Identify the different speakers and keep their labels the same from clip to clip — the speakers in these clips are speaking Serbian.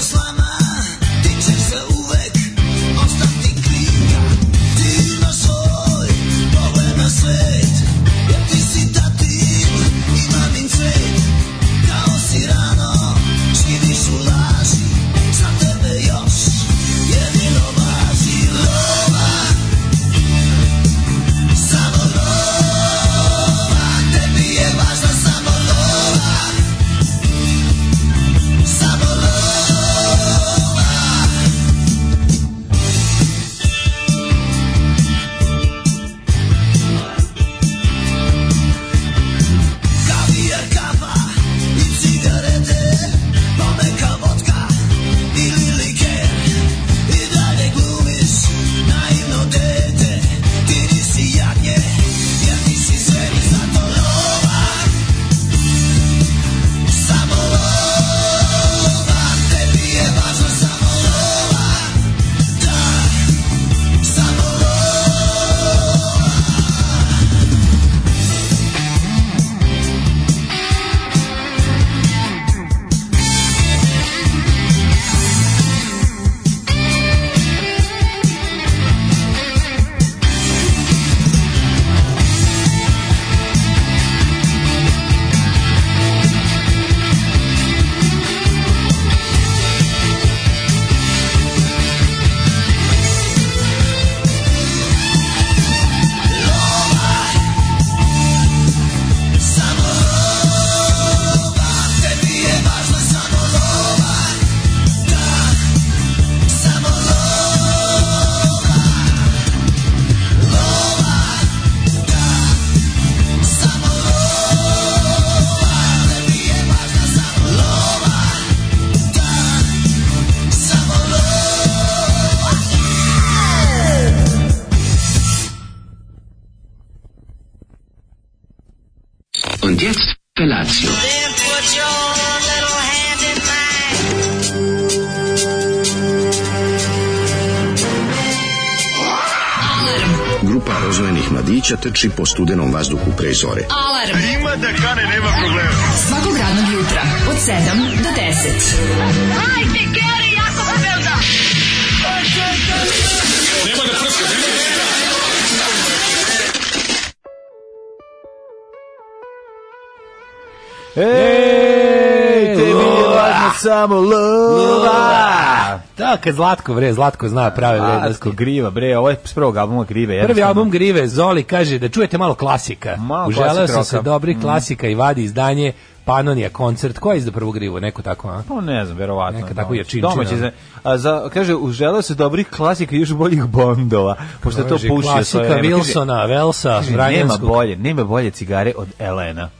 Speaker 1: slama, ti ćeš za uvek ostati kriva. Ti imaš svoj pogled na svet, jer ti si tatin i mamin cvet. Kao si rano, živiš u laži, za tebe još jedino važi lova. Samo lova, tebi je važna samo lova. Samo lova. Kavijar, kafa i cigarete Poneka vodka ili liker I dalje glumiš naivno dete Ti nisi jagnje, jer ti si sve i zato lova Samo lova, tebi je važno samo lova Da, samo lova Samo lova, tebi je važna samo lova Da, samo lova Lova, da, samo lova Tebi je važna samo lova Da, samo lova
Speaker 2: Und jetzt Felatio.
Speaker 1: Then put your little hand in mine.
Speaker 3: Grupa rozvojenih mladića teči po studenom vazduhu pre zore.
Speaker 4: Alarm. Ima da kane, nema problema. Svakog radnog jutra, od 7 do 10. Hajde, Keri, jako se velda.
Speaker 5: Ej,
Speaker 6: tebi je važno
Speaker 5: samo lova.
Speaker 6: Da, kad Zlatko, bre, Zlatko zna prave
Speaker 5: Zlatko
Speaker 6: vrednosti.
Speaker 5: Griva, bre, ovo je s prvog albuma Grive.
Speaker 6: Prvi
Speaker 5: jednostavno.
Speaker 6: album Grive, Zoli kaže da čujete malo klasika. Mm.
Speaker 5: Malo
Speaker 6: Uželeo
Speaker 5: klasik
Speaker 6: sam se
Speaker 5: roka.
Speaker 6: dobrih klasika i vadi izdanje Panonija koncert. Ko je izdao prvu Grivu? Neko tako, a?
Speaker 5: Pa ne znam, verovatno.
Speaker 6: Neka
Speaker 5: Neka
Speaker 6: tako jačinčina.
Speaker 5: Domaći za, a za, kaže, uželeo se dobrih klasika i još boljih bondova, pošto je to
Speaker 6: Kaže,
Speaker 5: pušio svoje
Speaker 6: Klasika
Speaker 5: vreme. Kaže,
Speaker 6: Wilsona, Velsa,
Speaker 5: kaže, Nema
Speaker 6: Brianskog,
Speaker 5: bolje, nema bolje cigare od Elena.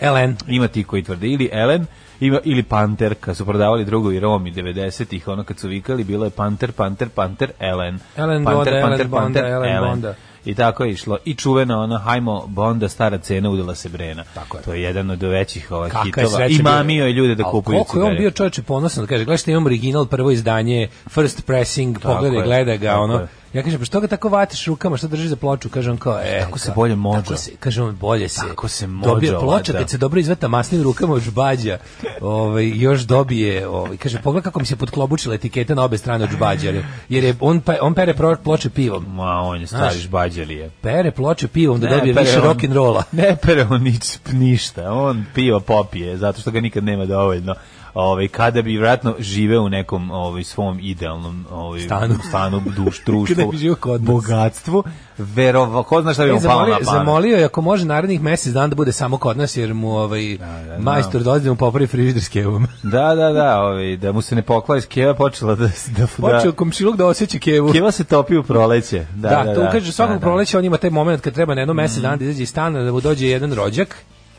Speaker 6: Ellen.
Speaker 5: Ima ti koji tvrde ili Elen ima, ili Panter, kad su prodavali drugo i Romi 90-ih, ono kad su vikali, bilo je Panter, Panter, Panter, Elen.
Speaker 6: Elen
Speaker 5: Panter,
Speaker 6: Bonda,
Speaker 5: Panter,
Speaker 6: Elen Bonda,
Speaker 5: Panter,
Speaker 6: Elen
Speaker 5: Elen.
Speaker 6: Bonda.
Speaker 5: I tako je išlo. I čuvena ona Hajmo Bonda, stara cena, udala se brena.
Speaker 6: Tako je.
Speaker 5: To je jedan od većih ovaj,
Speaker 6: Kaka je
Speaker 5: hitova.
Speaker 6: sreća
Speaker 5: I
Speaker 6: bio.
Speaker 5: mamio je ljude da
Speaker 6: Al
Speaker 5: kupuju
Speaker 6: Koliko je on
Speaker 5: cigare.
Speaker 6: bio čovječe ponosan, da kaže, gledaj šta imam original, prvo izdanje, first pressing, pogledaj,
Speaker 5: je,
Speaker 6: gleda ga,
Speaker 5: tako
Speaker 6: ono.
Speaker 5: je.
Speaker 6: Ja kažem, pa što ga tako vatiš rukama, što držiš za ploču? Kaže on kao, e,
Speaker 5: Tako se
Speaker 6: kao,
Speaker 5: bolje modža.
Speaker 6: Tako se, kaže on, bolje se.
Speaker 5: Tako se ovaj, modža
Speaker 6: Dobije ploča,
Speaker 5: vada.
Speaker 6: kad se dobro izveta masnim rukama od žbađa, ovaj, još dobije, ovaj, kaže, pogledaj kako mi se potklobučila etiketa na obe strane od žbađa, jer, jer je, on, pe- on pere pro- ploče pivom.
Speaker 5: Ma, on je stari
Speaker 6: Znaš.
Speaker 5: žbađalije.
Speaker 6: Pere ploče pivom da
Speaker 5: Ne,
Speaker 6: dobije
Speaker 5: pere
Speaker 6: više
Speaker 5: on-
Speaker 6: rock'n'rolla.
Speaker 5: Ne pere on nič, ništa, on piva popije, zato što ga nikad nema dovoljno. Ove, kada bi vratno žive u nekom ovaj, svom idealnom ovaj,
Speaker 6: Stanu.
Speaker 5: stanu duš, društvu,
Speaker 6: Kada bi živeo kod nas.
Speaker 5: bogatstvu, verova, ko zna šta bi
Speaker 6: E,
Speaker 5: mu palo na
Speaker 6: zamolio,
Speaker 5: pamet.
Speaker 6: zamolio je ako može narednih mesec dana da bude samo kod nas jer mu ovaj
Speaker 5: da,
Speaker 6: majstor dođe da mu popravi frižider s kevom.
Speaker 5: Da, da, da, ovaj, da mu se ne pokvari, keva počela da... da,
Speaker 6: Počeo
Speaker 5: da
Speaker 6: komšiluk da osjeća kevu.
Speaker 5: keva se topi u proleće. Da, da,
Speaker 6: da,
Speaker 5: da,
Speaker 6: to ukaže svakog
Speaker 5: da, Mm. da.
Speaker 6: proleća on ima taj moment kad treba na jedno mesec dana da izađe iz stana da mu dođe jedan rođak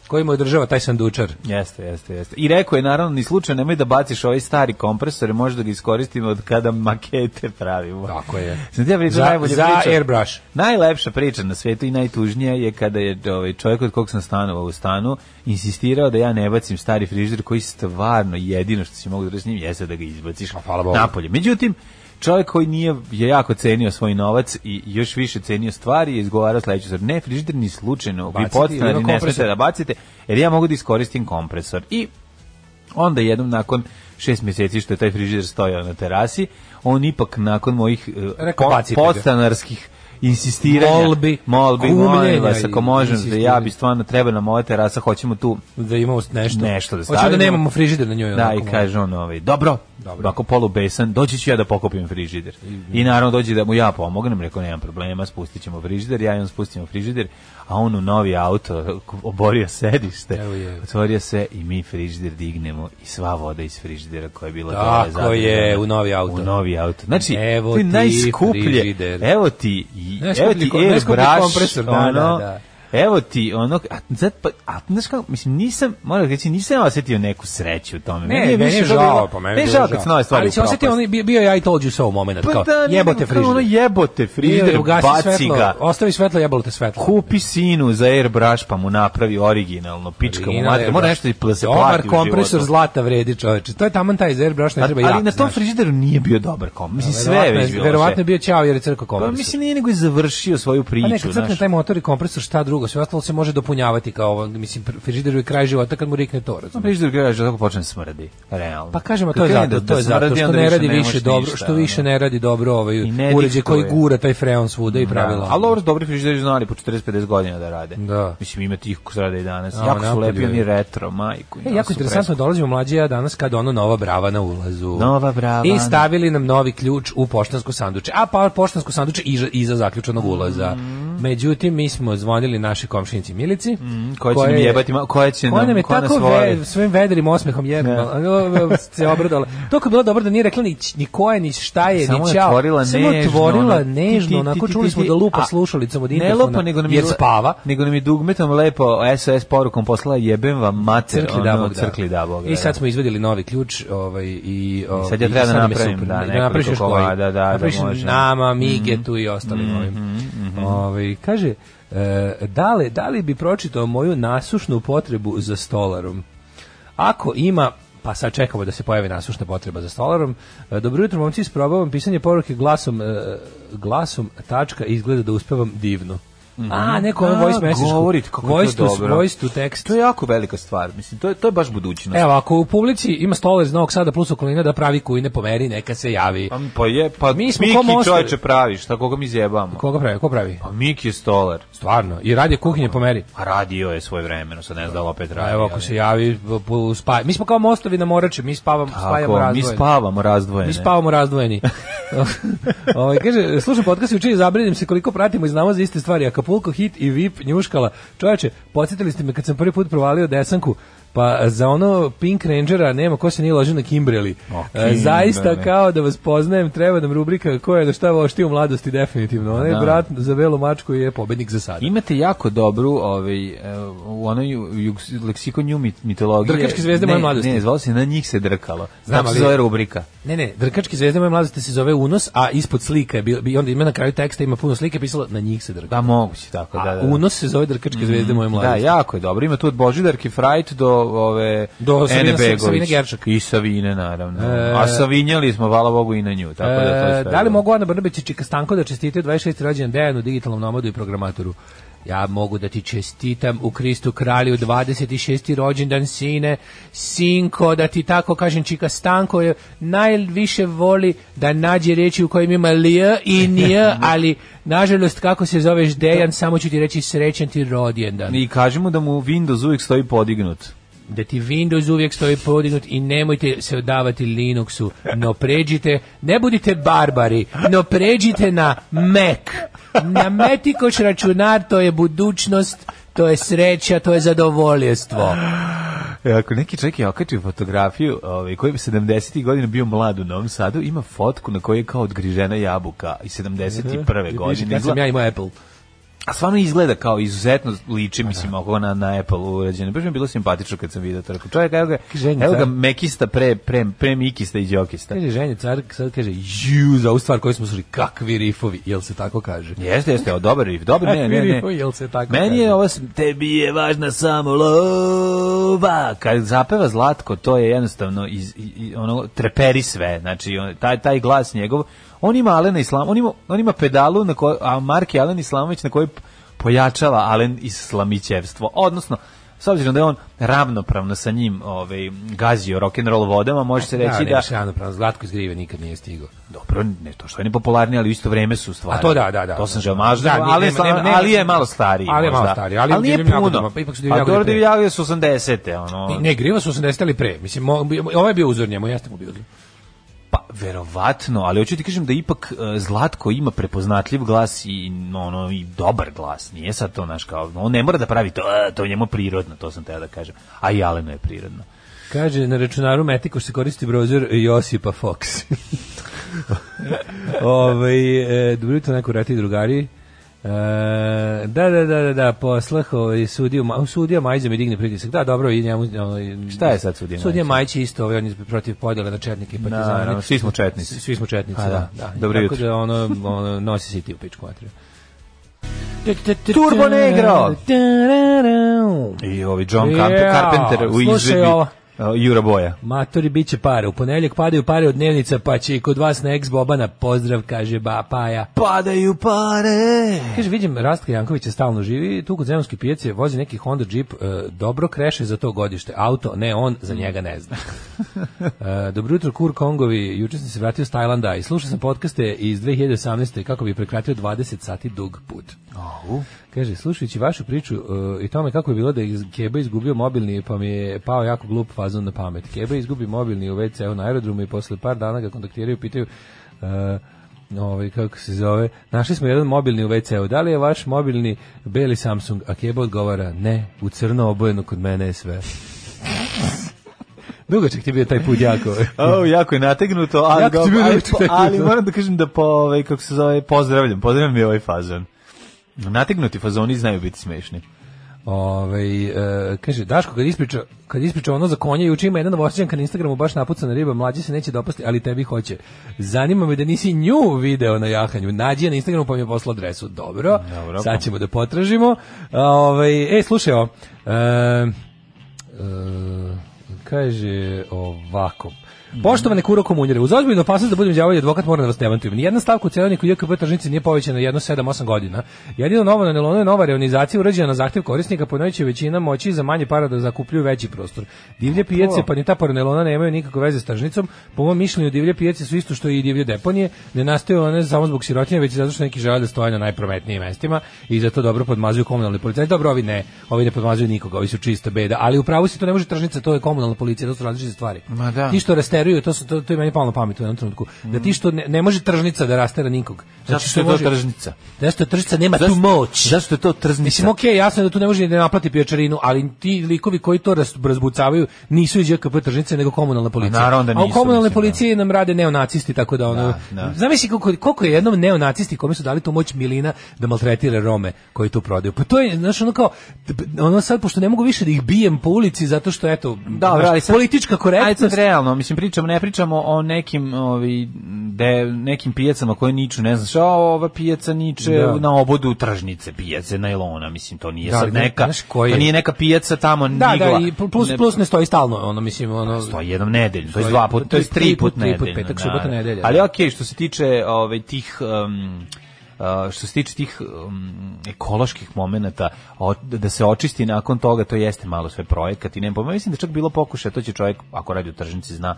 Speaker 6: koji mu održava taj sandučar.
Speaker 5: Jeste, jeste, jeste. I rekao je naravno ni slučaj nemoj da baciš ovaj stari kompresor, može da ga iskoristimo od kada makete pravimo.
Speaker 6: Tako je.
Speaker 5: Sam ti ja pričao
Speaker 6: Za-
Speaker 5: najbolje
Speaker 6: za
Speaker 5: priča.
Speaker 6: airbrush.
Speaker 5: Najlepša priča na svetu i najtužnija je kada je ovaj čovjek od kog sam stanovao u stanu insistirao da ja ne bacim stari frižider koji stvarno jedino što si mogu da radim jeste da ga izbaciš
Speaker 6: A, hvala Bogu.
Speaker 5: napolje. Međutim, čovjek koji nije je jako cenio svoj novac i još više cenio stvari je izgovarao sledeću stvar. Ne, frižider ni slučajno, vi
Speaker 6: Baciti ili
Speaker 5: podstanari ne
Speaker 6: kompresor.
Speaker 5: smete da bacite, jer ja mogu da iskoristim kompresor. I onda jednom nakon šest mjeseci što je taj frižider stojao na terasi, on ipak nakon mojih e,
Speaker 6: Rekao,
Speaker 5: po-
Speaker 6: bacite ga.
Speaker 5: podstanarskih insistiranja,
Speaker 6: Molbi,
Speaker 5: molbi molim
Speaker 6: kumljenja
Speaker 5: vas, ako
Speaker 6: i
Speaker 5: možem da ja bi
Speaker 6: insistiranja.
Speaker 5: stvarno treba nam ova terasa, hoćemo tu
Speaker 6: da imamo nešto.
Speaker 5: Nešto da
Speaker 6: Hoćemo
Speaker 5: stavimo.
Speaker 6: da nemamo frižider na njoj.
Speaker 5: da,
Speaker 6: onako,
Speaker 5: i kaže on ovaj, dobro,
Speaker 6: Dobro.
Speaker 5: ako polu besan, doći ću ja da pokupim frižider. I naravno dođe da mu ja pomognem, rekao nemam problema, spustit ćemo frižider, ja i on spustimo frižider, a on u novi auto oborio sedište,
Speaker 6: Evo je.
Speaker 5: otvorio se i mi frižider dignemo i sva voda iz frižidera koja je bila
Speaker 6: Tako
Speaker 5: dole
Speaker 6: je,
Speaker 5: zadržana
Speaker 6: u novi auto.
Speaker 5: U novi auto. Znači,
Speaker 6: Evo
Speaker 5: to je
Speaker 6: ti
Speaker 5: najskuplje.
Speaker 6: frižider.
Speaker 5: Evo ti, i- evo
Speaker 6: Najskuplji
Speaker 5: ti
Speaker 6: kom-
Speaker 5: air
Speaker 6: najskuplji
Speaker 5: brush,
Speaker 6: kompresor, da, da,
Speaker 5: ono,
Speaker 6: da.
Speaker 5: Evo ti ono, a, zad, pa, a znaš kako, mislim, nisam, moram reći, nisam ja osetio neku sreću u tome.
Speaker 6: Ne, meni je
Speaker 5: više
Speaker 6: žao,
Speaker 5: bilo-
Speaker 6: pa meni
Speaker 5: meni
Speaker 6: je
Speaker 5: je
Speaker 6: bilo
Speaker 5: žao kad se nove stvari
Speaker 6: Ali se
Speaker 5: upropasti.
Speaker 6: osjeti, on je bio, bio ja i told you so moment,
Speaker 5: Pa
Speaker 6: kao,
Speaker 5: da, ne,
Speaker 6: jebote
Speaker 5: kao ono,
Speaker 6: frižider.
Speaker 5: jebote frižider,
Speaker 6: Ili ugasi
Speaker 5: baci
Speaker 6: svetlo,
Speaker 5: ga.
Speaker 6: Ostavi svetlo, jebalo te svetlo.
Speaker 5: Kupi sinu za airbrush pa mu napravi originalno, pička mu
Speaker 6: Original
Speaker 5: mater, mora
Speaker 6: airbrush.
Speaker 5: nešto i da se
Speaker 6: Dobar
Speaker 5: plati u
Speaker 6: kompresor
Speaker 5: životu.
Speaker 6: zlata vredi, čoveče. To je taman taj za airbrush, ne
Speaker 5: A-
Speaker 6: treba
Speaker 5: ali
Speaker 6: jak,
Speaker 5: na tom
Speaker 6: znaš. Pa
Speaker 5: frižideru nije bio dobar kom. Mislim, sve je
Speaker 6: Verovatno
Speaker 5: već bilo.
Speaker 6: Verovatno je
Speaker 5: sve.
Speaker 6: bio ćao jer je crko
Speaker 5: Pa
Speaker 6: kompresor.
Speaker 5: mislim, nije nego je završio svoju priču.
Speaker 6: A ne, kad crkne
Speaker 5: znaš.
Speaker 6: taj motor i kompresor, šta drugo, sve ostalo se može dopunjavati kao ovo, mislim, pr- frižideru je kraj života kad mu rikne to,
Speaker 5: Pa
Speaker 6: razumiješ?
Speaker 5: Frižider kaže tako počne smrdi, realno.
Speaker 6: Pa kažemo, to
Speaker 5: Kad
Speaker 6: je
Speaker 5: krene
Speaker 6: zato,
Speaker 5: da-
Speaker 6: to je
Speaker 5: da
Speaker 6: zato,
Speaker 5: smrdi,
Speaker 6: što
Speaker 5: onda
Speaker 6: ne radi
Speaker 5: ne
Speaker 6: više
Speaker 5: možeš
Speaker 6: dobro,
Speaker 5: ništa,
Speaker 6: što više
Speaker 5: ono.
Speaker 6: ne radi dobro ovaj
Speaker 5: I ne
Speaker 6: uređaj koji
Speaker 5: diktuje.
Speaker 6: gura taj freon svuda i pravila.
Speaker 5: Da, ali dobro, dobri frižideri znali po 45 godina da rade.
Speaker 6: Da.
Speaker 5: Mislim, ima tih koji rade i danas.
Speaker 6: A,
Speaker 5: jako su
Speaker 6: napolju
Speaker 5: lepi,
Speaker 6: je.
Speaker 5: oni retro, majku.
Speaker 6: E, jako interesantno, dolazimo mlađe ja danas kad ono nova brava na ulazu.
Speaker 5: Nova brava.
Speaker 6: I stavili nam novi ključ u poštansko sanduče. A pa poštansko sanduče iza, iza zaključenog ulaza.
Speaker 5: Mhm.
Speaker 6: Međutim, mi smo zvonili naši komšinici Milici.
Speaker 5: koja Mhm, će nam jebati ma- koja će
Speaker 6: koja
Speaker 5: nam-
Speaker 6: nam je
Speaker 5: koja nas
Speaker 6: tako
Speaker 5: voli.
Speaker 6: ve, svojim vedrim osmehom jebala. se obradala. Toliko je bilo dobro da nije rekla ni, č- ni ko je, ni šta je,
Speaker 5: Samo
Speaker 6: ni
Speaker 5: je
Speaker 6: čao.
Speaker 5: otvorila
Speaker 6: Samo
Speaker 5: nežno,
Speaker 6: otvorila
Speaker 5: ono, ti, ti,
Speaker 6: nežno,
Speaker 5: ti, ti,
Speaker 6: onako
Speaker 5: ti,
Speaker 6: čuli
Speaker 5: ti,
Speaker 6: smo
Speaker 5: ti.
Speaker 6: da lupa
Speaker 5: A,
Speaker 6: slušalicom od
Speaker 5: Ne
Speaker 6: interfona,
Speaker 5: lupa, nego nam je,
Speaker 6: jer spava.
Speaker 5: Nego nam je dugmetom lepo SOS porukom poslala jebem vam mater,
Speaker 6: crkli
Speaker 5: ono,
Speaker 6: da Bog da.
Speaker 5: crkli da Bog da,
Speaker 6: I sad
Speaker 5: da.
Speaker 6: smo izvadili novi ključ, ovaj i ovaj,
Speaker 5: sad ja
Speaker 6: i
Speaker 5: treba da
Speaker 6: nam je
Speaker 5: napravim,
Speaker 6: super.
Speaker 5: da,
Speaker 6: da napraviš još
Speaker 5: nekoliko
Speaker 6: koji.
Speaker 5: komada, da, da,
Speaker 6: Napraviš
Speaker 5: može. Mhm.
Speaker 6: nama, Mige tu i ostalim ovim. Ovaj, kaže e, da li, da li bi pročitao moju nasušnu potrebu za stolarom? Ako ima pa sad čekamo da se pojavi nasušna potreba za stolarom. E, Dobro jutro, momci, isprobavam pisanje poruke glasom, e, glasom tačka, izgleda da uspevam divno. A, neko je
Speaker 5: Mhm. A,
Speaker 6: voice message.
Speaker 5: govori, kako je to
Speaker 6: voice to,
Speaker 5: dobro.
Speaker 6: voice to text.
Speaker 5: To je jako velika stvar, mislim, to je, to je baš budućnost.
Speaker 6: Evo, ako u publici ima stolar iz Novog Sada plus okolina da pravi kuj ne pomeri, neka se javi.
Speaker 5: Pa, pa je, pa
Speaker 6: Mi smo ko
Speaker 5: Miki
Speaker 6: Mostar.
Speaker 5: čoveče praviš, tako koga mi zjebamo.
Speaker 6: Koga pravi? Ko pravi?
Speaker 5: Pa Miki je stolar.
Speaker 6: Stvarno. I radije kuhinje pomeri.
Speaker 5: A radio je svoje vremeno, sad ne znam da li opet
Speaker 6: A
Speaker 5: radi.
Speaker 6: evo, ako
Speaker 5: ali-
Speaker 6: se javi, bu- bu- spaja. Mi smo kao mostovi na morači, mi spavamo,
Speaker 5: Tako,
Speaker 6: spajamo
Speaker 5: mi
Speaker 6: razdvojeni.
Speaker 5: spavamo razdvojene.
Speaker 6: Mi spavamo razdvojeni. Ovaj, kaže, slušam podcast i učinje zabrinim se koliko pratimo i znamo za iste stvari. Acapulco, hit i VIP, njuškala. Čovječe, podsjetili ste me kad sam prvi put provalio desanku, pa za ono Pink Rangera nema ko se nije ložio na Kimbreli.
Speaker 5: O,
Speaker 6: E, Zaista
Speaker 5: Kimberly.
Speaker 6: kao da vas poznajem, treba nam rubrika koja je na šta vošti u mladosti definitivno. Onaj
Speaker 5: Da.
Speaker 6: brat za belu mačku je pobednik za sada.
Speaker 5: Imate jako dobru ovaj e, u onoj jug- leksikon nju mit- mitologije.
Speaker 6: Drkačke zvezde moje
Speaker 5: Ne,
Speaker 6: mladosti.
Speaker 5: Ne, zvalo se na njih se drkalo.
Speaker 6: Znam,
Speaker 5: Znam, ali
Speaker 6: ali-
Speaker 5: zove rubrika.
Speaker 6: Ne, ne, drkački zvezde moje mladosti se zove Unos, a ispod slika je bio, i onda ima na kraju teksta ima puno slike, pisalo na njih se drka.
Speaker 5: Da moguće tako, da,
Speaker 6: A
Speaker 5: da. da.
Speaker 6: Unos se zove drkačke zvezde moje
Speaker 5: Da,
Speaker 6: mladosti.
Speaker 5: jako je dobro. Ima tu od Božidarke Frajt do ove
Speaker 6: Do Savine-
Speaker 5: Ene Begović.
Speaker 6: Savine Gerčak.
Speaker 5: I Savine naravno. A Savinjali smo hvala Bogu i na nju, tako E- da to je
Speaker 6: E,
Speaker 5: sve
Speaker 6: da li
Speaker 5: dobro.
Speaker 6: mogu Ana Brnabić i Čika Stanko da čestite 26. rođendan Dejanu, digitalnom nomadu i programatoru? Ja mogu da ti čestitam u Kristu kralju 26. rođendan sine, sinko, da ti tako kažem Čika Stanko je najviše voli da nađe reči u kojim ima lj i nj, ali nažalost kako se zoveš Dejan, samo ću ti reći srećan ti rođendan.
Speaker 5: I kažemo da mu Windows uvijek stoji podignut.
Speaker 6: da ti Windows uvijek stoji podignut i nemojte se odavati Linuxu, no pređite, ne budite barbari, no pređite na Mac. Na Metikoš računar to je budućnost, to je sreća, to je zadovoljstvo.
Speaker 5: E, Ako neki čovjek je okačio fotografiju ovaj, koji bi 70. godina bio mlad u Novom Sadu, ima fotku na kojoj je kao odgrižena jabuka i 71. godine.
Speaker 6: Kad sam
Speaker 5: Izgleda,
Speaker 6: ja imao Apple.
Speaker 5: a stvarno izgleda kao izuzetno liči, mislim, oko na, na Apple urađeno. Baš mi je bilo simpatično kad sam vidio to. Rekao, Čovjek, evo ga,
Speaker 6: Ženja,
Speaker 5: evo ga
Speaker 6: da.
Speaker 5: mekista pre, pre, pre mikista i đokista.
Speaker 6: Kaže ženje car, sad kaže, ju, za ovu stvar koju smo slušali, kakvi rifovi, jel se tako kaže?
Speaker 5: Jeste, jeste, o, dobar riff, dobar, ne, ne, ne.
Speaker 6: Rifovi, jel se tako
Speaker 5: Meni
Speaker 6: kaže?
Speaker 5: je ovo, s- tebi je važna samo lova. Kad zapeva Zlatko, to je jednostavno iz, i- i- ono, treperi sve. Znači, on- taj, taj glas njegov, on ima Alena Islam, on ima, on ima pedalu, na kojoj, a Mark je Alen Islamović na kojoj p- pojačava Alen Islamićevstvo. Odnosno, s obzirom da je on ravnopravno sa njim ovaj, gazio rock'n'roll vodama, može se reći da...
Speaker 6: Da, ne, da... Zlatko iz Grive nikad nije stigao.
Speaker 5: Dobro, ne to što je nepopularni, ali u isto vreme su stvari.
Speaker 6: A to da, da, da.
Speaker 5: To sam
Speaker 6: Da,
Speaker 5: želeo, maž,
Speaker 6: da,
Speaker 5: ali, je
Speaker 6: nema- nema-
Speaker 5: sla-
Speaker 6: nema-
Speaker 5: ali je malo stariji.
Speaker 6: Ali je malo
Speaker 5: možda.
Speaker 6: stariji, ali
Speaker 5: nije
Speaker 6: Divljim Jagodama,
Speaker 5: puno.
Speaker 6: pa ipak su Divljim
Speaker 5: A
Speaker 6: Jagode
Speaker 5: dobro,
Speaker 6: pre.
Speaker 5: Divljim Jagode su 80-te, ono.
Speaker 6: Ne, Griva su 80 ali pre. Mislim, mo- ovaj je bio uzor njemu, jeste mu bio uzor.
Speaker 5: Pa, verovatno, ali hoću ti kažem da ipak e, Zlatko ima prepoznatljiv glas i, no, ono, i dobar glas. Nije sad to, naš kao, on ne mora da pravi to, e, to je njemu prirodno, to sam teo da kažem. A i Alenu je prirodno.
Speaker 6: Kaže, na računaru Metikoš se koristi brozor Josipa Fox. ovaj, e, dobro jutro, neko rati drugari. E, da, da, da, da, da, poslah ovaj, sudiju, Ma- sudija Majza mi digne pritisak. Da, dobro, i njemu... Ovaj,
Speaker 5: Šta je sad sudija
Speaker 6: Sudija
Speaker 5: Majić?
Speaker 6: Majić je isto, ovaj, on je protiv podjela na četnike i partizane.
Speaker 5: Naravno, svi smo četnici.
Speaker 6: Svi smo četnici,
Speaker 5: A,
Speaker 6: da.
Speaker 5: da.
Speaker 6: da.
Speaker 5: Dobro
Speaker 6: Tako
Speaker 5: jutro.
Speaker 6: da ono, ono, nosi se i ti u pičku materiju.
Speaker 5: Turbo Negro! I ovi John Carp-
Speaker 6: Ja,
Speaker 5: Carpenter u
Speaker 6: slušaj
Speaker 5: izvedbi
Speaker 6: ovo.
Speaker 5: e, Jura Boja.
Speaker 6: Matori bit će pare. U ponedjeljak padaju pare od dnevnica, pa će i kod vas na ex Bobana. Pozdrav, kaže ba, Paja.
Speaker 5: Padaju pare!
Speaker 6: Kaže, vidim, Rastka Jankovića stalno živi, tu kod zemljski pijace vozi neki Honda Jeep, e, dobro kreše za to godište. Auto, ne on, za njega ne zna. e, dobro jutro, Kur Kongovi, juče sam se vratio s Tajlanda i slušao sam podcaste iz 2018. kako bi prekratio 20 sati dug put. Kaže, slušajući vašu priču e, i tome kako je bilo da je iz- Keba izgubio mobilni, pa mi je pao jako glup fazon na pamet. Keba izgubi mobilni u WC-u na aerodromu i posle par dana ga kontaktiraju i pitaju e, ovaj, kako se zove, našli smo jedan mobilni u WC-u, da li je vaš mobilni beli Samsung? A Keba odgovara, ne, u crno obojeno kod mene je sve. Dugačak ti je bio taj put jako.
Speaker 5: O, jako je nategnuto, ali,
Speaker 6: Jako ti
Speaker 5: dobro,
Speaker 6: bilo
Speaker 5: ali,
Speaker 6: nategnuto.
Speaker 5: ali moram da kažem da po, ovaj, kako se zove, pozdravljam, pozdravljam i ovaj fazon. Nategnuti fazoni znaju biti smešni.
Speaker 6: Ovaj e, kaže Daško kad ispriča kad ispriča ono za konje juče ima jedan novosađanka na Instagramu baš napucana riba, mlađi se neće dopasti, ali tebi hoće. Zanima me da nisi nju video na jahanju. Nađi je na Instagramu pa mi je poslao adresu. Dobro.
Speaker 5: Dobro.
Speaker 6: Sad ćemo da potražimo. A, ovaj e slušaj ovo. E, e, kaže ovako. Poštovane kuro komunjere, uz ozbiljnu opasnost da budem đavolji advokat moram da vas demantujem. Nijedna stavka u cenovniku JKP tržnice nije povećana jedno 7-8 godina. Jedino novo na Nelonu je nova reonizacija urađena na zahtjev korisnika, po njoj će većina moći za manje para da zakupljuju veći prostor. Divlje pijace pa ni ta paranelona nemaju nikakve veze s tržnicom. Po mom mišljenju divlje pijace su isto što i divlje deponije. Ne nastaju one samo zbog sirotinje, već zato što neki žele da stoje na najprometnijim mestima i zato dobro podmazuju komunalni policaj. Dobro, ovi ne, ovi ne podmazuju nikoga, ovi su čista beda, ali u pravu si to ne može tržnica, to je komunalna policija, to su različite stvari.
Speaker 5: Ma da.
Speaker 6: Ti što rasteruju, to su to, to je meni palo na pamet u jednom trenutku. Da ti što ne, ne može tržnica da rastera nikog. Znači
Speaker 5: Zato što je to
Speaker 6: može-
Speaker 5: tržnica.
Speaker 6: Zato što tržnica nema tu moć.
Speaker 5: Zašto je to trznica?
Speaker 6: Mislim, okej, jasno je da tu ne može ni da naplati pijačarinu, ali ti likovi koji to raz- razbucavaju nisu iz JKP tržnice, nego komunalna policija.
Speaker 5: A Pa naravno da
Speaker 6: A u
Speaker 5: nisu,
Speaker 6: komunalne
Speaker 5: mislim, da.
Speaker 6: policije nam rade neonacisti, tako da ono...
Speaker 5: Da, da.
Speaker 6: Zamisli koliko, koliko je jednom neonacisti kome su dali tu moć milina da maltretira Rome koji tu prodaju. Pa to je, znaš, ono kao, ono sad, pošto ne mogu više da ih bijem po ulici, zato što, eto,
Speaker 5: Dobro,
Speaker 6: znaš,
Speaker 5: ali sad-
Speaker 6: politička
Speaker 5: Ajde sad
Speaker 6: korektnost...
Speaker 5: realno, mislim pričamo, ne pričamo o nekim ovi de, nekim pijacama koje niču, ne znaš, a ova pijaca niče
Speaker 6: Da.
Speaker 5: na obodu tržnice, pijace najlona, mislim to nije
Speaker 6: Da,
Speaker 5: sad
Speaker 6: da,
Speaker 5: neka,
Speaker 6: znaš koji je.
Speaker 5: to nije neka pijaca tamo
Speaker 6: Da,
Speaker 5: nigla.
Speaker 6: da, i plus,
Speaker 5: Ne-
Speaker 6: plus ne stoji stalno, ono, mislim, ono...
Speaker 5: to je jednom nedeljno, to je dva puta, to je tri put
Speaker 6: tri put,
Speaker 5: nedeljno.
Speaker 6: petak,
Speaker 5: da,
Speaker 6: subota,
Speaker 5: da.
Speaker 6: nedelja,
Speaker 5: Ali
Speaker 6: da.
Speaker 5: okej, što se tiče ovaj tih um, uh, što se tiče tih um, ekoloških momenata o- da se očisti nakon toga to jeste malo sve projekat i nema pojma mislim da je čak bilo pokušaja to će čovjek ako radi u tržnici zna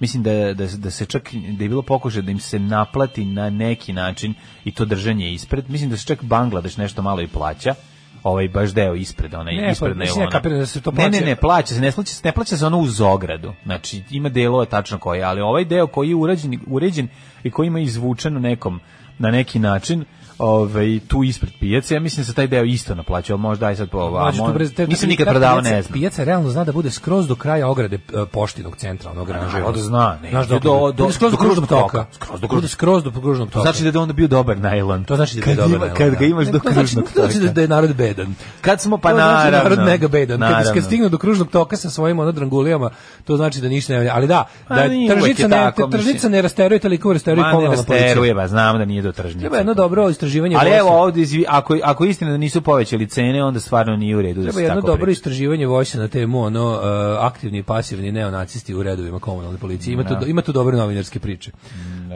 Speaker 5: mislim da, da, da se čak da je bilo pokušaj da im se naplati na neki način i to držanje ispred mislim da se čak Bangladeš nešto malo i plaća ovaj baš deo ispred onaj
Speaker 6: Ne, pa,
Speaker 5: ispred
Speaker 6: mislim, ja
Speaker 5: najlona.
Speaker 6: kapiram da se to
Speaker 5: Ne,
Speaker 6: plaća.
Speaker 5: ne, ne, plaća se, ne plaća se, ne plaća se ono uz ogradu. Znači, ima delova tačno koji, ali ovaj deo koji je urađen, uređen i koji ima izvučen u nekom, na neki način, ovaj, tu ispred pijace, ja mislim da se taj deo isto naplaća, ali možda aj sad po
Speaker 6: Mlađe,
Speaker 5: ovamo.
Speaker 6: tu brez- te-
Speaker 5: Nisam
Speaker 6: ta
Speaker 5: Pa nikad
Speaker 6: pijaca-
Speaker 5: prodavao, ne znam.
Speaker 6: Pijaca realno zna da bude skroz do kraja ograde e, poštinog centra, onog granža.
Speaker 5: naravno da zna, ne,
Speaker 6: Znaš
Speaker 5: do-
Speaker 6: dokle?
Speaker 5: do- do-
Speaker 6: Bude skroz do
Speaker 5: do
Speaker 6: kružnog
Speaker 5: kružnog
Speaker 6: toka.
Speaker 5: toka. Skroz do kružnog-
Speaker 6: Bude skroz do kružnog toka.
Speaker 5: Znači da je onda bio dobar najlon.
Speaker 6: to znači da je
Speaker 5: Kad
Speaker 6: dobar
Speaker 5: ima-
Speaker 6: najlon,
Speaker 5: Kad
Speaker 6: da.
Speaker 5: ga imaš
Speaker 6: Ne,
Speaker 5: do
Speaker 6: to znači-
Speaker 5: kružnog
Speaker 6: To znači
Speaker 5: toka.
Speaker 6: da je narod bedan.
Speaker 5: Kad smo, pa
Speaker 6: to znači da je
Speaker 5: naravno.
Speaker 6: narod mega bedan. Kad, kad
Speaker 5: Naravno.
Speaker 6: stignu do kružnog toka sa svojim ono drangulijama, to znači da ništa ne valja. Ali da,
Speaker 5: Ma,
Speaker 6: da je
Speaker 5: Pa nije uvek
Speaker 6: tržnica,
Speaker 5: je
Speaker 6: ne,
Speaker 5: tako,
Speaker 6: tržnica
Speaker 5: mislim.
Speaker 6: ne rasteruje toliko rasteruje
Speaker 5: Ma ne
Speaker 6: komunalna policija.
Speaker 5: rasteruje, ba, znam da nije do tržnice.
Speaker 6: Treba jedno dobro istraživanje.
Speaker 5: Ali
Speaker 6: vojske.
Speaker 5: evo ovdje, izvi- ako, ako je istina da nisu povećali cene, onda stvarno nije u redu da
Speaker 6: Treba
Speaker 5: se
Speaker 6: jedno
Speaker 5: tako
Speaker 6: dobro
Speaker 5: priča.
Speaker 6: istraživanje vojske na temu ono e, aktivni i pasivni neonacisti u redovima komunalne policije. Ima tu do- ima tu dobre novinarske priče.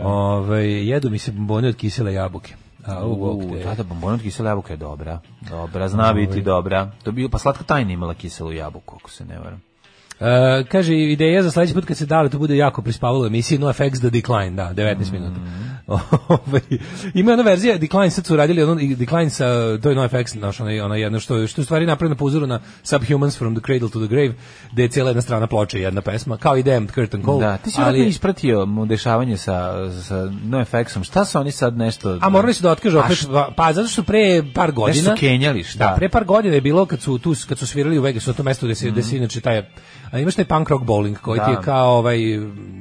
Speaker 6: Ovaj jedu mi se bombone od kisele jabuke. A, u, bog te.
Speaker 5: Da, da, bombona od kisela jabuka je dobra. Dobra, zna biti dobra. To bi, pa slatka tajna imala kiselu jabuku, ako se ne varam.
Speaker 6: E, kaže, ideja za sledeći put kad se dale, to bude jako prispavalo u emisiji NoFX The Decline, da, 19
Speaker 5: Mm.
Speaker 6: minuta. Ovaj, Ima jedna verzija, Decline sad su radili, ono, i Decline sa, to je NoFX, naš, ono, ono jedno, što, što je u stvari napravljeno po uzoru na Subhumans from the Cradle to the Grave, gde je cijela jedna strana ploče i jedna pesma, kao i Damned Curtain Call.
Speaker 5: Da, ti si ali... ispratio mu dešavanje sa, sa NoFX-om. Šta su oni sad nešto...
Speaker 6: A morali su da otkažu
Speaker 5: A
Speaker 6: opet,
Speaker 5: šta-
Speaker 6: pa- pa zato što pre par godina...
Speaker 5: Nešto su kenjali, šta?
Speaker 6: Da, pre par godina je bilo kad su tu kad su svirali u Vegasu, na tom mestu gde se gde se inače taj a imaš taj punk rock bowling koji ti je
Speaker 5: Mhm. Da. Mhm.
Speaker 6: kao ovaj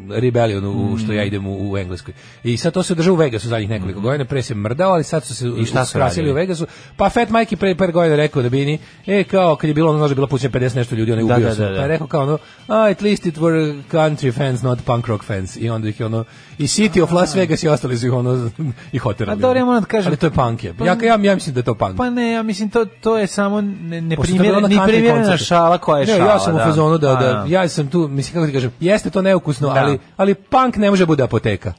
Speaker 6: rebellion u što ja idem u, u engleskoj. I sad to se održava u Vegasu zadnjih nekoliko godina, pre se mrdao, ali sad su se
Speaker 5: I šta su
Speaker 6: skrasili
Speaker 5: radili?
Speaker 6: u Vegasu. Pa Fat Mike je pre par godina rekao da bini, e kao kad je bilo ono znaš da je bilo pućeno 50 nešto ljudi, on je
Speaker 5: Da,
Speaker 6: ubio
Speaker 5: da,
Speaker 6: se.
Speaker 5: da, da.
Speaker 6: Pa je rekao kao ono, "Ah, at least it were country fans, not punk rock fans. I onda ih je ono, i City of Las Vegas i ostali su ih ono, i hoterali.
Speaker 5: A Pa dobro, ja moram da kažem-
Speaker 6: Ali to je punk je. Ja, ja, ja mislim da je to punk.
Speaker 5: Pa ne, ja mislim to to je samo ne,
Speaker 6: Pošto to je bilo
Speaker 5: neprimjerena
Speaker 6: na country
Speaker 5: neprimjerena
Speaker 6: koncertu.
Speaker 5: šala koja je
Speaker 6: ne,
Speaker 5: šala.
Speaker 6: ja sam u fazonu da,
Speaker 5: Pa,
Speaker 6: da, ja sam tu, mislim kako ti kažem, jeste to neukusno,
Speaker 5: Da.
Speaker 6: ali, ali punk ne može da bude apoteka.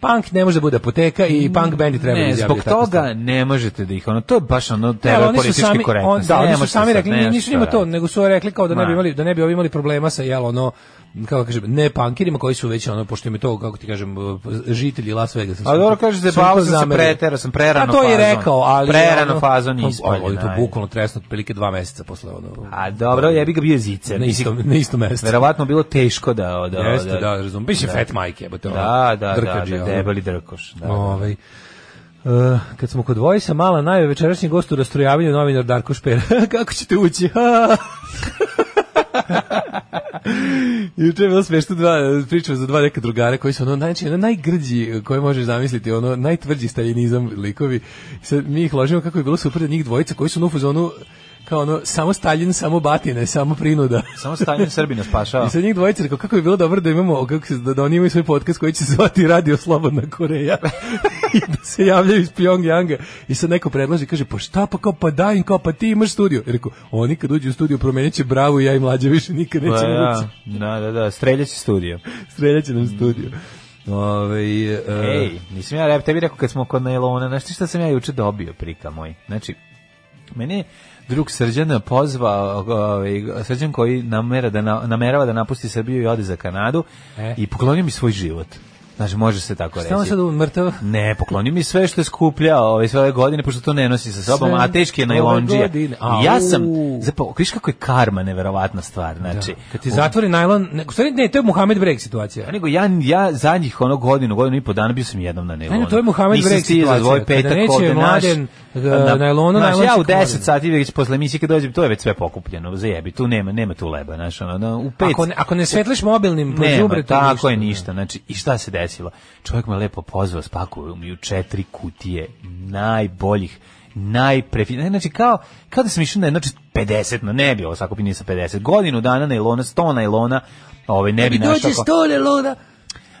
Speaker 6: Punk ne može da bude apoteka i punk bendi treba da
Speaker 5: ne,
Speaker 6: izjavljaju
Speaker 5: zbog
Speaker 6: takvu stvar.
Speaker 5: toga ne možete da ih ono to je baš ono
Speaker 6: Ne, ali
Speaker 5: tebe
Speaker 6: oni su
Speaker 5: političke
Speaker 6: sami, on,
Speaker 5: korektnosti.
Speaker 6: da,
Speaker 5: Ne
Speaker 6: oni su
Speaker 5: možete
Speaker 6: sami
Speaker 5: sad,
Speaker 6: rekli,
Speaker 5: ne
Speaker 6: ni-
Speaker 5: možete
Speaker 6: nisu njima
Speaker 5: šta
Speaker 6: to,
Speaker 5: raditi.
Speaker 6: nego su rekli kao da ne bi
Speaker 5: Ma.
Speaker 6: imali, da ne bi ovi imali problema sa jel ono kako kažem, ne pankirima koji su već ono pošto im je to kako ti kažem žitelji Las Vegasa.
Speaker 5: A dobro, kaže,
Speaker 6: Su im to
Speaker 5: zajebavao sam se,
Speaker 6: zamerili.
Speaker 5: preterao sam, prerano
Speaker 6: A to je
Speaker 5: fazon.
Speaker 6: rekao, ali ono-
Speaker 5: Prerano fazon je ispaljen,
Speaker 6: Ovo je to
Speaker 5: ajde.
Speaker 6: bukvalno tresno otprilike dva meseca posle ono.
Speaker 5: A dobro, ja bi ga bio zicer.
Speaker 6: na istom na istom mestu.
Speaker 5: Verovatno bilo teško da da
Speaker 6: Jeste, da, razumem. Biće Fat Mike, jebote. ono,
Speaker 5: Da, da, da,
Speaker 6: drkađi,
Speaker 5: da,
Speaker 6: ono.
Speaker 5: debeli drkoš. Da, da.
Speaker 6: Ovaj. Uh, kad smo kod Vojsa, mala najve večerašnji gost u rastrojavanju novinar Darko Šper. Kako ćete ući? Ha! Juče je bilo smešno dva, pričao za dva neka drugara koji su ono, znači, ono najgrđi koje možeš zamisliti, ono najtvrđi stalinizam likovi. I Sad mi ih ložimo kako je bilo super da njih dvojica koji su ono u fazonu kao ono, samo Stalin, samo batine, samo prinuda.
Speaker 5: Samo stanje Srbina spašava.
Speaker 6: I sad njih dvojica rekao kako bi bilo dobro da imamo kako se, da, da oni imaju svoj podcast koji će se zvati Radio Slobodna Koreja i da se javljaju iz Pjongjanga i sad neko predlaže kaže pa šta pa kao pa daj im kao pa ti imaš studio I rekao oni kad uđu u studio promenit će bravu i ja i mlađe više nikad
Speaker 5: Pa,
Speaker 6: nećemo
Speaker 5: da,
Speaker 6: ući
Speaker 5: da, da, da, streljaći studio.
Speaker 6: streljat će nam studio Ove, e,
Speaker 5: Ej, nisam ja rep, tebi rekao kad smo kod nailona, znaš ti šta sam ja juče dobio, prika moj? Znači, mene je drug Srđan pozvao, ovaj, Srđan koji namera da na, namerava da napusti Srbiju i ode za Kanadu
Speaker 6: E.
Speaker 5: i poklonio mi svoj život. Znači, može se tako
Speaker 6: šta on
Speaker 5: reći.
Speaker 6: sad u- mrtav
Speaker 5: Ne, poklonio mi sve što je skupljao ovaj, sve ove godine, pošto to ne nosi sa sobom,
Speaker 6: Sve
Speaker 5: a teški je
Speaker 6: ove
Speaker 5: najlonđija.
Speaker 6: godine,
Speaker 5: Ja
Speaker 6: au.
Speaker 5: sam, zapravo, kriš kako je karma neverovatna stvar, znači.
Speaker 6: kad ti zatvori najlon ne, u stvari ne, to je Muhammed Breg situacija
Speaker 5: Ja nego ja ja zadnjih ono godinu, godinu i po dana bio sam jednom na nailonu.
Speaker 6: Ne, ne, to je Muhammed
Speaker 5: Nisam
Speaker 6: Breg
Speaker 5: stizao
Speaker 6: situacija.
Speaker 5: Tvoj
Speaker 6: Kada
Speaker 5: petak
Speaker 6: neće
Speaker 5: ovde
Speaker 6: Mladen,
Speaker 5: naš,
Speaker 6: e,
Speaker 5: na-
Speaker 6: nailonu,
Speaker 5: znaš,
Speaker 6: nailon
Speaker 5: ja
Speaker 6: će
Speaker 5: u 10
Speaker 6: koren.
Speaker 5: sati već posle emisije kad dođem, to je već sve pokupljeno, zajebi, tu nema nema tu leba, znaš, ono, na- u pet
Speaker 6: ako ne, ako ne svetliš mobilnim po
Speaker 5: nema,
Speaker 6: đubretu,
Speaker 5: tako
Speaker 6: ništa.
Speaker 5: je ništa. Znači, i šta se desilo? Čovjek me lepo pozvao, spakuju mi u četiri kutije najboljih, najprefi... Znači, kao, kao da sam išao na, znači, 50, no ne bi ovo sakupio nisam 50, godinu dana na ilona, 100 na ilona, ovaj, ne bi
Speaker 6: i dođe
Speaker 5: našao... ko-
Speaker 6: stole lona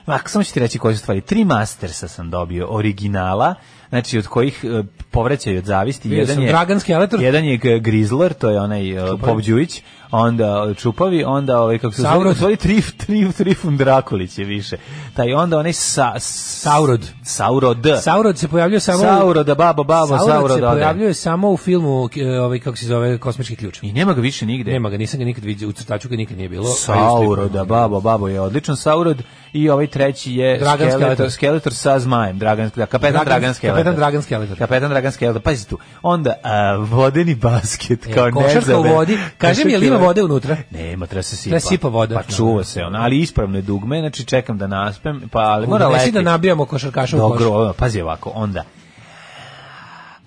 Speaker 5: Ma, samo ću ti reći koje su stvari. Tri mastersa sam dobio, originala, znači od kojih e, povraćaju od zavisti.
Speaker 6: Vidio sam, Dragan Skeletor.
Speaker 5: Jedan je g- Grizzler, to je onaj e, Pop Đujić, onda e, Čupavi, onda ovaj, kako se zove,
Speaker 6: Saurod.
Speaker 5: u stvari Trif, Trif, Trifun Drakulić je više. Taj onda onaj sa,
Speaker 6: Saurod.
Speaker 5: Saurod.
Speaker 6: Saurod se pojavljuje samo u-
Speaker 5: Sauroda, babo, babo,
Speaker 6: Sauron
Speaker 5: Saurod.
Speaker 6: se
Speaker 5: ode.
Speaker 6: pojavljuje samo u filmu e, ovaj kako se zove Kosmički ključ.
Speaker 5: I nema ga više nigde.
Speaker 6: Nema ga, nisam ga nikad vidio, u crtaču ga nikad nije bilo.
Speaker 5: Sauroda, babo, babo je odličan Saurod i ovaj treći je
Speaker 6: Dragan
Speaker 5: Skeletor,
Speaker 6: Skeletor.
Speaker 5: Skeletor sa zmajem, Dragan, da, kapetan Dragan,
Speaker 6: Dragan-
Speaker 5: Skeletor.
Speaker 6: kapetan Dragan Skeletor.
Speaker 5: Kapetan Dragan Skeletor, pazi tu. Onda a, vodeni basket, kao
Speaker 6: E, košarka u
Speaker 5: nezabe.
Speaker 6: vodi. Kaži mi, je li ima vode unutra?
Speaker 5: Nema, treba se sipa.
Speaker 6: Treba sipa voda.
Speaker 5: Pa čuva se ona, ali ispravno je dugme, znači čekam da naspem, pa ali mora
Speaker 6: Desi
Speaker 5: leti.
Speaker 6: da nabijamo košarkaša u
Speaker 5: Dobro,
Speaker 6: koš.
Speaker 5: ovo, pazi ovako, onda.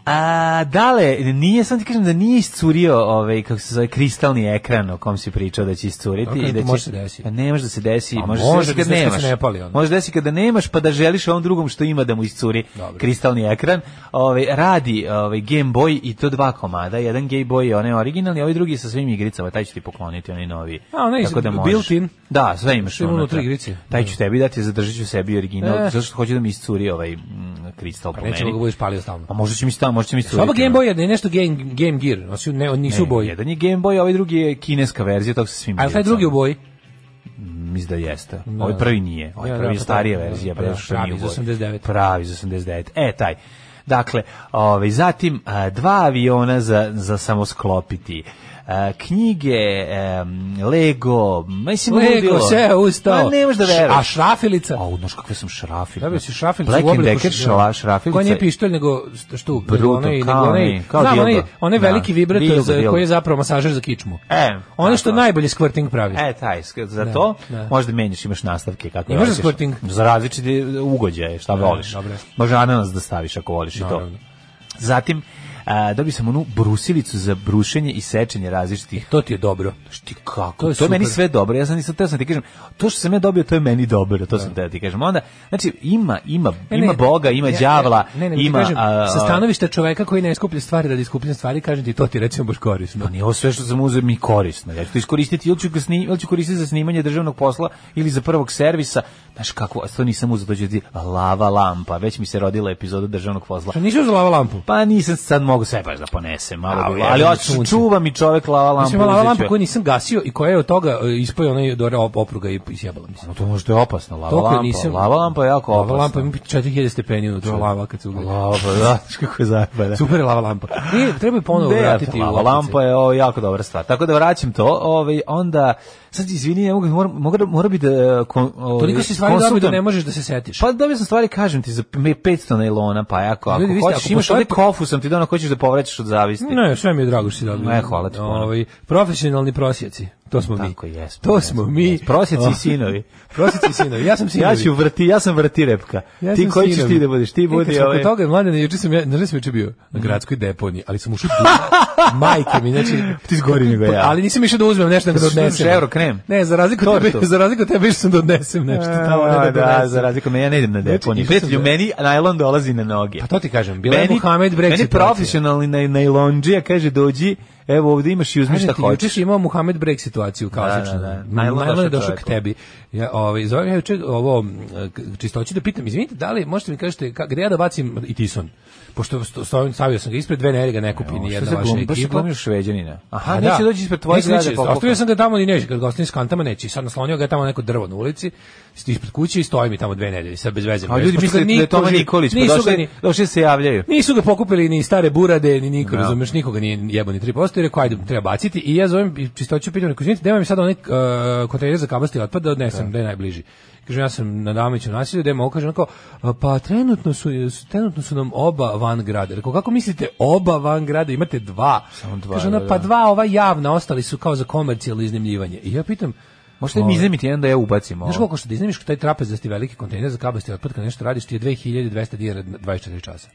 Speaker 5: A, dale, nije, sam ti kažem da nije iscurio ovaj, kako se zove, kristalni ekran o kom si pričao da će iscuriti.
Speaker 6: Dobro,
Speaker 5: i da će,
Speaker 6: to može se desi.
Speaker 5: Pa ne može da se desi,
Speaker 6: A
Speaker 5: može,
Speaker 6: može
Speaker 5: se
Speaker 6: da
Speaker 5: desi
Speaker 6: se
Speaker 5: kad
Speaker 6: desi kad
Speaker 5: nemaš.
Speaker 6: se ne pali onda.
Speaker 5: može da se kada nemaš, pa da želiš ovom drugom što ima da mu iscuri
Speaker 6: Dobro.
Speaker 5: kristalni ekran. Ovaj, radi ovaj, Game Boy i to dva komada, jedan Game Boy je onaj originalni, a ovaj drugi je sa svim igricama, taj ću ti pokloniti, onaj novi.
Speaker 6: A, onaj
Speaker 5: Tako da možeš.
Speaker 6: built-in?
Speaker 5: Da, sve imaš
Speaker 6: Sve ima
Speaker 5: unutra.
Speaker 6: unutra igrice.
Speaker 5: Taj ću tebi dati, zadržat ću sebi original,
Speaker 6: Eh.
Speaker 5: zato što hoću da mi iscuri ovaj mm, kristal po
Speaker 6: Pa Nećemo ga
Speaker 5: meni.
Speaker 6: budeš palio stalno.
Speaker 5: A možda će mi staviti, možda će mi iscuriti.
Speaker 6: Oba Game Boy je nešto Game, game Gear, oni su- ne, oni nisu u
Speaker 5: Ne,
Speaker 6: boji.
Speaker 5: Jedan je Game Boy, a ovaj drugi je kineska verzija, tog sa svim.
Speaker 6: A je li taj drugi u boji?
Speaker 5: Mislim da jeste. Ovaj prvi nije. Ovaj
Speaker 6: Ja,
Speaker 5: prvi
Speaker 6: da,
Speaker 5: je
Speaker 6: pa
Speaker 5: starija
Speaker 6: pravi,
Speaker 5: verzija,
Speaker 6: pa da,
Speaker 5: bre, što
Speaker 6: pravi
Speaker 5: nije
Speaker 6: iz
Speaker 5: u boji.
Speaker 6: 89.
Speaker 5: Pravi iz 89. E, taj. Dakle, ovaj, zatim a, dva aviona za, za samosklopiti. A, knjige, em, Lego, mislim
Speaker 6: Lego,
Speaker 5: ludilo.
Speaker 6: sve ustao.
Speaker 5: Ma Pa ne možeš da
Speaker 6: Š-
Speaker 5: veruješ.
Speaker 6: A šrafilica?
Speaker 5: Au, znaš kakve sam šrafil.
Speaker 6: Da bi se šrafilica
Speaker 5: Black
Speaker 6: u
Speaker 5: and
Speaker 6: obliku
Speaker 5: Decker
Speaker 6: šrafilica.
Speaker 5: šla- šrafilica.
Speaker 6: Koja nije pištolj, nego st- štuk. nego
Speaker 5: Bruto,
Speaker 6: onaj-
Speaker 5: kao
Speaker 6: nego onaj-
Speaker 5: onaj- kao
Speaker 6: znam, onaj,
Speaker 5: dildo.
Speaker 6: onaj
Speaker 5: Da.
Speaker 6: veliki vibrator
Speaker 5: Dildo,
Speaker 6: za,
Speaker 5: dildo.
Speaker 6: koji je zapravo masažer za kičmu.
Speaker 5: E,
Speaker 6: Ono što
Speaker 5: tako.
Speaker 6: najbolji squirting pravi.
Speaker 5: E, taj, sk- za to
Speaker 6: da.
Speaker 5: možda menjaš, imaš nastavke kako
Speaker 6: Imaš za
Speaker 5: hoćeš.
Speaker 6: squirting?
Speaker 5: Za različite ugođaje, šta voliš.
Speaker 6: dobro.
Speaker 5: Može ananas da staviš ako voliš i
Speaker 6: Naravno.
Speaker 5: to. Zatim, a, dobio sam onu brusilicu za brušenje i sečenje različitih
Speaker 6: E, To ti je dobro.
Speaker 5: Šti kako?
Speaker 6: To
Speaker 5: To
Speaker 6: je
Speaker 5: je,
Speaker 6: super.
Speaker 5: meni sve dobro. Ja sam nisam teo sam ti kažem, to što sam ja dobio to je meni dobro, to sam teo ti kažem. Onda znači ima ima
Speaker 6: E, Ne, ne,
Speaker 5: ima boga, ima
Speaker 6: ja- ja-
Speaker 5: đavla,
Speaker 6: ne, ne, ti
Speaker 5: ima
Speaker 6: kažem,
Speaker 5: a,
Speaker 6: sa stanovišta čoveka koji ne skuplja stvari radi skupljanja stvari, kažem ti to ti recimo baš korisno.
Speaker 5: Pa nije ovo sve što sam uzeo mi je korisno. Ja ću to iskoristiti ili ću, ga sni, ili ću koristiti za snimanje državnog posla ili za prvog servisa. Znaš kako, a to nisam uzeo, to ću ti lava lampa. Već mi se rodila epizoda državnog posla.
Speaker 6: Što nisi uzela lampu?
Speaker 5: Pa nisam sad mogu sve baš da ponesem, malo
Speaker 6: A,
Speaker 5: bi-
Speaker 6: jebem
Speaker 5: ali
Speaker 6: ti
Speaker 5: hoću
Speaker 6: sunce.
Speaker 5: čuva mi čovek lava lampu.
Speaker 6: Mislim, lava
Speaker 5: uzet ću
Speaker 6: lampa
Speaker 5: je.
Speaker 6: koju nisam gasio i koja je od toga e, ispao onaj do re- op- opruga i isjebala mi se.
Speaker 5: No to možda je opasno, lava
Speaker 6: To koju
Speaker 5: lampa.
Speaker 6: nisam-
Speaker 5: Lava lampa je jako
Speaker 6: Lava
Speaker 5: opasna.
Speaker 6: lampa ima 4000 stepeni unutra lava kad se ugleda.
Speaker 5: Lava, pa da, znaš kako je zajebana.
Speaker 6: Super je lava lampa. I treba je ponovo
Speaker 5: Ne,
Speaker 6: vratiti u
Speaker 5: lava
Speaker 6: optice.
Speaker 5: lampa je ovo jako dobra stvar. Tako da vraćam to, ovaj onda sad izvini, ne mogu moram- moram- mora bi da kon, ovaj,
Speaker 6: Toliko si stvari dobio da
Speaker 5: konsultujem.
Speaker 6: ne možeš da se setiš.
Speaker 5: Pa dobio sam stvari, kažem ti, za me 500 nailona, pa jako, ako
Speaker 6: Ljudi, vi ste,
Speaker 5: hoćeš,
Speaker 6: ako
Speaker 5: imaš ovdje
Speaker 6: postoje-
Speaker 5: kofu, sam ti donao koji ćeš da povraćaš od zavisti.
Speaker 6: Ne, sve mi je drago što si dobio.
Speaker 5: Ne, hvala ti puno.
Speaker 6: Ovaj, profesionalni prosjeci, to smo mi.
Speaker 5: Tako jesmo.
Speaker 6: To
Speaker 5: jesmo,
Speaker 6: smo mi.
Speaker 5: jesmo. Prosjeci
Speaker 6: O,
Speaker 5: i sinovi.
Speaker 6: Prosjeci i sinovi. Ja sam sinovi.
Speaker 5: Ja ću vrti, ja sam vrti repka.
Speaker 6: Ja
Speaker 5: ti
Speaker 6: sam
Speaker 5: koji ćeš
Speaker 6: sinovi.
Speaker 5: ti da budeš? Ti
Speaker 6: E, kad
Speaker 5: budi
Speaker 6: smo kod
Speaker 5: ovaj... Mhm.
Speaker 6: toga, mladene, juče sam ja, znaš da sam juče bio na gradskoj deponiji, ali sam ušao dugo. Majke mi, znači...
Speaker 5: Ti zgori nego ja.
Speaker 6: Ali nisam išao da uzmem nešto nego da
Speaker 5: Jesi uzmeš
Speaker 6: odnesem.
Speaker 5: euro krem?
Speaker 6: Ne, za razliku od tebe,
Speaker 5: Tortu?
Speaker 6: za razliku od tebe išao sam da odnesem nešto tamo, ne da
Speaker 5: A, da,
Speaker 6: donesem.
Speaker 5: za razliku od mene, ja ne idem na
Speaker 6: Znači,
Speaker 5: deponiju.
Speaker 6: išao sam
Speaker 5: Prijatelju,
Speaker 6: da-
Speaker 5: meni najlon dolazi na noge.
Speaker 6: Pa to ti kažem, bila je Muhammed Brek
Speaker 5: Meni
Speaker 6: situacija.
Speaker 5: profesionalni na, najlonđija kaže dođi, evo ovdje imaš i uzmi
Speaker 6: Kažem
Speaker 5: šta
Speaker 6: ti, juče
Speaker 5: hoćeš.
Speaker 6: si imao Muhammed Brek situaciju klasičnu.
Speaker 5: Da, da, da. Najlon
Speaker 6: Najlon
Speaker 5: došao
Speaker 6: je došao k
Speaker 5: čoveku.
Speaker 6: tebi. Ja, ovaj, zovem ja juče ovo eh, k- čistoću da pitam, izvinite, da li možete mi kažete ka, gde ja da bacim i tison? Pošto sto- stavio, stavio sam ga ispred, dve nerega ne kupi ni
Speaker 5: Što
Speaker 6: jedna
Speaker 5: se
Speaker 6: vaša
Speaker 5: glum- baš se
Speaker 6: ekipa.
Speaker 5: glumiš Šveđanina. Aha,
Speaker 6: A
Speaker 5: neće
Speaker 6: da.
Speaker 5: doći ispred tvoje
Speaker 6: Neće,
Speaker 5: zgrade.
Speaker 6: neće,
Speaker 5: pa
Speaker 6: Ostavio sam ga tamo i neće, kad ga ostavim s kantama neće. I Sad naslonio ga je tamo na neko drvo na ulici, sti- ispred kuće i stoji mi tamo dve nedelje, sad bez veze.
Speaker 5: A ljudi
Speaker 6: Pošto
Speaker 5: misle da je
Speaker 6: niko
Speaker 5: Toma
Speaker 6: živ-
Speaker 5: Nikolić, pa
Speaker 6: nisu ga
Speaker 5: došli,
Speaker 6: ni-
Speaker 5: došli se javljaju.
Speaker 6: Nisu ga pokupili ni stare burade, ni niko,
Speaker 5: Da.
Speaker 6: razumeš, nikoga nije jebo ni 3%, i rekao, ajde, treba baciti. I ja zovem i čistoću pitam, rekao, izvinite, nema mi sad onaj uh, kontejner za kabasti otpad da odnesem, da je najbliži. Kaže, ja sam na Damiću nasilju, da je mogu, kaže, onako, pa trenutno su, su- trenutno su nam oba van grada. Rekao, kako mislite, oba van grada, imate dva?
Speaker 5: Samo dva,
Speaker 6: Kaže, ona,
Speaker 5: da,
Speaker 6: pa
Speaker 5: da.
Speaker 6: dva ova javna, ostali su kao za komercijalno iznimljivanje. I ja pitam,
Speaker 5: Možete mi
Speaker 6: ovaj,
Speaker 5: iznimiti jedan da ja ubacim ovo.
Speaker 6: Znaš koliko što da iznemiš taj trapez da ti veliki kontejner za kabasti otpad kad nešto radiš ti je 2200 dinara na 24 časa.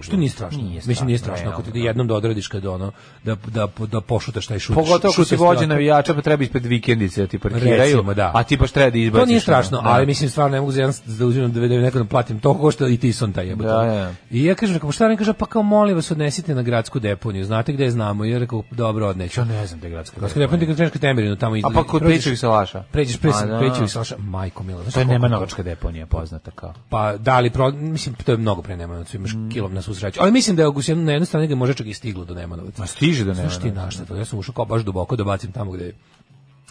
Speaker 6: Što nije strašno.
Speaker 5: Nije
Speaker 6: Mislim nije
Speaker 5: strašno,
Speaker 6: strašno ako
Speaker 5: ne,
Speaker 6: ti jednom da odradiš kad ono da da da pošutaš taj šut.
Speaker 5: Pogotovo ako
Speaker 6: šut-
Speaker 5: si
Speaker 6: šutasti
Speaker 5: vođe
Speaker 6: otpad.
Speaker 5: navijača, pa treba ispred vikendice da ti parkiraju,
Speaker 6: Recimo, da.
Speaker 5: a ti baš treba da izbaciš.
Speaker 6: To nije strašno,
Speaker 5: ono. Da.
Speaker 6: ali mislim stvarno ne mogu za jedan da uzimam da da nekom platim to košta i tison taj jebote.
Speaker 5: Da, da.
Speaker 6: I ja kažem kako šta ne kaže pa kao molim vas odnesite na gradsku deponiju. Znate gde je znamo? I ja rekao dobro odneću.
Speaker 5: Ja ne znam da je gradska.
Speaker 6: Gradsku deponiju kad kažeš Temerinu tamo
Speaker 5: A pa kod
Speaker 6: prođeš-
Speaker 5: Pečevi salaša.
Speaker 6: Pređeš pre
Speaker 5: A, da.
Speaker 6: Pečevi Saša, majko mila. znaš
Speaker 5: To je
Speaker 6: koliko-
Speaker 5: Nemanovačka deponija poznata kao.
Speaker 6: Pa da li pro, mislim to je mnogo pre Nemanovca, imaš
Speaker 5: Mm.
Speaker 6: kilom na svu sreću. Ali mislim da je Augustin na jednoj strani ga može čak i stiglo do Nemanovca.
Speaker 5: Ma stiže do
Speaker 6: Znaš ti
Speaker 5: Nemanovačka.
Speaker 6: na šta to? Ja sam ušao kao baš duboko da bacim tamo gde je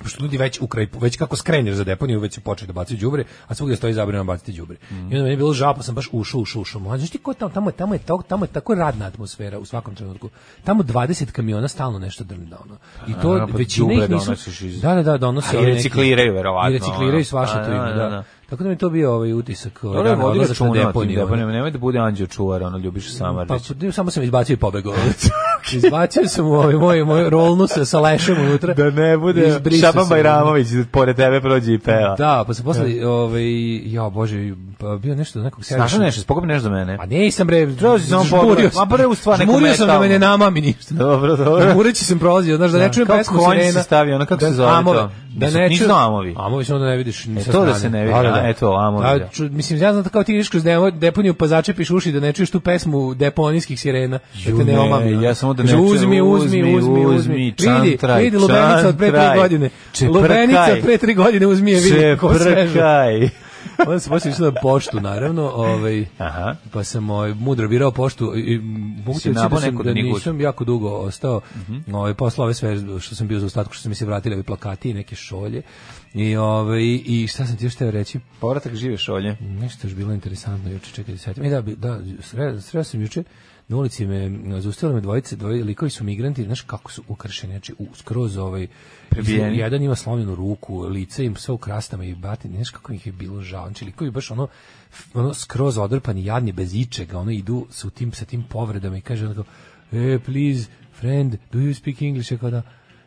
Speaker 6: što ljudi već u kraj, već kako skrenješ za deponiju, već su počeli da bacaju đubre, a svugdje stoji zabrana baciti đubre.
Speaker 5: Mhm.
Speaker 6: I onda meni je bilo žao, pa sam baš ušao, ušao, ušao. Mlađe, znaš ti ko je tamo, tamo je, tamo je, to- tamo je tako radna atmosfera u svakom trenutku. Tamo 20 kamiona stalno nešto drne da ono. I to
Speaker 5: A, pa
Speaker 6: većina
Speaker 5: đubre
Speaker 6: ih
Speaker 5: donosiš
Speaker 6: nisu...
Speaker 5: iz-
Speaker 6: Da, da, da, donose.
Speaker 5: A i
Speaker 6: ovi neki-
Speaker 5: recikliraju, verovatno,
Speaker 6: I recikliraju
Speaker 5: ono.
Speaker 6: svašta
Speaker 5: A,
Speaker 6: tu ima,
Speaker 5: da,
Speaker 6: da.
Speaker 5: da, da.
Speaker 6: Tako da mi je to bio ovaj utisak
Speaker 5: Dobro je
Speaker 6: rano
Speaker 5: vodi
Speaker 6: odlazak
Speaker 5: računa
Speaker 6: na
Speaker 5: o tim
Speaker 6: deponiju. ono.
Speaker 5: deponijama, nemoj da bude anđeo čuvar, ono ljubiš samar.
Speaker 6: Pa, pa, samo sam izbacio i pobegao. izbacio sam ovaj moj, moj rolnu sa, sa lešom unutra.
Speaker 5: Pa, da ne bude
Speaker 6: Izbrisao
Speaker 5: Šaban
Speaker 6: sam.
Speaker 5: Bajramović pored tebe prođe i peva.
Speaker 6: Da, pa se posle, ovaj, ja bože, pa bio nešto do nekog
Speaker 5: Našao nešto, spokopi nešto do mene.
Speaker 6: A nisam bre,
Speaker 5: Trebao si samo
Speaker 6: žmurio
Speaker 5: pogledat.
Speaker 6: sam.
Speaker 5: Ma, bre, u stvar neku
Speaker 6: Žmurio sam da me
Speaker 5: metalnu.
Speaker 6: ne namami ništa.
Speaker 5: Dobro, dobro.
Speaker 6: Žmureći sam prolazio, znaš, da ne
Speaker 5: Da,
Speaker 6: čujem
Speaker 5: kao
Speaker 6: pesmu
Speaker 5: konj
Speaker 6: sirena.
Speaker 5: se stavi, ono, kako se zove to?
Speaker 6: amovi, Da
Speaker 5: Nisu-
Speaker 6: ne
Speaker 5: nisu
Speaker 6: čujem-
Speaker 5: amovi.
Speaker 6: Amovi su onda ne vidiš ni
Speaker 5: E,
Speaker 6: sa
Speaker 5: to da
Speaker 6: strane.
Speaker 5: se ne vidi, a, eto, amovi,
Speaker 6: Da,
Speaker 5: da.
Speaker 6: ču- mislim, ja znam kao ti ideš kroz demo- deponiju pa začepiš uši da ne čuješ tu pesmu deponijskih sirena. Da te
Speaker 5: Ju,
Speaker 6: ne
Speaker 5: ne,
Speaker 6: omami. ono.
Speaker 5: ja samo da
Speaker 6: Kaže,
Speaker 5: ne čujem,
Speaker 6: Uzmi, uzmi,
Speaker 5: uzmi,
Speaker 6: uzmi,
Speaker 5: uzmi,
Speaker 6: uzmi. Vidi,
Speaker 5: čantraj,
Speaker 6: vidi, lubenica od pre tri
Speaker 5: čantraj.
Speaker 6: godine.
Speaker 5: Čeprkaj.
Speaker 6: Lubenica od pre tri godine uzmi je, vidi. ko sveža.
Speaker 5: Čeprkaj.
Speaker 6: Onda sam poslije išao na poštu, naravno, ovaj,
Speaker 5: Aha.
Speaker 6: pa sam ovaj, mudro birao poštu. I, i, mogu
Speaker 5: Si
Speaker 6: ti reći da,
Speaker 5: nabao
Speaker 6: sam,
Speaker 5: neku Mhm.
Speaker 6: da
Speaker 5: knjigu?
Speaker 6: nisam jako dugo ostao. ovaj, posle ove sve što sam bio za ostatku, što su mi se vratili ovi plakati i neke šolje. I, ovaj, i šta sam ti još teo reći?
Speaker 5: Povratak žive šolje.
Speaker 6: Nešto je još bilo interesantno juče, čekaj da se setim. E, da, bi- da, sre- sreo sam juče, na ulici me, m, zaustavile me dvojice, dvoje likovi su migranti, znaš kako su ukršeni, znači u, skroz ovaj,
Speaker 5: Prebijeni.
Speaker 6: jedan ima slomljenu ruku, lice im sve u krastama i bati, znaš kako ih je bilo žao, znači likovi baš ono, f- ono skroz odrpani, jadni, bez ičega, ono idu sa tim, sa tim povredama i kaže onako, e, please, friend, do you speak English? Ja kao da,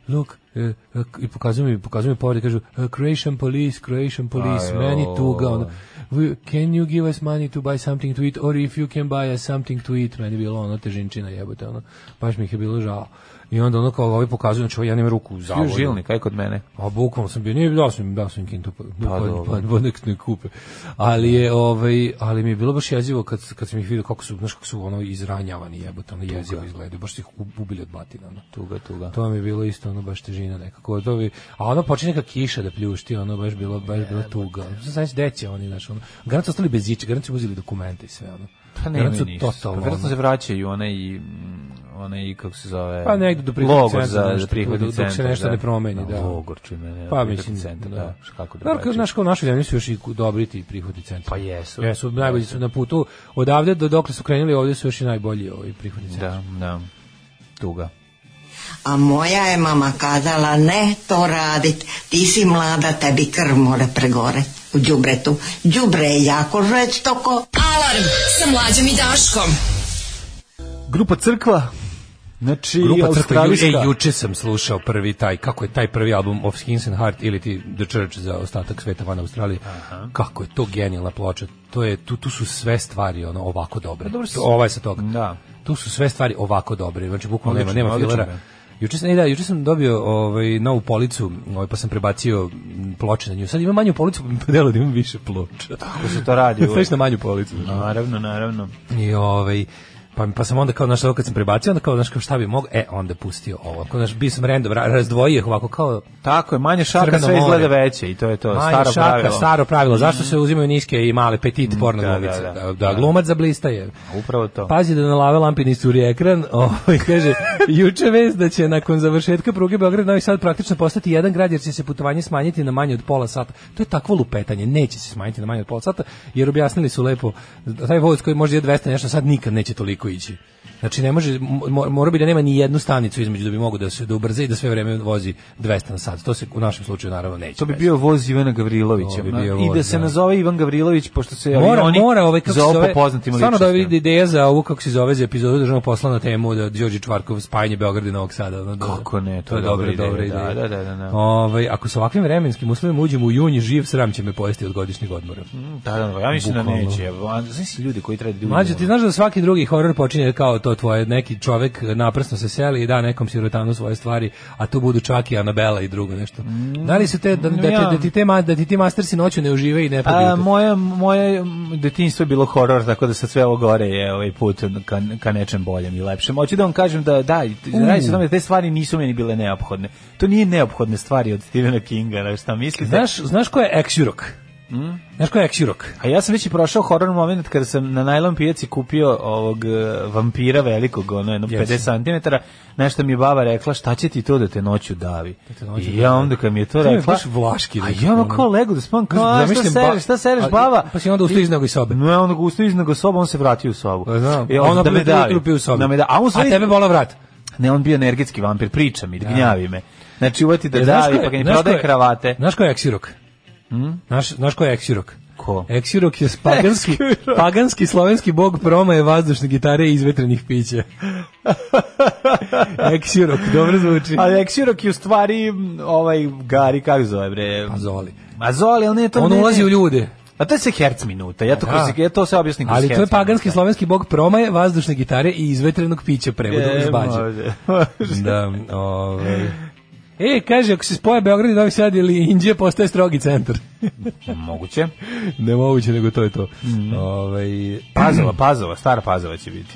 Speaker 6: look, e, e, i pokazuju mi, pokazuju mi povrede, kažu, e, Croatian police, Croatian police,
Speaker 5: Aj,
Speaker 6: meni
Speaker 5: o.
Speaker 6: tuga, ono, We- can you give us money to buy something to eat or if you can buy us something to eat meni je bilo ono težinčina jebote ono baš mi ih je bilo žao i onda ono kao ovi pokazuju znači ovo ja nemam ruku u
Speaker 5: Bio
Speaker 6: zavoju
Speaker 5: žilnik, aj kod mene.
Speaker 6: a bukvalno sam bio nije dao sam im dao sam im kintu pa pa,
Speaker 5: dobro.
Speaker 6: pa, pa nek ne kupe ali je ovaj ali mi je bilo baš jezivo kad kad sam ih video kako su znaš kako su ono izranjavani jebote ono jezivo izgledaju baš su ih u- ubili od batina ono.
Speaker 5: Tuga, tuga.
Speaker 6: To mi je bilo isto ono baš težina nekako. To bi, a ono počinje neka kiša da pljušti, ono baš bilo baš bilo tuga. Znaš deca oni znači ono. Garant su ostali bez ičega, garant su uzeli dokumente i sve ono.
Speaker 5: Pa ne,
Speaker 6: Garant
Speaker 5: ne,
Speaker 6: su
Speaker 5: ništa.
Speaker 6: totalno.
Speaker 5: Pa
Speaker 6: ono-
Speaker 5: Vjerojatno se vraćaju one i mm, one i kako se zove.
Speaker 6: Pa negde do prihodnog
Speaker 5: logor
Speaker 6: centra,
Speaker 5: za
Speaker 6: nešto,
Speaker 5: prihodni
Speaker 6: dok se
Speaker 5: centar.
Speaker 6: nešto
Speaker 5: da.
Speaker 6: ne promeni,
Speaker 5: No,
Speaker 6: da.
Speaker 5: Logor čime ne.
Speaker 6: pa
Speaker 5: prihodni
Speaker 6: mislim
Speaker 5: centar, da. Šta Kako
Speaker 6: Naravno,
Speaker 5: drugačije.
Speaker 6: znaš, kao u našoj zemlji su još i dobri ti prihodni centri.
Speaker 5: Pa jesu.
Speaker 6: Jesu, najbolji su na putu. Odavde do dokle su krenuli, ovdje su još i najbolji ovi prihodni centri.
Speaker 5: Da, da. Tuga.
Speaker 7: A moja je mama kazala, ne to radit, ti si mlada, tebi krv more pregore u džubretu. Džubre je jako žestoko,
Speaker 8: Alarm sa mlađom i Daškom.
Speaker 5: Grupa Crkva. Znači,
Speaker 6: Grupa Crkva
Speaker 5: australijska-
Speaker 6: Ju- e, juče sam slušao prvi taj, kako je taj prvi album of Skins and Heart ili ti The Church za ostatak sveta van Australije. Kako je to genijalna ploča. To je, tu, tu su sve stvari ono ovako dobre.
Speaker 5: Pa dobro,
Speaker 6: To- Ovaj sa toga.
Speaker 5: Da.
Speaker 6: Tu su sve stvari ovako dobre. Znači, bukvalno nema,
Speaker 5: Odlično,
Speaker 6: nema
Speaker 5: odlično
Speaker 6: filera.
Speaker 5: je.
Speaker 6: Juče sam, e, da, juče sam dobio ovaj, novu policu, ovaj, pa sam prebacio m, ploče na nju. Sad imam manju policu, pa mi podelo da imam više ploča. Tako
Speaker 5: se to radi uvek.
Speaker 6: na manju policu.
Speaker 5: Naravno, naravno.
Speaker 6: I ovaj pa pa sam onda kao znaš ovo kad sam prebacio onda kao znaš kao šta bi mog e onda pustio ovo kao znaš bio sam random ra- razdvojio ih ovako kao
Speaker 5: Tako je, manje šaka
Speaker 6: Crveno
Speaker 5: sve
Speaker 6: more.
Speaker 5: izgleda veće i to je to,
Speaker 6: Manje
Speaker 5: staro
Speaker 6: šaka,
Speaker 5: pravilo. Mhm.
Speaker 6: staro pravilo. Zašto se uzimaju niske i male petit porno
Speaker 5: da,
Speaker 6: glumice? Da,
Speaker 5: da,
Speaker 6: da,
Speaker 5: da.
Speaker 6: glumac zablistaje.
Speaker 5: Upravo to.
Speaker 6: Pazi da ne lave lampi ni curi ekran. Ovaj kaže juče vez da će nakon završetka pruge Beograd Novi Sad praktično postati jedan grad jer će se putovanje smanjiti na manje od pola sata. To je takvo lupetanje, neće se smanjiti na manje od pola sata jer objasnili su lepo da taj voz koji može ide 200 i nešto sad nikad neće toliko ići. Znači ne može mo- mora bi da nema ni jednu stanicu između da bi mogao da se da ubrza i da sve vreme vozi 200 na sat. To se u našem slučaju naravno neće.
Speaker 5: To bi bio voz Ivana Gavrilovića.
Speaker 6: To bi
Speaker 5: na-
Speaker 6: bio
Speaker 5: I da
Speaker 6: voz,
Speaker 5: se
Speaker 6: da.
Speaker 5: nazove Ivan Gavrilović, pošto se
Speaker 6: Mora,
Speaker 5: oni
Speaker 6: mora ovaj kako se
Speaker 5: za ovo
Speaker 6: zove.
Speaker 5: poznatim
Speaker 6: Stvarno da
Speaker 5: ličnostima.
Speaker 6: vidi ideja za ovu kako se zove za epizodu državnog posla na temu da Đorđe Čvarkov spajanje Beograda i Novog Sada. ono, da-
Speaker 5: Kako ne, to je
Speaker 6: dobra,
Speaker 5: dobra
Speaker 6: dobra
Speaker 5: ideja,
Speaker 6: ideja.
Speaker 5: da, da, da, da, da.
Speaker 6: Ovaj, ako sa ovakvim vremenskim uslovima uđemo u juni živ, sram će me pojesti od godišnjeg odmora.
Speaker 5: Hm, Da, da, da, ja mislim da
Speaker 6: Bukvalno.
Speaker 5: neće. evo, a Znaš si ljudi koji treba da idu u
Speaker 6: Mlađe, ti
Speaker 5: more?
Speaker 6: znaš da svaki drugi horor počinje kao to tvoje, neki čovek naprsno se seli i da nekom sirotanu svoje stvari, a tu budu čak i Anabela i drugo nešto. Da li su te, da, da, te-
Speaker 5: Mm. ja-
Speaker 6: da ti, te, ma- da ti ti mastersi noću ne užive i ne
Speaker 5: A,
Speaker 6: probiju te?
Speaker 5: moje, moje mm, detinjstvo je bilo horor, tako da sad sve ovo gore je ovaj put ka, ka nečem boljem i lepšem. Hoću da vam kažem da, da, i t- radi se o tome da te stvari nisu meni bile neophodne. To nije neophodne stvari od Stephena Kinga, na šta mislite?
Speaker 6: Znaš, znaš ko je Exurok?
Speaker 5: Mm?
Speaker 6: Znaš ko je Exurok?
Speaker 5: A ja sam već i prošao horor moment kada sam na najlon pijaci kupio ovog e, vampira velikog, ono jedno
Speaker 6: Jesi.
Speaker 5: 50 cm, nešto mi je baba rekla šta će ti to da te noću davi.
Speaker 6: te noću
Speaker 5: I ja
Speaker 6: davi.
Speaker 5: onda kad mi je to
Speaker 6: To mi je
Speaker 5: rekla...
Speaker 6: baš vlaški
Speaker 5: A
Speaker 6: neki
Speaker 5: ja ono
Speaker 6: ono.
Speaker 5: kao lego da spam, kao a, šta
Speaker 6: Zamišljam ba-
Speaker 5: sereš, šta sereš
Speaker 6: a-
Speaker 5: baba?
Speaker 6: Pa si onda ustao iz nego iz sobe.
Speaker 5: No, on ga ustao iznad soba, on se vratio u sobu.
Speaker 6: Pa znam.
Speaker 5: I
Speaker 6: A on
Speaker 5: da me
Speaker 6: opet
Speaker 5: davi.
Speaker 6: lupi u sobi.
Speaker 5: Da me da, a on
Speaker 6: A
Speaker 5: sve...
Speaker 6: tebe bola vrat.
Speaker 5: Ne, on bio energetski vampir, priča mi, gnjavi me. Znači, uvati da
Speaker 6: E, znaš
Speaker 5: davi,
Speaker 6: ko je-
Speaker 5: pa ga ne
Speaker 6: znaš ko
Speaker 5: prodaje
Speaker 6: je-
Speaker 5: kravate. Hm?
Speaker 6: Znaš ko je Eksirok? Znaš, znaš ko je Eksirok?
Speaker 5: Ko?
Speaker 6: Eksirok je paganski,
Speaker 5: Eksirok.
Speaker 6: paganski slovenski bog promaje vazdušne gitare i izvetrenih pića. Eksirok, dobro zvuči.
Speaker 5: Ali Eksirok je u stvari m, ovaj Gari, kako zove bre?
Speaker 6: Azoli.
Speaker 5: A Zoli, ali ne to
Speaker 6: On
Speaker 5: ne,
Speaker 6: ulazi
Speaker 5: ne.
Speaker 6: u ljude.
Speaker 5: A to je se herc minuta, ja to,
Speaker 6: Da.
Speaker 5: kroz, ja to se objasnim kroz
Speaker 6: Ali to je
Speaker 5: herc
Speaker 6: paganski
Speaker 5: minuta.
Speaker 6: slovenski bog promaje vazdušne gitare i izvetrenog pića prevodom
Speaker 5: E,
Speaker 6: iz bađe.
Speaker 5: može, može.
Speaker 6: Da, ovaj. E, kaže, ako se spoje Beograd i Novi Sad ili Indije, postaje strogi centar.
Speaker 5: Moguće. Mhm.
Speaker 6: Nemoguće, nego to je to. Ovaj,
Speaker 5: Pazova, Pazova, stara Pazova će biti.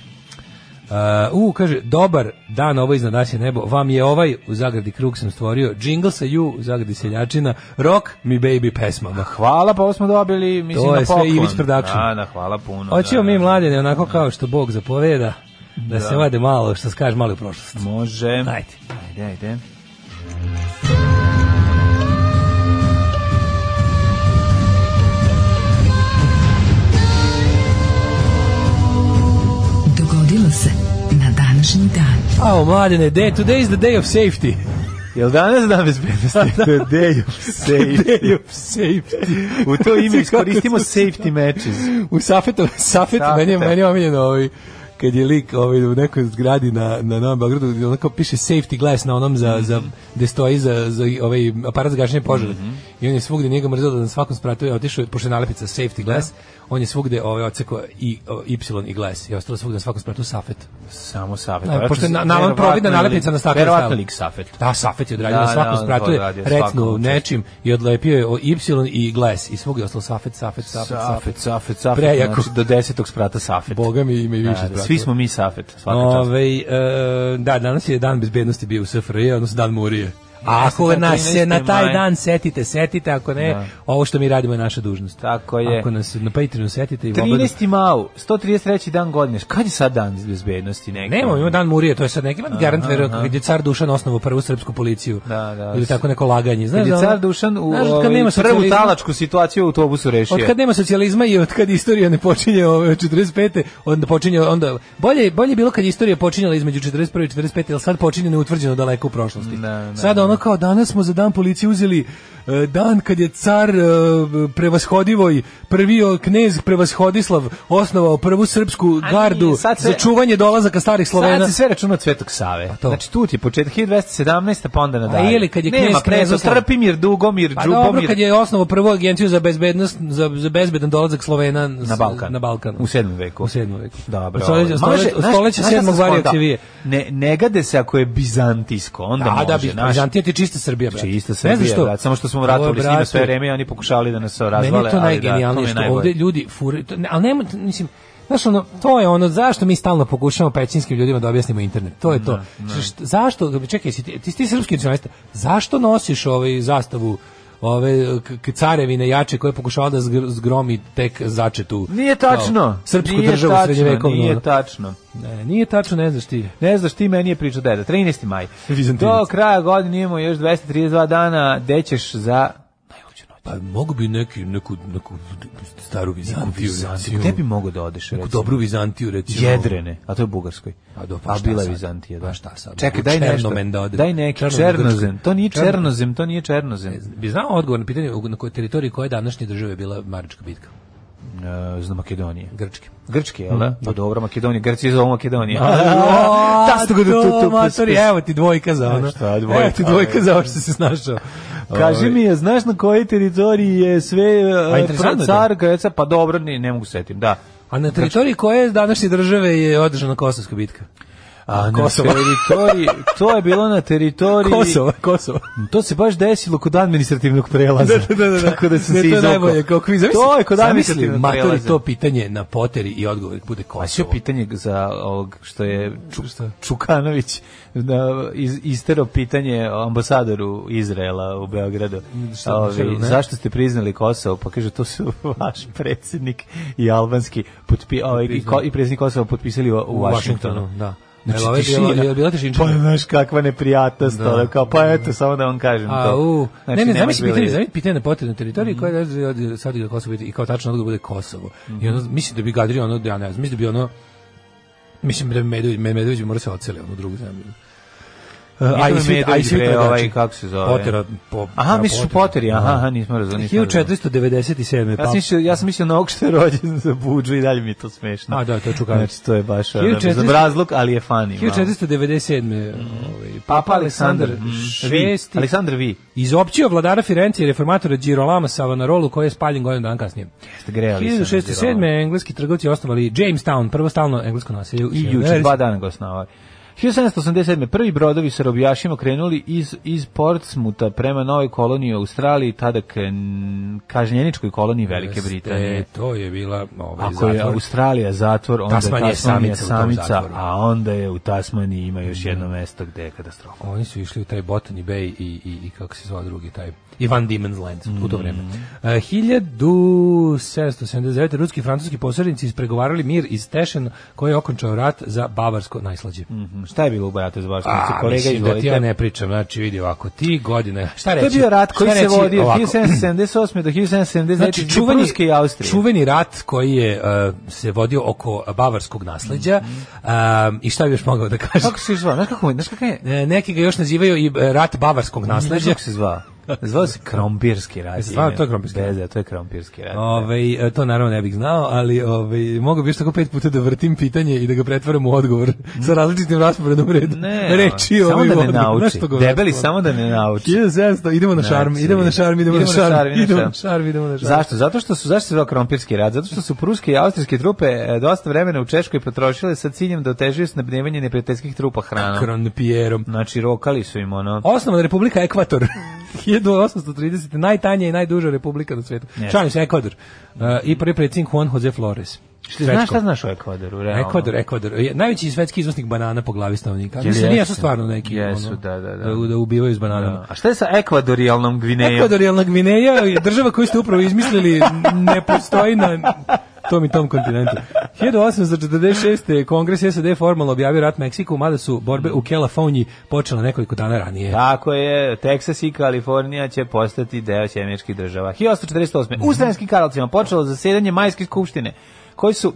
Speaker 6: Uh, u, kaže, dobar dan, ovo iznad nas je nebo, vam je ovaj, u zagradi krug sam stvorio, jingle sa ju, u zagradi seljačina, rock mi baby pesmama.
Speaker 5: Hvala, pa ovo smo dobili, mislim,
Speaker 6: To
Speaker 5: na
Speaker 6: je sve
Speaker 5: poklon.
Speaker 6: Ivić Production.
Speaker 5: Da, da, hvala puno.
Speaker 6: Hoćemo
Speaker 5: da,
Speaker 6: mi
Speaker 5: da.
Speaker 6: mladene, onako kao što Bog zapoveda, da, se vade malo, što se kaže, malo u prošlost.
Speaker 5: Može.
Speaker 6: Ajde.
Speaker 5: Ajde, ajde.
Speaker 4: Dogodilo se na današnji dan.
Speaker 6: Ao, mladene, day, today is the day of safety.
Speaker 5: Jel danas dan bezbednosti? To je day of
Speaker 6: Day
Speaker 5: safety.
Speaker 6: of safety.
Speaker 5: U to
Speaker 6: Kako
Speaker 5: ime iskoristimo
Speaker 6: su-
Speaker 5: safety matches.
Speaker 6: U Safetu, Safetu,
Speaker 5: Safeta.
Speaker 6: meni, je- meni je omiljeno ovaj, kad je lik ovaj, u nekoj zgradi na, na Novom Beogradu, gde onako piše safety glass na onom za, za, gde stoji za, za ovaj aparat za gašenje požara.
Speaker 5: Mhm.
Speaker 6: I on je svugde, njega mrzelo da na svakom spratu je otišao, pošto je nalepica safety glass, on je svugde ovaj, oceko i, o, y i glass. I ostalo svugde na svakom spratu Safet.
Speaker 5: Samo safet.
Speaker 6: Da, Pa, pošto je na, na,
Speaker 5: Verovatno
Speaker 6: providna
Speaker 5: je lik-
Speaker 6: nalepnica na staklu je
Speaker 5: Verovatno
Speaker 6: stala.
Speaker 5: lik safet.
Speaker 6: Da, Safet je odradio da,
Speaker 5: Da,
Speaker 6: na svakom
Speaker 5: da, on
Speaker 6: spratu,
Speaker 5: to
Speaker 6: je
Speaker 5: odradio
Speaker 6: recnu
Speaker 5: svakom,
Speaker 6: nečim i odlepio je o Y i Glass i svugdje je ostalo Safet, Safet, Safet, Safet.
Speaker 5: Safet, safet, safet.
Speaker 6: Prejako.
Speaker 5: Znači, do desetog sprata safet.
Speaker 6: Boga mi ima i više
Speaker 5: Da, da,
Speaker 6: sprata.
Speaker 5: svi smo mi safet. Svaka čast.
Speaker 6: Ove, e, da, danas je dan bezbednosti bio u SFRJ, odnosno dan Murije. A ako
Speaker 5: da,
Speaker 6: nas se na
Speaker 5: 13.
Speaker 6: taj
Speaker 5: maj.
Speaker 6: dan setite, setite, ako ne, ovo što mi radimo je naša dužnost.
Speaker 5: Tako je.
Speaker 6: Ako nas na Patreonu setite i u obradu-
Speaker 5: 13. mau, 133. dan godine. Kad je sad dan bezbednosti? ono? Neki?
Speaker 6: Nemamo, ima dan Murije, to je sad neki garant verovatno kad je car Dušan osnovao prvu srpsku policiju.
Speaker 5: Da, da.
Speaker 6: Ili tako neko laganje, znaš.
Speaker 5: Kad je
Speaker 6: da ono-
Speaker 5: car Dušan u
Speaker 6: znaš, od kad
Speaker 5: ovaj,
Speaker 6: nema
Speaker 5: prvu
Speaker 6: socijalizma-
Speaker 5: talačku situaciju u autobusu rešio.
Speaker 6: Od kad nema socijalizma i od kad istorija ne počinje ovaj, ove 45. onda počinje onda bolje bolje je bilo kad je istorija počinjala između 41. i 45. al sad počinje neutvrđeno daleko u prošlosti.
Speaker 5: Ne, ne,
Speaker 6: sad ono kao danas smo za dan policije uzeli e, dan kad je car e, prevashodivoj prvi o, knez prevashodislav osnovao prvu srpsku
Speaker 5: nije,
Speaker 6: gardu
Speaker 5: sad se-
Speaker 6: za čuvanje dolazaka starih Slovena.
Speaker 5: Sad se sve računa od Svetog Save.
Speaker 6: Pa to.
Speaker 5: Znači tu ti je početak 1217. pa onda nadalje.
Speaker 6: ili kad je knez
Speaker 5: Nema prezo,
Speaker 6: Knezoslav.
Speaker 5: Trpimir, Dugomir,
Speaker 6: Pa dobro,
Speaker 5: Đupomir.
Speaker 6: kad je osnovao prvu agenciju za bezbednost, za, za bezbedan dolazak Slovena
Speaker 5: na
Speaker 6: s-
Speaker 5: Balkan.
Speaker 6: Na Balkan.
Speaker 5: U 7. veku.
Speaker 6: U 7. veku.
Speaker 5: Dobro.
Speaker 6: Od stoleća,
Speaker 5: Može,
Speaker 6: stoleća,
Speaker 5: znaš-
Speaker 6: stoleća
Speaker 5: znaš šta
Speaker 6: 7.
Speaker 5: sam
Speaker 6: vario
Speaker 5: skontao?
Speaker 6: Kivije.
Speaker 5: Ne, ne gade se ako je bizantijsko, onda
Speaker 6: Da,
Speaker 5: može.
Speaker 6: da, bi,
Speaker 5: znaš. Znači,
Speaker 6: Bizantija ti je čista Srbija, brate.
Speaker 5: Čista
Speaker 6: Ne znam
Speaker 5: Srbija,
Speaker 6: što.
Speaker 5: brat, samo što smo
Speaker 6: Ovo je,
Speaker 5: vratili s njima sve
Speaker 6: brate,
Speaker 5: vreme i oni pokušavali da nas razvale.
Speaker 6: Meni je to
Speaker 5: ali
Speaker 6: najgenijalnije
Speaker 5: da, to mi je
Speaker 6: što
Speaker 5: najbolje.
Speaker 6: ovde ljudi fure, to, ne, ali nema, mislim, Znaš, ono, to je ono, zašto mi stalno pokušamo pećinskim ljudima da objasnimo internet? To je to. Št- zašto, čekaj, si ti, ti, si ti srpski nacionalista, zašto nosiš ovaj zastavu ove k- k- carevine jače koje pokušava da zgr- zgromi tek začetu
Speaker 5: Nije tačno.
Speaker 6: kao, srpsku
Speaker 5: Nije
Speaker 6: državu
Speaker 5: tačno,
Speaker 6: srednjevekovnu
Speaker 5: Nije
Speaker 6: ono.
Speaker 5: tačno.
Speaker 6: ne, nije tačno, ne znaš ti
Speaker 5: Ne znaš ti meni je pričao deda. 13. maj.
Speaker 6: Vizantinac.
Speaker 5: Do kraja godine imamo još 232 dana. Dećeš za najluđu noć.
Speaker 6: pa mogu bi neki, neku, neku staru Vizantiju,
Speaker 5: Vizantiju.
Speaker 6: recimo.
Speaker 5: Gde bi mogao da odeš?
Speaker 6: neku
Speaker 5: recimo?
Speaker 6: dobru Vizantiju recimo
Speaker 5: Jedrene, a to je Bugarskoj.
Speaker 6: A do- pa
Speaker 5: pa
Speaker 6: šta
Speaker 5: bila je
Speaker 6: sad?
Speaker 5: Vizantija, da.
Speaker 6: Pa šta sad?
Speaker 5: Čekaj,
Speaker 6: U
Speaker 5: daj nešto.
Speaker 6: Černomen da odem.
Speaker 5: Daj neki
Speaker 6: Černomen,
Speaker 5: Černozem.
Speaker 6: Grčkoj.
Speaker 5: To nije
Speaker 6: Černomen.
Speaker 5: Černozem, to nije Černozem.
Speaker 6: bi znao odgovor na pitanje u- na kojoj teritoriji koje današnje države je bila Marička bitka
Speaker 5: E, Za Makedonije.
Speaker 6: Grčke
Speaker 5: Grčki, jel da? Pa dobro, Makedonija. Grci je zovu Makedonija.
Speaker 6: Ta
Speaker 5: Tasto ga da tu- tu- tu-
Speaker 6: matori, Pa, evo ti dvojka za ono.
Speaker 5: E, šta, dvojka,
Speaker 6: Evo ti dvojka za ovo što si snašao.
Speaker 5: Kaži
Speaker 6: Ovaj,
Speaker 5: mi, znaš na kojoj teritoriji je sve
Speaker 6: Pa
Speaker 5: e,
Speaker 6: interesantno je to.
Speaker 5: car, Greca, pa dobro, ne, ne mogu setim, da.
Speaker 6: A na teritoriji koje današnje države je održana Kosovska bitka?
Speaker 5: A na
Speaker 6: Kosovo.
Speaker 5: teritoriji, to je bilo na teritoriji...
Speaker 6: Kosovo, Kosovo.
Speaker 5: To se baš desilo kod administrativnog prelaza. Tako da sam
Speaker 6: Ne,
Speaker 5: se
Speaker 6: To je
Speaker 5: izvukao.
Speaker 6: najbolje, kao kviz. Zamisli-
Speaker 5: To je kod
Speaker 6: zamisli,
Speaker 5: administrativnog
Speaker 6: matori,
Speaker 5: prelaza.
Speaker 6: to pitanje na poteri i odgovor bude
Speaker 5: Pa
Speaker 6: Kosovo.
Speaker 5: sve pitanje za ovog što je Ču, Čukanović da, iz, istero pitanje ambasadoru Izraela u Beogradu.
Speaker 6: Šta,
Speaker 5: Ovi,
Speaker 6: šta, ne?
Speaker 5: zašto ste priznali Kosovo? Pa kaže, to su vaš predsjednik i albanski potpi, ovaj, i, ko, i predsjednik Kosova potpisali u, u
Speaker 6: U
Speaker 5: Vašingtonu.
Speaker 6: da.
Speaker 5: Znači,
Speaker 6: Znači, ovaj
Speaker 5: tišina.
Speaker 6: je, je bila tišina.
Speaker 5: Pa znaš kakva neprijatnost,
Speaker 6: Da.
Speaker 5: ono, kao, pa eto, samo da vam kažem
Speaker 6: A,
Speaker 5: to.
Speaker 6: u,
Speaker 5: Znači,
Speaker 6: ne, ne,
Speaker 5: ne
Speaker 6: zamisli
Speaker 5: možemo
Speaker 6: pitanje,
Speaker 5: li-
Speaker 6: zamisli pitanje na potrebnoj teritoriji
Speaker 5: Mhm.
Speaker 6: koja je od sad igra Kosovo i kao tačno odgovor bude Kosovo.
Speaker 5: Mhm.
Speaker 6: I ono, mislim da bi Gadri ono, da ja ne znam, mislim da bi ono, mislim da bi Medović, Me- Medović bi morao se oceli ono u drugu zemlju. E,
Speaker 5: to
Speaker 6: A
Speaker 5: je
Speaker 6: i svi, a i
Speaker 5: Medović,
Speaker 6: svi
Speaker 5: bre,
Speaker 6: predrči.
Speaker 5: ovaj, kako se zove?
Speaker 6: Potera, po,
Speaker 5: Aha, misliš poteri, aha, aha, nismo razumeli. nismo razumeli.
Speaker 6: 1497.
Speaker 5: Ja sam mislio, ja sam mislio na ovog što je rođen za budžu i dalje mi je to smešno.
Speaker 6: A, da, to je Čukarić.
Speaker 5: Znači, to je baš
Speaker 6: 1400
Speaker 5: za brazluk, ali je funny. malo.
Speaker 6: 1497. Ovaj,
Speaker 5: Mhm. Papa Aleksandar VI.
Speaker 6: VI.
Speaker 5: Aleksandar VI.
Speaker 6: Izopćio vladara Firence i reformatora Girolama Savanarolu koji je spaljen godinu dana kasnije.
Speaker 5: Jeste grejali.
Speaker 6: 1607. engleski trgovci osnovali Jamestown, prvo stalno englesko naselje u
Speaker 5: I
Speaker 6: Sjevernoj
Speaker 5: juče,
Speaker 6: Americi.
Speaker 5: dva dana ga osnovali. 1787. prvi brodovi sa robijašima krenuli iz, iz Portsmuta prema novoj koloniji u Australiji, tada k, n- kažnjeničkoj koloniji Velike Britanije.
Speaker 6: E, to je bila ovaj,
Speaker 5: Ako je
Speaker 6: zatvor.
Speaker 5: Australija zatvor, onda
Speaker 6: Tasmanija
Speaker 5: je
Speaker 6: je
Speaker 5: Tasmanija
Speaker 6: samica u tom
Speaker 5: samica,
Speaker 6: zatvoru.
Speaker 5: a onda je u Tasmaniji ima još jedno mesto gde je katastrofa.
Speaker 6: Oni su išli u taj Botany Bay i, i, i kako se zvao drugi taj i Van Diemen's Land u to vreme.
Speaker 5: Mm.
Speaker 6: E, 1779. ruski i francuski posrednici ispregovarali mir iz Tešen koji je okončao rat za bavarsko najslađe.
Speaker 5: Mhm. Šta je bilo u Bajatu za vaš
Speaker 6: A,
Speaker 5: Znači, kolega
Speaker 6: mislim da ti ja
Speaker 5: izvolite.
Speaker 6: ne pričam, znači vidi ovako, ti godine, šta
Speaker 5: To
Speaker 6: reći?
Speaker 5: je bio rat koji
Speaker 6: Šta
Speaker 5: se
Speaker 6: reći
Speaker 5: vodio
Speaker 6: ovako?
Speaker 5: 1778. do 1779.
Speaker 6: Znači,
Speaker 5: između
Speaker 6: čuveni,
Speaker 5: Pruske i Austrije.
Speaker 6: čuveni rat koji je e, se vodio oko bavarskog nasleđa e, i šta bi još mogao da kažem?
Speaker 5: Mhm. Kako se zvao? Znaš kako, znaš kako je?
Speaker 6: E, neki ga još nazivaju i e, rat bavarskog
Speaker 5: Znaš
Speaker 6: nasleđa.
Speaker 5: Mhm, kako se zvao? Zvao se Krompirski rat.
Speaker 6: Zvao- to je Krompirski
Speaker 5: Bez, da, to je Krompirski rat.
Speaker 6: Ove, Ovaj, e, to naravno ne bih znao, ali ove, mogu bi još tako pet puta da vrtim pitanje i da ga pretvaram u odgovor sa različitim rasporedom redu.
Speaker 5: Mhm. Ne,
Speaker 6: Reči
Speaker 5: samo
Speaker 6: ovaj
Speaker 5: da ne
Speaker 6: odgovor. Znaš
Speaker 5: nauči.
Speaker 6: što govori?
Speaker 5: Debeli samo da ne nauči.
Speaker 6: 1700, idemo na šarm,
Speaker 5: Znači,
Speaker 6: idemo na šarm, idemo na šarm,
Speaker 5: idemo
Speaker 6: idemo na šarm, idemo na šarm.
Speaker 5: Zašto? Zato što su zašto se zvao krompirski rad? Zato što su pruske i austrijske trupe e, dosta vremena u Češkoj potrošile sa ciljem da otežuju snabdevanje neprijateljskih trupa hranom.
Speaker 6: Kronpijerom.
Speaker 5: Znači rokali su im ono.
Speaker 6: Osnovana Republika Ekvator. 1830. Najtanja i najduža republika na svetu.
Speaker 5: Jeste.
Speaker 6: Šalim se, Ekvador. Uh, I prvi predsjednik Juan Jose Flores.
Speaker 5: Znaš šta znaš o Ekvadoru? realno?
Speaker 6: Ekvador, Ekvador. Je Najveći svetski izvoznik banana po glavi stanovnika.
Speaker 5: Jel
Speaker 6: Mislim, nije
Speaker 5: jesu?
Speaker 6: su stvarno neki.
Speaker 5: Jesu,
Speaker 6: ono,
Speaker 5: da, da, da.
Speaker 6: Da ubivaju s bananama.
Speaker 5: Da. A šta je sa ekvadorijalnom Gvinejom?
Speaker 6: Ekvadorijalna Gvineja je država koju ste upravo izmislili ne postoji na tom i tom kontinentu. 1846. je kongres SAD formalno objavio rat Meksiku, mada su borbe u Kelafoniji počele nekoliko dana ranije.
Speaker 5: Tako je, Teksas i Kalifornija će postati deo sjemeničkih država. 1848. U Sremskim Karlovcima počelo zasedanje Majske skupštine, koji su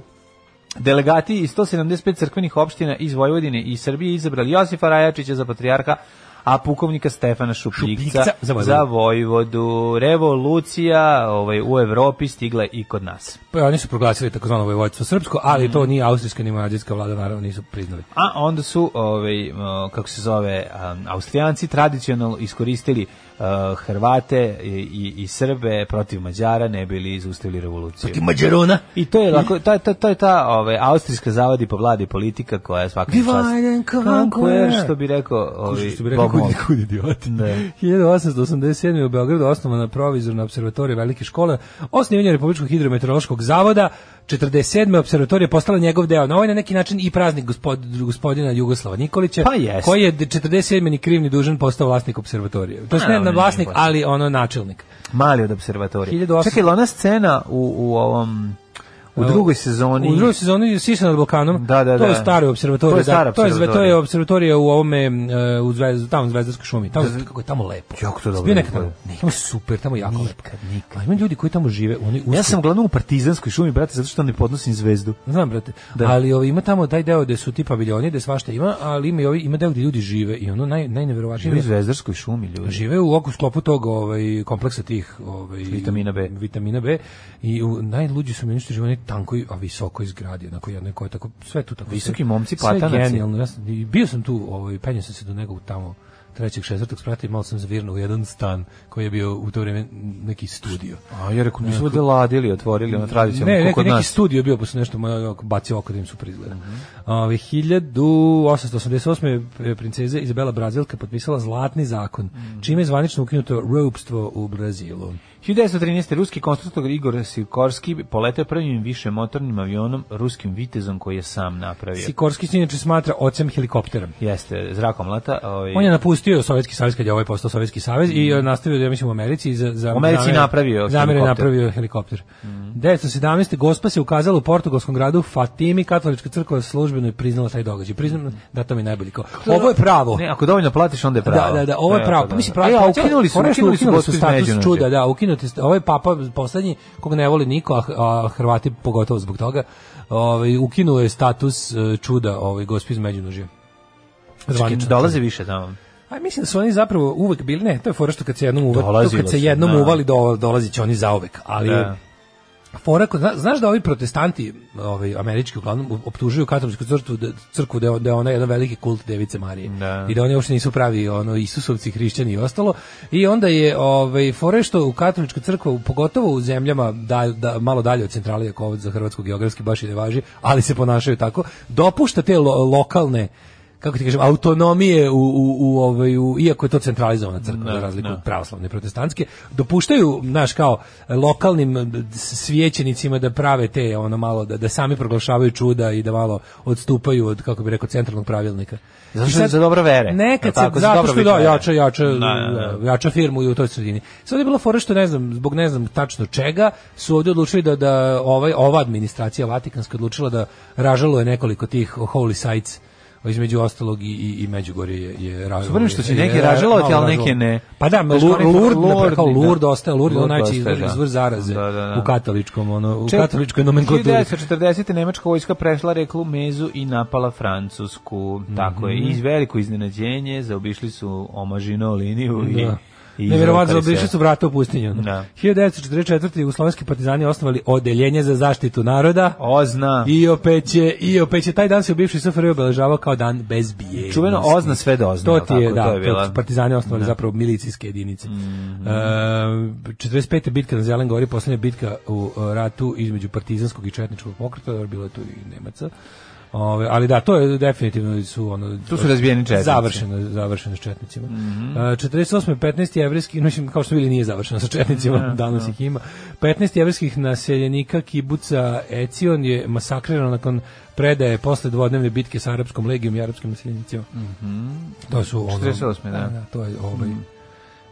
Speaker 5: delegati iz 175 crkvenih opština iz Vojvodine i Srbije izabrali Josifa Rajačića za patrijarha, a pukovnika Stefana Šupljikca
Speaker 6: Šupljikca za
Speaker 5: za,
Speaker 6: Vojvodu.
Speaker 5: Vojvodu. Revolucija ovaj, u Evropi stigla i kod nas.
Speaker 6: Pa oni su proglasili takozvano vojvodstvo srpsko, ali to nije austrijska ni mađarska vlada, naravno nisu priznali.
Speaker 5: A onda su, ovaj, o, kako se zove, um, Austrijanci tradicionalno iskoristili uh, Hrvate i, i, i Srbe protiv Mađara, ne bili izustavili revoluciju.
Speaker 6: Mađarona!
Speaker 5: I to je lako, ta, ta, to je ta ovaj, austrijska zavadi po vladi politika koja je svaka čast.
Speaker 6: Divide and conquer.
Speaker 5: Conquer, što bi rekao, ovaj,
Speaker 6: Što bi rekao,
Speaker 5: Bob Mold.
Speaker 6: kud, kud idioti.
Speaker 5: Ne.
Speaker 6: 1887. je u Beogradu osnovana provizorna observatorija Velike škole, osnivanje Republičkog hidrometeorološkog zavoda, 47. observatorija postala njegov deo. Na ovaj na neki način i praznik gospod, gospodina Jugoslava Nikolića,
Speaker 5: Pa jest.
Speaker 6: koji je d- 47. ni krivni dužan postao vlasnik observatorije. To je ne
Speaker 5: Naravno,
Speaker 6: na vlasnik,
Speaker 5: nije
Speaker 6: ali ono načelnik.
Speaker 5: Mali od observatorija.
Speaker 6: 1800.
Speaker 5: Čekaj, jel ona scena u, u ovom... U drugoj sezoni.
Speaker 6: U drugoj sezoni Sisa nad Balkanom.
Speaker 5: Da, da,
Speaker 6: To je
Speaker 5: da.
Speaker 6: staro observatorij.
Speaker 5: To je stara
Speaker 6: da. to je, zve- to
Speaker 5: observatorija.
Speaker 6: je observatorija u ovome e, u zvezdu, tamo u Zvezdarskoj šumi. Tamo kako je tamo lepo.
Speaker 5: Jako to dobro
Speaker 6: Bio nekad tamo.
Speaker 5: izgleda.
Speaker 6: Tamo je super, tamo je jako lepo. A ima ljudi koji tamo žive, oni
Speaker 5: Ja
Speaker 6: usko-
Speaker 5: sam uglavnom u partizanskoj šumi, brate, zato što ne podnosim zvezdu.
Speaker 6: znam brate,
Speaker 5: Da.
Speaker 6: ali ovi, ima tamo taj deo gde su ti paviljoni, gde svašta ima, ali ima i ovi ima deo gde ljudi žive i ono naj najneverovatnije
Speaker 5: Živi u zvezdarskoj šumi, ljudi.
Speaker 6: žive u oku sklopu tog ovaj kompleksa tih ovaj
Speaker 5: Vitamina B.
Speaker 6: vitamina B i u, najluđi su mi oni što žive oni tankoj a visokoj zgradi onako jedno koje tako sve tu tako
Speaker 5: Visoki
Speaker 6: sve-
Speaker 5: momci,
Speaker 6: sve
Speaker 5: platanaci.
Speaker 6: genijalno ja sam, i bio sam tu ovaj penjao sam se do nekog tamo trećeg, četvrtog sprata i malo sam zavirnuo u jedan stan koji je bio u to vrijeme neki studio.
Speaker 5: A ja rekao, nisu ovde ladili, otvorili
Speaker 6: ono,
Speaker 5: na tradicionalno,
Speaker 6: Ne,
Speaker 5: kako
Speaker 6: neki,
Speaker 5: kod
Speaker 6: neki
Speaker 5: nas. Mhm.
Speaker 6: studio je bio, pa su nešto moja ovako bacio oko da im super izgleda. Ove, 1888. je princeza Izabela Brazilka potpisala Zlatni zakon,
Speaker 5: Mhm.
Speaker 6: čime je zvanično ukinuto ropstvo u Brazilu.
Speaker 5: 1913. ruski konstruktor Igor Sikorski poletao prvim više motornim avionom ruskim vitezom koji je sam napravio.
Speaker 6: Sikorski se inače smatra ocem helikoptera.
Speaker 5: Jeste, zrakomlata. Ovaj,
Speaker 6: On je napustio Sovjetski savez kad je ovaj postao Sovjetski savez i on nastavio da ja mislim u Americi i za za
Speaker 5: Mhm. U Americi
Speaker 6: zamere-
Speaker 5: napravio
Speaker 6: zamere
Speaker 5: helikopter. Mhm.
Speaker 6: napravio helikopter. 1917. Gospa se ukazala u portugalskom gradu Fatimi, katolička crkva službeno je priznala taj događaj. Priznam da to mi je najbolji kao. Ovo je pravo.
Speaker 5: Mhm. Ne, ako dovoljno platiš, onda je pravo.
Speaker 6: Da, da, da, ovo je pravo. Pa mislim pravo.
Speaker 5: E, a
Speaker 6: pa
Speaker 5: ukinuli su,
Speaker 6: ono što
Speaker 5: ukinuli su, Gospić Međunožje.
Speaker 6: status čuda, da, ukinuti ste- ovaj papa poslednji kog ne voli niko, a, a Hrvati pogotovo zbog toga. Ovaj ukinuo je status e, čuda, ovaj gospić Međunožje.
Speaker 5: Čekaj,
Speaker 6: Zvan-
Speaker 5: dolaze više tamo.
Speaker 6: a mislim da su oni zapravo uvek bili, ne, to je fora što kad se jednom uvali, to
Speaker 5: Dolazilo
Speaker 6: kad se
Speaker 5: se,
Speaker 6: jednom
Speaker 5: da.
Speaker 6: uvali do, dolazi će oni zauvek, ali
Speaker 5: Da.
Speaker 6: fora kod, zna- znaš da ovi protestanti, ovaj američki uglavnom optužuju katoličku crkvu da crkvu da je, da je ona jedan veliki kult Device Marije
Speaker 5: Da.
Speaker 6: i da oni uopšte nisu pravi ono Isusovci, hrišćani i ostalo. I onda je ovaj fora je što u katoličku crkvu pogotovo u zemljama da, da malo dalje od centrale ako ovo za hrvatsko geografski baš i ne važi, ali se ponašaju tako, dopušta te lo- lokalne kako ti kažem, autonomije u, u, u, ovaj, u iako je to centralizovana crkva,
Speaker 5: Da,
Speaker 6: za razliku
Speaker 5: da.
Speaker 6: od pravoslavne i protestantske, dopuštaju, znaš, kao lokalnim svijećenicima da prave te, ono malo, da, da sami proglašavaju čuda i da malo odstupaju od, kako bi rekao, centralnog pravilnika.
Speaker 5: Zato
Speaker 6: I
Speaker 5: što je za dobro vere.
Speaker 6: Nekad
Speaker 5: Jel
Speaker 6: se,
Speaker 5: tako? Za
Speaker 6: zato
Speaker 5: dobro
Speaker 6: što
Speaker 5: vid
Speaker 6: da,
Speaker 5: vere.
Speaker 6: jača, jača,
Speaker 5: Da, da,
Speaker 6: jača firmu i u toj sredini. Sad je bilo fora što ne znam, zbog ne znam tačno čega, su ovdje odlučili da, da ovaj, ova administracija Vatikanska odlučila da ražalo je nekoliko tih holy sites između ostalog i, i, i Međugorje je, je ražalo.
Speaker 5: Super mi što će neke ražalovati, ali neke ne.
Speaker 6: Pa da, Lur,
Speaker 5: Lur-
Speaker 6: Lurd, Lurd,
Speaker 5: Lurdi,
Speaker 6: kao Lurd
Speaker 5: da.
Speaker 6: ostaje, Lurd, je
Speaker 5: Lurd
Speaker 6: najveći
Speaker 5: ostaje,
Speaker 6: izvor,
Speaker 5: da.
Speaker 6: izvor zaraze
Speaker 5: Da, da, da.
Speaker 6: u katoličkom, ono, u
Speaker 5: Ček,
Speaker 6: katoličkoj nomenklaturi.
Speaker 5: 1940. nemačka vojska prešla reklu Mezu i napala Francusku.
Speaker 6: Mhm.
Speaker 5: Tako je. I veliko iznenađenje, zaobišli su omažino liniju i...
Speaker 6: Da.
Speaker 5: i
Speaker 6: Nevjerovatno,
Speaker 5: izvukali se.
Speaker 6: zaobišli su vrata u pustinju. ono.
Speaker 5: Da.
Speaker 6: 1944. jugoslovenski partizani osnovali odeljenje za zaštitu naroda.
Speaker 5: Ozna.
Speaker 6: I opet je, i opet je, taj dan se u bivšoj SFRJ obeležavao kao dan bez bije.
Speaker 5: Čuveno ozna sve dozna,
Speaker 6: To
Speaker 5: jel
Speaker 6: ti je,
Speaker 5: tako?
Speaker 6: da,
Speaker 5: To je bila-
Speaker 6: to su partizani osnovali zapravo milicijske jedinice.
Speaker 5: Mhm.
Speaker 6: E, 45. bitka na Zelen gori, posljednja bitka u e, ratu između partizanskog i četničkog pokreta, dobro, bilo je tu i Nemaca. Ove, ali da, to je definitivno su ono
Speaker 5: Tu su razbijeni četnici. Mhm.
Speaker 6: Završeno, završeno s četnicima. E, 48. 15 jevrejskih, no, mislim, kao što bili nije završeno sa četnicima, danas ih ima. 15 jevrejskih naseljenika kibuca Ecion je masakrirano nakon predaje posle dvodnevne bitke sa arapskom legijom i arapskim naseljenicima. To su ono...
Speaker 5: 48., da. Mm.
Speaker 6: to je ovaj...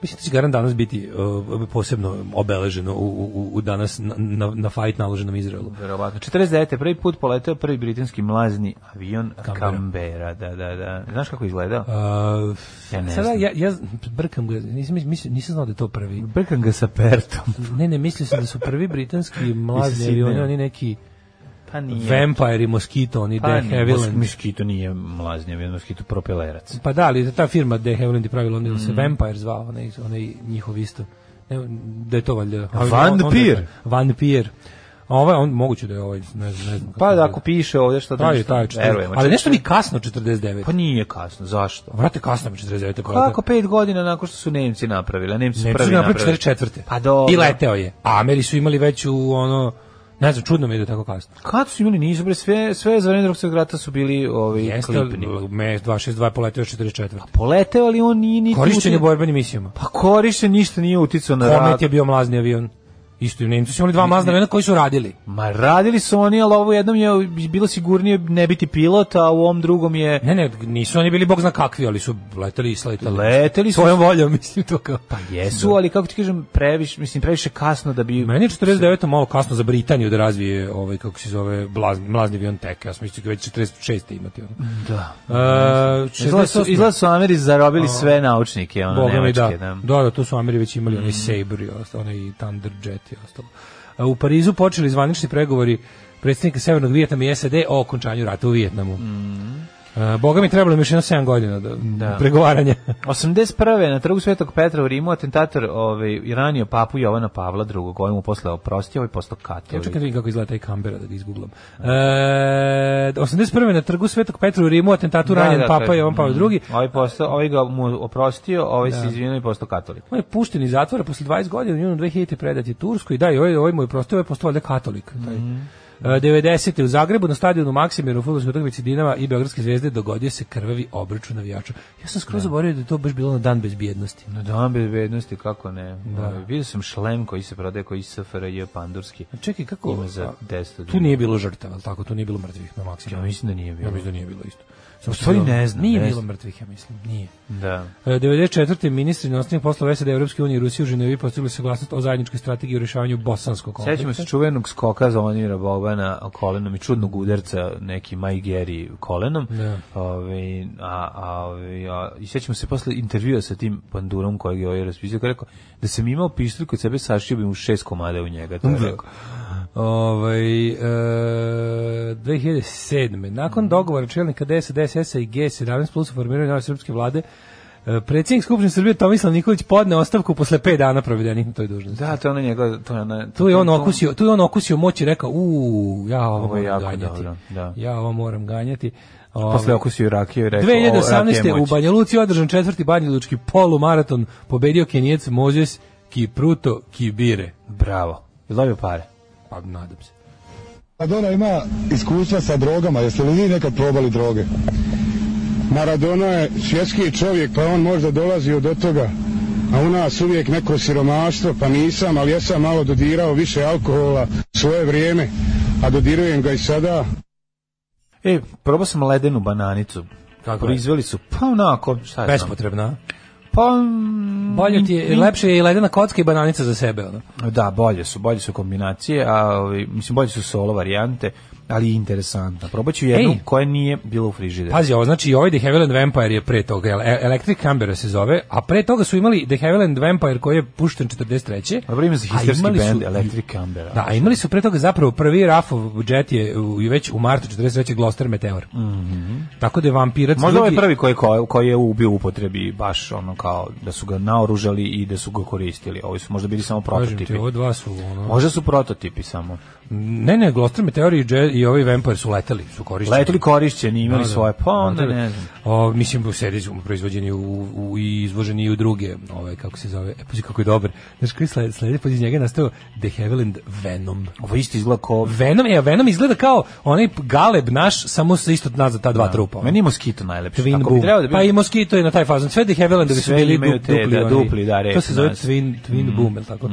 Speaker 6: Mislim da će Garan danas biti uh, posebno obeleženo u, u, u danas na, na, na fajt naloženom Izraelu. E,
Speaker 5: Verovatno. 49. prvi put poleteo prvi britanski mlazni avion
Speaker 6: Canberra.
Speaker 5: Canberra. Da, da, da. Znaš kako izgleda?
Speaker 6: Uh,
Speaker 5: Ja ne
Speaker 6: sada
Speaker 5: znam.
Speaker 6: ja, ja brkam ga, nisam, mislim, nisam znao da je to prvi.
Speaker 5: Brkam ga sa pertom.
Speaker 6: Ne, ne, mislio sam da su prvi britanski
Speaker 5: Iz
Speaker 6: mlazni
Speaker 5: Sidneja.
Speaker 6: avioni, oni neki
Speaker 5: Pa nije.
Speaker 6: Vampire i Mosquito, oni
Speaker 5: pa
Speaker 6: The
Speaker 5: nije. Mos-
Speaker 6: Havilland.
Speaker 5: Moskito nije mlazni avion, moskito propelerac.
Speaker 6: Pa da, ali ta firma The Havilland je pravila, onda
Speaker 5: Mm.
Speaker 6: se Vampire zvao, onaj, onaj njihov isto. Ne, da je to valjda. ali
Speaker 5: Van
Speaker 6: on- on-
Speaker 5: Pier.
Speaker 6: Van Pier. A ovaj, on, moguće da je ovaj, ne znam, ne znam.
Speaker 5: Pa da, ako piše ovdje što da
Speaker 6: Taj, taj,
Speaker 5: verujemo.
Speaker 6: ali nešto mi kasno 49.
Speaker 5: Pa nije kasno, zašto?
Speaker 6: Vrate, kasno mi 49.
Speaker 5: Kako pet godina nakon što su Nemci napravili, a Pa Nemci su
Speaker 6: Ne,
Speaker 5: prvi
Speaker 6: prvi
Speaker 5: napravili.
Speaker 6: 44.
Speaker 5: Pa dobro.
Speaker 6: I leteo je. A Ameri su imali već u ono, ne znam, čudno mi je da je tako kasno.
Speaker 5: Kad su imali nisu, bre, sve, sve za vreme drugog svjetskog rata su bili ovi
Speaker 6: Jeste,
Speaker 5: klipni.
Speaker 6: me 262 je poletio 44.
Speaker 5: Poleteo, ali on nije niti...
Speaker 6: Korišćen je
Speaker 5: uti-
Speaker 6: u borbenim misijama.
Speaker 5: Pa korišćen ništa nije uticao na rad.
Speaker 6: Kornet je bio mlazni avion. Isto i Nemci su imali dva mlazna aviona koji su radili.
Speaker 5: Ma radili su oni, ali ovo jednom je bilo sigurnije ne biti pilot, a u ovom drugom je...
Speaker 6: Ne, ne, nisu oni bili bog zna kakvi, ali su leteli i sletali.
Speaker 5: Leteli su.
Speaker 6: Svojom voljom, mislim, to kao. Pa
Speaker 5: Jesu, ali kako ti kažem, previše, mislim, previše kasno da bi...
Speaker 6: Meni je 49. malo kasno za Britaniju da razvije ovaj, kako se zove, blazni, mlazni avion tek. Ja sam mislio da već 46. imati. Ono.
Speaker 5: Da.
Speaker 6: E,
Speaker 5: Mm. Izgleda su,
Speaker 6: 68..
Speaker 5: izgleda su Ameri zarobili sve naučnike, ono,
Speaker 6: Boga mi da.
Speaker 5: nemačke, da. Mm.
Speaker 6: Da, da, tu su Ameri već imali onaj Sabre i ostalo, onaj Thunderjet i ostalo. A U Parizu počeli zvanični pregovori predsjednika Severnog Vijetnama i SAD o okončanju rata u Vijetnamu.
Speaker 5: Mm.
Speaker 6: A, Boga mi trebalo mi još jedno 7 godina da, pregovaranja.
Speaker 5: 81. na trgu Svetog Petra u Rimu atentator ovaj, je ranio papu Jovana Pavla II. Ovaj mu posle oprostio, ovaj postao
Speaker 6: Ja
Speaker 5: katolik.
Speaker 6: čekam da vidim kako izgleda taj Kambera da ga izguglam. E, 81. na trgu Svetog Petra u Rimu atentatu ranjen Papa
Speaker 5: to je-
Speaker 6: Jovan Pavle II.
Speaker 5: Mm, Ovaj, postao, ovaj ga mu oprostio, ovaj se izvinio i postao katolik.
Speaker 6: On je pušten iz zatvora posle 20 godina, u junu 2000 predat je Turskoj, da, i ovaj, ovaj mu je prostao, ovaj je postao valjda katolik. Taj.
Speaker 5: Mhm.
Speaker 6: E, 90. u Zagrebu na stadionu Maksimiru u futbolskoj utakmici Dinama i Beogradske zvezde dogodio se krvavi obračun navijača. Ja sam skroz zaboravio da je to baš bilo na dan bezbjednosti.
Speaker 5: Na dan bezbednosti, kako ne. Da. vidio sam šlem koji se prodaje koji SFRJ pandurski.
Speaker 6: A čekaj, kako?
Speaker 5: Ima za
Speaker 6: a,
Speaker 5: 10 dinara.
Speaker 6: tu nije bilo žrtava, ali tako, tu nije bilo mrtvih na Maksimiru.
Speaker 5: Ja mislim da nije bilo.
Speaker 6: Ja mislim da nije bilo isto. Samo što
Speaker 5: stvari
Speaker 6: je bilo-
Speaker 5: ne znam,
Speaker 6: Nije
Speaker 5: ne
Speaker 6: bilo
Speaker 5: znam.
Speaker 6: mrtvih, ja mislim, nije.
Speaker 5: Da.
Speaker 6: E, 94. ministri inostranih poslova SAD Evropske unije i Rusije u Ženevi postigli saglasnost o zajedničkoj strategiji u rješavanju bosanskog konflikta.
Speaker 5: Sećamo se čuvenog skoka Zvonimira Bobana kolenom i čudnog udarca neki Majgeri kolenom.
Speaker 6: Da.
Speaker 5: Ove, a, a, ove, a, I sećamo se posle intervjua sa tim pandurom kojeg je ovaj raspisao, koji je rekao da sam imao pištolj kod sebe, sašio bi mu šest komada u njega. To je rekao.
Speaker 6: Ovaj e, 2007. Nakon dogovora čelnika DS, DSS-a i G17 plus o formiranju nove srpske vlade, e, predsjednik Skupštine Srbije Tomislav Nikolić podne ostavku posle 5 dana provedenih na toj dužnosti.
Speaker 5: Da, to je ona njega... To je ono- ona,
Speaker 6: Tu je ono- on
Speaker 5: to-
Speaker 6: okusio, tu je on okusio moć i rekao: "U, ja ovo,
Speaker 5: Ovo je
Speaker 6: moram
Speaker 5: jako
Speaker 6: ganjati.
Speaker 5: dobro, da.
Speaker 6: Ja ovo moram ganjati."
Speaker 5: Posle
Speaker 6: Ovaj,
Speaker 5: okusio rakiju i rekao... "Ovo, rakija je
Speaker 6: 2018. u
Speaker 5: moć."
Speaker 6: Banja Luci održan četvrti banjalučki polumaraton, pobedio Kenijec Mozes Kipruto Kibire.
Speaker 5: Bravo. Je dobio pare?
Speaker 6: Pa nadam se.
Speaker 3: Pa Maradona ima iskustva sa drogama, jeste li vi nekad probali droge? Maradona je svjetski čovjek, pa on možda dolazi od toga. A u nas uvijek neko siromaštvo, pa nisam, ali jesam malo dodirao više alkohola svoje vrijeme, a dodirujem ga i sada.
Speaker 5: E, probao sam ledenu bananicu.
Speaker 6: Kako je?
Speaker 5: Proizveli su, pa onako, šta je
Speaker 6: Bespotrebna.
Speaker 5: Pa, mm,
Speaker 6: Bolje ti je, lepše je i ledena kocka i bananica za sebe, ono.
Speaker 5: Da, bolje su, bolje su kombinacije, a ovi, mislim bolje su solo varijante, ali i interesantna. Probaću jednu
Speaker 6: Ej.
Speaker 5: koja nije bila u frižideru.
Speaker 6: Pazi, ovo znači i ovaj The Havilland Vampire je pre toga, el- el- Electric Cambera se zove, a pre toga su imali The Havilland Vampire koji je pušten 43.
Speaker 5: Dobro ime za
Speaker 6: a
Speaker 5: histerski
Speaker 6: imali su-
Speaker 5: bend Electric Cambera.
Speaker 6: Da, a imali su pre toga zapravo prvi Rafov budžet je u, već u martu 43. Gloucester Meteor. Tako da je vampirac
Speaker 5: Mhm. Možda ovaj
Speaker 6: drugi-
Speaker 5: prvi koji, koji, koji je ubio u upotrebi, baš ono kao da su ga naoružali i da su ga koristili. Ovi su možda bili samo
Speaker 6: Kažem ti,
Speaker 5: prototipi.
Speaker 6: ovo dva su ono...
Speaker 5: Možda su prototipi samo.
Speaker 6: Ne, ne, Gloucester Meteor i, Jet- i ovi Vampire su leteli, su korišćeni.
Speaker 5: Letili korišćeni, imali
Speaker 6: Da, da.
Speaker 5: svoje, pa onda
Speaker 6: Vampire.
Speaker 5: ne znam.
Speaker 6: O, mislim, u seriji su proizvođeni u, u, i izvoženi i u druge, ove, kako se zove, e, pazi kako je dobar. Znaš koji sled, sledi, pa iz njega je nastao The Havilland Venom.
Speaker 5: Ovo isto izgleda kao...
Speaker 6: Venom, je, Venom izgleda kao onaj galeb naš, samo se isto nazad
Speaker 5: Pa,
Speaker 6: ta dva trupa. ono.
Speaker 5: Meni je Moskito najlepši.
Speaker 6: Twin
Speaker 5: Ako bi
Speaker 6: Boom.
Speaker 5: trebao da bi...
Speaker 6: Pa i Mosquito je na taj fazon. Sve The Havillandovi su
Speaker 5: Sve
Speaker 6: bili
Speaker 5: imaju
Speaker 6: du,
Speaker 5: te,
Speaker 6: dupli.
Speaker 5: da,
Speaker 6: oni.
Speaker 5: dupli, da, Mhm.
Speaker 6: To
Speaker 5: reći,
Speaker 6: se zove
Speaker 5: znaš.
Speaker 6: Twin, twin Boom, ili tako?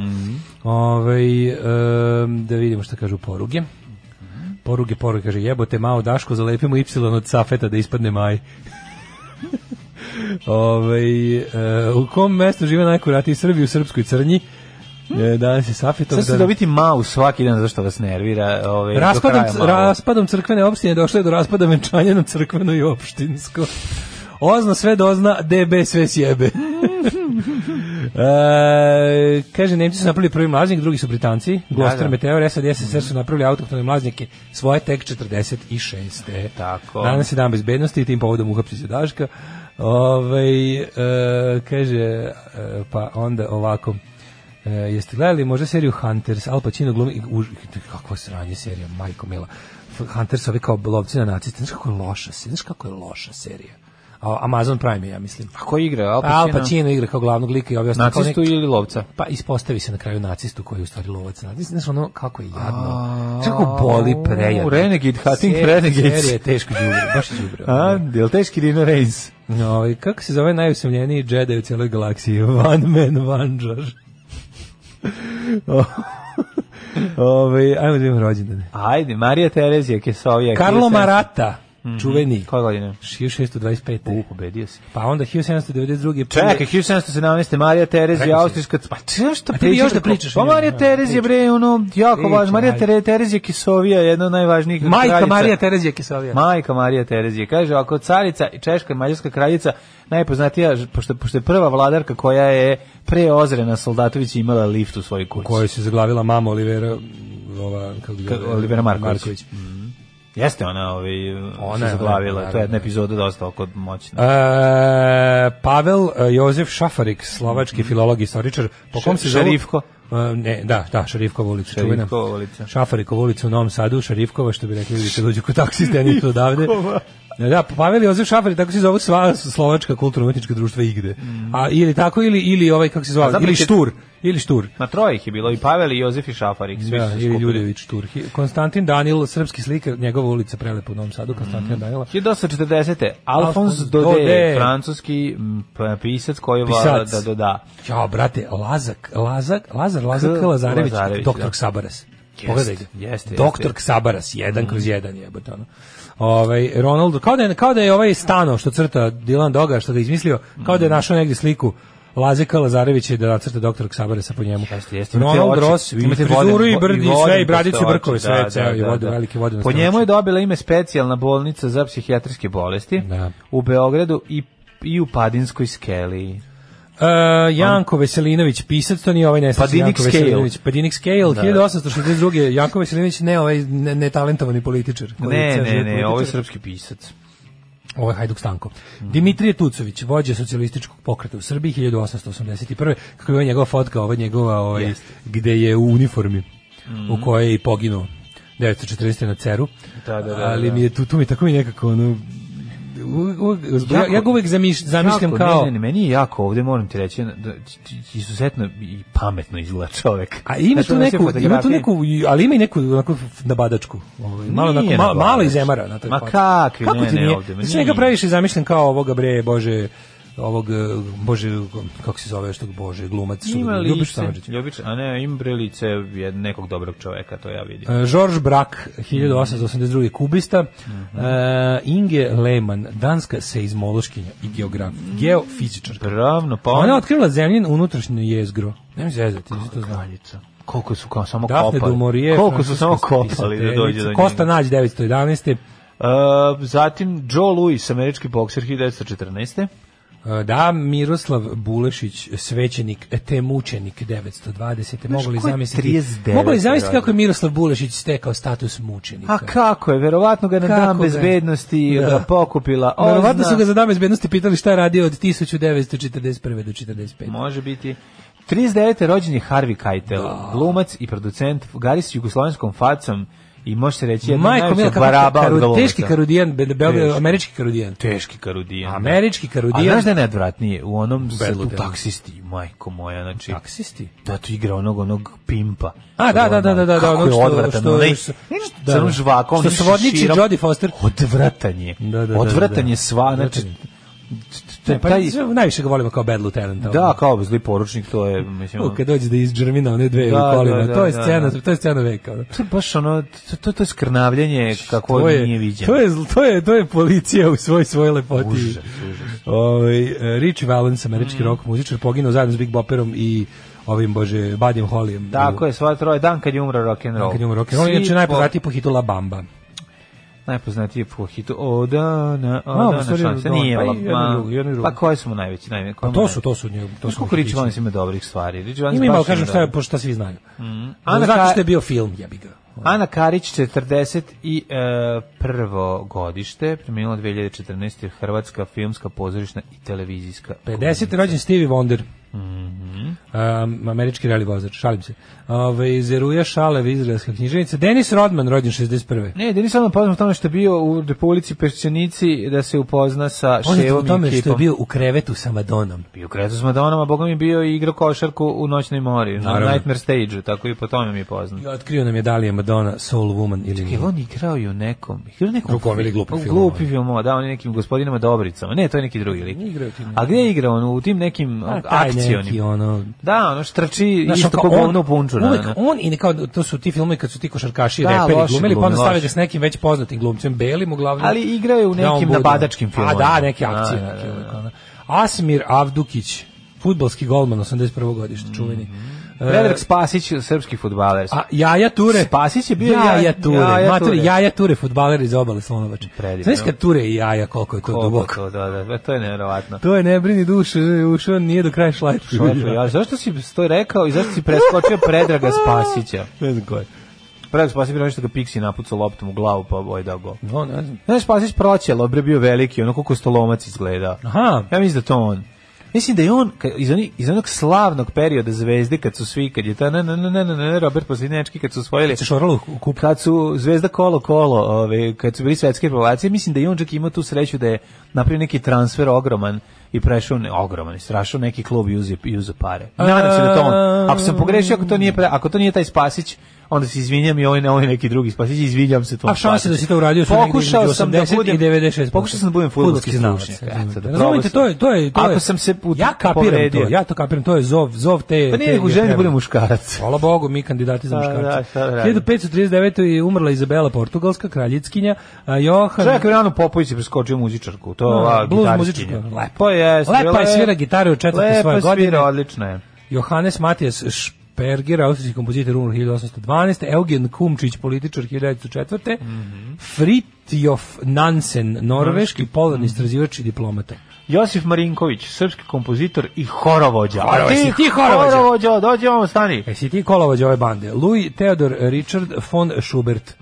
Speaker 6: Ovaj, em, da vidimo šta kažu poruge. Poruge, poruge, kaže, jebote, mao Daško, zalepimo Y od safeta da ispadne maj. Ovaj, e, u kom mestu žive najkuratiji Srbi u Srpskoj crnji? E, danas je Safetov
Speaker 5: Sad ste
Speaker 6: dan.
Speaker 5: dobiti mau svaki dan zašto vas nervira. Ovaj, do
Speaker 6: Raspadom,
Speaker 5: kraja malo.
Speaker 6: raspadom crkvene opštine došlo je do raspada venčanja na crkveno i opštinsko. Ozna sve dozna, DB sve sjebe. e, kaže, Nemci su napravili prvi mlaznik, drugi su Britanci. Gloucester
Speaker 5: da.
Speaker 6: Meteor, SAD, SSR su napravili autoktone mlaznike svoje tek 46.
Speaker 5: Tako.
Speaker 6: Danas je dan bezbednosti i tim povodom uhapsi se Daška. Ovaj, e, kaže, e, pa onda ovako, E, jeste gledali možda seriju Hunters, Al Pacino glumi, u, kakvo sranje serija, majko mila. F- Hunters ovi kao lovci na naciste, znaš kako je loša serija, znaš kako je loša serija. A, Amazon Prime je, ja mislim.
Speaker 5: A ko igra? Al Pacino?
Speaker 6: Al Pacino igra kao glavnog lika i ovi ostali kao
Speaker 5: Nacistu
Speaker 6: neki-
Speaker 5: ili lovca?
Speaker 6: pa ispostavi se na kraju nacistu koji je u stvari lovac nacist. Znaš ono kako je jadno. Znaš kako boli prejadno.
Speaker 5: Renegade, Hating
Speaker 6: Serija-
Speaker 5: Renegades.
Speaker 6: Serija je teško đubre, baš je đubre.
Speaker 5: A, je li teški Dino Reigns?
Speaker 6: No, ovaj, kako se zove najusamljeniji Jedi u cijeloj galaksiji? One man, vanđar. Ove, Ovaj, ajmo da vidimo rođendane.
Speaker 5: Ajde, Marija Terezija, Kesovija.
Speaker 6: Carlo
Speaker 5: Kesa-
Speaker 6: Marata, čuveni.
Speaker 5: Koje godine?
Speaker 6: 1625.
Speaker 5: U, pobedio si.
Speaker 6: Pa onda 1792.
Speaker 5: Čekaj, 1717. Marija
Speaker 6: Rekao
Speaker 5: Terezija,
Speaker 6: sam.
Speaker 5: Austrijska... Pa ti šta
Speaker 6: A ti
Speaker 5: pričaš?
Speaker 6: još da
Speaker 5: kako-
Speaker 6: pričaš,
Speaker 5: Pa
Speaker 6: ne,
Speaker 5: Marija
Speaker 6: ne,
Speaker 5: Terezija, bre, ono, jako
Speaker 6: Pričaj,
Speaker 5: važno. Marija
Speaker 6: ajde.
Speaker 5: Tere- Terezija Kisovija, jedna od najvažnijih
Speaker 6: Majka
Speaker 5: kraljica.
Speaker 6: Marija Terezija Kisovija.
Speaker 5: Majka Marija Terezija. Kaže, ako carica, i češka i mađarska kraljica, najpoznatija, ž- pošto, pošto je prva vladarka koja je pre Ozrena Soldatović imala lift u svojoj kući.
Speaker 6: Koju se zaglavila mama Olivera, ova, kako bi
Speaker 5: Ka- Olivera Marković. Mm. Jeste ona, ovaj,
Speaker 6: Ona
Speaker 5: ona
Speaker 6: je,
Speaker 5: je zaglavila,
Speaker 6: naravno,
Speaker 5: to je jedna
Speaker 6: da.
Speaker 5: epizoda dosta oko moćna.
Speaker 6: E, Pavel e, Jozef Šafarik, slovački filolog i istoričar, po kom se zovu-
Speaker 5: Mm. Šarifko.
Speaker 6: E, ne, da, da, Šarifkova ulica.
Speaker 5: Šarifkova
Speaker 6: čuvena.
Speaker 5: ulica.
Speaker 6: Šafarikova ulica u Novom Sadu, Šarifkova, što bi rekli ljudi kad dođu kod taksiste, ni to odavde. E, Da, Pavel Jozef Šafarik, tako se zove sva slovačka kulturno-umetnička društva igde. A, ili tako, ili, ili ovaj, kako se
Speaker 5: Mm. A
Speaker 6: zove,
Speaker 5: zapravo
Speaker 6: ili
Speaker 5: će-
Speaker 6: Štur, ili Štur.
Speaker 5: Na troje ih je bilo i Pavel i Jozef i Šafarik, svi
Speaker 6: Da,
Speaker 5: su se
Speaker 6: ili
Speaker 5: skupili.
Speaker 6: Ljudević Turhi. Konstantin Danil, srpski slikar, njegova ulica prelepa u Novom Sadu,
Speaker 5: Mhm.
Speaker 6: Konstantina Danila.
Speaker 5: 1940.
Speaker 6: Alphonse
Speaker 5: Alphonse
Speaker 6: Daudet.
Speaker 5: Daudet, francuski m, p- pisac koji vada
Speaker 6: Pisac.
Speaker 5: da doda.
Speaker 6: Ja, brate, Lazak, Lazak, Lazar, Lazak
Speaker 5: K.
Speaker 6: K. Lazarević,
Speaker 5: Lazarević,
Speaker 6: doktor
Speaker 5: da.
Speaker 6: Ksabaras.
Speaker 5: Jeste,
Speaker 6: Pogledaj ga.
Speaker 5: jeste, Mhm.
Speaker 6: Doktor
Speaker 5: jeste.
Speaker 6: Ksabaras, jedan kroz jedan jebote ono. Ovaj Ronaldo, kao da je, kao da je ovaj Stano što crta Dilan Doga što ga izmislio, kao
Speaker 5: Mhm.
Speaker 6: da je našao negdje sliku Laze K. Lazarevića da nacrta doktor Ksabarasa po njemu.
Speaker 5: Jeste, jeste. Imate
Speaker 6: Ronald
Speaker 5: oči,
Speaker 6: Ross, i
Speaker 5: imate
Speaker 6: frizuru
Speaker 5: voden-
Speaker 6: i brdi, i
Speaker 5: voden
Speaker 6: sve, i bradicu, i
Speaker 5: postojač,
Speaker 6: brkove, sve,
Speaker 5: da,
Speaker 6: ceo,
Speaker 5: da,
Speaker 6: i
Speaker 5: da,
Speaker 6: vodu,
Speaker 5: da.
Speaker 6: velike vode na
Speaker 5: Po
Speaker 6: stomaču.
Speaker 5: njemu je dobila ime specijalna bolnica za psihijatrijske bolesti
Speaker 6: Da.
Speaker 5: u Beogradu i i u Padinskoj skeli.
Speaker 6: E, Janko Veselinović, pisac, to nije ovaj nesrećni
Speaker 5: Padinik
Speaker 6: Janko
Speaker 5: Pa Scale.
Speaker 6: Veselinović. Padinik Scale, 1862. Janko Veselinović, ne ovaj ne- netalentovani političar. koji je
Speaker 5: Ne,
Speaker 6: ceo
Speaker 5: ne,
Speaker 6: život
Speaker 5: ne,
Speaker 6: političar.
Speaker 5: ovo je srpski pisac.
Speaker 6: Ovo je Hajduk Stanko. Dimitrije Tucović, vođa socijalističkog pokreta u Srbiji 1881. Kako je ovo njegova fotka, ova njegova, ovaj, gde je u uniformi, u kojoj je i poginuo 940. na Ceru.
Speaker 5: Mm. Da, da, da,
Speaker 6: Ali
Speaker 5: da.
Speaker 6: mi je tu, tu mi tako mi nekako ono, uvek- uvek- ja, ja ga uvek zamiš, zamišljam
Speaker 5: Jako,
Speaker 6: kao...
Speaker 5: Ne, ne, ne, meni je jako ovde, moram ti reći, da, izuzetno i pametno izgleda čovek.
Speaker 6: A ima
Speaker 5: Znači,
Speaker 6: tu
Speaker 5: ono sve
Speaker 6: neku, ima tu
Speaker 5: fotografije-
Speaker 6: neku, ali ima i neku onako nabadačku. Ovaj, malo, onako,
Speaker 5: Nije
Speaker 6: ma, malo
Speaker 5: nabadač.
Speaker 6: izemara. Na toj
Speaker 5: Ma
Speaker 6: fazon.
Speaker 5: kakvi,
Speaker 6: Kako
Speaker 5: ne,
Speaker 6: ti
Speaker 5: ne,
Speaker 6: nije? Znači,
Speaker 5: ovde, ma
Speaker 6: Sve ga
Speaker 5: nije.
Speaker 6: previše zamišljam kao ovoga, bre, bože, ovog, eh, bože, kako se zove, što bože, glumac, što
Speaker 5: Ima
Speaker 6: ga- Ljubiša
Speaker 5: lice,
Speaker 6: Samardžić.
Speaker 5: Ljubić, a ne, ima bre lice je nekog dobrog čoveka, to ja vidim.
Speaker 6: E, Georges Braque, 1882. kubista,
Speaker 5: Mhm.
Speaker 6: e, Inge Lehmann, danska seizmološkinja i geograf, geofizičarka.
Speaker 5: Pravno, pa
Speaker 6: Ona je
Speaker 5: on...
Speaker 6: otkrila zemljin unutrašnje jezgro. Ne mi zezati, nisi to znao.
Speaker 5: Koliko su kao samo
Speaker 6: Dafne
Speaker 5: kopali.
Speaker 6: du Maurier,
Speaker 5: Koliko su samo
Speaker 6: francuska
Speaker 5: kopali da dođe do
Speaker 6: spisateljica.
Speaker 5: njega.
Speaker 6: Kosta Nađ, 911.
Speaker 5: Uh, zatim Joe Louis, američki bokser 1914.
Speaker 6: E, Da, Miroslav Bulešić, svećenik, te mučenik 920. Mogu li
Speaker 5: ko je
Speaker 6: zamisliti,
Speaker 5: 39
Speaker 6: mogu li zamisliti
Speaker 5: radio?
Speaker 6: kako je Miroslav Bulešić stekao status mučenika?
Speaker 5: A kako je, verovatno ga na
Speaker 6: Kako
Speaker 5: dan
Speaker 6: ga je?
Speaker 5: bezbednosti
Speaker 6: Da.
Speaker 5: da. pokupila. Ozna.
Speaker 6: Verovatno su ga za dan bezbednosti pitali šta je radio od 1941. do 45.
Speaker 5: Može biti. 39. rođen je Harvey Keitel, glumac i producent, gari s jugoslovenskom facom i može se reći jedna
Speaker 6: Majko Mila,
Speaker 5: najveća
Speaker 6: kako je
Speaker 5: baraba od
Speaker 6: karu,
Speaker 5: glumaca.
Speaker 6: teški karudijan, be, be,
Speaker 5: Teški.
Speaker 6: američki karudijan.
Speaker 5: Teški karudijan. da.
Speaker 6: Američki
Speaker 5: A
Speaker 6: karudijan.
Speaker 5: znaš da je najodvratnije? U onom u
Speaker 6: Bedludelu.
Speaker 5: taksisti, majko moja, znači...
Speaker 6: Taksisti?
Speaker 5: Da tu igra onog, onog pimpa.
Speaker 6: A, da, da, da, da, da, da,
Speaker 5: Kako
Speaker 6: onog
Speaker 5: je
Speaker 6: što-
Speaker 5: odvratan, ono,
Speaker 6: što-
Speaker 5: onaj,
Speaker 6: što-
Speaker 5: da,
Speaker 6: da.
Speaker 5: sa onom žvakom,
Speaker 6: Što
Speaker 5: onim
Speaker 6: svodniči
Speaker 5: šeširom.
Speaker 6: Jodie Foster.
Speaker 5: Odvratan je.
Speaker 6: Da, da, da,
Speaker 5: odvratan
Speaker 6: da.
Speaker 5: je sva, znači...
Speaker 6: Odvratan
Speaker 5: t- t-
Speaker 6: Pa,
Speaker 5: taj,
Speaker 6: najviše ga volimo kao Bad Lieutenant. ono.
Speaker 5: da, kao zli poručnik, to je, mislim... ono,
Speaker 6: U, kad dođe da iz Džermina one dve
Speaker 5: Da,
Speaker 6: u kolima,
Speaker 5: da, da,
Speaker 6: to je
Speaker 5: da,
Speaker 6: scena,
Speaker 5: da.
Speaker 6: to je scena veka. ono.
Speaker 5: To je baš ono, to, to, to je skrnavljanje kako
Speaker 6: To je,
Speaker 5: nije viđeno.
Speaker 6: to je, zl- to je, to je policija u svoj svoj lepoti.
Speaker 5: Užas, užas. Mm.
Speaker 6: Ovaj, e, Rich Valens, američki rock muzičar, poginuo zajedno s Big Bopperom i ovim, bože, Buddyem Hollyem.
Speaker 5: Tako je, sva troje, dan kad je umro rock'n'roll.
Speaker 6: Kad je umro rock and roll,
Speaker 5: Svi
Speaker 6: inače
Speaker 5: po-
Speaker 6: najpoznatiji po hitu La Bamba.
Speaker 5: Najpoznatiji po hitu O dana, o
Speaker 6: A, u
Speaker 5: dana
Speaker 6: stvari,
Speaker 5: šanse.
Speaker 6: dobro,
Speaker 5: Nije,
Speaker 6: pa i
Speaker 5: pa,
Speaker 6: jedno i drugo, jedno i drugo.
Speaker 5: pa koje su mu najveći? Najve,
Speaker 6: Pa to su, to su njeg, to su.
Speaker 5: Koliko Rich
Speaker 6: hići.
Speaker 5: Valens ima dobrih stvari? Rich Valens
Speaker 6: Ima ima,
Speaker 5: baš
Speaker 6: ali kažem šta, je,
Speaker 5: dobro.
Speaker 6: po šta svi znaju.
Speaker 5: Mm. Ana
Speaker 6: Ana Zato
Speaker 5: Ka-
Speaker 6: što je bio film, jebi ga.
Speaker 5: Ana Karić, 40 i e, prvo godište, preminula 2014. Hrvatska filmska pozorišna i televizijska.
Speaker 6: 50. rođen Stevie Wonder.
Speaker 5: Mhm.
Speaker 6: Um, američki rally vozač, šalim se. Ove, Zeruja Šalev, izraelska književnica. Denis Rodman, rođen 61.
Speaker 5: Ne, Denis Alman poznat u tome što je bio u Republici Pešćenici da se upozna sa
Speaker 6: On je u
Speaker 5: Ševom i
Speaker 6: tome što je
Speaker 5: ekipom.
Speaker 6: bio u krevetu sa Madonom.
Speaker 5: Bio kretu s Madonama, boga mi je bio i igrao košarku u Noćnoj mori,
Speaker 6: Naravno.
Speaker 5: na Nightmare stage tako i po tome mi je poznat.
Speaker 6: I otkrio nam je da li je Madonna Soul Woman ili nije.
Speaker 5: Je on igrao i u nekom, igrao u nekom
Speaker 6: Drugom ili glupom
Speaker 5: u
Speaker 6: filmu,
Speaker 5: Glupi
Speaker 6: ono.
Speaker 5: film, da, on je nekim gospodinama Dobricama. Ne, to je neki drugi lik.
Speaker 6: Igrao je u tim
Speaker 5: A gde je igrao on u tim nekim
Speaker 6: A, taj neki,
Speaker 5: akcionim?
Speaker 6: ono,
Speaker 5: Da, ono štrči
Speaker 6: Znaš,
Speaker 5: isto
Speaker 6: on kao
Speaker 5: kao
Speaker 6: on-
Speaker 5: ono punču.
Speaker 6: Uvek on i kao to su ti filmovi kad su ti košarkaši i
Speaker 5: Da,
Speaker 6: reperi
Speaker 5: loše
Speaker 6: glumili, pa onda
Speaker 5: glumi,
Speaker 6: stave
Speaker 5: loše.
Speaker 6: ga s nekim već poznatim glumcem belim uglavnom.
Speaker 5: Ali igrao je u
Speaker 6: Da on
Speaker 5: nekim
Speaker 6: bude.
Speaker 5: napadačkim filmovima.
Speaker 6: A da, neke akcije.
Speaker 5: Da, da,
Speaker 6: neke
Speaker 5: da,
Speaker 6: uvek,
Speaker 5: da.
Speaker 6: ono. Asmir Avdukić, futbalski golman 81. godište, čuveni. E,
Speaker 5: Mhm. Predrag Spasić, srpski fudbaler.
Speaker 6: A Jaja Ture.
Speaker 5: Spasić je bio
Speaker 6: Jaja,
Speaker 5: Jaja-
Speaker 6: Ture.
Speaker 5: Jaja
Speaker 6: Mater,
Speaker 5: Ture.
Speaker 6: Jaja Ture, fudbaler iz obale Slonovače.
Speaker 5: Predivno.
Speaker 6: Znaš kad Ture i Jaja, koliko je to
Speaker 5: Koliko
Speaker 6: duboko.
Speaker 5: To, da, da, to je nevjerovatno.
Speaker 6: To je ne brini dušu, ušao nije do kraja šlajpa.
Speaker 5: Šofer, ja, zašto si to rekao i zašto si preskočio Predraga Spasića?
Speaker 6: Ne znam ko je.
Speaker 5: Predrag Spasić je bio nešto ga Pixi napucao loptom u glavu, pa ovaj dao gol.
Speaker 6: No, ne znam.
Speaker 5: Znaš, Spasić proćelo, bre bio veliki, ono koliko stolomac izgleda.
Speaker 6: Aha.
Speaker 5: Ja mislim da to on. Mislim da je on ka- iz, oni, iz onog slavnog perioda zvezde kad su svi, kad je ta ne, ne, ne, ne, ne, ne, Robert Poslinečki, kad su osvojili
Speaker 6: Se šoralo u kup.
Speaker 5: kad su Zvezda kolo kolo, ove, kad su bili svetske revelacije, mislim da je on čak imao tu sreću da je napravio neki transfer ogroman i prešao ne, ogroman, i strašao neki klub i uzeo i uzeo pare. Nadam se da to
Speaker 6: Um,
Speaker 5: on. Ako sam pogrešio, ako to nije pre- ako to nije taj Spasić, onda se izvinjam i ovaj, ovaj neki drugi Spasić, izvinjam se tom.
Speaker 6: A šanse
Speaker 5: Spasiću.
Speaker 6: da si to uradio su negdje
Speaker 5: Pokušao
Speaker 6: između
Speaker 5: sam da
Speaker 6: 80 i
Speaker 5: budem
Speaker 6: 96%.
Speaker 5: Pokušao sam da budem
Speaker 6: Fudbalski
Speaker 5: fudbalski
Speaker 6: znalac,
Speaker 5: stručnjak.
Speaker 6: razumete.
Speaker 5: Eto, da
Speaker 6: Razumete,
Speaker 5: probao
Speaker 6: to je to je to
Speaker 5: Ako
Speaker 6: je-
Speaker 5: sam se put-
Speaker 6: Ja kapiram to.
Speaker 5: povredio.
Speaker 6: Ja to kapiram, to je zov zov te.
Speaker 5: Pa
Speaker 6: te
Speaker 5: nije, nego želim da
Speaker 6: geografije.
Speaker 5: budem muškarac.
Speaker 6: Hvala Bogu, mi kandidati za
Speaker 5: Pa, da,
Speaker 6: muškarca.
Speaker 5: šta da radim.
Speaker 6: 1539. je umrla Izabela Portugalska, kraljickinja, a Johan...
Speaker 5: Čovjek je Rano Popović je preskočio muzičarku, to je ova
Speaker 6: blues
Speaker 5: gitaristkinja.
Speaker 6: muzičarka. Lepo.
Speaker 5: Pa Lepo je,
Speaker 6: Lepa je, svira gitaru od četvrte svoje godine.
Speaker 5: Lepa svira, odlično je.
Speaker 6: Johannes Matijas Šperger, austrijski kompozitor, umro 1812. Eugen Kumčić, političar 1904.
Speaker 5: Mhm.
Speaker 6: Fritjof Nansen, norveški polarni istraživač i diplomata.
Speaker 5: Josif Marinković, srpski kompozitor i horovođa. A
Speaker 6: Horovođa, si ti horovođa?
Speaker 5: Horovođa, dođi ovom, stani.
Speaker 6: E si ti kolovođa ove bande? Louis Theodor Richard von Schubert.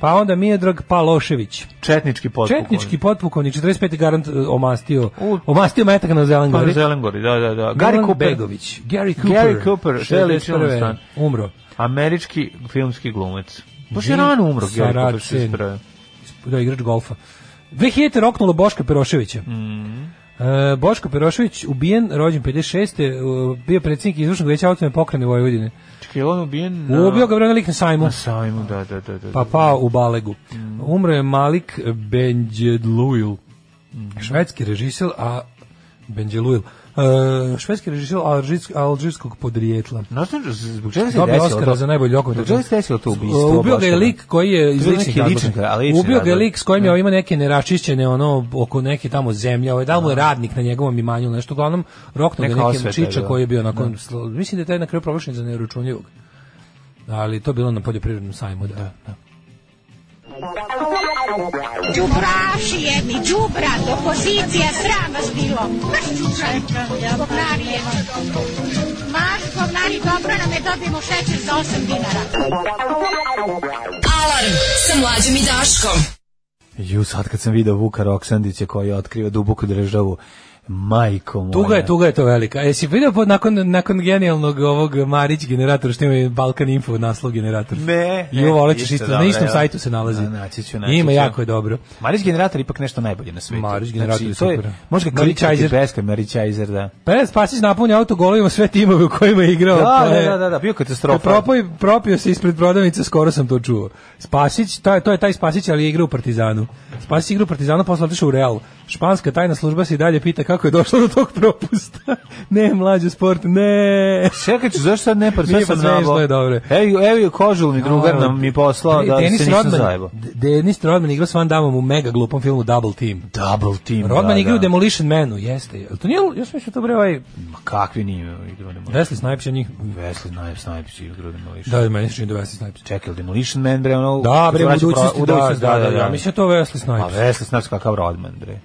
Speaker 6: Pa onda Mijedrag Palošević.
Speaker 5: Četnički potpukovnik.
Speaker 6: Četnički potpukovnik, 45. garant e, omastio,
Speaker 5: U-
Speaker 6: omastio metak na Zelen
Speaker 5: Pa,
Speaker 6: Gori.
Speaker 5: Zelengori, da, da, da.
Speaker 6: Milan
Speaker 5: Gary Cooper,
Speaker 6: Begović. Gary Cooper.
Speaker 5: Gary Cooper, sve ličilo na
Speaker 6: 61..
Speaker 5: stan.
Speaker 6: Umro.
Speaker 5: američki filmski glumac. Baš je
Speaker 6: Jim
Speaker 5: rano umro, Gary Cooper,
Speaker 6: Saracen.
Speaker 5: se ispravio.
Speaker 6: Da, igrač golfa. 2000. roknulo Boška Peroševića.
Speaker 5: Mm.
Speaker 6: E, Boško Perošević ubijen, rođen 56. e, bio predsjednik izvršnog veća autonomne pokrajine Vojvodine.
Speaker 5: Čekaj, je li on ubijen? na-
Speaker 6: Ubio ga vremelik na sajmu.
Speaker 5: Na sajmu, da, da, da. da.
Speaker 6: Pa pao u Balegu. Umro je Malik Benjedluil,
Speaker 5: Mhm.
Speaker 6: švedski režisel, a Benjedluil, e, švedski režisel alžirsk- alžirskog podrijetla.
Speaker 5: Znaš što- zbog čega se
Speaker 6: Dobio
Speaker 5: desilo?
Speaker 6: Oscara
Speaker 5: to?
Speaker 6: za najbolji
Speaker 5: Zbog čega se desilo to ubistvo?
Speaker 6: Ubio ga je
Speaker 5: Boška?
Speaker 6: lik koji je iz
Speaker 5: To je
Speaker 6: ličnih
Speaker 5: neki
Speaker 6: razloga.
Speaker 5: lični, a, lični
Speaker 6: Ubio ga je
Speaker 5: razlog.
Speaker 6: lik s kojim je ovo ima neke neraščišćene ono oko neke tamo zemlje, ovaj da li mu je radnik na njegovom imanju ili nešto, uglavnom roknuo ga
Speaker 5: Neka
Speaker 6: nekim
Speaker 5: osveta,
Speaker 6: čiča
Speaker 5: da.
Speaker 6: koji je bio nakon mislim da je taj na kraju proglašen za neuračunljivog. Ali to je bilo na poljoprivrednom sajmu, da.
Speaker 8: Đubraši jedni, đubrat, opozicija, sram vas bilo. Mršćučaj, govnarije. Maš, govnari, dobro nam je, dobijemo šećer za 8 dinara.
Speaker 4: Alarm sa mlađom i Daškom.
Speaker 5: Ju, sad kad sam video Vuka Roksandića koji je otkrio duboku državu, majko moja.
Speaker 6: Tuga je, tuga je to velika. E, si vidio po, nakon, nakon genijalnog ovog Marić generatora, što ima i Balkan Info naslov generator?
Speaker 5: Ne, ne,
Speaker 6: Jo, volit ćeš
Speaker 5: isto
Speaker 6: isto, na
Speaker 5: dobro,
Speaker 6: istom
Speaker 5: evo.
Speaker 6: sajtu se nalazi.
Speaker 5: Da, naći ću, naći
Speaker 6: Ima,
Speaker 5: ću.
Speaker 6: jako je dobro.
Speaker 5: Marić generator je ipak nešto najbolje na svijetu.
Speaker 6: Marić generator je
Speaker 5: to
Speaker 6: super.
Speaker 5: Može ga
Speaker 6: Marićajzer.
Speaker 5: kličati beska, Marićajzer, da.
Speaker 6: Perez Pa Spasić napunio auto golovima sve timove u kojima je igrao.
Speaker 5: Da,
Speaker 6: To je-
Speaker 5: da, da, da, da, bio katastrofa.
Speaker 6: Kad propoj, propio se ispred prodavnice, skoro sam to čuo. Spasić, to je, to je taj Spasić, ali je igrao u Partizanu. Spasić igra u Partizanu, posle otišao u Real. Španska tajna služba se i dalje pita kako je došlo do tog propusta. ne, mlađo sport, ne.
Speaker 5: Čekaj, ću, zašto sad ne par, sve
Speaker 6: Nije, pa
Speaker 5: sam
Speaker 6: sve
Speaker 5: nabao.
Speaker 6: izgleda dobro.
Speaker 5: Evo, evo je kožul mi drugar nam mi poslao da
Speaker 6: Denis
Speaker 5: se nisam
Speaker 6: Rodman-
Speaker 5: zajebao.
Speaker 6: D- Denis Rodman igrao s Van Damom u mega glupom filmu Double Team.
Speaker 5: Double team,
Speaker 6: Rodman
Speaker 5: da,
Speaker 6: igra u
Speaker 5: da.
Speaker 6: Demolition Manu, jeste. Jel to nije, ja sam mislio to bre ovaj
Speaker 5: Ma kakvi nije igrao Demolition.
Speaker 6: Wesley Snipes je njih.
Speaker 5: Wesley Snipes, Snipes igrao Demolition.
Speaker 6: Da, meni se čini da je Wesley Snipes.
Speaker 5: Čekaj, jel Demolition Man, bre, ono...
Speaker 6: Da, bre, u
Speaker 5: znači,
Speaker 6: budućnosti,
Speaker 5: pro- u
Speaker 6: da,
Speaker 5: budućnosti,
Speaker 6: da, da, ja mislim da je to Wesley
Speaker 5: A
Speaker 6: Snipes.
Speaker 5: Pa
Speaker 6: Ovaj.
Speaker 5: Wesley Snipes kakav Rodman, bre.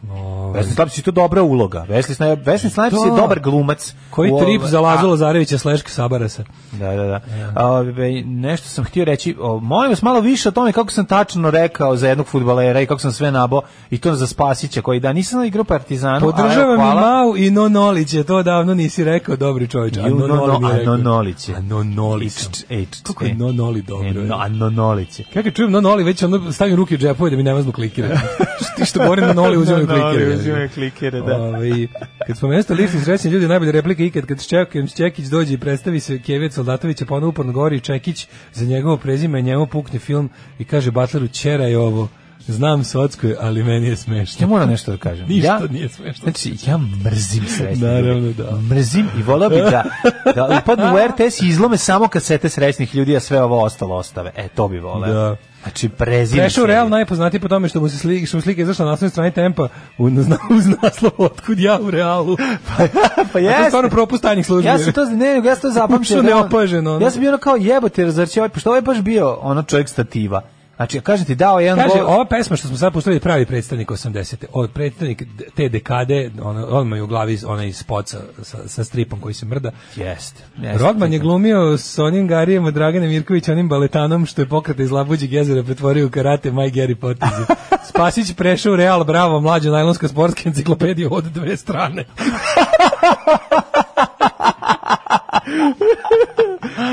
Speaker 5: Wesley Snipes je to dobra uloga. Wesley Snipes, Wesley Snipes je
Speaker 6: Da.
Speaker 5: dobar glumac.
Speaker 6: Koji
Speaker 5: U ovo-
Speaker 6: trip za Lazo Lazarevića slash Sabarasa?
Speaker 5: Da, da, da. A, ove, nešto sam htio reći, o, molim vas malo više o tome kako sam tačno rekao za jednog futbalera i kako sam sve nabao i to za Spasića koji da nisam igrao Partizanu.
Speaker 6: Podržavam i Mau i Nonolić je, to davno nisi rekao, dobri čovječ. A
Speaker 5: Ju, no,
Speaker 6: Nonoli
Speaker 5: no,
Speaker 6: mi je
Speaker 5: a
Speaker 6: rekao.
Speaker 5: Nonolić je.
Speaker 6: A Nonolić.
Speaker 5: Ej, č-
Speaker 6: Kako je
Speaker 5: ej.
Speaker 6: Nonoli
Speaker 5: E,
Speaker 6: dobro?
Speaker 5: no,
Speaker 6: je?
Speaker 5: a Nonolić je.
Speaker 6: Kako čujem Nonoli, već ono stavim ruke u džepove da mi ne maznu klikire. Ti što govorim Nonoli, uzimaju
Speaker 5: Nonoli,
Speaker 6: klikire.
Speaker 5: uzimaju klikere, da.
Speaker 6: Ovaj, kad spomenuo ste lift srećni ljudi, najbolja replika ikad kad Čekić, Čekić dođe i predstavi se Kevec Soldatovića, pa ono uporno govori Čekić za njegovo prezime, njemu pukne film i kaže Batleru, čera je ovo. Znam socko je, ali meni je smešno.
Speaker 5: Ja moram nešto da kažem.
Speaker 6: Ništa
Speaker 5: ja,
Speaker 6: nije smešno.
Speaker 5: Znači, ja mrzim srećne
Speaker 6: Naravno
Speaker 5: ljude.
Speaker 6: da.
Speaker 5: Mrzim i volao bih da, da upadnu u RTS i izlome samo kasete srećnih ljudi, a sve ovo ostalo ostave. E, to bi voleo.
Speaker 6: Da.
Speaker 5: Znači, prezim
Speaker 6: Prešao Real najpoznatiji po tome što mu se slike, što mu slike izašla na naslovnoj strani Tempa u, na- uz naslov Otkud ja u Realu.
Speaker 5: pa
Speaker 6: A to je
Speaker 5: jeste.
Speaker 6: stvarno propust tajnih službi.
Speaker 5: Ja sam to ne, ja sam to zapamtio.
Speaker 6: Ušao
Speaker 5: da on-
Speaker 6: neopaženo, ono.
Speaker 5: Ja sam bio ono kao jebote, zar će ovaj, pošto ovaj baš bio ono čovjek stativa. Znači, kažem ti, dao je jedan
Speaker 6: Kaže,
Speaker 5: gol.
Speaker 6: ova pesma što smo sad pustili je pravi predstavnik 80. Od predstavnik d- te dekade, on, on ima i u glavi onaj spot sa, sa, sa stripom koji se mrda.
Speaker 5: Jeste. jeste.
Speaker 6: Rodman je glumio s onim Garijem od Dragane Mirković, onim baletanom što je pokrata iz Labuđeg jezera pretvorio u karate My Gary Potizi. Spasić prešao u Real, bravo, mlađa najlonska sportska enciklopedija od dve strane.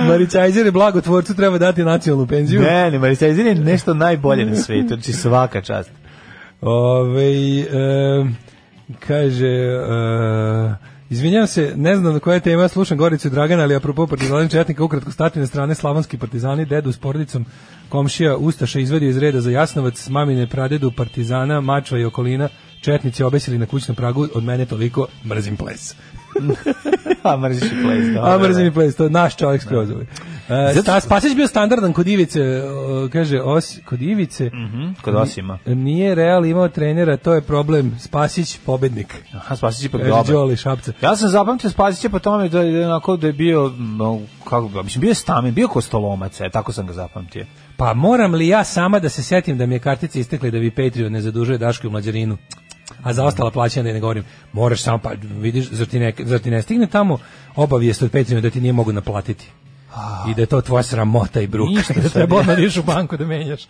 Speaker 6: Marićajzer je blago tvorcu, treba dati nacionalnu penziju.
Speaker 5: Ne, ne, Marisajzin je nešto najbolje na svijetu. Znači, svaka čast.
Speaker 6: Ove, e, kaže, e, izvinjam se, ne znam koja je tema, slušam Goricu i Dragana, ali apropo partizanin Četnika, ukratko stati na strane slavonski partizani, dedu s porodicom, komšija Ustaša izvedio iz reda za Jasnovac, mamine pradedu partizana, mačva i okolina, Četnici obesili na kućnom pragu, od mene toliko, mrzim ples.
Speaker 5: A mrziš i ples, dobro,
Speaker 6: A
Speaker 5: da.
Speaker 6: mrzim i ples, to je naš čovjek skroz. ovaj. E,
Speaker 5: Zato
Speaker 6: Sta- Spasić bio standardan kod Ivice, e, kaže, os, kod Ivice,
Speaker 5: Mhm, Kod Osima.
Speaker 6: nije Real imao trenera, to je problem. Spasić, pobednik.
Speaker 5: Aha, Spasić je ipak
Speaker 6: Kaže
Speaker 5: dobar.
Speaker 6: Đoli Šapca.
Speaker 5: Ja sam zapamtio Spasića po tome da je onako da je bio no, kako bi- mislim bio je stamen, bio kostolomac, e, tako sam ga zapamtio.
Speaker 6: Pa moram li ja sama da se setim da mi je kartica istekla i da vi Patreon ne zadužuje Dašku u mlađarinu? A za ostala plaćanja da i ne govorim. Moraš samo, pa vidiš, zar ti ne, zar ti ne stigne tamo obavijest od Patreona da ti nije mogu naplatiti? i da je to tvoja sramota i bruka.
Speaker 5: Ništa
Speaker 6: I da
Speaker 5: sad
Speaker 6: treba
Speaker 5: je.
Speaker 6: odmah da ideš u banku da menjaš.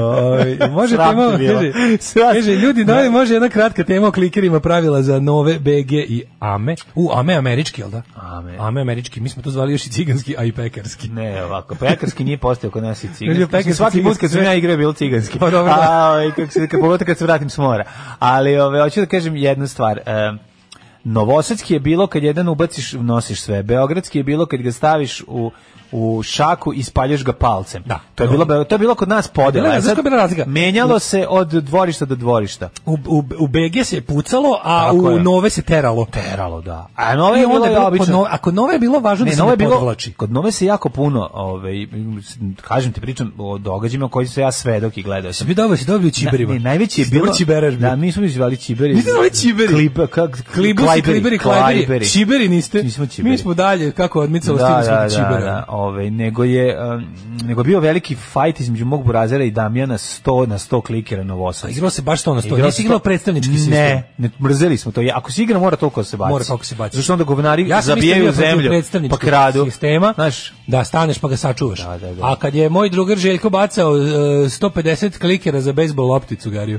Speaker 6: Oj, može
Speaker 5: Sram
Speaker 6: tema,
Speaker 5: te bilo.
Speaker 6: kaže,
Speaker 5: Sram.
Speaker 6: kaže, ljudi, da li može jedna kratka tema o klikerima pravila za nove BG i AME. U, AME američki, jel da?
Speaker 5: Ame.
Speaker 6: AME američki, mi smo to zvali još i ciganski, a i pekarski.
Speaker 5: Ne, ovako, pekarski nije postao kod nas i
Speaker 6: Ili
Speaker 5: ciganski.
Speaker 6: pekarski,
Speaker 5: Mislim, svaki put
Speaker 6: ciganski,
Speaker 5: kad sam
Speaker 6: sve-
Speaker 5: ja igrao je bilo ciganski.
Speaker 6: Pa dobro, da.
Speaker 5: A, ovaj, kako se, kad, pogotovo kad se vratim s mora. Ali ove, hoću da kažem jednu stvar. E, Novosadski je bilo kad jedan ubaciš, nosiš sve. Beogradski je bilo kad ga staviš u u šaku i spaljaš ga palcem.
Speaker 6: Da.
Speaker 5: To je bilo Beo- to je bilo kod nas podela.
Speaker 6: Bila je-
Speaker 5: E sad,
Speaker 6: znaš koja je bila razlika?
Speaker 5: Menjalo se od dvorišta do dvorišta.
Speaker 6: U, u, u BG se je pucalo, a
Speaker 5: Tako
Speaker 6: u
Speaker 5: je.
Speaker 6: nove se teralo.
Speaker 5: Teralo, da. A nove je
Speaker 6: I onda
Speaker 5: bilo
Speaker 6: je bilo,
Speaker 5: obično.
Speaker 6: kod nove, a kod nove je bilo važno da se
Speaker 5: ovaj Nove
Speaker 6: ne
Speaker 5: je bilo-
Speaker 6: podvlači.
Speaker 5: Kod Nove se jako puno, ovaj, kažem ti, pričam o događajima koji se ja svedok i gledao sam.
Speaker 6: Si bi dobro, si dobio čiberima.
Speaker 5: Ne, najveći je
Speaker 6: Si
Speaker 5: bilo...
Speaker 6: dobro čiberaš bio.
Speaker 5: Da, mi smo izvali čiberi.
Speaker 6: Niste zvali čiberi?
Speaker 5: Klipa, kak,
Speaker 6: Klibu si, kliberi, klajberi.
Speaker 5: Čiberi.
Speaker 6: Čiberi niste.
Speaker 5: Mi smo čiberi.
Speaker 6: Mi smo dalje, kako je odmicalo,
Speaker 5: Da,
Speaker 6: stigli smo
Speaker 5: da,
Speaker 6: do
Speaker 5: da,
Speaker 6: čibera.
Speaker 5: da, ovaj, nego je um, nego je bio veliki fajt između mog burazera i Damjana 100 na 100 klikera
Speaker 6: A
Speaker 5: Novosadska.
Speaker 6: igrao se baš to na sto.
Speaker 5: Igrao
Speaker 6: Nisi
Speaker 5: se
Speaker 6: igrao
Speaker 5: to-
Speaker 6: predstavnički
Speaker 5: ne,
Speaker 6: sistem.
Speaker 5: Ne, mrzeli smo to. Ja, Ako se igra mora toliko da se baci.
Speaker 6: Mora kako se baci.
Speaker 5: Zašto onda govnari
Speaker 6: Ja sam isto bio
Speaker 5: zabijaju
Speaker 6: protiv
Speaker 5: zemlju, pa
Speaker 6: predstavničkog
Speaker 5: kradu.
Speaker 6: sistema.
Speaker 5: Znaš,
Speaker 6: Da, staneš pa ga sačuvaš.
Speaker 5: Da, da, da.
Speaker 6: A kad je moj drugar Željko bacao e, 150 klikera za bejsbol lopticu Gariju.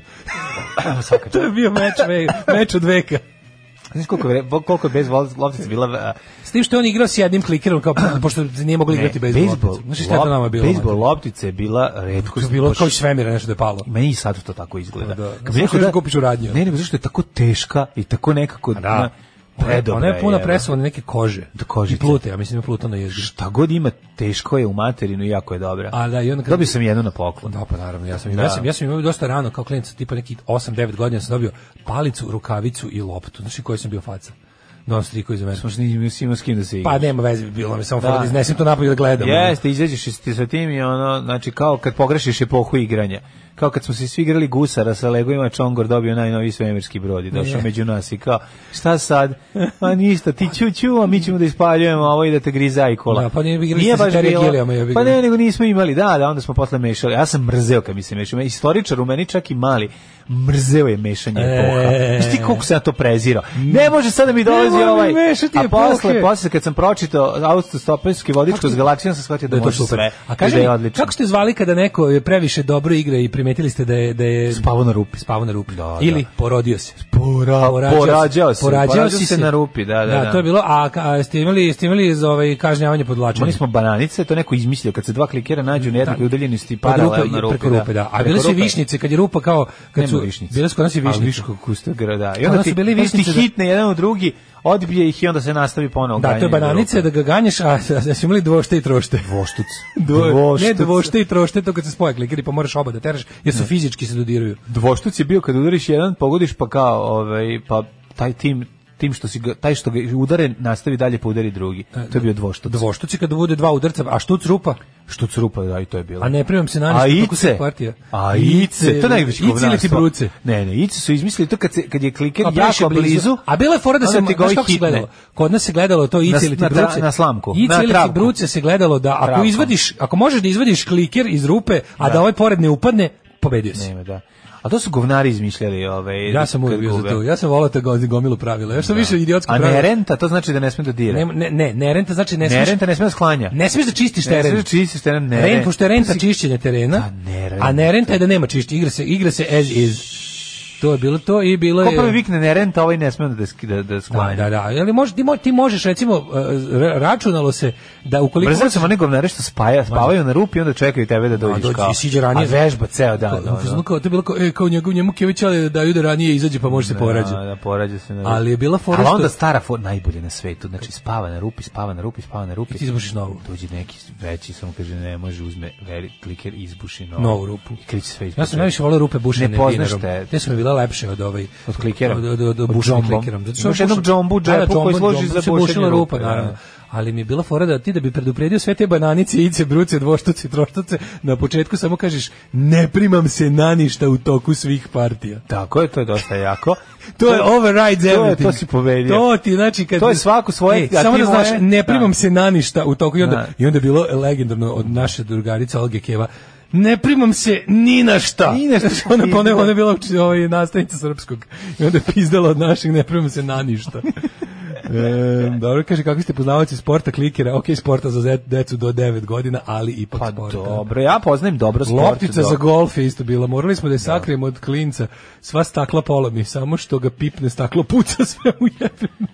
Speaker 6: to je bio meč, ve- meč od veka.
Speaker 5: znaš koliko, je vre- koliko je bez vol- loptica bila... a,
Speaker 6: S tim što je on igrao s jednim klikerom, kao, pošto nije mogli igrati bejsbol lopticu. Znaš šta je to nama bilo?
Speaker 5: Bejsbol
Speaker 6: mate?
Speaker 5: loptica je bila
Speaker 6: To
Speaker 5: redkost.
Speaker 6: je bilo
Speaker 5: Baš-
Speaker 6: kao iz svemira nešto da je palo.
Speaker 5: meni i sad to tako izgleda.
Speaker 6: Pa da.
Speaker 5: Kad
Speaker 6: Zašto
Speaker 5: mi neko
Speaker 6: je da kupiš u radnju?
Speaker 5: Ne, nego zašto je tako teška i tako nekako...
Speaker 6: ono. Pa Da.
Speaker 5: na- predobra
Speaker 6: Ona je puna
Speaker 5: evo.
Speaker 6: presovane neke kože.
Speaker 5: Da, kožice.
Speaker 6: I plute, ja mislim da pluta na jezgri.
Speaker 5: Šta god ima, teško je u materinu i jako je dobra.
Speaker 6: A da, i onda kad-
Speaker 5: Dobio sam jednu na poklon.
Speaker 6: Da, pa naravno, ja sam,
Speaker 5: Da.
Speaker 6: ja sam, ja sam imao dosta rano kao klinac, tipa neki 8-9 godina sam dobio palicu, rukavicu i loptu. Znaš i koji sam bio faca? Non striko iz mene.
Speaker 5: Možda nisi imao s kim da se igra.
Speaker 6: Pa nema veze, bilo mi samo
Speaker 5: Da.
Speaker 6: da. da iznesem to napolje da gledam. ono.
Speaker 5: Jeste, izađeš iz- ti sa tim i ono, znači kao kad pogrešiš epohu igranja. Kao kad smo se svi igrali gusara sa legovima, Čongor dobio najnoviji svemirski brod i došao
Speaker 6: Je.
Speaker 5: među nas i kao, šta sad? Ma ništa, ti ću ću, a mi ćemo da ispaljujemo ovo i da te griza i kola.
Speaker 6: Da, pa nije bi igrali ste Terija Gilijama, ja bi
Speaker 5: pa
Speaker 6: ga-
Speaker 5: ne, nego nismo imali, da, da, onda smo posle mešali. Ja sam mrzeo kad mi se mešao. Istoričar u meni čak i mali, mrzeo je mešanje epoha.
Speaker 6: E.
Speaker 5: Znaš ti koliko sam ja to prezirao? Ne može sad da mi dolazi
Speaker 6: moram
Speaker 5: ovaj.
Speaker 6: mešati
Speaker 5: A posle,
Speaker 6: epohe.
Speaker 5: posle kad sam pročitao autostopenski vodič s galaksijom, sam shvatio da,
Speaker 6: Da je to
Speaker 5: može
Speaker 6: super.
Speaker 5: sve.
Speaker 6: A
Speaker 5: i da
Speaker 6: kaže,
Speaker 5: je
Speaker 6: mi,
Speaker 5: odlično.
Speaker 6: kako ste zvali kada neko je previše dobro igra i primetili ste da je... Da je
Speaker 5: Spavao na rupi.
Speaker 6: Spavao na rupi.
Speaker 5: Da,
Speaker 6: Ili
Speaker 5: da.
Speaker 6: porodio se.
Speaker 5: Pora, porađao se.
Speaker 6: Porađao,
Speaker 5: Porađao
Speaker 6: si
Speaker 5: se na rupi, da, da, da.
Speaker 6: to je bilo, a, ka- a ste imali, ste imali za ovaj kažnjavanje podvlačenja?
Speaker 5: Imali smo bananice, to neko izmislio, kad se dva klikera nađu na jednakoj udaljenosti
Speaker 6: Od
Speaker 5: paralelno
Speaker 6: rupe,
Speaker 5: na rupi.
Speaker 6: preko rupe, da. A
Speaker 5: Preko
Speaker 6: bile su i
Speaker 5: rupe.
Speaker 6: višnjice, kad je rupa kao... Kad
Speaker 5: Nema
Speaker 6: su,
Speaker 5: višnjice.
Speaker 6: Bile su kod nas i
Speaker 5: A
Speaker 6: višnjice.
Speaker 5: viško kustogra, da. I
Speaker 6: Kod
Speaker 5: onda
Speaker 6: nas
Speaker 5: ti,
Speaker 6: su bile
Speaker 5: onda ti
Speaker 6: višnjice, da.
Speaker 5: hitne jedan u drugi, odbije ih i onda se nastavi ponovo.
Speaker 6: Da, to je
Speaker 5: ganjanje na
Speaker 6: bananice
Speaker 5: rupe.
Speaker 6: da ga ganješ, a da su imali dvošte i trošte.
Speaker 5: Dvoštuc.
Speaker 6: Dvo, ne
Speaker 5: Dvoštuc.
Speaker 6: dvošte i trošte, to kad se spoje klikeri, pa moraš oba da teraš, jer su fizički se dodiraju.
Speaker 5: Dvoštuc je bio kad udariš jedan, pogodiš pa kao, ovaj, pa taj tim tim što si ga, taj što ga udare nastavi dalje pa udari
Speaker 6: E,
Speaker 5: drugi. To je bio dvoštuc.
Speaker 6: Dvoštuci kada bude dva udarca, a štuc rupa,
Speaker 5: Što crupa, da, i to je bilo.
Speaker 6: a ne primam se na
Speaker 5: A
Speaker 6: ništa, tako
Speaker 5: ice,
Speaker 6: se kvartija.
Speaker 5: a ice, to je najveće
Speaker 6: Ice ili ti
Speaker 5: govnarstvo.
Speaker 6: bruce?
Speaker 5: Ne, ne, ice su izmislili to kad, se, kad je kliker
Speaker 6: Pa
Speaker 5: jako
Speaker 6: previše
Speaker 5: blizu.
Speaker 6: A bila je fora da se,
Speaker 5: onda ti ga
Speaker 6: znaš
Speaker 5: ovi
Speaker 6: kako se
Speaker 5: hitne.
Speaker 6: gledalo? Kod nas se gledalo to
Speaker 5: Na-
Speaker 6: ice ili ti
Speaker 5: na tra-
Speaker 6: bruce.
Speaker 5: na slamku, na
Speaker 6: Ice ili ti
Speaker 5: travku.
Speaker 6: bruce se gledalo da ako
Speaker 5: Travkom.
Speaker 6: izvadiš, ako možeš da izvadiš kliker iz rupe, a da ovaj pored ne upadne, pobedio si.
Speaker 5: Nema, da. A to su govnari izmišljali. Ove,
Speaker 6: Ja sam uvijek
Speaker 5: E, kad
Speaker 6: bio za
Speaker 5: gube.
Speaker 6: to. Ja sam volao te go- gomilu pravila. Ja sam više idiotsko
Speaker 5: A
Speaker 6: pravilo.
Speaker 5: ne renta, to znači da ne sme da dira.
Speaker 6: Ne, ne, ne, ne renta znači ne smiješ,
Speaker 5: Nerenta ne sme da sklanja.
Speaker 6: ne smiješ da čistiš
Speaker 5: Ne
Speaker 6: teren.
Speaker 5: smeš da čistiš teren, ne.
Speaker 6: Ren,
Speaker 5: ne.
Speaker 6: pošto je renta čišćenje terena,
Speaker 5: A ne renta.
Speaker 6: a ne renta je da nema čišćenja. Igra se, igra se as is. To je bilo to i bilo
Speaker 5: Ko
Speaker 6: je...
Speaker 5: prvi vikne ne renta, ovaj ne sme da, sk- da, da sklanja.
Speaker 6: Da, da, da. Ali može, ti, mo- ti možeš, recimo, e, ra- računalo se da ukoliko...
Speaker 5: Brzo sam one govnare što spaja, spavaju na rupi i onda čekaju tebe da dođeš
Speaker 6: dođe-
Speaker 5: kao.
Speaker 6: i siđe ranije.
Speaker 5: A vežba ceo dan.
Speaker 6: Kao,
Speaker 5: ono.
Speaker 6: u fazonu kao, to je bilo kao, e, kao njegov njemu Kević, ali da ju da ranije izađe pa može se porađati.
Speaker 5: Da, da, porađa se na rupi.
Speaker 6: Ali je bila fora
Speaker 5: Ali
Speaker 6: što-
Speaker 5: onda stara for najbolje na svetu, znači spava na rupi, spava na rupi, spava na rupi.
Speaker 6: I ti izbušiš novu.
Speaker 5: Dođe neki veći, samo kaže ne može, uzme veli kliker i izbuši novu.
Speaker 6: Novu rupu.
Speaker 5: I kriči sve
Speaker 6: Ja sam najviše volao rupe bušene
Speaker 5: Ne poznaš
Speaker 6: dinarom.
Speaker 5: te.
Speaker 6: Te su mi bila lepše od ovaj
Speaker 5: Od klikera?
Speaker 6: Od, od, od,
Speaker 5: Od
Speaker 6: bušenih
Speaker 5: džomba?
Speaker 6: klikerom. Zato što
Speaker 5: Imaš
Speaker 6: je
Speaker 5: jednog
Speaker 6: bušen-
Speaker 5: džombu u
Speaker 6: Da, da,
Speaker 5: džepu koji
Speaker 6: džombu-
Speaker 5: služi
Speaker 6: džombu
Speaker 5: za
Speaker 6: se
Speaker 5: bušenje
Speaker 6: bušila rupa,
Speaker 5: rupe,
Speaker 6: naravno.
Speaker 5: da.
Speaker 6: Ali mi je bila fora da ti da bi predupredio sve te bananice, ice, bruce, dvoštuce, troštuce, na početku samo kažeš ne primam se na ništa u toku svih partija.
Speaker 5: Tako je, to je dosta jako.
Speaker 6: To je overrides
Speaker 5: to je-
Speaker 6: everything.
Speaker 5: to si pobedio.
Speaker 6: To ti znači kad
Speaker 5: To je svako svoje, a
Speaker 6: samo
Speaker 5: ti
Speaker 6: da znaš,
Speaker 5: moje-
Speaker 6: ne primam
Speaker 5: Da.
Speaker 6: se na ništa u toku i onda
Speaker 5: Da.
Speaker 6: i onda je bilo legendarno od naše drugarice Olge Keva. Ne primam se ni na šta.
Speaker 5: Ni na šta.
Speaker 6: ona pa ona, ona je bila uči- ovaj, nastavnica srpskog. I onda je pizdala od naših, ne primam se na ništa. E, dobro, kaže, kako ste poznavaci sporta klikera? Ok, sporta za zet- decu do 9 godina, ali ipak
Speaker 5: Pa
Speaker 6: sporta.
Speaker 5: dobro, ja poznajem dobro sport.
Speaker 6: Loptica za
Speaker 5: dobro.
Speaker 6: golf je isto bila. Morali smo da je sakrijemo od klinca. Sva stakla polomi, samo što ga pipne staklo puca sve u jebem.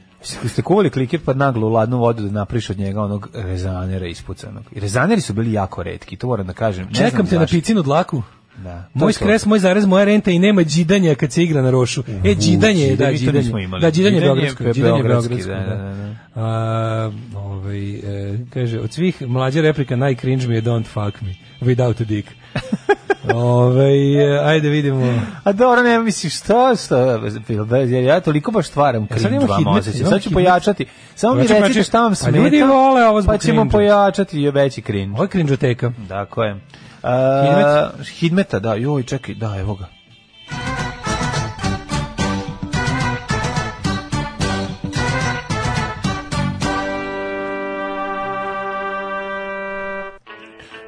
Speaker 5: Ste kuvali klikir pa naglo u ladnu vodu da napriš od njega onog rezanera ispucanog. I rezaneri su bili jako redki, to moram da kažem. Ne
Speaker 6: Čekam
Speaker 5: znam
Speaker 6: te na
Speaker 5: zašto.
Speaker 6: picinu dlaku.
Speaker 5: Da.
Speaker 6: Moj
Speaker 5: To je to.
Speaker 6: skres, moj zarez, moja renta i nema đidanja kad se igra na rošu. E, đidanje, je, da,
Speaker 5: đidanje, to nismo
Speaker 6: đidanje.
Speaker 5: imali.
Speaker 6: Da, đidanje je
Speaker 5: Đidanje je
Speaker 6: beogradsko.
Speaker 5: pe-
Speaker 6: Đidanje je
Speaker 5: beogradski,
Speaker 6: beogradsko,
Speaker 5: da,
Speaker 6: da.
Speaker 5: da, da.
Speaker 6: A, ovaj, e, kaže, od svih mlađe replika najcringe mi je don't fuck me, without a dick. Ovaj, e, ajde vidimo.
Speaker 5: A dobro, ne misliš šta, šta, Fil, da, jer ja toliko baš stvaram
Speaker 6: E, sad imamo
Speaker 5: cringe vam
Speaker 6: hitmet,
Speaker 5: osjećaj.
Speaker 6: imamo
Speaker 5: Sad ću
Speaker 6: hitmet.
Speaker 5: pojačati. Samo mi
Speaker 6: Hoću pojačati.
Speaker 5: recite šta vam
Speaker 6: Pa
Speaker 5: smeta.
Speaker 6: ljudi vole ovo zbog
Speaker 5: Pa ćemo
Speaker 6: cringe-a.
Speaker 5: pojačati je veći cringe.
Speaker 6: Ovo je krinđoteka.
Speaker 5: Dakle. Uh,
Speaker 6: Hidmet?
Speaker 5: Hidmeta, da, joj, čekaj, da, evo ga.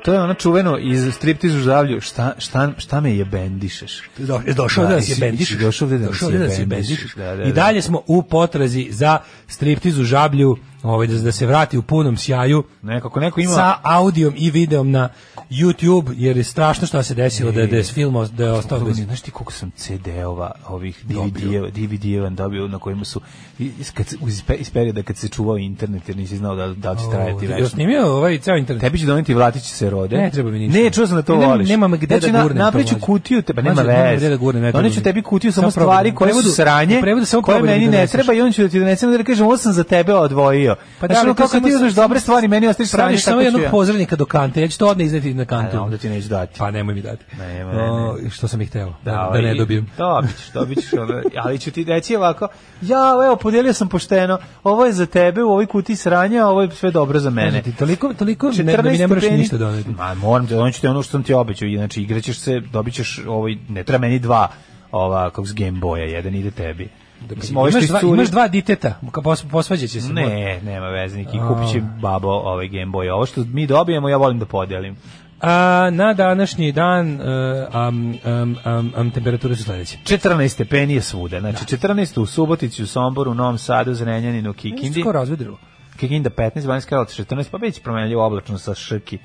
Speaker 5: To je ono čuveno iz striptizu žavlju, šta, šta, šta me jebendišeš?
Speaker 6: Do, došao
Speaker 5: Da,
Speaker 6: da nas
Speaker 5: i
Speaker 6: je
Speaker 5: si-
Speaker 6: bendiš.
Speaker 5: i si došao ovde da nas
Speaker 6: je
Speaker 5: jebendiš.
Speaker 6: bendiš.
Speaker 5: Da, da,
Speaker 6: I
Speaker 5: da.
Speaker 6: dalje smo u potrazi za striptiz u žablju, ovaj, da, da se vrati u punom sjaju.
Speaker 5: Nekako, neko ima...
Speaker 6: sa audijom i videom na YouTube, jer je strašno šta se desilo da, je- da je s film os- da je ostao
Speaker 5: Ostao
Speaker 6: bez...
Speaker 5: Znaš ti koliko sam CD-ova, ovih DVD-eva, DVD-eva dobio na kojima su, i- iz- kad, se- uz, pe- iz perioda kad se čuvao internet, jer nisi znao da, da li će trajati
Speaker 6: Jel
Speaker 5: večno.
Speaker 6: snimio ovaj ceo internet?
Speaker 5: Tebi će doneti Vlatić se rode.
Speaker 6: Ne treba mi ništa.
Speaker 5: Ne, čuo sam da to
Speaker 6: Nemam-
Speaker 5: voliš. Znači,
Speaker 6: nemam gde da
Speaker 5: na-
Speaker 6: gurnem to,
Speaker 5: napravit ću
Speaker 6: mlađe.
Speaker 5: kutiju, te, pa nema
Speaker 6: Mlađe, nemam
Speaker 5: veze.
Speaker 6: gde da gurnem, ne treba
Speaker 5: Doneću
Speaker 6: mi.
Speaker 5: tebi kutiju samo
Speaker 6: Samo probaj.
Speaker 5: stvari
Speaker 6: U
Speaker 5: koje su
Speaker 6: prevodu-
Speaker 5: sranje,
Speaker 6: u prevodu samo
Speaker 5: koje
Speaker 6: probaj da mi
Speaker 5: meni ne
Speaker 6: doneseš.
Speaker 5: treba i on će da ti donesem da ti kažem, ovo sam za tebe odvojio.
Speaker 6: Pa
Speaker 5: Pa
Speaker 6: da,
Speaker 5: da,
Speaker 6: ali
Speaker 5: ono
Speaker 6: to
Speaker 5: kako
Speaker 6: samo-
Speaker 5: ti uzmeš dobre stvari, meni ostaviš sranje,
Speaker 6: Praviš samo
Speaker 5: tako ću
Speaker 6: jednog
Speaker 5: ja.
Speaker 6: pozornika do kante, ja ću to odne izneti na kantu.
Speaker 5: A, onda ti neću dati.
Speaker 6: Pa nemoj mi dati.
Speaker 5: Ne, ne, ne.
Speaker 6: O, što sam ih hteo, da, da ne
Speaker 5: ovaj,
Speaker 6: dobijem.
Speaker 5: Dobit ćeš, dobit ćeš, ono, ali ću ti reći ovako, ja, evo, podijelio sam pošteno, ovo je za tebe, u ovoj kuti sranja, a ovo je sve dobro za mene.
Speaker 6: Kažem Znači, ti, toliko, toliko ne, da mi
Speaker 5: 14
Speaker 6: ne moraš
Speaker 5: stepeni.
Speaker 6: ništa doneti.
Speaker 5: Ma, moram ti, doneću ti ono što sam ti obećao, i, znači igraćeš se, dobit ćeš, ovaj, ne treba meni dva, ova, kako s Game Boya, jedan ide tebi. Mislim, ove što
Speaker 6: imaš, dva,
Speaker 5: iscuri-
Speaker 6: imaš dva diteta, ka- pos- posvađat će se.
Speaker 5: Ne, nema veze, neki kupit će babo ovaj Game Boy. Ovo što mi dobijemo, ja volim da podelim.
Speaker 6: A, na današnji dan e, am, am, am, am, temperature su sledeće.
Speaker 5: 14 stepeni je svuda, znači 14 u Subotici, u Somboru, u Novom Sadu, Zrenjaninu, Kikindi.
Speaker 6: Skoro razvedrilo.
Speaker 5: Kikinda 15, Banjska Karlovac 14, pa već promenljivo oblačno sa šrki,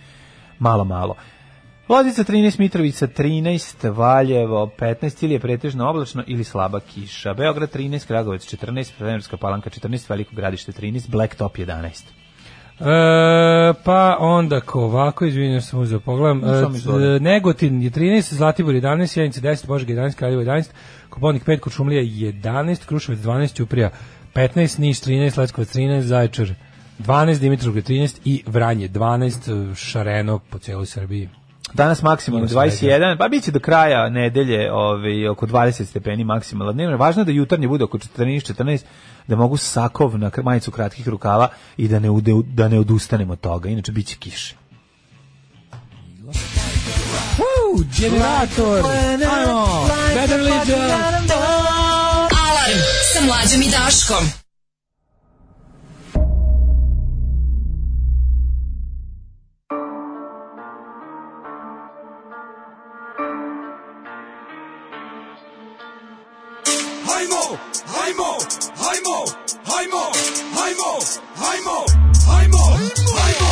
Speaker 5: malo, malo. Loznica 13, Mitrovica 13, Valjevo 15, ili je pretežno oblačno ili slaba kiša. Beograd 13, Kragovac 14, Premerska palanka 14, Veliko gradište 13, Blacktop 11.
Speaker 6: E, pa onda ko ovako, izvinjam sam uzeo pogledam.
Speaker 5: No, samo
Speaker 6: E,
Speaker 5: izvoli.
Speaker 6: t- Negotin je 13, Zlatibor 11, Sjenica 10, Božeg 11, Kraljevo 11, Koponik 5, Kočumlija 11, Kruševac 12, Ćuprija 15, Niš 13, Leskovac 13, Zaječar 12, Dimitrovgrad 13 i Vranje 12, e, šareno po cijeloj Srbiji.
Speaker 5: Danas maksimalno
Speaker 6: Ima svega.
Speaker 5: 21, pa bit će do kraja nedelje ovaj, oko 20 stepeni maksimalno dnevno. Važno je da jutarnje bude oko 14-14, da mogu sakov na kr- majicu kratkih rukava i da ne, ude, da ne odustanemo od toga, inače bit će kiše.
Speaker 6: Uuu, generator! Ajmo! Better Legion!
Speaker 4: Alarm sa mlađom i Daškom.
Speaker 1: Hajmo, hajmo, hajmo, hajmo, hajmo, hajmo, hajmo, hajmo.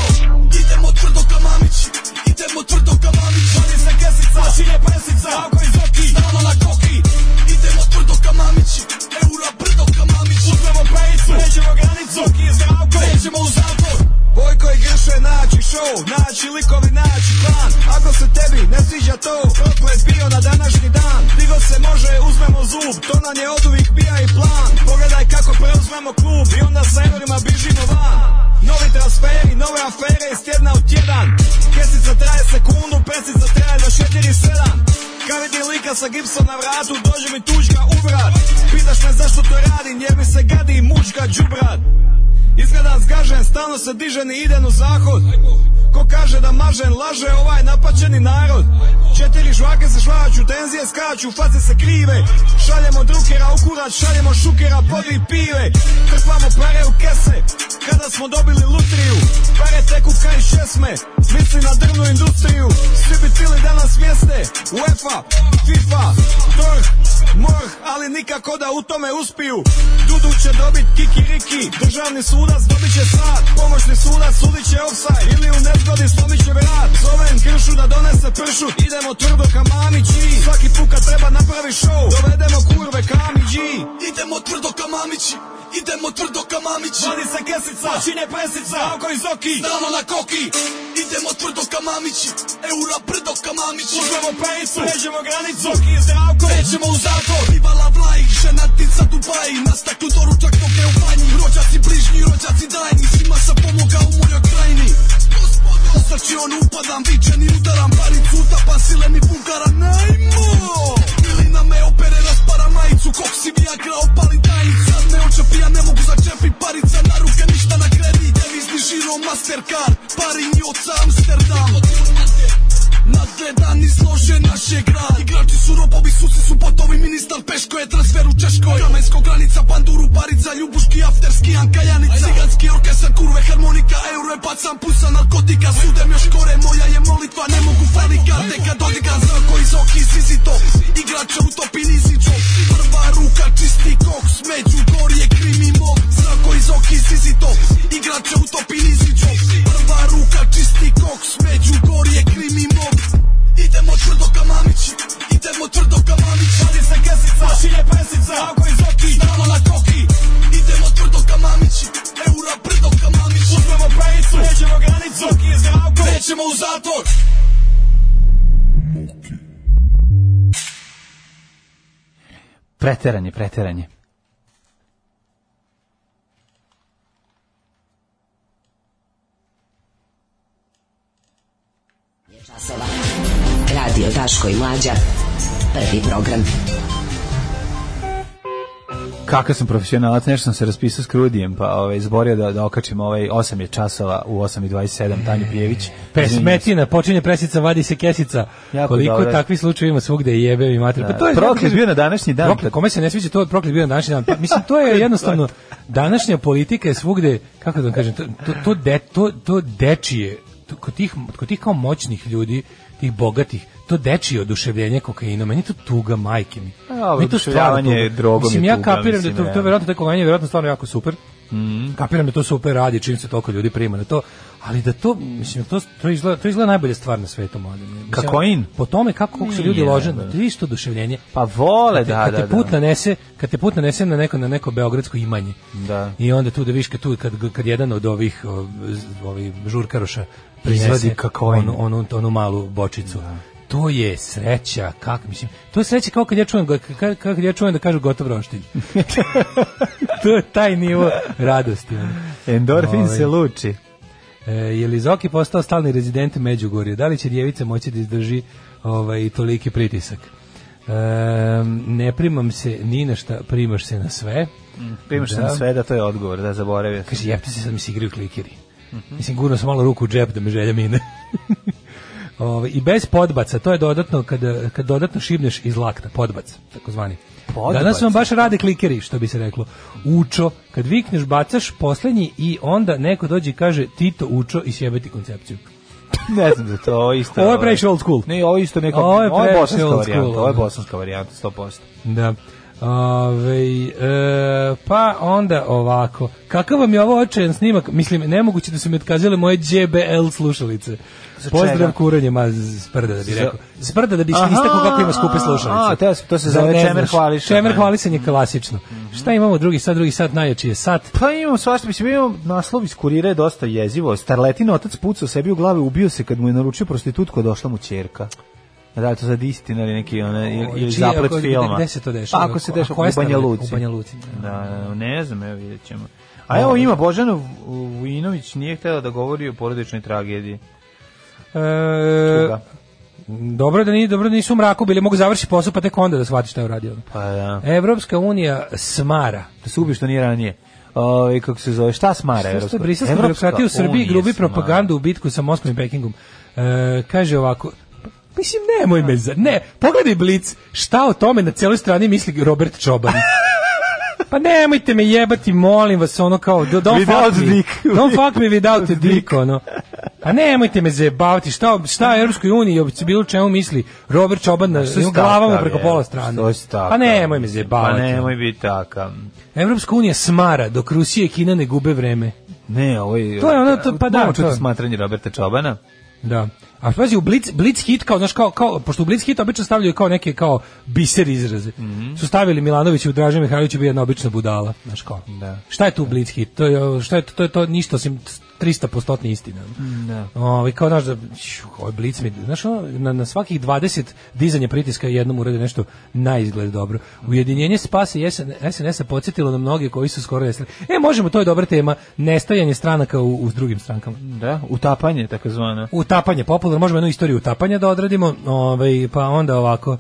Speaker 1: Idemo tvrdo ka mamići, idemo tvrdo ka mamići. Vadi se kesica, čije presica, ako iz oki, stalno na koki. Idemo tvrdo ka mamići, eura brdo ka mamići. Uzmemo pejicu, nećemo granicu, oki je zdravko, nećemo u zatvor. Bojko i Grše naći show, naći likovi, naći plan Ako se tebi ne sviđa to, kako je bio na današnji dan Digo se može, uzmemo zub, to nam je od uvijek bija i plan Pogledaj kako preuzmemo klub i onda sa eurima bižimo van Novi transferi, nove afere iz tjedna u tjedan Kesica traje sekundu, pesica traje do 4-7 kad vidim lika sa gipsom na vratu, dođe mi tuđka u vrat Pitaš me zašto to radim, jer mi se gadi mučka džubrat Izgledam zgažen, stalno se dižen i idem u zahod Ko kaže da mažen, laže ovaj napaćeni narod Četiri žvake se švaću, tenzije skaču, face se krive Šaljemo drukera u kurat, šaljemo šukera, podri pive Trpamo pare u kese, kada smo dobili lutriju Pare teku kraj šesme, misli na drvnu industriju Svi bi tili da nas mjeste, UEFA, FIFA, DORH, MORH, ali nikako da u tome uspiju. Dudu će dobit kikiriki, državni sudac dobit će sad, pomoćni sudac sudit će offside, ili u nezgodi slomit će vrat. Zovem Gršu da donese pršu, idemo tvrdo ka mami G. Svaki put kad treba napravi show, dovedemo kurve kami G. Idemo tvrdo ka mamići, idemo tvrdo ka mamići. Vadi se kesica, čine presica, ako iz oki, stalno na koki. Idemo tvrdo ka mamići, eura brdo ka mamići. Uzmemo pejicu, pređemo granicu, oki i zdravko, nećemo u zatvor. Bivala vlaj, ženatica Dubaji, na staklu doručak dok je u banji. Rođaci bližnji, rođaci dajni, svima sam pomogao u mojoj krajini. U srči on upadam, vičen i udaram, pa paricu utapam, sileni bugara, najmo! Milina me opere, raspara majicu, koksi viagra, opali tajnica, me očepi, ja ne mogu začepi, parica na ruke, ništa na kredi, devizni žiro, mastercard, pari njoca, Amsterdam. Nadgledan izložen naš je grad Igrači su robovi, suci su potovi Ministar Peško je transfer u Češkoj Kamensko granica, panduru, parica Ljubuški, afterski, Anka Janić Ciganski orkesar, kurve, harmonika Euro je pacan, pusa, narkotika Sudem još kore, moja je molitva Ne mogu fali karte kad odigram Zrako iz oki, zizito Igrača u topi niziću Prva ruka, čisti koks Među gor je krimimo Zrako iz oki, zizito Igrača u topi niziću Prva ruka, čisti koks Među gor je krimimo Idemo tvrdo ka mamići, idemo tvrdo ka mamići Vadi se kesica, šilje pesica, ako iz oki, stalno na koki Idemo tvrdo ka mamići, eura brdo ka mamići Uzmemo pejicu, pređemo granicu, oki je zdravko, nećemo u zatvor
Speaker 5: Preteranje, preteranje.
Speaker 4: Časova. Radio Daško i Mlađa. Prvi program.
Speaker 5: Kakav sam profesionalac, nešto sam se raspisao s Krudijem, pa ovaj, zborio da, da okačim ovaj 8 je časova u 8.27, Tanja Pijević. Izvinjavam se.
Speaker 6: Pesmetina, počinje presica, vadi se kesica.
Speaker 5: Jako
Speaker 6: Koliko
Speaker 5: dobro.
Speaker 6: takvih slučajeva ima svugde i jebe i mater. Pa to je
Speaker 5: Proklet bio na današnji dan.
Speaker 6: Proklet, kome se ne sviđa to, proklet bio na današnji dan. Pa, mislim, to je jednostavno, današnja politika je svugde, kako da vam kažem, to, to, to, de, to, to dečije, to, kod, tih, kod tih kao moćnih ljudi, tih bogatih, to dečije oduševljenje kokainom, meni je to tuga majke mi.
Speaker 5: A, ovo
Speaker 6: Meni je to stvarno
Speaker 5: oduševljavanje
Speaker 6: tuga.
Speaker 5: drogom
Speaker 6: Mislim,
Speaker 5: je
Speaker 6: ja
Speaker 5: tuga,
Speaker 6: kapiram da
Speaker 5: mislim,
Speaker 6: je to, to je
Speaker 5: realno. Mhm.
Speaker 6: verovatno tako meni je verovatno stvarno jako super. Kapiram da to super radi, čim se toliko ljudi prima na to, ali da to, mislim, to, to, izgleda, to izgleda najbolja stvar na svetu, mladen. Mislim,
Speaker 5: Kakoin?
Speaker 6: Po tome kako, kako su ljudi
Speaker 5: Nije,
Speaker 6: loženi,
Speaker 5: da.
Speaker 6: to je isto oduševljenje.
Speaker 5: Pa vole, da,
Speaker 6: kad
Speaker 5: da,
Speaker 6: te put
Speaker 5: da.
Speaker 6: nanese, kad te put nanese na neko na neko beogradsko imanje.
Speaker 5: Da.
Speaker 6: I onda tu da viš kad tu kad kad jedan od ovih o, z- ovih žurkaroša
Speaker 5: Izvadi
Speaker 6: proizvodi
Speaker 5: kakoin.
Speaker 6: onu, onu onu malu bočicu. To je sreća, kako mislim. To je sreća kao kad ja čujem kako kad ja čujem da kažu gotov roštilj. to je taj nivo radosti. ono.
Speaker 5: Endorfin
Speaker 6: Ovaj.
Speaker 5: se luči.
Speaker 6: E, je li Zoki postao stalni rezident Međugorja? Da li će Djevica moći da izdrži ovaj, toliki pritisak? E, ne primam se ni na šta, primaš se na sve.
Speaker 5: Primaš se
Speaker 6: Da.
Speaker 5: na sve da to je odgovor, da zaboravio sam.
Speaker 6: Kaže, jebte se sad mi se igraju klikeri. Mislim, gurno sam malo ruku u džep da me želja mine. Ovaj, I bez podbaca, to je dodatno, kada, kad dodatno šibneš iz lakta, podbac, takozvani.
Speaker 5: Podbac?
Speaker 6: Danas vam baš rade klikeri, što bi se reklo. Učo, kad vikneš, bacaš poslednji i onda neko dođe i kaže Tito učo i sjebeti koncepciju.
Speaker 5: Ne znam za to, ovo je isto.
Speaker 6: Ovo je previše old school.
Speaker 5: Ne, ovo je isto neka,
Speaker 6: Ovo
Speaker 5: ovo
Speaker 6: je
Speaker 5: je,
Speaker 6: previše
Speaker 5: bosanska
Speaker 6: old
Speaker 5: varijanta,
Speaker 6: school,
Speaker 5: ovo je
Speaker 6: ono.
Speaker 5: bosanska varijanta, 100%.
Speaker 6: Da. Ove, e, pa onda ovako. Kakav vam je ovo očajan snimak? Mislim, nemoguće da su mi otkazale moje JBL slušalice.
Speaker 5: čega?
Speaker 6: Pozdrav kuranje, ma z- sprda da bi
Speaker 5: Za-
Speaker 6: rekao. Sprda da bi istakao kako ima skupe slušalice.
Speaker 5: a, te- to se
Speaker 6: Da
Speaker 5: zove
Speaker 6: ne
Speaker 5: čemer
Speaker 6: znaš.
Speaker 5: hvalisanje.
Speaker 6: Čemer hvalisanje klasično. Šta imamo drugi sat? Drugi sat najjači je sat. E,
Speaker 5: Pa imamo svašta, mislim, imamo naslov iz kurira je dosta jezivo. Starletin otac pucao sebi u glave, ubio se kad mu je naručio prostitutku, a došla mu čerka. Da, je to sad istina ili neki ona, ili, ili
Speaker 6: Čiji-
Speaker 5: zaplet
Speaker 6: ako-
Speaker 5: filma.
Speaker 6: Gde se to dešava?
Speaker 5: Pa, ako se
Speaker 6: Ko- a
Speaker 5: dešava
Speaker 6: koja
Speaker 5: u
Speaker 6: strana?
Speaker 5: Banja Luci.
Speaker 6: U Banja Luci. Ovaj-
Speaker 5: Da, da, ne znam, evo vidjet ćemo. A evo ima Božana Vujinović nije htjela da govori o porodičnoj tragediji.
Speaker 6: E,
Speaker 5: Tuga.
Speaker 6: dobro da ni dobro da nisu u mraku bili, mogu završiti posao pa tek onda da shvatiš šta je uradio.
Speaker 5: Pa da.
Speaker 6: e. Evropska unija smara.
Speaker 5: Da se ubi što nije ranije. Ovaj kako se zove? Šta smara
Speaker 6: Što ste
Speaker 5: Evropska?
Speaker 6: briselska
Speaker 5: Evropska
Speaker 6: birokratija u Srbiji
Speaker 5: unija
Speaker 6: grubi
Speaker 5: smara.
Speaker 6: propagandu u bitku sa Moskvom i Pekingom. E, kaže ovako, pa, mislim nemoj me za... Ne, pogledaj Blic, šta o tome na celoj strani misli Robert Čoban. Pa nemojte me jebati, molim vas, ono kao, do- don't
Speaker 5: Without
Speaker 6: fuck me.
Speaker 5: dick.
Speaker 6: Don't fuck me without a dick, ono. Pa nemojte me zajebavati, šta, šta Europskoj uniji, opće bilo čemu misli, Robert Čoban na
Speaker 5: Što si
Speaker 6: glavama
Speaker 5: takav,
Speaker 6: preko
Speaker 5: je?
Speaker 6: pola strane.
Speaker 5: Što si takav?
Speaker 6: Pa nemoj me
Speaker 5: Pa
Speaker 6: zajebavati.
Speaker 5: nemoj biti takav.
Speaker 6: Evropska unija smara, dok Rusija i Kina ne gube vreme.
Speaker 5: Ne, ovo je...
Speaker 6: To je ono, to- pa da,
Speaker 5: Moramo
Speaker 6: to
Speaker 5: čuti
Speaker 6: je.
Speaker 5: smatranje Roberta Čobana.
Speaker 6: Da. A pazi, u Blitz, Blitz hit, kao, znaš, kao, kao, pošto u Blitz hit obično stavljaju kao neke kao biser izraze.
Speaker 5: Mhm.
Speaker 6: Su stavili Milanović u Draža Mihajlović bi jedna obična budala, znaš kao.
Speaker 5: Da.
Speaker 6: Šta je tu Blitz hit? To je, ovo, šta je to, to, je to ništa osim 300% istina.
Speaker 5: Da.
Speaker 6: Ovi, kao, znaš, da, šu, ovaj Blitz mi, znaš, ono, na, na svakih 20 dizanja pritiska jednom urade nešto na izgled dobro. Ujedinjenje spasa i SN SNS-a podsjetilo na mnoge koji su skoro nestali. E, možemo, to je dobra tema, nestajanje stranaka u, u s drugim strankama
Speaker 5: Da, utapanje, takozvano.
Speaker 6: utapanje popularno, možemo jednu istoriju utapanja da odradimo, ovaj, pa onda ovako,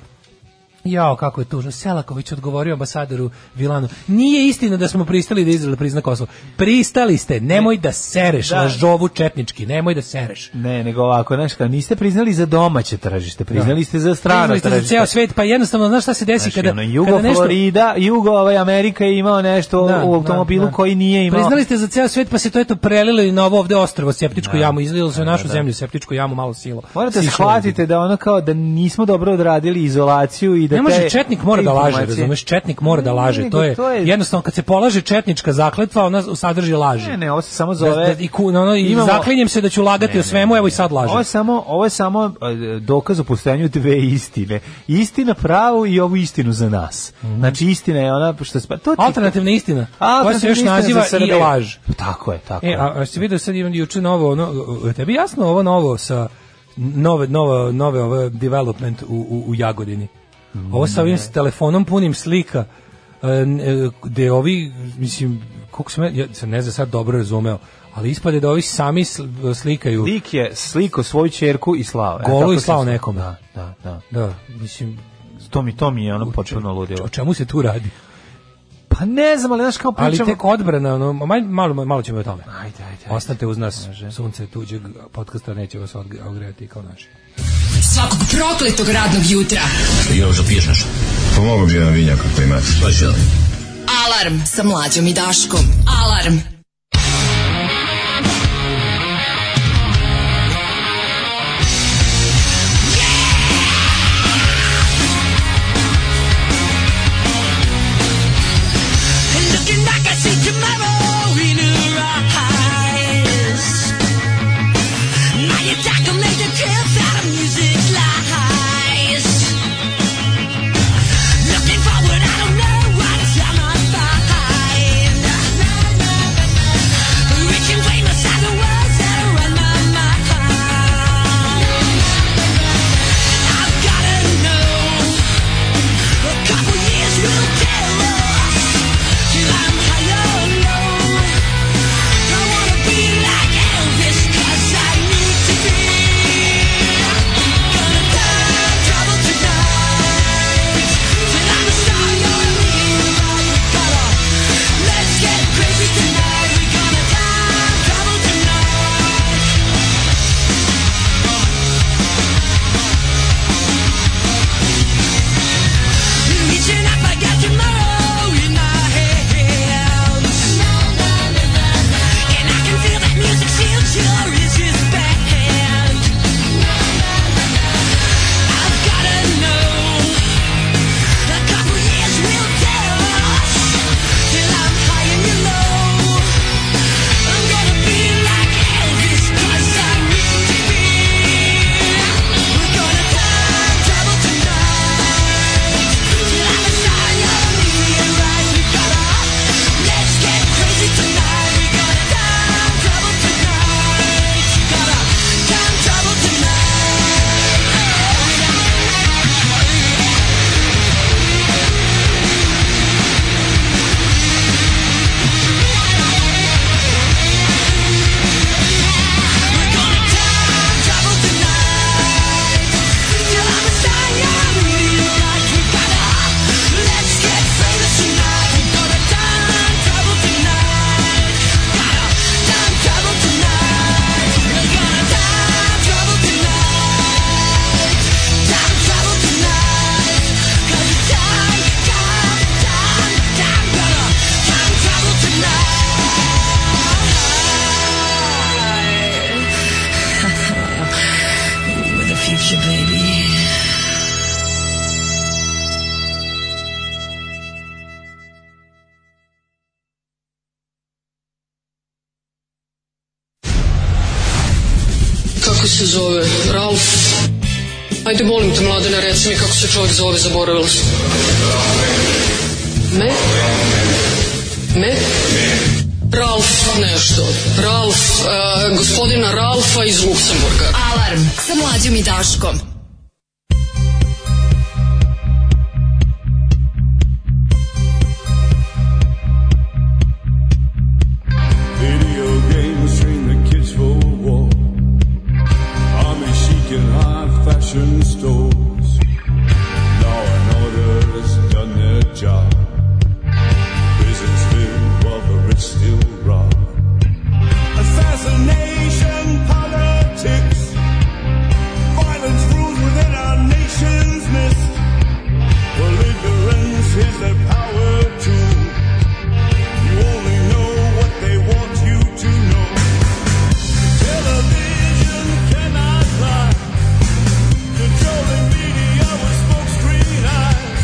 Speaker 6: Jao, kako je tužno. Selaković odgovorio ambasadoru Vilanu. Nije istina da smo pristali da Izrael prizna Kosovo. Pristali ste, nemoj da sereš,
Speaker 5: Da.
Speaker 6: lažovu četnički, nemoj da sereš.
Speaker 5: Ne, nego ovako, znaš, kao, niste priznali za domaće tražište, priznali ste za strano
Speaker 6: Priznali ste za
Speaker 5: tražište.
Speaker 6: ceo svet, pa jednostavno, znaš šta se desi
Speaker 5: Znaš,
Speaker 6: kada,
Speaker 5: ono, Jugo
Speaker 6: kada nešto...
Speaker 5: Florida, Jugo ovaj, Amerika je imao nešto
Speaker 6: Da,
Speaker 5: u automobilu
Speaker 6: da, da.
Speaker 5: koji nije imao.
Speaker 6: Priznali ste za ceo svet, pa se to eto prelilo i na ovo ovde ostrvo, septičku jamu, izlilo se u našu zemlju, septičku jamu, malo silo.
Speaker 5: Morate
Speaker 6: Sišlo je.
Speaker 5: shvatite da ono kao da nismo dobro odradili izolaciju i da
Speaker 6: ne može
Speaker 5: te-
Speaker 6: četnik mora
Speaker 5: te
Speaker 6: da laže,
Speaker 5: informacije-
Speaker 6: razumeš? Četnik mora da
Speaker 5: Ne,
Speaker 6: laže. To je
Speaker 5: nego
Speaker 6: jednostavno kad se polaže četnička zakletva, ona sadrži laži.
Speaker 5: Ne, ne, ovo se samo
Speaker 6: Da-
Speaker 5: zove...
Speaker 6: da- i ku- ono, i
Speaker 5: Imamo-
Speaker 6: zaklinjem se da ću lagati o svemu, evo i sad
Speaker 5: Ovo je
Speaker 6: lažem.
Speaker 5: samo, ovo je samo e, dokaz o postojanju dve istine. Istina pravu i ovu istinu za nas.
Speaker 6: Mhm.
Speaker 5: Znači istina je ona što spa... to ti-
Speaker 6: Alternativna istina, koja se
Speaker 5: Alternativna
Speaker 6: još
Speaker 5: istina za
Speaker 6: naziva i
Speaker 5: Srbe. Pa
Speaker 6: laž.
Speaker 5: Tako je, tako
Speaker 6: E,
Speaker 5: je.
Speaker 6: a, a si vidio sad imam juče novo, ono, e, tebi jasno ovo novo sa nove, nove, nove ovo development u, u, u Jagodini? Ovo sa ovim s telefonom punim slika, e, n- e, gde ovi, mislim, koliko sam, ja- ja sam ne znam sad dobro razumeo, ali ispade da ovi sami sl- slikaju
Speaker 5: Lik je sliko svoju ćerku i slao. E,
Speaker 6: Golu
Speaker 5: tako
Speaker 6: i
Speaker 5: sam-
Speaker 6: slao nekome.
Speaker 5: Da, da, da.
Speaker 6: Da, mislim,
Speaker 5: To mi, to mi je ono potpuno ludilo.
Speaker 6: o čemu se tu radi?
Speaker 5: Pa ne znam, ali znaš kao pričamo...
Speaker 6: Ali tek odbrana, ono, ma- malo, malo ćemo i o tome.
Speaker 5: Ajde, ajde, ajde.
Speaker 6: Ostanite uz nas, sunce tuđeg podcasta neće vas odg- ogrejati kao naši.
Speaker 4: Svakog prokletog radnog jutra.
Speaker 9: Još da piješ nešto?
Speaker 10: Pomogu Pa bi jedan vinjak ako imate.
Speaker 9: Pa želim.
Speaker 4: Alarm sa mlađom i Daškom. Alarm.
Speaker 11: Looking back, I see tomorrow in her eyes. Now your doctor made the truth out of music lies. Looking forward, I don't know what I'm gonna find.
Speaker 12: se zove? Ralf? Ajde, molim te, mladene, reci mi kako se čovjek zove, zaboravila sam. Me? Me? Ralf nešto. Ralf, e, gospodina Ralfa iz Luksemburga.
Speaker 4: Alarm sa mlađom i Daškom.
Speaker 13: Video games train the kids for war. Army chic in high fashion stores. Law and order's done their job. Prisons filled while the rich still rob.
Speaker 11: Assassination politics. Violence rules within our nation's midst. Belligerence is their power too. You only know what they want you to know. Television cannot lie. Controlling media with smoke screen eyes.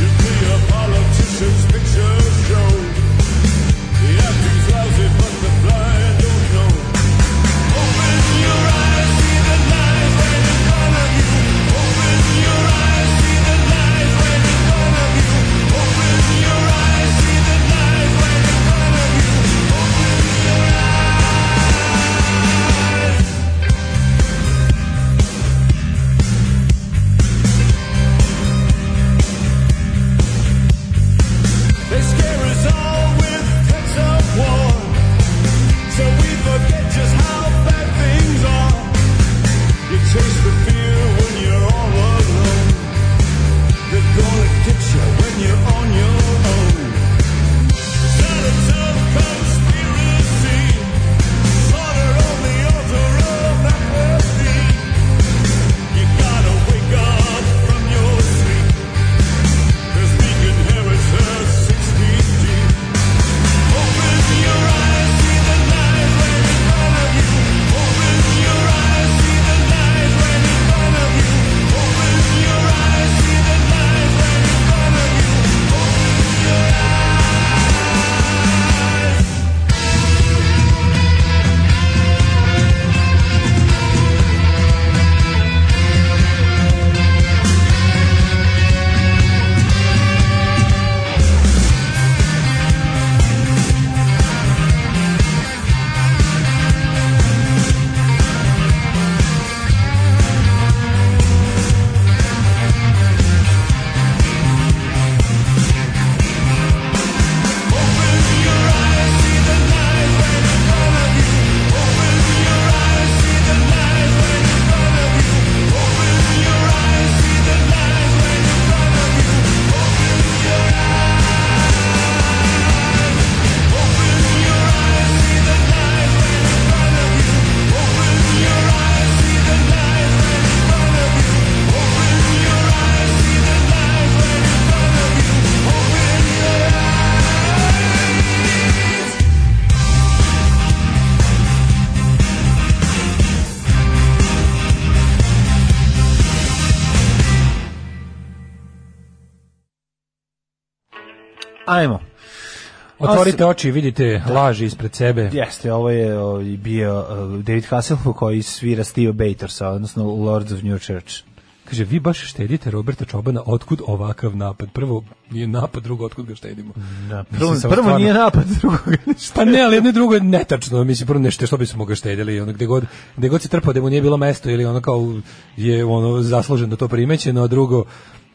Speaker 11: You see a politician's picture show. The acting's lousy, but the blind don't know. Open your eyes, see the lies right in front of you. Open your eyes, see the lies right in front of you. Open your eyes, see the lies right in front of you. Open your eyes. They scare us all with threats of war, so we forget just how bad things are. You chase the fear when you're all alone. They're gonna get you when you're on your own. Silence of conspiracy, slaughter on the altar of apathy. You gotta wake up from your sleep. Cause we can inherit her six feet deep. Open your eyes, see the lies right in front of you. Open your eyes, see the lies right in front of you. Open your eyes, see the lies right in front of you. Open your eyes.
Speaker 6: Ajmo. Otvorite oči i vidite laži ispred sebe.
Speaker 5: Jeste, ovo je o, i bio uh, David Hasselhoff koji svira Steve Batorsa, odnosno Lords of New Church.
Speaker 6: Kaže, vi baš štedite Roberta Čobana, otkud ovakav napad? Prvo nije napad, drugo, otkud ga štedimo? Da,
Speaker 5: Prvo, prvo nije napad, drugo
Speaker 6: Pa ne, ali jedno i drugo je netačno. Mislim, prvo nešto što bismo ga štedili. Ono, gde, god, gde god se trpao da mu nije bilo mesto ili ono kao je ono zasluženo to primećeno, a drugo,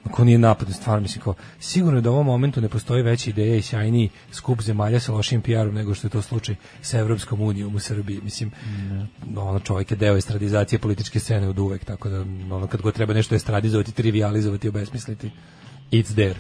Speaker 6: ako nije napad, stvarno mislim kao, sigurno je da u ovom momentu ne postoji veća ideja i sjajniji skup zemalja sa lošim PR-om nego što je to slučaj sa Evropskom unijom u Srbiji. Mislim, ono čovjek je deo estradizacije političke scene od uvek, tako da ono, kad god treba nešto estradizovati, trivializovati, obesmisliti, it's there.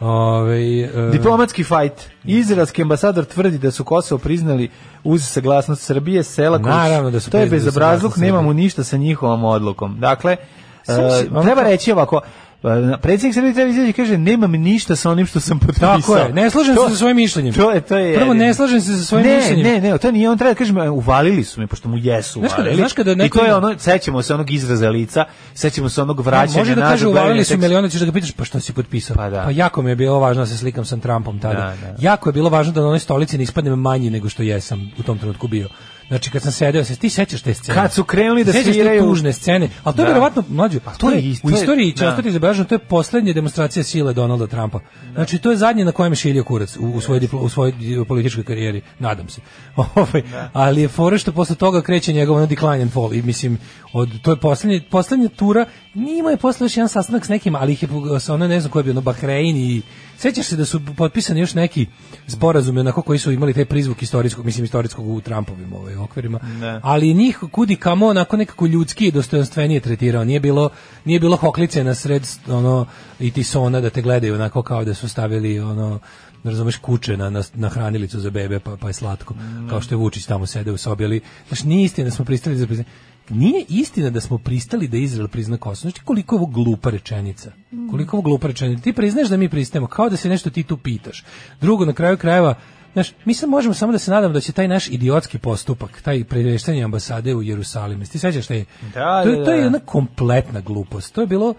Speaker 6: Ove, e,
Speaker 5: Diplomatski fajt. Izraelski ambasador tvrdi da su Kosovo priznali uz saglasnost Srbije, sela
Speaker 6: Naravno da su
Speaker 5: To je
Speaker 6: priznali uz
Speaker 5: bezobrazluk,
Speaker 6: saglasnost
Speaker 5: nemamo
Speaker 6: Srbije. ono
Speaker 5: ništa sa njihovom odlukom. Dakle,
Speaker 6: Samo si-
Speaker 5: e, treba reći ovako, e, predsjednik Srbije treba izaći i kaže nemam ništa sa onim što sam potpisao.
Speaker 6: Tako je, ne slažem se
Speaker 5: To-
Speaker 6: sa svojim mišljenjem.
Speaker 5: To je, to je.
Speaker 6: Prvo,
Speaker 5: jedino.
Speaker 6: ne slažem se sa svojim
Speaker 5: ne,
Speaker 6: mišljenjem.
Speaker 5: Ne, ne, to nije on treba da kažem, uvalili su me, pošto mu jesu
Speaker 6: Znaš kada-
Speaker 5: uvalili.
Speaker 6: znaš kada
Speaker 5: I
Speaker 6: neko
Speaker 5: to je
Speaker 6: ima-
Speaker 5: ono, sećamo se onog izraza lica, sećamo se onog vraćanja
Speaker 6: Može da
Speaker 5: nazad,
Speaker 6: kaže uvalili
Speaker 5: gledanja
Speaker 6: su
Speaker 5: teksta.
Speaker 6: me, ali onda ćeš da ga pitaš pa što si potpisao. Pa, jako mi je bilo važno da se slikam sa Trumpom tada.
Speaker 5: Da, da.
Speaker 6: Jako je bilo važno da na onoj stolici ne ispadnem manji nego što jesam u tom trenutku bio. Znači kad sam sedeo, se ti sećaš te scene?
Speaker 5: Kad su krenuli da
Speaker 6: Sećaš te
Speaker 5: sviraju-
Speaker 6: tužne scene, al to je
Speaker 5: Da.
Speaker 6: verovatno mlađe.
Speaker 5: Pa
Speaker 6: to je,
Speaker 5: isto-
Speaker 6: u istoriji će
Speaker 5: da.
Speaker 6: ostati zabeleženo, to je poslednja demonstracija sile Donalda Trumpa. Znači to je zadnje na kojem je šiljio kurac u, u svojoj diplo- u svojoj di- političkoj karijeri, nadam se. Ovaj, ali je fora što posle toga kreće njegov ono decline and fall i mislim od to je poslednje poslednja tura, njima je posle još jedan sastanak s nekim, ali ih je pog- sa ono ne znam ko je bio, ono Bahrein i Sećaš se da su potpisani još neki sporazumi onako koji su imali taj prizvuk istorijskog, mislim istorijskog u Trumpovim ovaj, okvirima,
Speaker 5: Da.
Speaker 6: ali njih kudi kamo onako nekako ljudski i dostojanstvenije tretirao. Nije bilo, nije bilo hoklice na sred ono, i tisona da te gledaju onako kao da su stavili ono, ne razumeš, kuče na, na, na hranilicu za bebe pa, pa je slatko, kao što je Vučić tamo sede u sobi. Ali, znaš, nije istina da smo pristali za priznanje. Nije istina da smo pristali da Izrael prizna Kosovo. Znaš ti koliko je ovo glupa rečenica? Koliko je ovo glupa rečenica? Ti priznaš da mi pristajemo, kao da se nešto ti tu pitaš. Drugo, na kraju krajeva, Znaš, mi sad možemo samo da se nadamo da će taj naš idiotski postupak, taj preveštanje ambasade u Jerusalimu, jesi ti sećaš taj?
Speaker 5: Da,
Speaker 6: to,
Speaker 5: da,
Speaker 6: je- to je
Speaker 5: da.
Speaker 6: jedna kompletna glupost. To je bilo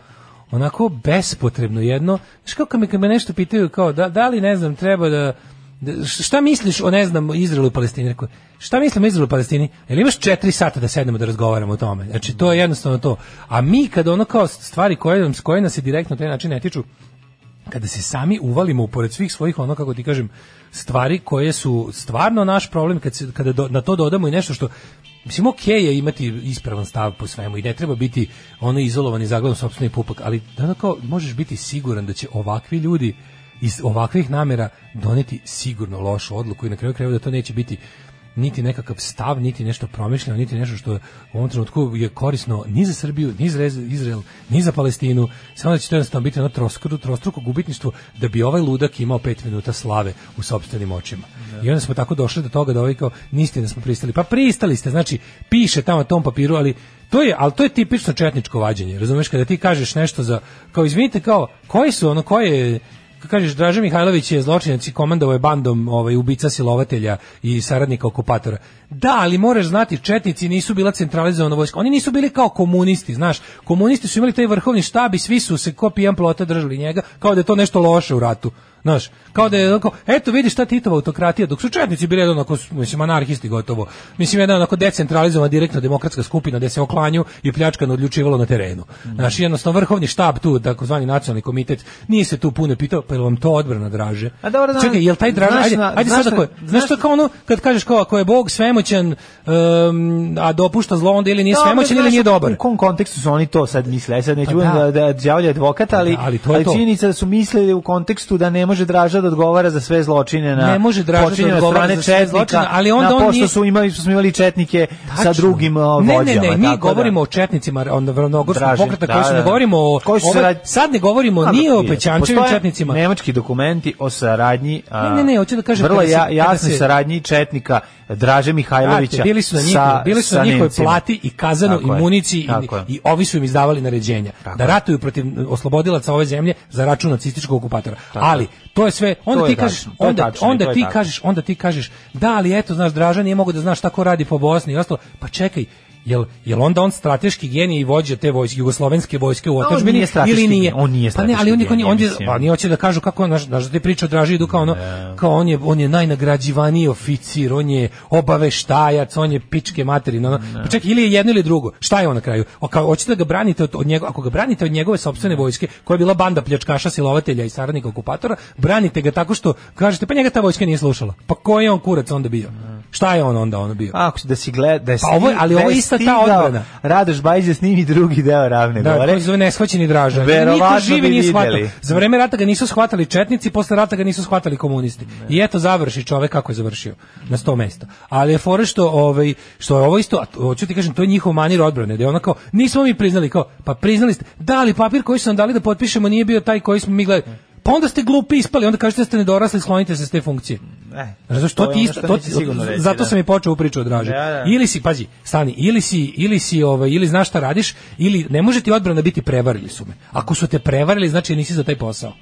Speaker 6: onako bespotrebno jedno. Znaš, kako kad me, kad me nešto pitaju, kao, da, da li, ne znam, treba da... da- Šta misliš o, ne znam, Izraelu i Palestini? Rekao, šta mislim o Izraelu i Palestini? Jel imaš četiri sata da sednemo da razgovaramo o tome? Znači, to je jednostavno to. A mi, kad ono kao stvari koje, nam- koje nas se direktno na taj način ne tiču, kada se sami uvalimo u pored svih svojih ono kako ti kažem stvari koje su stvarno naš problem kad se, kada do- na to dodamo i nešto što mislim ok je imati ispravan stav po svemu i ne treba biti ono izolovan i zagledan sopstveni pupak ali da kao možeš biti siguran da će ovakvi ljudi iz ovakvih namera doneti sigurno lošu odluku i na kraju krajeva da to neće biti niti nekakav stav, niti nešto promišljeno, niti nešto što u ovom trenutku je korisno ni za Srbiju, ni za Rez- Izrael, ni za Palestinu. Samo da će to jednostavno biti ono trostruko, trostruko gubitništvo da bi ovaj ludak imao pet minuta slave u sobstvenim očima. I onda smo tako došli do toga da ovaj kao niste da smo pristali. Pa pristali ste, znači piše tamo na tom papiru, ali to je, ali to je tipično četničko vađenje. Razumeš kada ti kažeš nešto za kao izvinite kao koji su ono koje kako kažeš Draža Mihajlović je zločinac i komandovao je bandom ovaj ubica silovatelja i saradnika okupatora. Da, ali moraš znati četnici nisu bila centralizovana vojska. Oni nisu bili kao komunisti, znaš. Komunisti su imali taj vrhovni štab i svi su se ko pijan plota držali njega kao da je to nešto loše u ratu. Znaš, kao da je onako, eto vidiš šta Titova autokratija, dok su četnici bili onako, mislim, anarhisti gotovo. Mislim, jedna onako decentralizovana direktno demokratska skupina gde se oklanju i pljačkano odlučivalo na terenu. Znaš, jednostavno vrhovni štab tu, takozvani nacionalni komitet, nije se tu puno pitao, pa je li vam to odbrana draže?
Speaker 5: A dobro, znam.
Speaker 6: Čekaj, jel taj draže,
Speaker 5: Znaš
Speaker 6: ajde,
Speaker 5: na-
Speaker 6: ajde
Speaker 5: znaš
Speaker 6: sad ako je,
Speaker 5: na-
Speaker 6: znaš to je kao ono, kad kažeš kao ako je Bog svemoćan, em, a dopušta zlo, onda ili nije
Speaker 5: Dobro,
Speaker 6: svemoćan ili
Speaker 5: znaš,
Speaker 6: nije dobar.
Speaker 5: U kom kontekstu su oni to sad mislili? Ja sad neću
Speaker 6: Pa
Speaker 5: budem
Speaker 6: da.
Speaker 5: da, da đavolja advokat, ali,
Speaker 6: Da, ali to je to.
Speaker 5: činjenica da su mislili u kontekstu da ne može Draža da odgovara za sve zločine na
Speaker 6: Ne može Draža da
Speaker 5: počinjene od
Speaker 6: odgovara
Speaker 5: strane
Speaker 6: za sve
Speaker 5: četnika,
Speaker 6: zločine, ali onda
Speaker 5: na
Speaker 6: on
Speaker 5: pošto
Speaker 6: nije-
Speaker 5: su imali što smo imali četnike sa
Speaker 6: Tačno.
Speaker 5: drugim uh, vođama.
Speaker 6: Ne, ne, ne, mi
Speaker 5: tako
Speaker 6: govorimo
Speaker 5: da.
Speaker 6: o četnicima, onda vrnogorskom
Speaker 5: Dražen,
Speaker 6: pokreta
Speaker 5: da,
Speaker 6: koji su
Speaker 5: da.
Speaker 6: ne govorimo o
Speaker 5: Koji su
Speaker 6: ovaj-
Speaker 5: rad-
Speaker 6: sad ne govorimo
Speaker 5: A,
Speaker 6: ni o
Speaker 5: dobro,
Speaker 6: pećančevim
Speaker 5: postoje
Speaker 6: četnicima.
Speaker 5: Nemački dokumenti o saradnji. a,
Speaker 6: Ne, ne, ne, hoću da kažem
Speaker 5: Vrlo
Speaker 6: kada se-
Speaker 5: ja,
Speaker 6: kada
Speaker 5: jasnoj
Speaker 6: se-
Speaker 5: saradnji četnika Draže Mihajlovića.
Speaker 6: Brate, bili su na njihovoj,
Speaker 5: sa-
Speaker 6: bili su
Speaker 5: sa
Speaker 6: na njihovoj
Speaker 5: Nemcima.
Speaker 6: plati i kazanu
Speaker 5: Tako
Speaker 6: i
Speaker 5: je,
Speaker 6: municiji i,
Speaker 5: tako je.
Speaker 6: i ovi su im izdavali naređenja da
Speaker 5: je.
Speaker 6: ratuju protiv oslobodilaca ove zemlje za račun nacističkog okupatora.
Speaker 5: Tako je.
Speaker 6: ali to je sve, onda
Speaker 5: To je
Speaker 6: ti kažeš,
Speaker 5: tačno, to je
Speaker 6: onda
Speaker 5: tačno i to
Speaker 6: onda
Speaker 5: je
Speaker 6: ti
Speaker 5: tako.
Speaker 6: kažeš, onda ti kažeš, da ali eto znaš Dražan nije mogu da znaš šta ko radi po Bosni i ostalo. Pa čekaj, Jel, jel onda on strateški genij i vođa te vojske, jugoslovenske vojske u
Speaker 5: on
Speaker 6: otadžbini
Speaker 5: nije strateški
Speaker 6: ili nije?
Speaker 5: genij, on nije
Speaker 6: pa ne, ali
Speaker 5: strateški
Speaker 6: on, je-
Speaker 5: genij,
Speaker 6: on, je- on, je-
Speaker 5: mislim.
Speaker 6: pa oni hoće da kažu kako on, znaš, znaš da te priče o Draži idu kao ono, kao on je, on je najnagrađivaniji oficir, on je obaveštajac, on je pičke materina. Ono. Pa čekaj, ili je jedno ili drugo. Šta je on na kraju? O, kao, hoćete da ga branite od, od njegove, ako ga branite od njegove sopstvene vojske, koja je bila banda pljačkaša, silovatelja i saradnika okupatora, branite ga tako što kažete, pa njega ta vojska nije slušala. Pa ko je on kurac onda bio? Šta je on onda ono bio?
Speaker 5: Pa Ako si da si gleda, da je
Speaker 6: Pa ovo je- ali
Speaker 5: sni- da
Speaker 6: ovo je
Speaker 5: je
Speaker 6: ista ta
Speaker 5: stigao
Speaker 6: odbrana.
Speaker 5: Radoš Bajić da snimi drugi deo ravne
Speaker 6: Da,
Speaker 5: gore.
Speaker 6: to se zove neshvaćeni draža.
Speaker 5: Verovatno
Speaker 6: Niko živi
Speaker 5: bi
Speaker 6: nije shvatao.
Speaker 5: videli.
Speaker 6: Za vreme rata ga nisu shvatali četnici, posle rata ga nisu shvatali komunisti. I eto završi čovek kako je završio na 100 mesta. Ali je fora što ovaj što je ovo isto, a to- hoću ti kažem, to je njihov manir odbrane, da je ono kao nismo mi priznali kao, pa priznali ste, da ali papir koji su nam dali da potpišemo nije bio taj koji smo mi gledali. Pa onda ste glupi ispali, onda kažete da ste nedorasli, sklonite se s te funkcije.
Speaker 5: E,
Speaker 6: Razumeš,
Speaker 5: to
Speaker 6: to
Speaker 5: je
Speaker 6: ti
Speaker 5: ono
Speaker 6: isto,
Speaker 5: što
Speaker 6: to
Speaker 5: nisi
Speaker 6: ti-
Speaker 5: sigurno reći,
Speaker 6: zato
Speaker 5: da.
Speaker 6: sam i počeo ovu priču o Draži.
Speaker 5: Da, da.
Speaker 6: Ili si, pazi, stani, ili si, ili si, ovaj, ili znaš šta radiš, ili ne može ti odbrana biti prevarili su me. Ako su te prevarili, znači nisi za taj posao.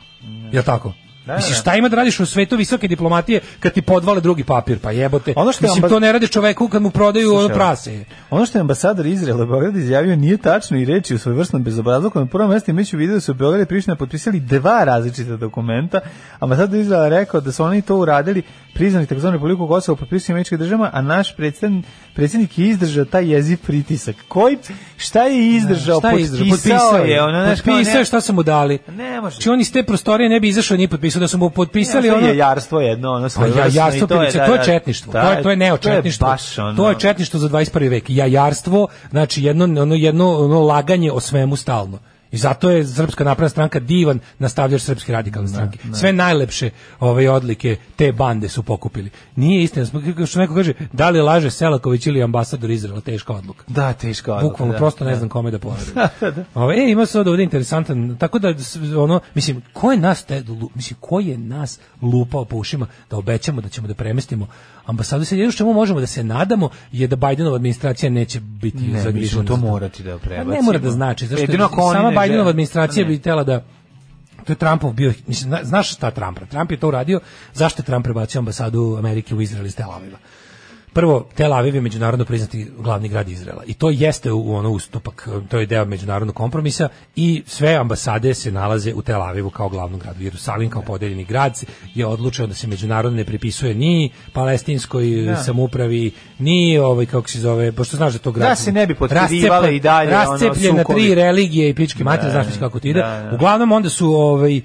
Speaker 6: Je tako?
Speaker 5: da,
Speaker 6: Mislim,
Speaker 5: da.
Speaker 6: šta ima da radiš u svetu visoke diplomatije kad ti podvale drugi papir, pa jebote.
Speaker 5: Ono što je
Speaker 6: Mislim,
Speaker 5: ambas-
Speaker 6: to ne radi čoveku kad mu prodaju ono prase.
Speaker 5: Ono što je ambasador Izraela u Beogradu izjavio nije tačno i reči u svojevrsnom bezobrazluku. Na prvom mjestu imajući u vidu da su Beograd i Priština potpisali dva različita dokumenta. Ambasador Izraela je rekao da su oni to uradili priznali tzv. Republiku Kosovo potpisali američke državama, a naš predsjednik, predsjednik je izdržao taj jeziv pritisak. Koji, šta je izdržao?
Speaker 6: Šta je izdržao?
Speaker 5: Potpisao je. Ono, znaš, kao
Speaker 6: potpisao je
Speaker 5: ne-
Speaker 6: šta su mu dali.
Speaker 5: Ne može.
Speaker 6: Či on iz te prostorije ne bi izašao ni potpisao da su mu potpisali
Speaker 5: Ne, to
Speaker 6: ono.
Speaker 5: je jarstvo jedno, ono
Speaker 6: Pa ja,
Speaker 5: svojevrsno i
Speaker 6: jarstvo
Speaker 5: to je,
Speaker 6: pilice,
Speaker 5: da,
Speaker 6: to je
Speaker 5: da,
Speaker 6: četništvo,
Speaker 5: da,
Speaker 6: to je, to je neočetništvo,
Speaker 5: To je baš ono.
Speaker 6: to je četništvo za 21. vek, jajarstvo, znači jedno, ono, jedno ono laganje o svemu stalno. I zato je Srpska napredna stranka divan nastavljač Srpske radikalne stranke. Sve najlepše ove odlike te bande su pokupili. Nije istina, smo- kako što neko kaže, da li laže Selaković ili ambasador Izraela, teška odluka.
Speaker 5: Da, teška odluka,
Speaker 6: Bukvalno,
Speaker 5: Pa da,
Speaker 6: prosto ne
Speaker 5: da.
Speaker 6: znam kome da poverujem. Ove, e, ima se ovdje ovdje interesantan, tako da, s- ono, mislim, ko je nas, te, lu- mislim, ko je nas lupao po ušima da obećamo da ćemo da premestimo ambasadu, sad jedno čemu možemo da se nadamo je da Bidenova administracija neće biti
Speaker 5: Ne, mi ćemo
Speaker 6: zagrižena.
Speaker 5: to
Speaker 6: za
Speaker 5: morati da prebacimo.
Speaker 6: A Pa Ne mora da znači, zašto
Speaker 5: Jedino ako oni
Speaker 6: sama
Speaker 5: ne žele.
Speaker 6: Bidenova
Speaker 5: Pa
Speaker 6: administracija
Speaker 5: Ne.
Speaker 6: bi htjela da to je Trumpov bio, mislim, zna- znaš šta Trumpa? Trump je to uradio, zašto je Trump prebacio ambasadu Amerike u Izrael iz Tel Aviva? Prvo, Tel Aviv je međunarodno priznati glavni grad Izraela i to jeste u ono ustupak, to je deo međunarodnog kompromisa i sve ambasade se nalaze u Tel Avivu kao glavnom gradu. Jerusalim kao podeljeni grad je odlučio da se međunarodno ne pripisuje ni palestinskoj
Speaker 5: Da.
Speaker 6: samoupravi, ni ovaj kako se zove, pošto znaš da to grad
Speaker 5: Da se ne bi
Speaker 6: rascepa-
Speaker 5: potkrivale i dalje ono,
Speaker 6: rascepljen na tri
Speaker 5: sukobi.
Speaker 6: religije i pičke mater,
Speaker 5: Da,
Speaker 6: znaš
Speaker 5: da,
Speaker 6: već kako ti ide.
Speaker 5: da, da.
Speaker 6: Uglavnom onda su ovaj, e,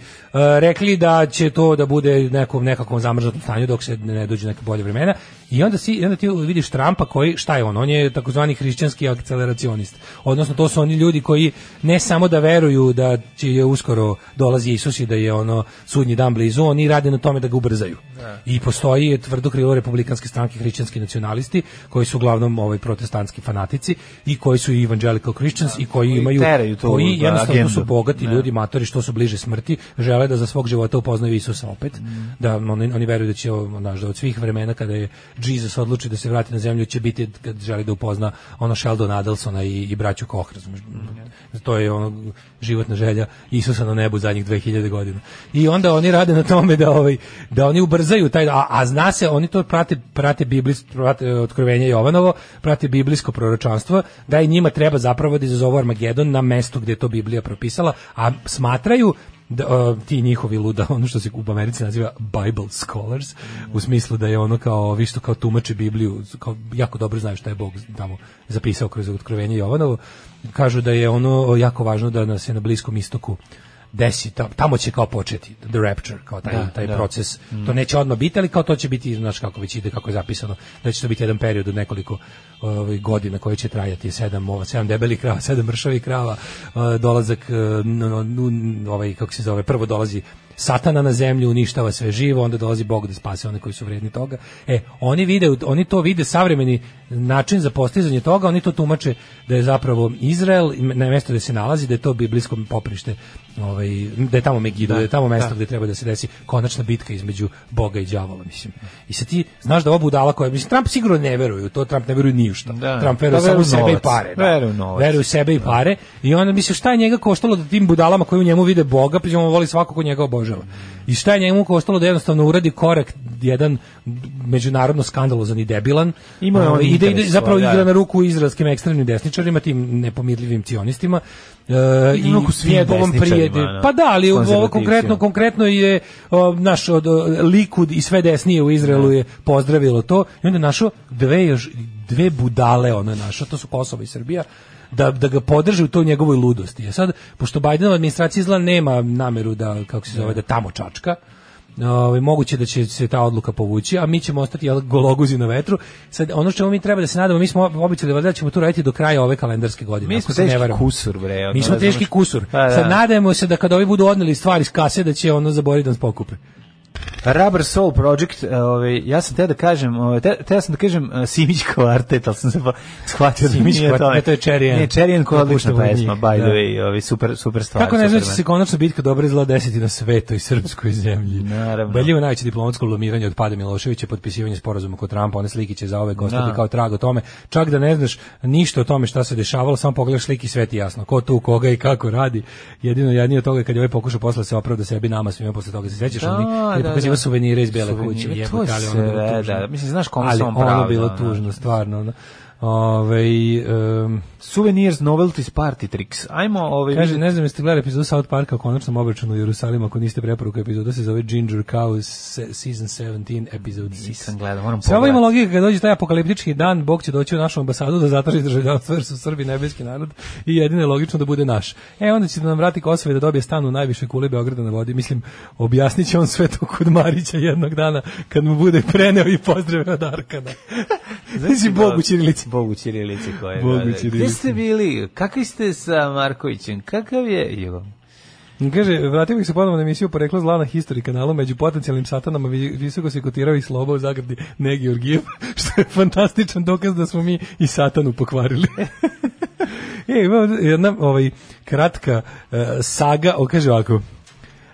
Speaker 6: rekli da će to da bude nekom nekakvom zamrznutom stanju dok se ne dođu neke bolje vremena. I onda, si, i onda ti vidiš Trumpa koji, šta je on? On je takozvani hrišćanski akceleracionist. Odnosno to su oni ljudi koji ne samo da veruju da će je uskoro dolazi Isus i da je ono sudnji dan blizu, oni rade na tome da ga ubrzaju. I postoji je tvrdo krilo republikanske stranke hrišćanski nacionalisti koji su uglavnom ovaj protestantski fanatici i koji su i evangelical Christians i koji imaju
Speaker 5: teraju tu
Speaker 6: koji jednostavno
Speaker 5: agendu.
Speaker 6: su bogati
Speaker 5: Ne.
Speaker 6: ljudi ljudi matori što su bliže smrti žele da za svog života upoznaju Isusa opet da oni, oni veruju da će o, znaš, da od svih vremena kada je Jesus odluči da se vrati na zemlju će biti kad želi da upozna ono Sheldon Adelsona i, i braću Koch razumeš? to je ono životna želja Isusa na nebu zadnjih 2000 godina i onda oni rade na tome da ovaj da oni ubrzaju taj a, a zna se oni to prate prate biblijsko prate e, otkrovenje Jovanovo prate biblijsko proročanstvo da i njima treba zapravo da izazovu Armagedon na mestu gdje je to Biblija propisala, a smatraju da, e, ti njihovi luda, ono što se u Americi naziva Bible scholars, u smislu da je ono kao, vi što kao tumači Bibliju, kao jako dobro znaju šta je Bog tamo zapisao kroz otkrovenje Jovanovo, kažu da je ono jako važno da nas je na Bliskom istoku desi, ta- tamo će kao početi the rapture, kao taj,
Speaker 5: Da,
Speaker 6: taj
Speaker 5: da.
Speaker 6: proces.
Speaker 5: Mm.
Speaker 6: To neće odmah biti, ali kao to će biti, znaš kako već ide, kako je zapisano, da će to biti jedan period od nekoliko ovaj, godina koji će trajati sedam, ova, sedam debelih krava, sedam mršavih krava, eh, dolazak, eh, n- n- n- ovaj, kako se zove, prvo dolazi satana na zemlju, uništava sve živo, onda dolazi Bog da spase one koji su vredni toga. E, oni vide, oni to vide savremeni način za postizanje toga, oni to tumače da je zapravo Izrael na mjesto gdje se nalazi, da je to biblijsko poprište, ovaj, da je tamo Megido, da, je tamo mjesto
Speaker 5: da.
Speaker 6: gdje treba da se desi konačna bitka između Boga i đavola, mislim. I sad ti znaš da ova budala koja, mislim, Trump sigurno ne veruje u to, Trump ne veruje ni u šta. Trump
Speaker 5: Da,
Speaker 6: veruje samo u
Speaker 5: veruje u
Speaker 6: sebe i
Speaker 5: novac.
Speaker 6: pare. Da.
Speaker 5: Veruje u novac.
Speaker 6: Veruje u sebe i pare. I onda mislim šta je njega koštalo da tim budalama koji u njemu vide Boga, pa on voli svako ko njega obožava. I šta je njemu koštalo da jednostavno uradi korak jedan međunarodno skandalozan i debilan.
Speaker 5: Imao je on
Speaker 6: Ovaj, i da ide,
Speaker 5: interes,
Speaker 6: zapravo
Speaker 5: da.
Speaker 6: igra na ruku izraelskim ekstremnim desničarima, tim nepomirljivim cionistima. E, i
Speaker 5: Na ruku svim
Speaker 6: Pjedovom
Speaker 5: desničarima,
Speaker 6: prijede-
Speaker 5: da.
Speaker 6: Pa da, ali ovo
Speaker 5: Konzervativcima.
Speaker 6: konkretno konkretno je o, naš od, o, Likud i sve desnije u Izraelu je pozdravilo to i onda je našao dve još dve budale ona naša, to su Kosovo i Srbija da, da ga podrže u toj njegovoj ludosti. A sad, pošto Bidenova administracija izgleda nema nameru da, kako se zove, da tamo čačka, Ovaj, moguće da će se ta odluka povući, a mi ćemo ostati jel, gologuzi na vetru. Sad, ono čemu mi treba da se nadamo, mi smo obećali valjda da ćemo to raditi do kraja ove kalendarske godine.
Speaker 5: Mi
Speaker 6: ako
Speaker 5: smo
Speaker 6: se ne
Speaker 5: teški
Speaker 6: varam.
Speaker 5: kusur, bre. ono,
Speaker 6: Mi smo
Speaker 5: razumeš?
Speaker 6: teški kusur.
Speaker 5: Pa, da.
Speaker 6: Sad nadajemo se da kad ovi budu odneli stvari iz kase da će ono zaboraviti da nas pokupe.
Speaker 5: Rubber Soul Project, e, ovaj, ja sam te da kažem, ovaj, te, te sam da kažem e, Simić kvartet, ali sam se pa shvatio da
Speaker 6: Simić
Speaker 5: nije
Speaker 6: kvartet, ne, to je Cherry Ann.
Speaker 5: Ne, Cherry Ann koja je odlična
Speaker 6: Napuštamo
Speaker 5: pesma,
Speaker 6: njih,
Speaker 5: by the
Speaker 6: da.
Speaker 5: way, ovaj, super, super stvar.
Speaker 6: Kako ne
Speaker 5: super
Speaker 6: znači da se konačno bitka dobra izgleda desiti na svetoj srpskoj zemlji? Naravno. Beljivo najveće diplomatsko lomiranje od pada Miloševića, potpisivanje sporazuma kod Trumpa, one slike će zaovek ostati
Speaker 5: Da.
Speaker 6: kao trag o tome. Čak da ne znaš ništa o tome šta se dešavalo, samo pogledaš slike i sve ti je jasno. Ko tu, koga i kako radi. Jedino jadnije od toga je kad je ovaj pokušao posle da se opravda sebi nama svima posle toga. Se sećaš?
Speaker 5: Da,
Speaker 6: Da, da,
Speaker 5: da,
Speaker 6: pokazivao
Speaker 5: da.
Speaker 6: suvenire iz Bele
Speaker 5: Suvenire,
Speaker 6: kuće.
Speaker 5: to je
Speaker 6: jebote, ali ono je bilo
Speaker 5: sve,
Speaker 6: tužno.
Speaker 5: da. Mislim, znaš kome
Speaker 6: Ali
Speaker 5: se on
Speaker 6: ono
Speaker 5: pravda,
Speaker 6: bilo
Speaker 5: ono.
Speaker 6: tužno, stvarno. ono. Ovaj, em,
Speaker 5: Souvenirs, novelties, party tricks. Ajmo, ovaj,
Speaker 6: Kaže, ne znam jeste gledali epizodu South Parka o konačnom obračunu u Jerusalimu, ako niste preporuka epizoda se zove Ginger Cow se- Season 17 Episode 6. Nisam
Speaker 5: gledao, moram
Speaker 6: Sve ovo ima
Speaker 5: pogledati.
Speaker 6: logika kad dođe taj apokaliptički dan, Bog će doći u našu ambasadu da zatraži državljanstvo jer su Srbi nebeski narod i jedino je logično da bude naš. E, onda će da nam vrati Kosovo i da dobije stan u najvišoj kuli Beograda na vodi. Mislim, objasnit će on sve to kod Marića jednog dana kad mu bude preneo i pozdrave od Arkana. Znači, Bog u Čirilici.
Speaker 5: Bogu Čirilici koje.
Speaker 6: Bogu
Speaker 5: da, da. Gde
Speaker 6: ćirilici.
Speaker 5: ste bili? Kakvi ste sa Markovićem? Kakav je? Jo.
Speaker 6: Kaže, vratio bih se ponovno na emisiju Poreklo zla na History kanalu, među potencijalnim satanama vi- visoko se kotirao i sloba u zagradi Negi Georgijev, što je fantastičan dokaz da smo mi i satanu pokvarili. e, imamo jedna ovaj, kratka eh, saga, o, kaže ovako,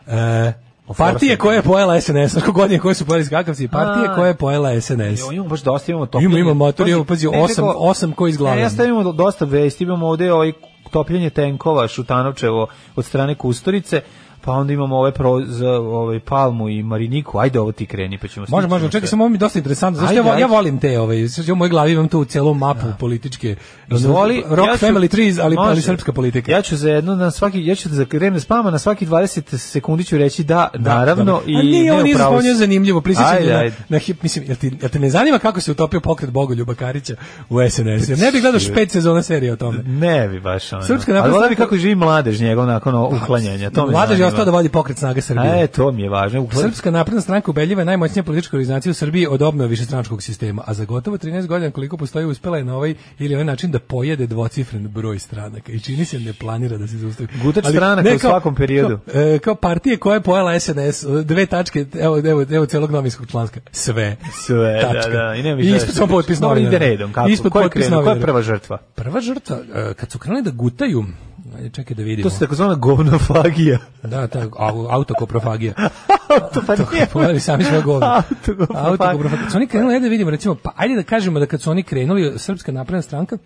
Speaker 6: eh, partije koje je pojela SNS, znaš kogod je koje su pojeli skakavci, partije
Speaker 5: A.
Speaker 6: koje je pojela SNS.
Speaker 5: Jo, imamo baš dosta, imamo topljenje.
Speaker 6: Ima, ima motor,
Speaker 5: Pazi,
Speaker 6: ima, pazi,
Speaker 5: ne,
Speaker 6: osam,
Speaker 5: nego-
Speaker 6: osam koji iz
Speaker 5: Ne,
Speaker 6: glave.
Speaker 5: ja stavim imamo dosta vesti, imamo ovde ovaj topljenje tenkova Šutanovčevo od strane Kustorice, pa onda imamo ove pro, za, ovaj Palmu i Mariniku. Ajde ovo ti kreni, pa ćemo
Speaker 6: Može,
Speaker 5: stići
Speaker 6: može,
Speaker 5: na
Speaker 6: čekaj,
Speaker 5: sve.
Speaker 6: samo ovo mi je dosta interesantno. Zašto ja,
Speaker 5: Ajde,
Speaker 6: vo- ja
Speaker 5: ajde.
Speaker 6: volim te ove, sad ja u mojoj glavi imam tu celu mapu političke.
Speaker 5: Izvoli,
Speaker 6: Rock
Speaker 5: ja ću-
Speaker 6: Family Trees, ali, ali
Speaker 5: Može.
Speaker 6: srpska politika.
Speaker 5: Ja ću za jedno na svaki ja ću da krenem s pama na svaki 20 sekundi ću reći da, naravno
Speaker 6: A
Speaker 5: i ne
Speaker 6: nije, on nije
Speaker 5: upravo
Speaker 6: zapomnio
Speaker 5: si.
Speaker 6: zanimljivo, prisjećanje
Speaker 5: Ajde,
Speaker 6: na,
Speaker 5: ajde.
Speaker 6: na hip, mislim, jel ti, jel te ne zanima kako se utopio pokret Bogoljuba Karića u SNS? Jer ne bih gledao još pet sezona serije o tome.
Speaker 5: Ne bi baš ono.
Speaker 6: Srpska
Speaker 5: Ali
Speaker 6: napredna
Speaker 5: volim
Speaker 6: stranka- Pa,
Speaker 5: kako živi mladež njegov nakon o- uklanjanja. To me
Speaker 6: Mladež je
Speaker 5: zanima.
Speaker 6: ostao da vodi pokret snaga Srbije.
Speaker 5: E, to mi je važno. Uklan-
Speaker 6: Srpska napredna stranka ubedljiva je najmoćnija politička organizacija u Srbiji od obnove višestranačkog sistema, a za gotovo 13 godina koliko postoji uspela je na ovaj ili onaj način da pojede dvocifren broj stranaka i čini se ne planira da se zaustavi.
Speaker 5: Gutač
Speaker 6: Ali
Speaker 5: stranaka
Speaker 6: ne
Speaker 5: u
Speaker 6: kao-
Speaker 5: svakom periodu.
Speaker 6: Kao, e, kao partije koja je pojela SNS, e, dve tačke, evo, evo, evo celog novinskog članska, sve.
Speaker 5: Sve,
Speaker 6: Tačka.
Speaker 5: da, da. I ne
Speaker 6: I ispod samo potpis
Speaker 5: Dobro, ide
Speaker 6: novinara.
Speaker 5: redom. Kako?
Speaker 6: Ispod
Speaker 5: Ko je
Speaker 6: potpis
Speaker 5: krenuo? Ko je
Speaker 6: novinara.
Speaker 5: prva žrtva?
Speaker 6: Prva žrtva, e, kad su krenuli da gutaju, ajde čekaj da vidimo.
Speaker 5: To se takozvana govnofagija. pa
Speaker 6: Da, ta au- autokoprofagija.
Speaker 5: nije. pa
Speaker 6: Pogledali pa sami svoje govno.
Speaker 5: Autokoprofagija.
Speaker 6: Autokoprofagija. Kad su oni krenuli, ajde da vidimo, recimo, pa ajde da kažemo da kad su oni krenuli, Srpska napredna stranka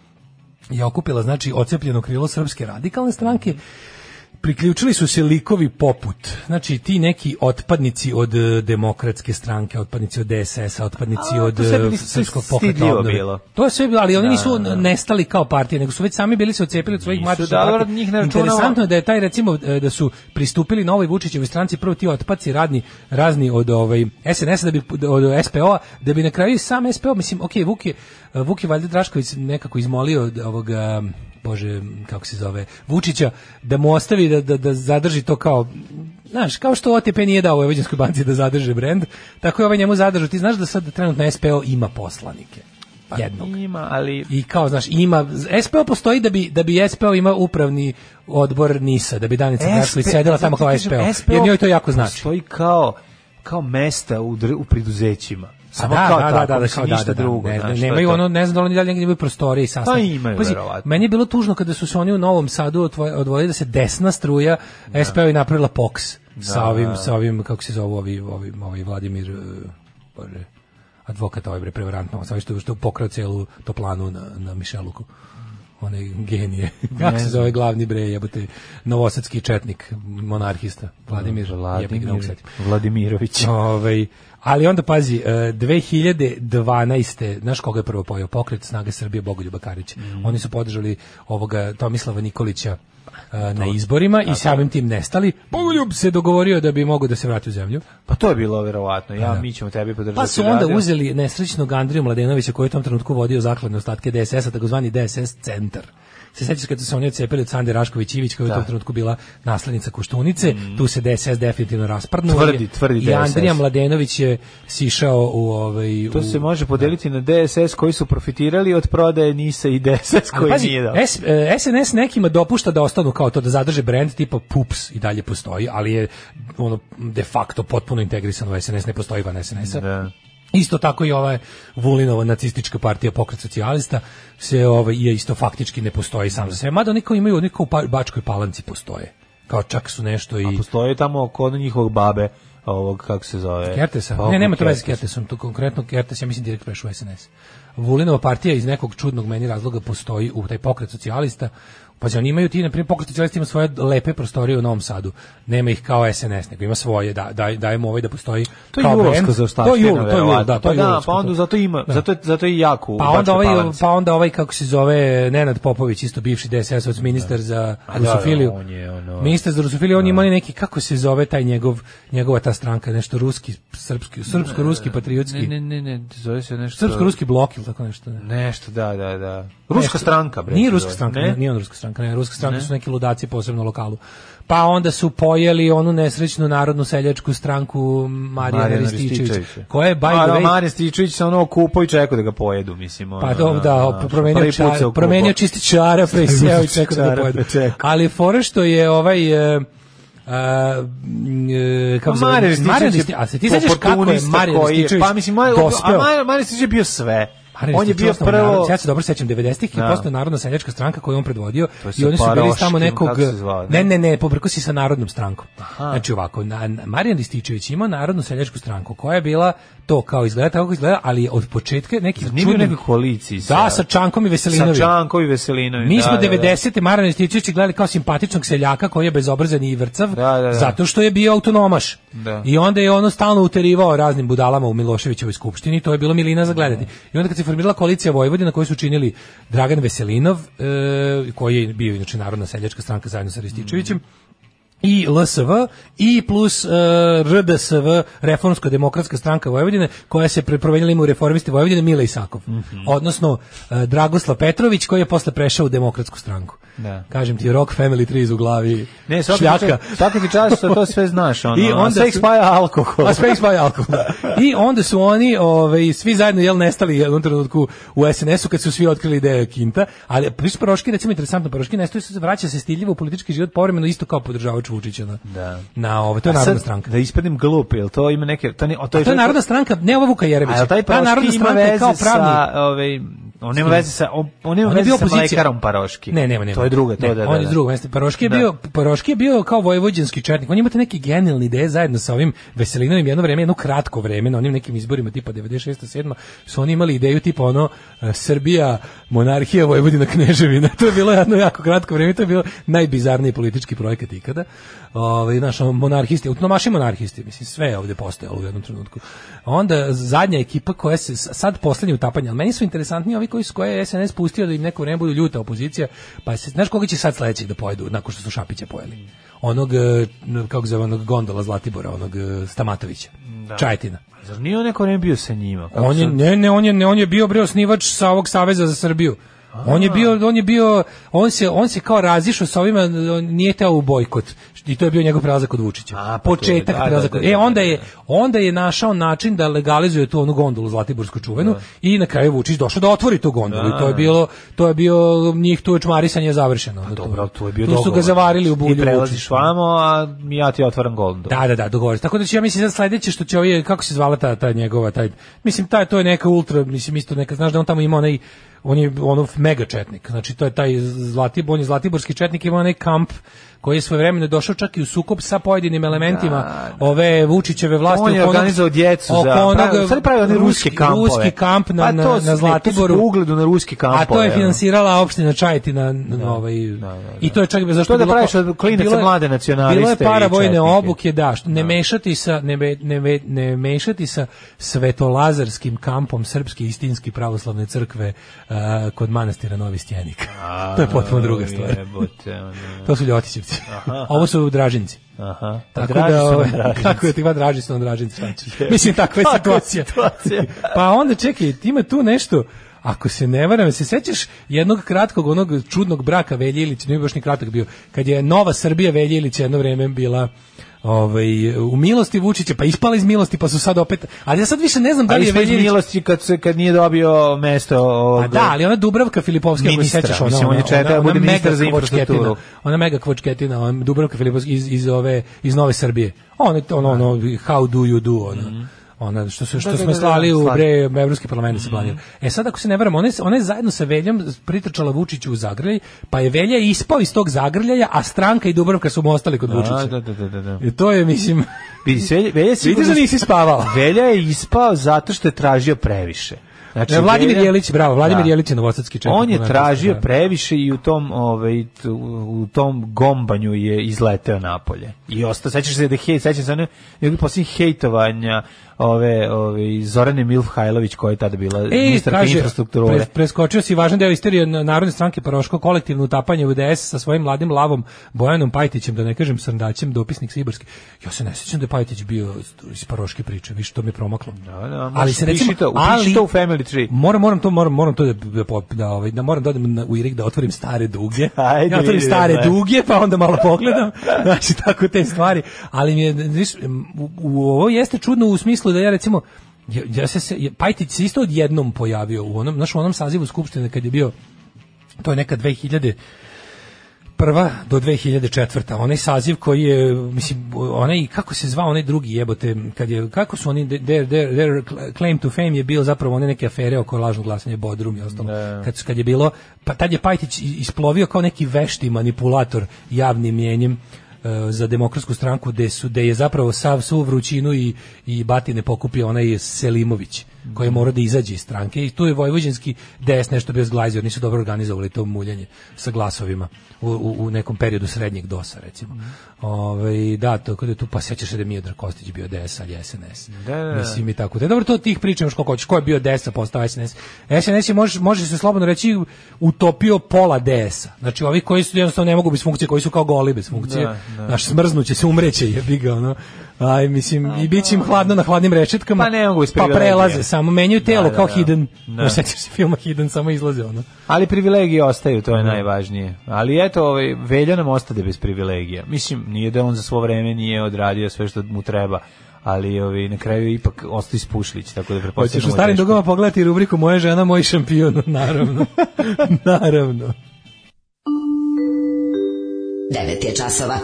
Speaker 6: je okupila, znači, ocepljeno krilo Srpske radikalne stranke, priključili su se likovi poput, znači ti neki otpadnici od e, demokratske stranke, otpadnici od DSS-a, otpadnici
Speaker 5: A,
Speaker 6: od
Speaker 5: to sve
Speaker 6: e,
Speaker 5: bili
Speaker 6: srpskog
Speaker 5: stidljivo
Speaker 6: pokreta obnove.
Speaker 5: bilo.
Speaker 6: To je sve bilo, ali oni
Speaker 5: Da,
Speaker 6: nisu
Speaker 5: da.
Speaker 6: nestali kao partije, nego su već sami bili se ocepili od svojih
Speaker 5: Nisu,
Speaker 6: matičnih
Speaker 5: da,
Speaker 6: partija.
Speaker 5: njih ne računamo.
Speaker 6: Interesantno je da je taj recimo e, da su pristupili novoj Vučićevoj stranci prvo ti otpaci radni razni od ovaj SNS da bi od SPO-a da bi na kraju i sam SPO mislim okej Vuk je Vuk je valjda Drašković nekako izmolio od ovoga bože kako se zove Vučića da mu ostavi da da, da zadrži to kao Znaš, kao što OTP nije dao Vojvođanskoj banci da zadrže brend, tako je ovaj njemu zadržao. Ti znaš da sad trenutno SPO ima poslanike. Jednog.
Speaker 5: Ima, ali...
Speaker 6: Pa, I kao, znaš, ima, SPO postoji da bi, da bi SPO ima upravni odbor NISA, da bi Danica Drašković sedela tamo kao
Speaker 5: Zato ti
Speaker 6: SPO,
Speaker 5: kažem,
Speaker 6: jer njoj to jako znači.
Speaker 5: Postoji kao, kao mesta u, dr- u preduzećima. Samo
Speaker 6: Pa
Speaker 5: kao
Speaker 6: da,
Speaker 5: tako,
Speaker 6: da, da, da,
Speaker 5: mislim,
Speaker 6: kao da,
Speaker 5: ništa
Speaker 6: da, da,
Speaker 5: drugo.
Speaker 6: ne,
Speaker 5: znaš, to je
Speaker 6: nemaju
Speaker 5: to.
Speaker 6: ono, ne znam da li oni dalje negdje imaju prostorije i sastanke.
Speaker 5: Pa imaju,
Speaker 6: Pazi,
Speaker 5: verovatno.
Speaker 6: meni je bilo tužno kada su se oni u Novom Sadu otvo- odvojili da se desna struja SPO i napravila POX sa
Speaker 5: Da,
Speaker 6: ovim,
Speaker 5: da.
Speaker 6: sa ovim, kako se zove, ovi, ovi, ovi Vladimir, eh, bože, advokat ovaj bre prevarantno, sa što što je pokrao celu toplanu na na Mišeluku. One genije. Kako se zove glavni bre, jebote, novosadski četnik, monarhista, Vladimir, jebi ga, ne mogu
Speaker 5: Vladimir,
Speaker 6: setiti.
Speaker 5: Vladimirović.
Speaker 6: Ovaj, ali onda pazi, e, 2012. Znaš koga je prvo pojao? Pokret snage Srbije Bogoljuba Karića. Oni su podržali ovoga Tomislava Nikolića e, na izborima i samim tim nestali. Bogoljub se dogovorio da bi mogao da se vrati u zemlju.
Speaker 5: Pa to je bilo verovatno. Ja,
Speaker 6: Da.
Speaker 5: mi ćemo tebi podržati.
Speaker 6: Pa su onda
Speaker 5: radio.
Speaker 6: uzeli nesrećnog Andriju Mladenovića koji je u tom trenutku vodio zakladne ostatke DSS-a, takozvani DSS centar. Se sećaš kada su oni odcepili od Sande Rašković Ivić koja je u tom trenutku bila naslednica Koštunice, tu se DSS definitivno rasprnuo.
Speaker 5: Mm. Tvrdi, tvrdi
Speaker 6: I Andrija
Speaker 5: DSS.
Speaker 6: Mladenović je sišao u ovaj
Speaker 5: To
Speaker 6: u-
Speaker 5: se može podeliti na DSS koji su profitirali od prodaje Nisa i DSS
Speaker 6: Ali
Speaker 5: koji
Speaker 6: pazi,
Speaker 5: nije dao.
Speaker 6: S- e, SNS nekima dopušta da ostanu kao to da zadrže brend tipa Pups i dalje postoji, ali je ono de facto potpuno integrisan u SNS, ne postoji van SNS-a. Isto tako i ova Vulinova nacistička partija pokret socijalista se ovaj je isto faktički ne postoji sam za sebe. Mada oni kao imaju oni kao u Pa- Bačkoj Palanci postoje. Kao čak su nešto i
Speaker 5: A postoje tamo kod njihovog babe, ovog kako se zove.
Speaker 6: Kertesa.
Speaker 5: Pa,
Speaker 6: ne, nema to veze s
Speaker 5: Kertes.
Speaker 6: Kertesom, tu konkretno Kertes, ja mislim direkt prešao u SNS. Vulinova partija iz nekog čudnog meni razloga postoji u taj pokret socijalista. Pa oni imaju ti, na primjer, pokret socijalista ima svoje lepe prostorije u Novom Sadu. Nema ih kao SNS, nego ima svoje, da, daj, dajemo ovaj da postoji
Speaker 5: To je
Speaker 6: kao brend.
Speaker 5: julovska zaostavština,
Speaker 6: To je jul, to je jul,
Speaker 5: verovatno.
Speaker 6: da, to je
Speaker 5: pa da,
Speaker 6: julovsko,
Speaker 5: pa onda
Speaker 6: to-
Speaker 5: zato ima,
Speaker 6: Da.
Speaker 5: zato, je- zato je jako
Speaker 6: Pa onda, ovaj, pa onda ovaj, kako se zove, Nenad Popović, isto bivši DSS-ovac, ministar za
Speaker 5: A da, da,
Speaker 6: rusofiliju.
Speaker 5: on je, ono-
Speaker 6: Ministar za rusofiliju, on ima onaj neki, kako se zove taj njegov, njegova ta stranka, nešto ruski, srpski, srpsko-ruski, patriotski.
Speaker 5: Ne, ne, ne, ne, zove se nešto...
Speaker 6: Srpsko-ruski blok ili tako nešto. Ne.
Speaker 5: Nešto, da, da, da. Ruska
Speaker 6: Nešto-
Speaker 5: stranka, bre.
Speaker 6: Nije
Speaker 5: se
Speaker 6: ruska
Speaker 5: zove.
Speaker 6: stranka,
Speaker 5: Ne?
Speaker 6: ne? nije on ruska stranka, ne, ruska stranka
Speaker 5: Ne.
Speaker 6: su neki ludaci posebno u lokalu. Pa onda su pojeli onu nesrećnu narodnu seljačku stranku Marijana
Speaker 5: Marijana
Speaker 6: Rističevića,
Speaker 5: Rističevića.
Speaker 6: koja je, by
Speaker 5: A,
Speaker 6: the
Speaker 5: da,
Speaker 6: way,
Speaker 5: Marijan Stičević se ono kupo i čekao da ga pojedu, mislim. Ono,
Speaker 6: Pa to
Speaker 5: ono,
Speaker 6: da,
Speaker 5: ono,
Speaker 6: promenio
Speaker 5: prvi put se
Speaker 6: čar,
Speaker 5: okupao.
Speaker 6: promenio čisti čara, pre sjeo i čekao da
Speaker 5: Čarape,
Speaker 6: ga pojedu.
Speaker 5: pa čekao.
Speaker 6: Ali fora što je ovaj e, a, m, e, kako se zove?
Speaker 5: Marijan
Speaker 6: Marijan
Speaker 5: Rističević
Speaker 6: Risti-
Speaker 5: je
Speaker 6: a se ti sećaš kako je
Speaker 5: oportunista
Speaker 6: Marijan
Speaker 5: koji je-
Speaker 6: Rističević
Speaker 5: Pa mislim, Marijan a
Speaker 6: dospeo?
Speaker 5: Marijan- Marijan Rističević je bio sve.
Speaker 6: Marijan
Speaker 5: On je bio
Speaker 6: Rističević osnovan
Speaker 5: prvo...
Speaker 6: narod- ja se dobro sećam 90-ih
Speaker 5: Da.
Speaker 6: i posle Narodna seljačka stranka koju je on predvodio
Speaker 5: To je sa
Speaker 6: i oni su bili
Speaker 5: Paroškim,
Speaker 6: tamo nekog
Speaker 5: kako se zvao, ne?
Speaker 6: ne ne ne pobrko si sa Narodnom strankom. Znači ovako na, na- Marijan Rističević ima Narodnu seljačku stranku koja je bila to kao izgleda tako kako izgleda, ali je od početka neki
Speaker 5: Nije bio u nekoj koaliciji.
Speaker 6: Da, sa Čankom i Veselinovićem.
Speaker 5: Sa Čankom i Veselinovićem.
Speaker 6: Mi
Speaker 5: da,
Speaker 6: smo
Speaker 5: da, da.
Speaker 6: 90. Marana Rističevića gledali kao simpatičnog seljaka koji je bezobrazan i vrcav,
Speaker 5: da, da.
Speaker 6: zato što je bio autonomaš.
Speaker 5: Da.
Speaker 6: I onda je ono stalno uterivao raznim budalama u Miloševićevoj skupštini, to je bilo milina za gledanje. I onda kad se formirala koalicija Vojvodina koju su činili Dragan Veselinov, e, koji je bio inače Narodna seljačka stranka zajedno sa Rističevićem, i LSV i plus e, RDSV Reformsko demokratska stranka Vojvodine koja se prepromenila ime u reformisti Vojvodine Mile Isakov.
Speaker 5: Mhm.
Speaker 6: Odnosno e, Dragoslav Petrović koji je posle prešao u demokratsku stranku.
Speaker 5: Da.
Speaker 6: Kažem ti Rock Family 3 u glavi.
Speaker 5: Ne, svaka
Speaker 6: šljaka.
Speaker 5: ti čast- svaka ti čast što to sve znaš, ono, a sve
Speaker 6: su-
Speaker 5: spaja alkohol.
Speaker 6: A sve ih spaja alkohol. I onda su oni ovaj, svi zajedno jel, nestali u jednom trenutku u SNS-u kad su svi otkrili ideje Kinta, ali priš Paroški, recimo interesantno, Paroški nestoji se vraća se stiljivo u politički život povremeno isto kao podržavač Vučića na,
Speaker 5: Da.
Speaker 6: na ovo, to je
Speaker 5: A sad,
Speaker 6: narodna stranka.
Speaker 5: Da ispadnem glup, jel to ima neke... To, ne, o, to,
Speaker 6: A to je narodna stranka, ne ova Vuka
Speaker 5: A
Speaker 6: Jeremića.
Speaker 5: jel taj
Speaker 6: Ta
Speaker 5: Paroški ima
Speaker 6: narodna stranka je
Speaker 5: veze
Speaker 6: kao pravni.
Speaker 5: sa... Ovaj, on nema veze sa... On, on nema
Speaker 6: On je
Speaker 5: veze
Speaker 6: bio
Speaker 5: sa
Speaker 6: opozicija.
Speaker 5: mlekarom Paroški.
Speaker 6: Ne, nema, nema.
Speaker 5: To je druga, to
Speaker 6: Ne,
Speaker 5: da, da.
Speaker 6: On je
Speaker 5: da.
Speaker 6: iz drugog mesta. Paroški je
Speaker 5: Da.
Speaker 6: bio Paroški je bio kao vojvođanski četnik. On imate neke genijalne ideje zajedno sa ovim Veselinovim jedno vreme, jedno kratko vreme na onim nekim izborima tipa 96. 7. su oni imali ideju tipa ono eh, Srbija, monarhija, Vojvodina, kneževina. To je bilo jedno jako kratko vreme, to je bio najbizarniji politički projekat ikada. Ovaj naš monarhisti, autonomaši monarhisti, mislim sve je ovde postojalo u jednom trenutku. Onda zadnja ekipa koja se s- sad poslednje utapanje, ali meni su interesantni ovi koji su koje je SNS pustio da im neko vreme budu ljuta opozicija, pa se znaš koga će sad sledećeg da pojedu nakon što su Šapića pojeli. Onog eh, kako se zove onog gondola Zlatibora, onog eh, Stamatovića. Čajtina.
Speaker 5: Zar nije on neko ne bio sa njima? Kako
Speaker 6: On je
Speaker 5: sad-
Speaker 6: ne ne on je ne on je bio bre osnivač sa ovog saveza za Srbiju. On je bio on je bio on se on se kao razišao sa ovima on nije teo u bojkot i to je bio njegov prelazak od Vučića.
Speaker 5: A, pa to je-
Speaker 6: Početak
Speaker 5: da, da,
Speaker 6: prelazak. od-
Speaker 5: da, da,
Speaker 6: e onda
Speaker 5: da,
Speaker 6: je onda je našao način da legalizuje tu onu gondolu Zlatiborsku čuvenu i na kraju je Vučić došao da otvori tu gondolu i to je bilo to je bio njih tu čmarisanje je završeno. Da,
Speaker 5: Pa Dobro, to je bio
Speaker 6: tu su
Speaker 5: dogovor.
Speaker 6: ga zavarili u bulju.
Speaker 5: Ti prelaziš
Speaker 6: Vučića.
Speaker 5: vamo, a ja ti otvaram goldu.
Speaker 6: Da, da, da, dogovor. Tako da će ja mislim sad sledeće što će ovaj kako se zvala ta ta njegova taj mislim taj to je neka ultra mislim isto neka znaš da on tamo ima onaj on je ono mega četnik. Znači to je taj Zlatib, on je zlatiborski četnik, ima onaj kamp koji je svojevremeno došao čak i u sukob sa pojedinim elementima ove Vučićeve vlasti.
Speaker 5: On je
Speaker 6: oko onog-
Speaker 5: organizovao djecu
Speaker 6: oko
Speaker 5: za...
Speaker 6: onog
Speaker 5: pravi- sad pravi one ruske
Speaker 6: ruski-
Speaker 5: kampove.
Speaker 6: Ruski kamp na,
Speaker 5: Pa
Speaker 6: na,
Speaker 5: to su-
Speaker 6: na
Speaker 5: ne, To
Speaker 6: Zlatiboru.
Speaker 5: su po ugledu na ruski kampove.
Speaker 6: A to je
Speaker 5: ono.
Speaker 6: finansirala opština Čajetina na, na ovaj i to je čak zašto
Speaker 5: To da
Speaker 6: bilo
Speaker 5: praviš
Speaker 6: kao-
Speaker 5: od klinaca
Speaker 6: bilo je-
Speaker 5: mlade nacionaliste
Speaker 6: Bilo je para
Speaker 5: i
Speaker 6: vojne
Speaker 5: četnike.
Speaker 6: obuke, da, što- ne mešati sa ne, me- ne, me- ne mešati sa Svetolazarskim kampom srpske istinski pravoslavne crkve uh, kod manastira Novi Stjenik. to je potpuno druga stvar.
Speaker 5: Jebote, ono.
Speaker 6: To su Ljotićevci. Ovo su Dražinci.
Speaker 5: Aha. Pa
Speaker 6: Tako
Speaker 5: Draži
Speaker 6: da,
Speaker 5: su nam
Speaker 6: ovaj,
Speaker 5: Dražinci.
Speaker 6: kako je tiva draži su nam dražinci. znači. Mislim, takva je
Speaker 5: Takva je
Speaker 6: situacija.
Speaker 5: situacija.
Speaker 6: pa onda, čekaj, ima tu nešto, Ako se ne varam, se sećaš jednog kratkog onog čudnog braka Velje Ilić, nije baš ni kratak bio, kad je Nova Srbija Velje Ilić jedno vreme bila ovaj, u milosti Vučića, pa ispala iz milosti, pa su sad opet... Ali ja sad više ne znam da li je
Speaker 5: Ali
Speaker 6: Velje
Speaker 5: je
Speaker 6: Ilić...
Speaker 5: milosti kad, se, kad nije dobio mesto
Speaker 6: Pa da, ali ona Dubravka Filipovska, ako se
Speaker 5: Ministra,
Speaker 6: sećaš, ona,
Speaker 5: mislim, on je četvrta,
Speaker 6: ona, ona,
Speaker 5: bude ministar
Speaker 6: mega
Speaker 5: za
Speaker 6: kvočketina,
Speaker 5: infrastrukturu.
Speaker 6: ona mega kvočketina, ona Dubravka Filipovska iz, iz, ove, iz Nove Srbije. Ona, je to, ono, ono, how do you do, ona. Ona, što, se, što
Speaker 5: Mhm. Da, da, da,
Speaker 6: smo
Speaker 5: da, Mhm.
Speaker 6: slali u
Speaker 5: slali.
Speaker 6: bre, Evropski parlament se planira. E sad, ako se ne varam, ona je, ona je zajedno sa Veljom pritrčala Vučiću u zagrljaj, pa je Velja ispao iz tog zagrljaja, a stranka i Dubravka su mu ostali kod Vučića.
Speaker 5: Da, da, da, da, da.
Speaker 6: I to je, mislim...
Speaker 5: Vidi, Velja, Velja, sigurno-
Speaker 6: Vidiš da nisi spavao.
Speaker 5: Velja je ispao zato što je tražio previše. Znači,
Speaker 6: E, Vladimir
Speaker 5: Velja-
Speaker 6: Jelić, bravo, Vladimir Jelić je novosadski četnik,
Speaker 5: On je
Speaker 6: onako,
Speaker 5: tražio
Speaker 6: da.
Speaker 5: previše i u tom, ovaj, t- u tom gombanju je izleteo napolje. I ostao, sećaš se da je hejt, sećam se ono, njegovih posljednjih hejtovanja ove, ove, Zorane Milfhajlović koja je tada
Speaker 6: E,
Speaker 5: bila E, ministarka infrastrukture.
Speaker 6: pre- preskočio si važan deo istorije na- Narodne stranke Paroško, kolektivno utapanje u DS sa svojim mladim lavom Bojanom Pajtićem, da ne kažem srndaćem, dopisnik Sibarski. Ja se ne sjećam da je Pajtić bio iz Paroške priče, više to mi je promaklo.
Speaker 5: Da,
Speaker 6: ali se recimo,
Speaker 5: upiši to, upiši
Speaker 6: ali,
Speaker 5: to u Family Tree.
Speaker 6: Moram, moram to, moram, moram to da, da, pop- da, ovaj, da moram da odem na, u Irik da otvorim stare duge.
Speaker 5: Ajde,
Speaker 6: ja otvorim
Speaker 5: vidi,
Speaker 6: stare
Speaker 5: da.
Speaker 6: duge, pa onda malo pogledam. Znači, tako te stvari. Ali mi je, znaš, u, u- ovo jeste čudno u smislu da ja recimo, ja, ja se, se, ja- Pajtić se isto odjednom pojavio u onom, znaš, u onom sazivu Skupštine kad je bio, to je neka 2000, prva do 2004. onaj saziv koji je mislim onaj kako se zvao onaj drugi jebote kad je kako su oni their, their, their claim to fame je bio zapravo one neke afere oko lažnog glasanja Bodrum i ostalo kad su- kad je bilo pa tad je Pajtić i- isplovio kao neki vešti manipulator javnim mjenjem e, za demokratsku stranku gde su gde je zapravo sav svu vrućinu i i batine pokupio onaj Selimović koji je morao da izađe iz stranke i tu je vojvođanski DS nešto bio zglazio, nisu dobro organizovali to muljanje sa glasovima u, u, u nekom periodu srednjeg dosa recimo. Ovaj da, tako da tu pa sećaš se da je Miodrag Kostić bio DS ali SNS.
Speaker 5: Da, da, da.
Speaker 6: Mislim i tako. Da, dobro, to od tih priča još koliko hoćeš. Ko je bio DS, a postao SNS? SNS je, može, može se slobodno reći, utopio pola DS-a. Znači, ovi koji su jednostavno ne mogu bez funkcije, koji su kao goli bez funkcije.
Speaker 5: Da, da.
Speaker 6: Znaš, smrznuće se, umreće, jebi ga, ono. Aj, mislim, i bit će im hladno na hladnim rešetkama.
Speaker 5: Pa ne mogu iz
Speaker 6: Pa
Speaker 5: privilegije.
Speaker 6: prelaze, samo menjaju telo,
Speaker 5: Da, da,
Speaker 6: kao
Speaker 5: da.
Speaker 6: Hidden.
Speaker 5: Da.
Speaker 6: Da. Sećaš se filma Hidden, samo izlaze, ono.
Speaker 5: Ali privilegije ostaju, to je najvažnije. Ali eto, ovaj, Velja nam ostade bez privilegija. Mislim, nije da on za svo vreme nije odradio sve što mu treba, ali ovaj, na kraju je ipak ostao ispušlić, tako da
Speaker 6: Hoćeš
Speaker 5: prepostavljamo...
Speaker 6: u starim dugama pogledati rubriku Moja žena, moj šampion, naravno. naravno.
Speaker 4: 9 je časova.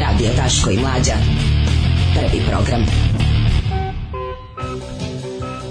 Speaker 4: Radio Daško i Mlađa. Prvi program.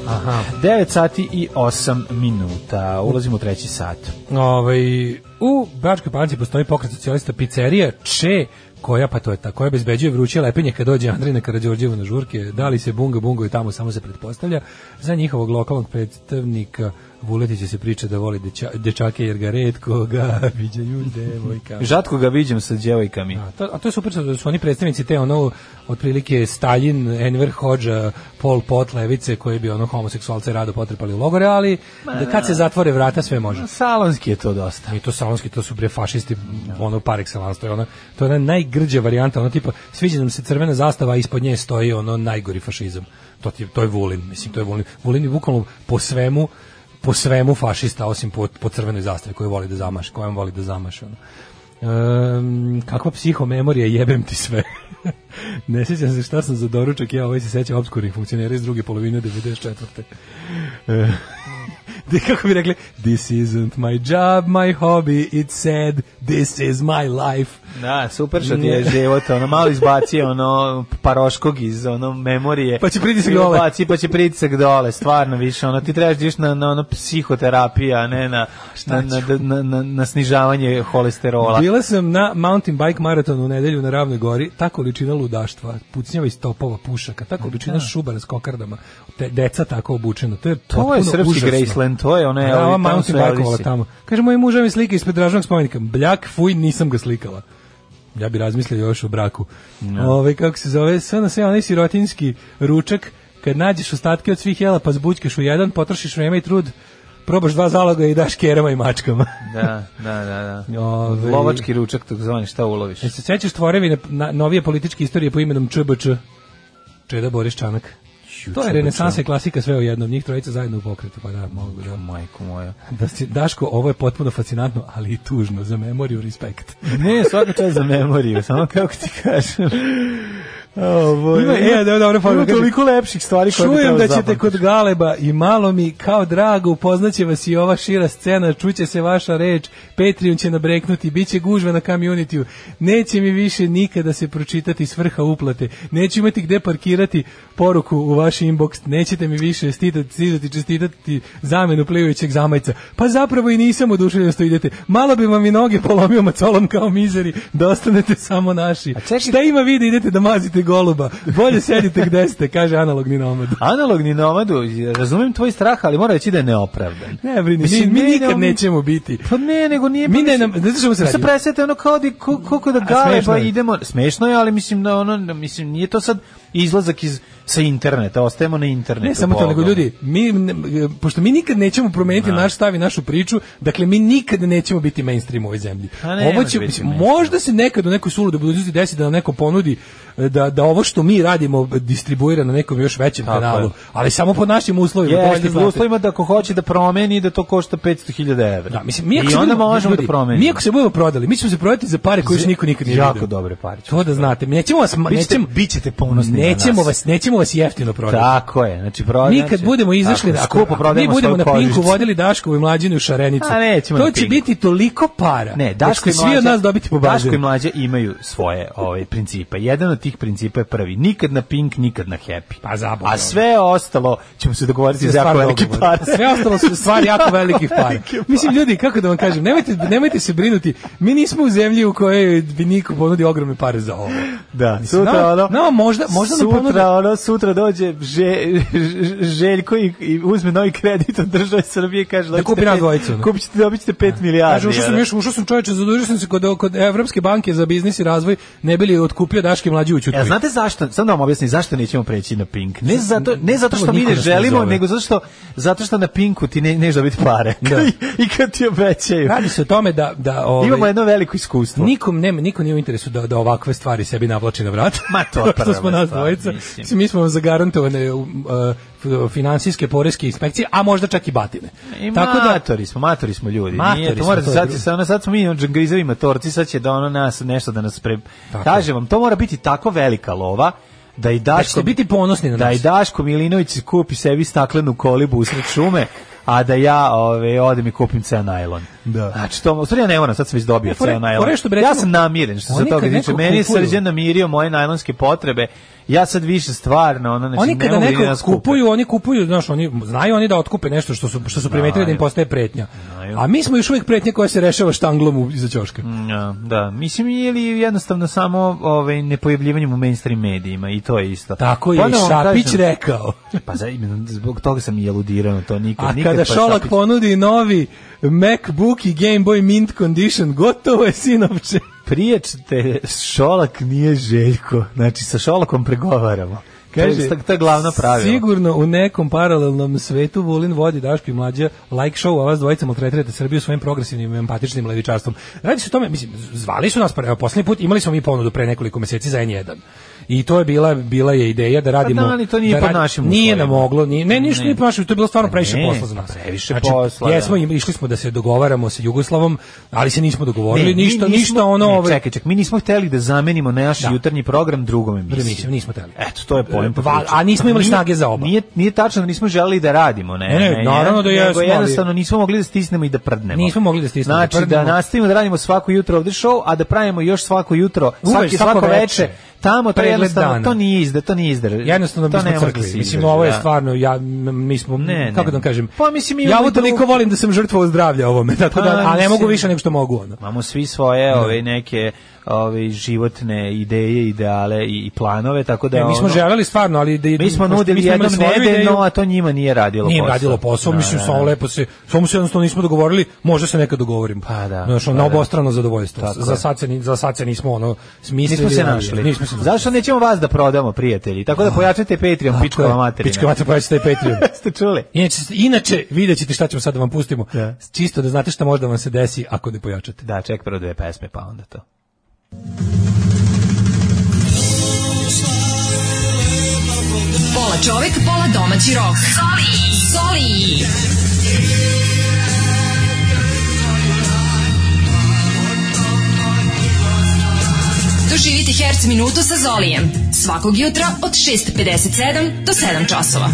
Speaker 5: Aha. 9 sati i 8 minuta. Ulazimo u treći sat.
Speaker 6: Ovaj u Bačkoj Palanci postoji pokret socijalista pizzerija Če koja pa to je ta koja obezbeđuje vruće lepenje kad dođe Andrina Karađorđeva na žurke, da li se bunga bungo i tamo samo se pretpostavlja za njihovog lokalnog predstavnika Vuletića se priča da voli deča- dečake jer ga redko ga viđaju devojka.
Speaker 5: Žatko ga viđem sa djevojkami.
Speaker 6: A to, a to je super da su oni predstavnici te ono otprilike Stalin, Enver Hoxha, Pol Pot levice koji bi ono homoseksualce rado potrpali u logore, ali da kad se zatvore vrata sve može.
Speaker 5: Salonski je to dosta.
Speaker 6: I to salonski, to su bre fašisti, ono par excellence, to je ona, to je ona najgrđa varijanta, ono tipa, sviđa nam se crvena zastava, a ispod nje stoji ono najgori fašizam. To, ti, to je Vulin, mislim, to je Vulin. Vulin je bukvalno po svemu, po svemu fašista, osim po, po crvenoj zastavi koju voli da zamaše, kojom voli da zamaše, ono. Ehm, kakva psihomemorija, jebem ti sve. ne sjećam se šta sam za doručak, ja ovaj se sećam obskurnih funkcionera iz druge polovine 94. E, De, kako bi rekli, this isn't my job, my hobby, it's sad, this is my life.
Speaker 5: Da, super što ti
Speaker 6: Ne.
Speaker 5: je život, ono malo izbacio ono paroškog iz ono memorije.
Speaker 6: Pa će pritisak dole.
Speaker 5: Baci, pa će pritisak dole, stvarno više. Ono ti trebaš da ideš na na ono psihoterapija, a ne na na, na, na, na, na snižavanje holesterola.
Speaker 6: Bila sam na mountain bike maratonu u nedelju na Ravnoj gori, ta količina ludaštva, pucnjava iz topova, pušaka, ta količina šubara s kokardama, te, deca tako obučeno, to je
Speaker 5: Pa To je
Speaker 6: potpuno
Speaker 5: srpski
Speaker 6: užasno.
Speaker 5: Graceland, to je one...
Speaker 6: Da,
Speaker 5: ovi
Speaker 6: ova
Speaker 5: tamo
Speaker 6: mountain
Speaker 5: su
Speaker 6: bikeovala
Speaker 5: Elvisi.
Speaker 6: tamo. Kaže, moj muž mi slike ispred dražnog spomenika. Bljak, fuj, nisam ga slikala. Ja bi razmislio još o braku. Ove, kako se zove, sve na sve onaj sirotinski ručak, kad nađeš ostatke od svih jela, pa zbućkaš u jedan, potrošiš vreme i trud, probaš dva zaloga i daš kerama i mačkama.
Speaker 5: Da, da, da. da.
Speaker 6: Ove-
Speaker 5: Lovački ručak, tako zvani, šta uloviš?
Speaker 6: Jel se sećaš tvorevine na, novije političke istorije po imenom ČBČ? Čeda Boris Čanak. To je renesansa i klasika sve u jednom, njih trojica zajedno u pokretu, pa da, mogu da.
Speaker 5: Majko moja.
Speaker 6: Da si, Daško, ovo je potpuno fascinantno, ali i tužno, za memoriju, respekt.
Speaker 5: Ne, svaka čast za memoriju, samo kako ti kažem. Ovo,
Speaker 6: Ima- e, dobro, dobro, pa
Speaker 5: ima
Speaker 6: kaže-
Speaker 5: toliko lepših stvari koje bi
Speaker 6: Čujem
Speaker 5: trebalo
Speaker 6: da ćete
Speaker 5: zapamtiti.
Speaker 6: kod Galeba i malo mi kao drago upoznaće vas i ova šira scena, čuće se vaša reč, Patreon će nabreknuti, bit će gužva na community neće mi više nikada se pročitati svrha uplate, neću imati gde parkirati poruku u vaš inbox, nećete mi više stidati, stidati, čestitati zamenu plivajućeg zamajca. Pa zapravo i nisam oduševljen što idete. Malo bi vam i noge polomio macolom kao mizeri, da ostanete samo naši. Šta ima vi da idete da mazite goluba? Bolje sedite gde ste, kaže analogni nomad.
Speaker 5: Analogni nomadu, razumijem tvoj strah, ali mora reći da je neopravdan.
Speaker 6: Ne brini, mi,
Speaker 5: Mislim,
Speaker 6: mi
Speaker 5: ne,
Speaker 6: nikad
Speaker 5: ne,
Speaker 6: nećemo biti.
Speaker 5: Pa ne, nego nije...
Speaker 6: Mi
Speaker 5: pa
Speaker 6: ne,
Speaker 5: mislim-
Speaker 6: nam- znaš čemu se
Speaker 5: Pa
Speaker 6: radi?
Speaker 5: presete ono kao da, ko- koliko da gale,
Speaker 6: smešno
Speaker 5: pa
Speaker 6: je.
Speaker 5: idemo... Smešno je, ali mislim da ono, da mislim, nije to sad izlazak iz, sa interneta, ostajemo na internetu.
Speaker 6: Ne samo to, nego
Speaker 5: Bogom.
Speaker 6: ljudi, mi, ne- pošto mi nikad nećemo promeniti naš stav i našu priču, dakle mi nikad nećemo biti mainstream u ovoj zemlji.
Speaker 5: A Pa ne,
Speaker 6: ovo
Speaker 5: nemojte
Speaker 6: će,
Speaker 5: biti
Speaker 6: mislim, možda se nekad u nekoj suludu budućnosti desi da nam neko ponudi e, da, da ovo što mi radimo distribuira na nekom još većem
Speaker 5: Tako
Speaker 6: kanalu,
Speaker 5: je.
Speaker 6: ali samo po našim uslovima. to
Speaker 5: Jeste,
Speaker 6: ćete
Speaker 5: u
Speaker 6: platiti.
Speaker 5: uslovima da ako hoće da promeni, da to košta 500.000 evra.
Speaker 6: Da, mislim, mi ako
Speaker 5: I
Speaker 6: se
Speaker 5: onda
Speaker 6: budemo-
Speaker 5: možemo
Speaker 6: ljudi,
Speaker 5: da promenimo.
Speaker 6: Mi ako se budemo prodali, mi ćemo se prodati za pare koje još niko nikad nije
Speaker 5: Jako
Speaker 6: vidio.
Speaker 5: dobre pare ćemo
Speaker 6: To da znate, mi nećemo vas
Speaker 5: Bićete-
Speaker 6: nećemo
Speaker 5: bićete ponosni na
Speaker 6: Nećemo
Speaker 5: nas.
Speaker 6: vas, nećemo vas jeftino prodati.
Speaker 5: Tako je, znači prodaj.
Speaker 6: Mi kad budemo izašli,
Speaker 5: da
Speaker 6: ako,
Speaker 5: skupo
Speaker 6: ako mi
Speaker 5: prodajemo
Speaker 6: budemo
Speaker 5: svoju
Speaker 6: na Pinku
Speaker 5: kožicu.
Speaker 6: vodili Daškovu i mlađinu u šarenicu,
Speaker 5: A nećemo
Speaker 6: to
Speaker 5: na
Speaker 6: će
Speaker 5: Pinku.
Speaker 6: biti toliko para.
Speaker 5: Ne,
Speaker 6: da
Speaker 5: Daško
Speaker 6: će
Speaker 5: i
Speaker 6: svi
Speaker 5: mlađa,
Speaker 6: od nas dobiti po bazi.
Speaker 5: Daško i mlađe imaju svoje ovaj principe. Jedan od tih principa je prvi. Nikad na Pink, nikad na Happy.
Speaker 6: Pa zaboga.
Speaker 5: A sve ostalo ćemo se dogovoriti za jako veliki par.
Speaker 6: Sve ostalo su stvari jako velikih para. Mislim, ljudi, kako da vam kažem, nemojte, nemojte se brinuti, mi nismo u zemlji u kojoj bi niko ponudio ogromne pare za ovo.
Speaker 5: Da,
Speaker 6: Mislim,
Speaker 5: sutra
Speaker 6: nama-
Speaker 5: ono.
Speaker 6: nama možda- možda nam
Speaker 5: sutra
Speaker 6: ponude-
Speaker 5: ono, sutra dođe že, Ž- Željko i, i uzme novi kredit od države Srbije i kaže
Speaker 6: Da kupi
Speaker 5: "Dobićete
Speaker 6: nas
Speaker 5: pet-
Speaker 6: dvojicu, ono."
Speaker 5: kupit ćete- dobit ćete 5 milijardi.
Speaker 6: Kaže, ušao sam,
Speaker 5: ono.
Speaker 6: još, ušao sam čoveče, zadužio sam se kod, kod Evropske banke za biznis i razvoj, ne bi li otkupio Daške mlađe u Ćutuju.
Speaker 5: Ja, E, znate zašto? Samo da vam objasnim zašto nećemo preći na Pink. Ne zato, ne zato što
Speaker 6: Tamo
Speaker 5: mi
Speaker 6: niko
Speaker 5: ne
Speaker 6: nas ne
Speaker 5: želimo,
Speaker 6: zove.
Speaker 5: nego zato što, zato što na Pinku ti ne, neš dobiti pare.
Speaker 6: Da.
Speaker 5: I kad ti obećaju.
Speaker 6: Radi se o tome da... da ovaj,
Speaker 5: Imamo jedno veliko iskustvo.
Speaker 6: Nikom nema, niko nije u interesu da, da ovakve stvari sebi navlači na vrat.
Speaker 5: Ma, to je
Speaker 6: Kao što
Speaker 5: prva
Speaker 6: smo nas
Speaker 5: stvar,
Speaker 6: dvojica.
Speaker 5: mislim.
Speaker 6: Mislim, mi smo vam zagarantovane uh, f- finansijske poreske inspekcije, a možda čak i batine.
Speaker 5: I
Speaker 6: Tako da
Speaker 5: matori smo, matori smo ljudi.
Speaker 6: Matori
Speaker 5: Nije, to
Speaker 6: smo,
Speaker 5: mora,
Speaker 6: to je
Speaker 5: sad,
Speaker 6: drugo.
Speaker 5: sad, ono, sad smo mi ono džangrizevi matorci, sad će da ono nas, nešto da nas pre...
Speaker 6: Tako.
Speaker 5: Kažem vam, to mora biti tako velika lova da i
Speaker 6: da
Speaker 5: Daško,
Speaker 6: ćete biti ponosni na
Speaker 5: da i
Speaker 6: nas.
Speaker 5: Daško Milinović kupi sebi staklenu kolibu usred šume, a da ja ove, odem i kupim ceo najlon.
Speaker 6: Da.
Speaker 5: Znači, to, u stvari ja ne moram, sad sam već dobio
Speaker 6: Ne, fore-
Speaker 5: ceo najlon.
Speaker 6: fore što bi
Speaker 5: ja
Speaker 6: recimo-
Speaker 5: sam namiren što se
Speaker 6: Oni
Speaker 5: toga
Speaker 6: kad
Speaker 5: tiče.
Speaker 6: neko
Speaker 5: Meni je
Speaker 6: kupuju-
Speaker 5: srđan namirio moje najlonske potrebe. Ja sad više stvarno, ono, znači,
Speaker 6: oni
Speaker 5: ne
Speaker 6: kada
Speaker 5: mogu da
Speaker 6: neko
Speaker 5: nas kupe.
Speaker 6: kupuju, oni kupuju, znaš, oni znaju oni da otkupe nešto što su što su primetili da im
Speaker 5: Znaju.
Speaker 6: postaje pretnja.
Speaker 5: Znaju. Mm.
Speaker 6: A mi smo još uvijek pretnja koja se rešava štanglom u- iza ćoška.
Speaker 5: Ja, da, mislim ili jednostavno samo ovaj nepojavljivanjem u mainstream medijima i to je isto.
Speaker 6: Tako je i
Speaker 5: Ponovo Pa vam
Speaker 6: Šapić
Speaker 5: kažem-
Speaker 6: rekao.
Speaker 5: Pa za imeno, zbog toga sam i eludirao na to nikad.
Speaker 6: A
Speaker 5: nikad
Speaker 6: kada
Speaker 5: pa
Speaker 6: Šolak
Speaker 5: Šapić-
Speaker 6: ponudi novi MacBook i Game Boy Mint Condition, gotovo je, sinovče.
Speaker 5: Priječite, Šolak nije Željko. Znači, sa Šolakom pregovaramo. Kaže, to, je- to je glavno pravilo.
Speaker 6: Sigurno u nekom paralelnom svetu Vulin vodi Daško i mlađa like show, a vas dvojica maltretirate Srbiju svojim progresivnim i empatičnim levičarstvom. Radi se o tome, mislim, zvali su nas, pa, evo, poslednji put imali smo mi ponudu pre nekoliko meseci za N1. I to je bila bila je ideja da radimo
Speaker 5: Pa da, ali to nije pod
Speaker 6: radi-
Speaker 5: našim
Speaker 6: Nije
Speaker 5: uslovima.
Speaker 6: nam moglo, nije, ne, ništa
Speaker 5: Ne. Pa
Speaker 6: nije pod našim, to je bilo stvarno previše
Speaker 5: ne,
Speaker 6: posla za nas.
Speaker 5: previše posla, da.
Speaker 6: Jesmo, im- išli smo da se dogovaramo sa Jugoslavom, ali se nismo dogovorili,
Speaker 5: mi
Speaker 6: ništa,
Speaker 5: nismo-
Speaker 6: ništa ono,
Speaker 5: ne,
Speaker 6: ovaj,
Speaker 5: Čekaj, čekaj, mi nismo hteli da zamenimo naš
Speaker 6: Da.
Speaker 5: jutarnji program drugom
Speaker 6: Prvi
Speaker 5: emisijom.
Speaker 6: mislim, nismo teli.
Speaker 5: Eto, to je pojem.
Speaker 6: Va- a nismo imali snage za oba.
Speaker 5: Nije, nije tačno da nismo želeli da radimo, ne.
Speaker 6: Ne, ne, naravno da
Speaker 5: nego
Speaker 6: jesmo, ali-
Speaker 5: jednostavno nismo mogli da stisnemo i da prdnemo.
Speaker 6: Nismo mogli da stisnemo da
Speaker 5: Znači, da,
Speaker 6: prdnemo.
Speaker 5: nastavimo da radimo svako jutro ovde show, a da pravimo još svako jutro,
Speaker 6: Uvek,
Speaker 5: svaki,
Speaker 6: svako
Speaker 5: svako,
Speaker 6: veče.
Speaker 5: veče, tamo to
Speaker 6: Pregled
Speaker 5: jednostavno,
Speaker 6: dana.
Speaker 5: to nije izde, to nije izde.
Speaker 6: jednostavno
Speaker 5: to
Speaker 6: mi
Speaker 5: ne
Speaker 6: smo
Speaker 5: može da
Speaker 6: crkli.
Speaker 5: se
Speaker 6: mislim,
Speaker 5: izdrži,
Speaker 6: ovo je
Speaker 5: da.
Speaker 6: stvarno, ja, m- mi smo,
Speaker 5: Ne,
Speaker 6: kako
Speaker 5: ne.
Speaker 6: da vam kažem,
Speaker 5: Pa, mislim, i
Speaker 6: ja ovo
Speaker 5: ovaj
Speaker 6: toliko
Speaker 5: drugi-
Speaker 6: volim da sam žrtvo zdravlja ovome, tako
Speaker 5: Pa,
Speaker 6: da, a ne
Speaker 5: mislim-
Speaker 6: mogu više nego što mogu, ono.
Speaker 5: Imamo svi svoje ove neke ove životne ideje, ideale i, i planove, tako da
Speaker 6: Ne, mi smo
Speaker 5: ono,
Speaker 6: želeli stvarno, ali da
Speaker 5: Mi smo
Speaker 6: pošto
Speaker 5: nudili
Speaker 6: mi smo imali
Speaker 5: jednom
Speaker 6: svoju ideju,
Speaker 5: nedeljno, a to njima nije radilo
Speaker 6: Nije im
Speaker 5: posao.
Speaker 6: radilo posao,
Speaker 5: Da,
Speaker 6: mislim,
Speaker 5: da,
Speaker 6: samo
Speaker 5: da.
Speaker 6: lepo se, samo se jednostavno nismo dogovorili, možda se nekad dogovorimo.
Speaker 5: Pa da,
Speaker 6: Znaš, ono,
Speaker 5: pa
Speaker 6: na
Speaker 5: da.
Speaker 6: obostrano zadovoljstvo.
Speaker 5: Tako
Speaker 6: za,
Speaker 5: je.
Speaker 6: sad se, ni- za sad se nismo, ono, smislili.
Speaker 5: Nismo se
Speaker 6: ali-
Speaker 5: našli.
Speaker 6: Nismo se našli.
Speaker 5: Zašto nećemo vas da prodamo, prijatelji? Tako da pojačajte Patreon,
Speaker 6: Tako je,
Speaker 5: pičkova materina.
Speaker 6: Pička materina, pojačite taj Patreon.
Speaker 5: Ste čuli?
Speaker 6: Inače, inače vidjet ćete šta ćemo sad da vam pustimo.
Speaker 5: Da.
Speaker 6: Čisto da znate šta možda vam se desi ako ne pojačate.
Speaker 5: Da, ček prvo dve pesme, pa onda to.
Speaker 4: Pola čovek, pola domaći rok. Zoli! Zoli! Doživite Herc minutu sa Zolijem. Svakog jutra od 6.57 do 7 časova.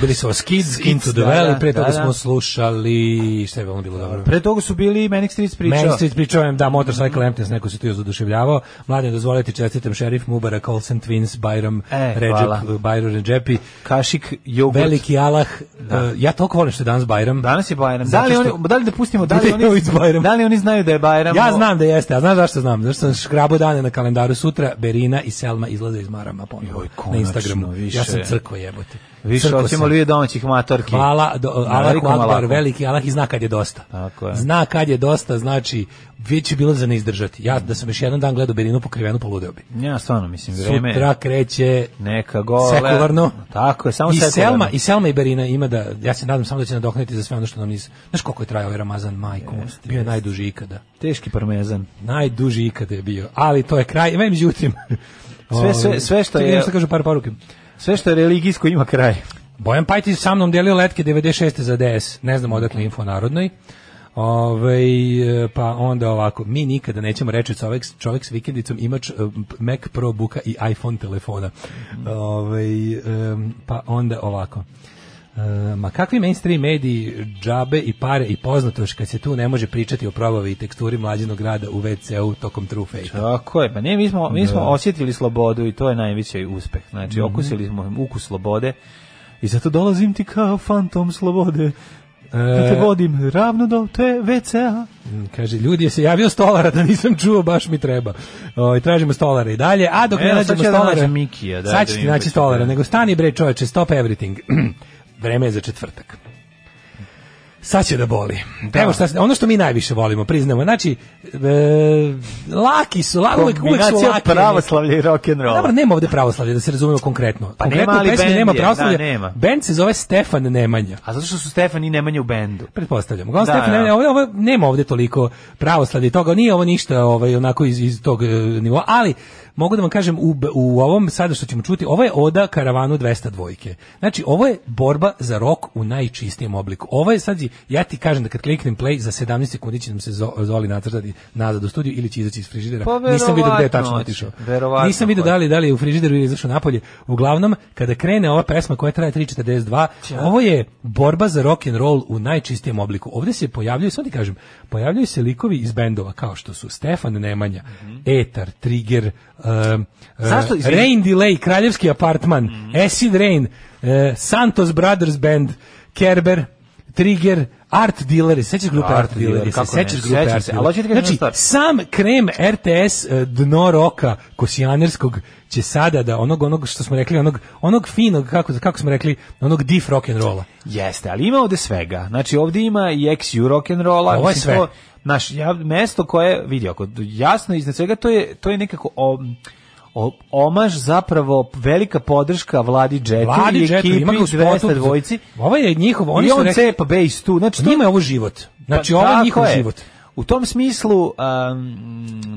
Speaker 6: Bili su Os Kids,
Speaker 5: Kids,
Speaker 6: Into the
Speaker 5: da,
Speaker 6: Valley,
Speaker 5: da,
Speaker 6: pre toga
Speaker 5: da, da.
Speaker 6: smo slušali... Šta je ono bilo dobro?
Speaker 5: Pre toga su bili Manic Street pričao.
Speaker 6: Meni Street pričao, da, Motorcycle Emptiness, neko se tu još zaduševljavao. Mladen, dozvolite, čestitam šerif Mubarak, Olsen Twins, Bajram,
Speaker 5: E, hvala.
Speaker 6: Ređep, Bajram Ređepi.
Speaker 5: Kašik, jogurt.
Speaker 6: Veliki alah. e, ja toliko volim što je danas Bajram.
Speaker 5: Danas je Bajram. Da
Speaker 6: Zato
Speaker 5: li,
Speaker 6: što-
Speaker 5: oni, da li da pustimo, da li,
Speaker 6: Idemo
Speaker 5: oni,
Speaker 6: iz Bajrama.
Speaker 5: da li oni znaju da je Bajram?
Speaker 6: Ja znam da jeste, a znaš zašto znam? Zašto sam škrabo dane na kalendaru sutra, Berina i Selma izlaze iz Marama ponovo na
Speaker 5: konačno,
Speaker 6: Instagramu.
Speaker 5: više.
Speaker 6: Ja sam crko jebote.
Speaker 5: Više
Speaker 6: Crko
Speaker 5: hoćemo
Speaker 6: sam.
Speaker 5: li domaćih matorki.
Speaker 6: Hvala, do,
Speaker 5: Na
Speaker 6: Allah
Speaker 5: velikom
Speaker 6: Akbar,
Speaker 5: Alaku.
Speaker 6: veliki Allah i zna kad je dosta.
Speaker 5: Tako je.
Speaker 6: Zna kad je dosta, znači već je bilo za ne izdržati. Ja da sam još jedan dan gledao Berinu pokrivenu, poludeo bi.
Speaker 5: Ja stvarno mislim vreme.
Speaker 6: Sutra kreće
Speaker 5: neka gole.
Speaker 6: sekularno.
Speaker 5: Tako je, samo
Speaker 6: I
Speaker 5: sekularno.
Speaker 6: Selma, I Selma i Berina ima da, ja se nadam samo da će nadoknaditi za sve ono što nam nisu. Znaš koliko je trajao ovaj Ramazan, majko? Bio je najduži ikada.
Speaker 5: Teški parmezan.
Speaker 6: Najduži ikada je bio. Ali to je kraj. Ima međutim.
Speaker 5: Sve- sve- sve što
Speaker 6: Čekaj,
Speaker 5: je-
Speaker 6: vidim Šta kažu par poruke.
Speaker 5: Sve što je religijsko ima kraj.
Speaker 6: Bojan Pajtić sa mnom delio letke 96. za DS. Ne znam odakle info narodnoj. Ove, pa onda ovako, mi nikada nećemo reći čovek, čovek s vikendicom imač eh, Mac Pro Booka i iPhone telefona. Ove, pa onda ovako. E, ma kakvi mainstream mediji džabe i pare i poznatoš kad se tu ne može pričati o probavi i teksturi mlađenog grada u WC-u tokom True Fate.
Speaker 5: Tako je, pa ne, mi smo, mi smo
Speaker 6: Da.
Speaker 5: osjetili slobodu i to je najveći uspeh. Znači, okusili smo ukus slobode i zato dolazim ti kao fantom slobode. Da te vodim ravno do te WC-a.
Speaker 6: Kaže, ljudi je se javio stolara da nisam čuo, baš mi treba. O, tražimo stolara i dalje, a dok
Speaker 5: Evo,
Speaker 6: ne
Speaker 5: sad
Speaker 6: nađemo
Speaker 5: ću ja da
Speaker 6: stolara...
Speaker 5: nađem Mikija, da, da
Speaker 6: sad ćete
Speaker 5: vidim
Speaker 6: naći
Speaker 5: ko će
Speaker 6: stolara,
Speaker 5: da-
Speaker 6: nego stani bre čoveče, stop everything. Vreme je za četvrtak. Sad će da boli. Evo šta, se- ono što mi najviše volimo, priznamo. Znači, e, laki su, la, uvek, uvek su
Speaker 5: Kombinacija
Speaker 6: laki.
Speaker 5: pravoslavlja i rock'n'rolla.
Speaker 6: Dobro, nema ovde pravoslavlja, da se razumemo konkretno.
Speaker 5: Pa
Speaker 6: konkretno
Speaker 5: nema, ali
Speaker 6: u pesmi
Speaker 5: bend
Speaker 6: nema
Speaker 5: je,
Speaker 6: pravoslavlja.
Speaker 5: da, nema.
Speaker 6: Band se zove Stefan Nemanja.
Speaker 5: A zato što su Stefan i Nemanja u bendu.
Speaker 6: Pretpostavljam. Uglavnom,
Speaker 5: Da,
Speaker 6: Stefan,
Speaker 5: da.
Speaker 6: Nemanja, ovo, ovo, nema ovde toliko pravoslavlja i toga, nije ovo ništa ovaj, onako iz, iz tog e, nivoa, ali mogu da vam kažem u, b- u ovom sada što ćemo čuti, ovo je oda karavanu 200 dvojke. Znači, ovo je borba za rok u najčistijem obliku. Ovo je sad, ja ti kažem da kad kliknem play, za 17 sekundi će nam se Zo- Zoli nacrtati nazad u studiju ili će izaći iz frižidera.
Speaker 5: Pa,
Speaker 6: Nisam vidio gde je tačno
Speaker 5: verovatno
Speaker 6: otišao.
Speaker 5: hoće, verovatno
Speaker 6: Nisam vidio da li, da li je u frižideru ili izašao napolje. Uglavnom, kada krene ova pesma koja traje 3.42, ovo je borba za rock and roll u najčistijem obliku. Ovde se pojavljuju, sad ti kažem, pojavljuju se likovi iz bendova kao što su Stefan Nemanja, Etar, Trigger, um,
Speaker 5: Mhm. Zašto, izvini? Mhm.
Speaker 6: Rain Delay, Kraljevski apartman, Acid Rain, uh, Santos Brothers Band, Kerber, Trigger, Art Dealeri, sećaš grupe Art,
Speaker 5: Art
Speaker 6: Dealeri,
Speaker 5: Dealeri,
Speaker 6: se
Speaker 5: kako ne,
Speaker 6: sećaš grupe
Speaker 5: sećam
Speaker 6: Art
Speaker 5: se, ali
Speaker 6: Dealeri.
Speaker 5: hoću ti kažem jednu
Speaker 6: Znači,
Speaker 5: stvar.
Speaker 6: sam krem RTS eh, dno roka kosijanerskog će sada da onog onog što smo rekli onog onog finog kako kako smo rekli onog diff rock and rolla.
Speaker 5: E, Jeste, ali ima ovde svega. Znači ovde ima i XU rock'n'rolla.
Speaker 6: Ovo je
Speaker 5: mislim,
Speaker 6: sve.
Speaker 5: To, naš, ja, mesto koje, vidi, ako jasno iznad svega, to je, to je nekako o, o- omaž zapravo velika podrška Vladi Džetu
Speaker 6: Vladi
Speaker 5: i
Speaker 6: Džetu,
Speaker 5: ekipi
Speaker 6: ima ga u spotu.
Speaker 5: 200 dvojici.
Speaker 6: Ovo je njihov, oni
Speaker 5: I
Speaker 6: su
Speaker 5: on
Speaker 6: rekli,
Speaker 5: cepa bass tu. Znači, to,
Speaker 6: njima je ovo život. Znači ovo je
Speaker 5: tako
Speaker 6: njihov život.
Speaker 5: U tom smislu, um,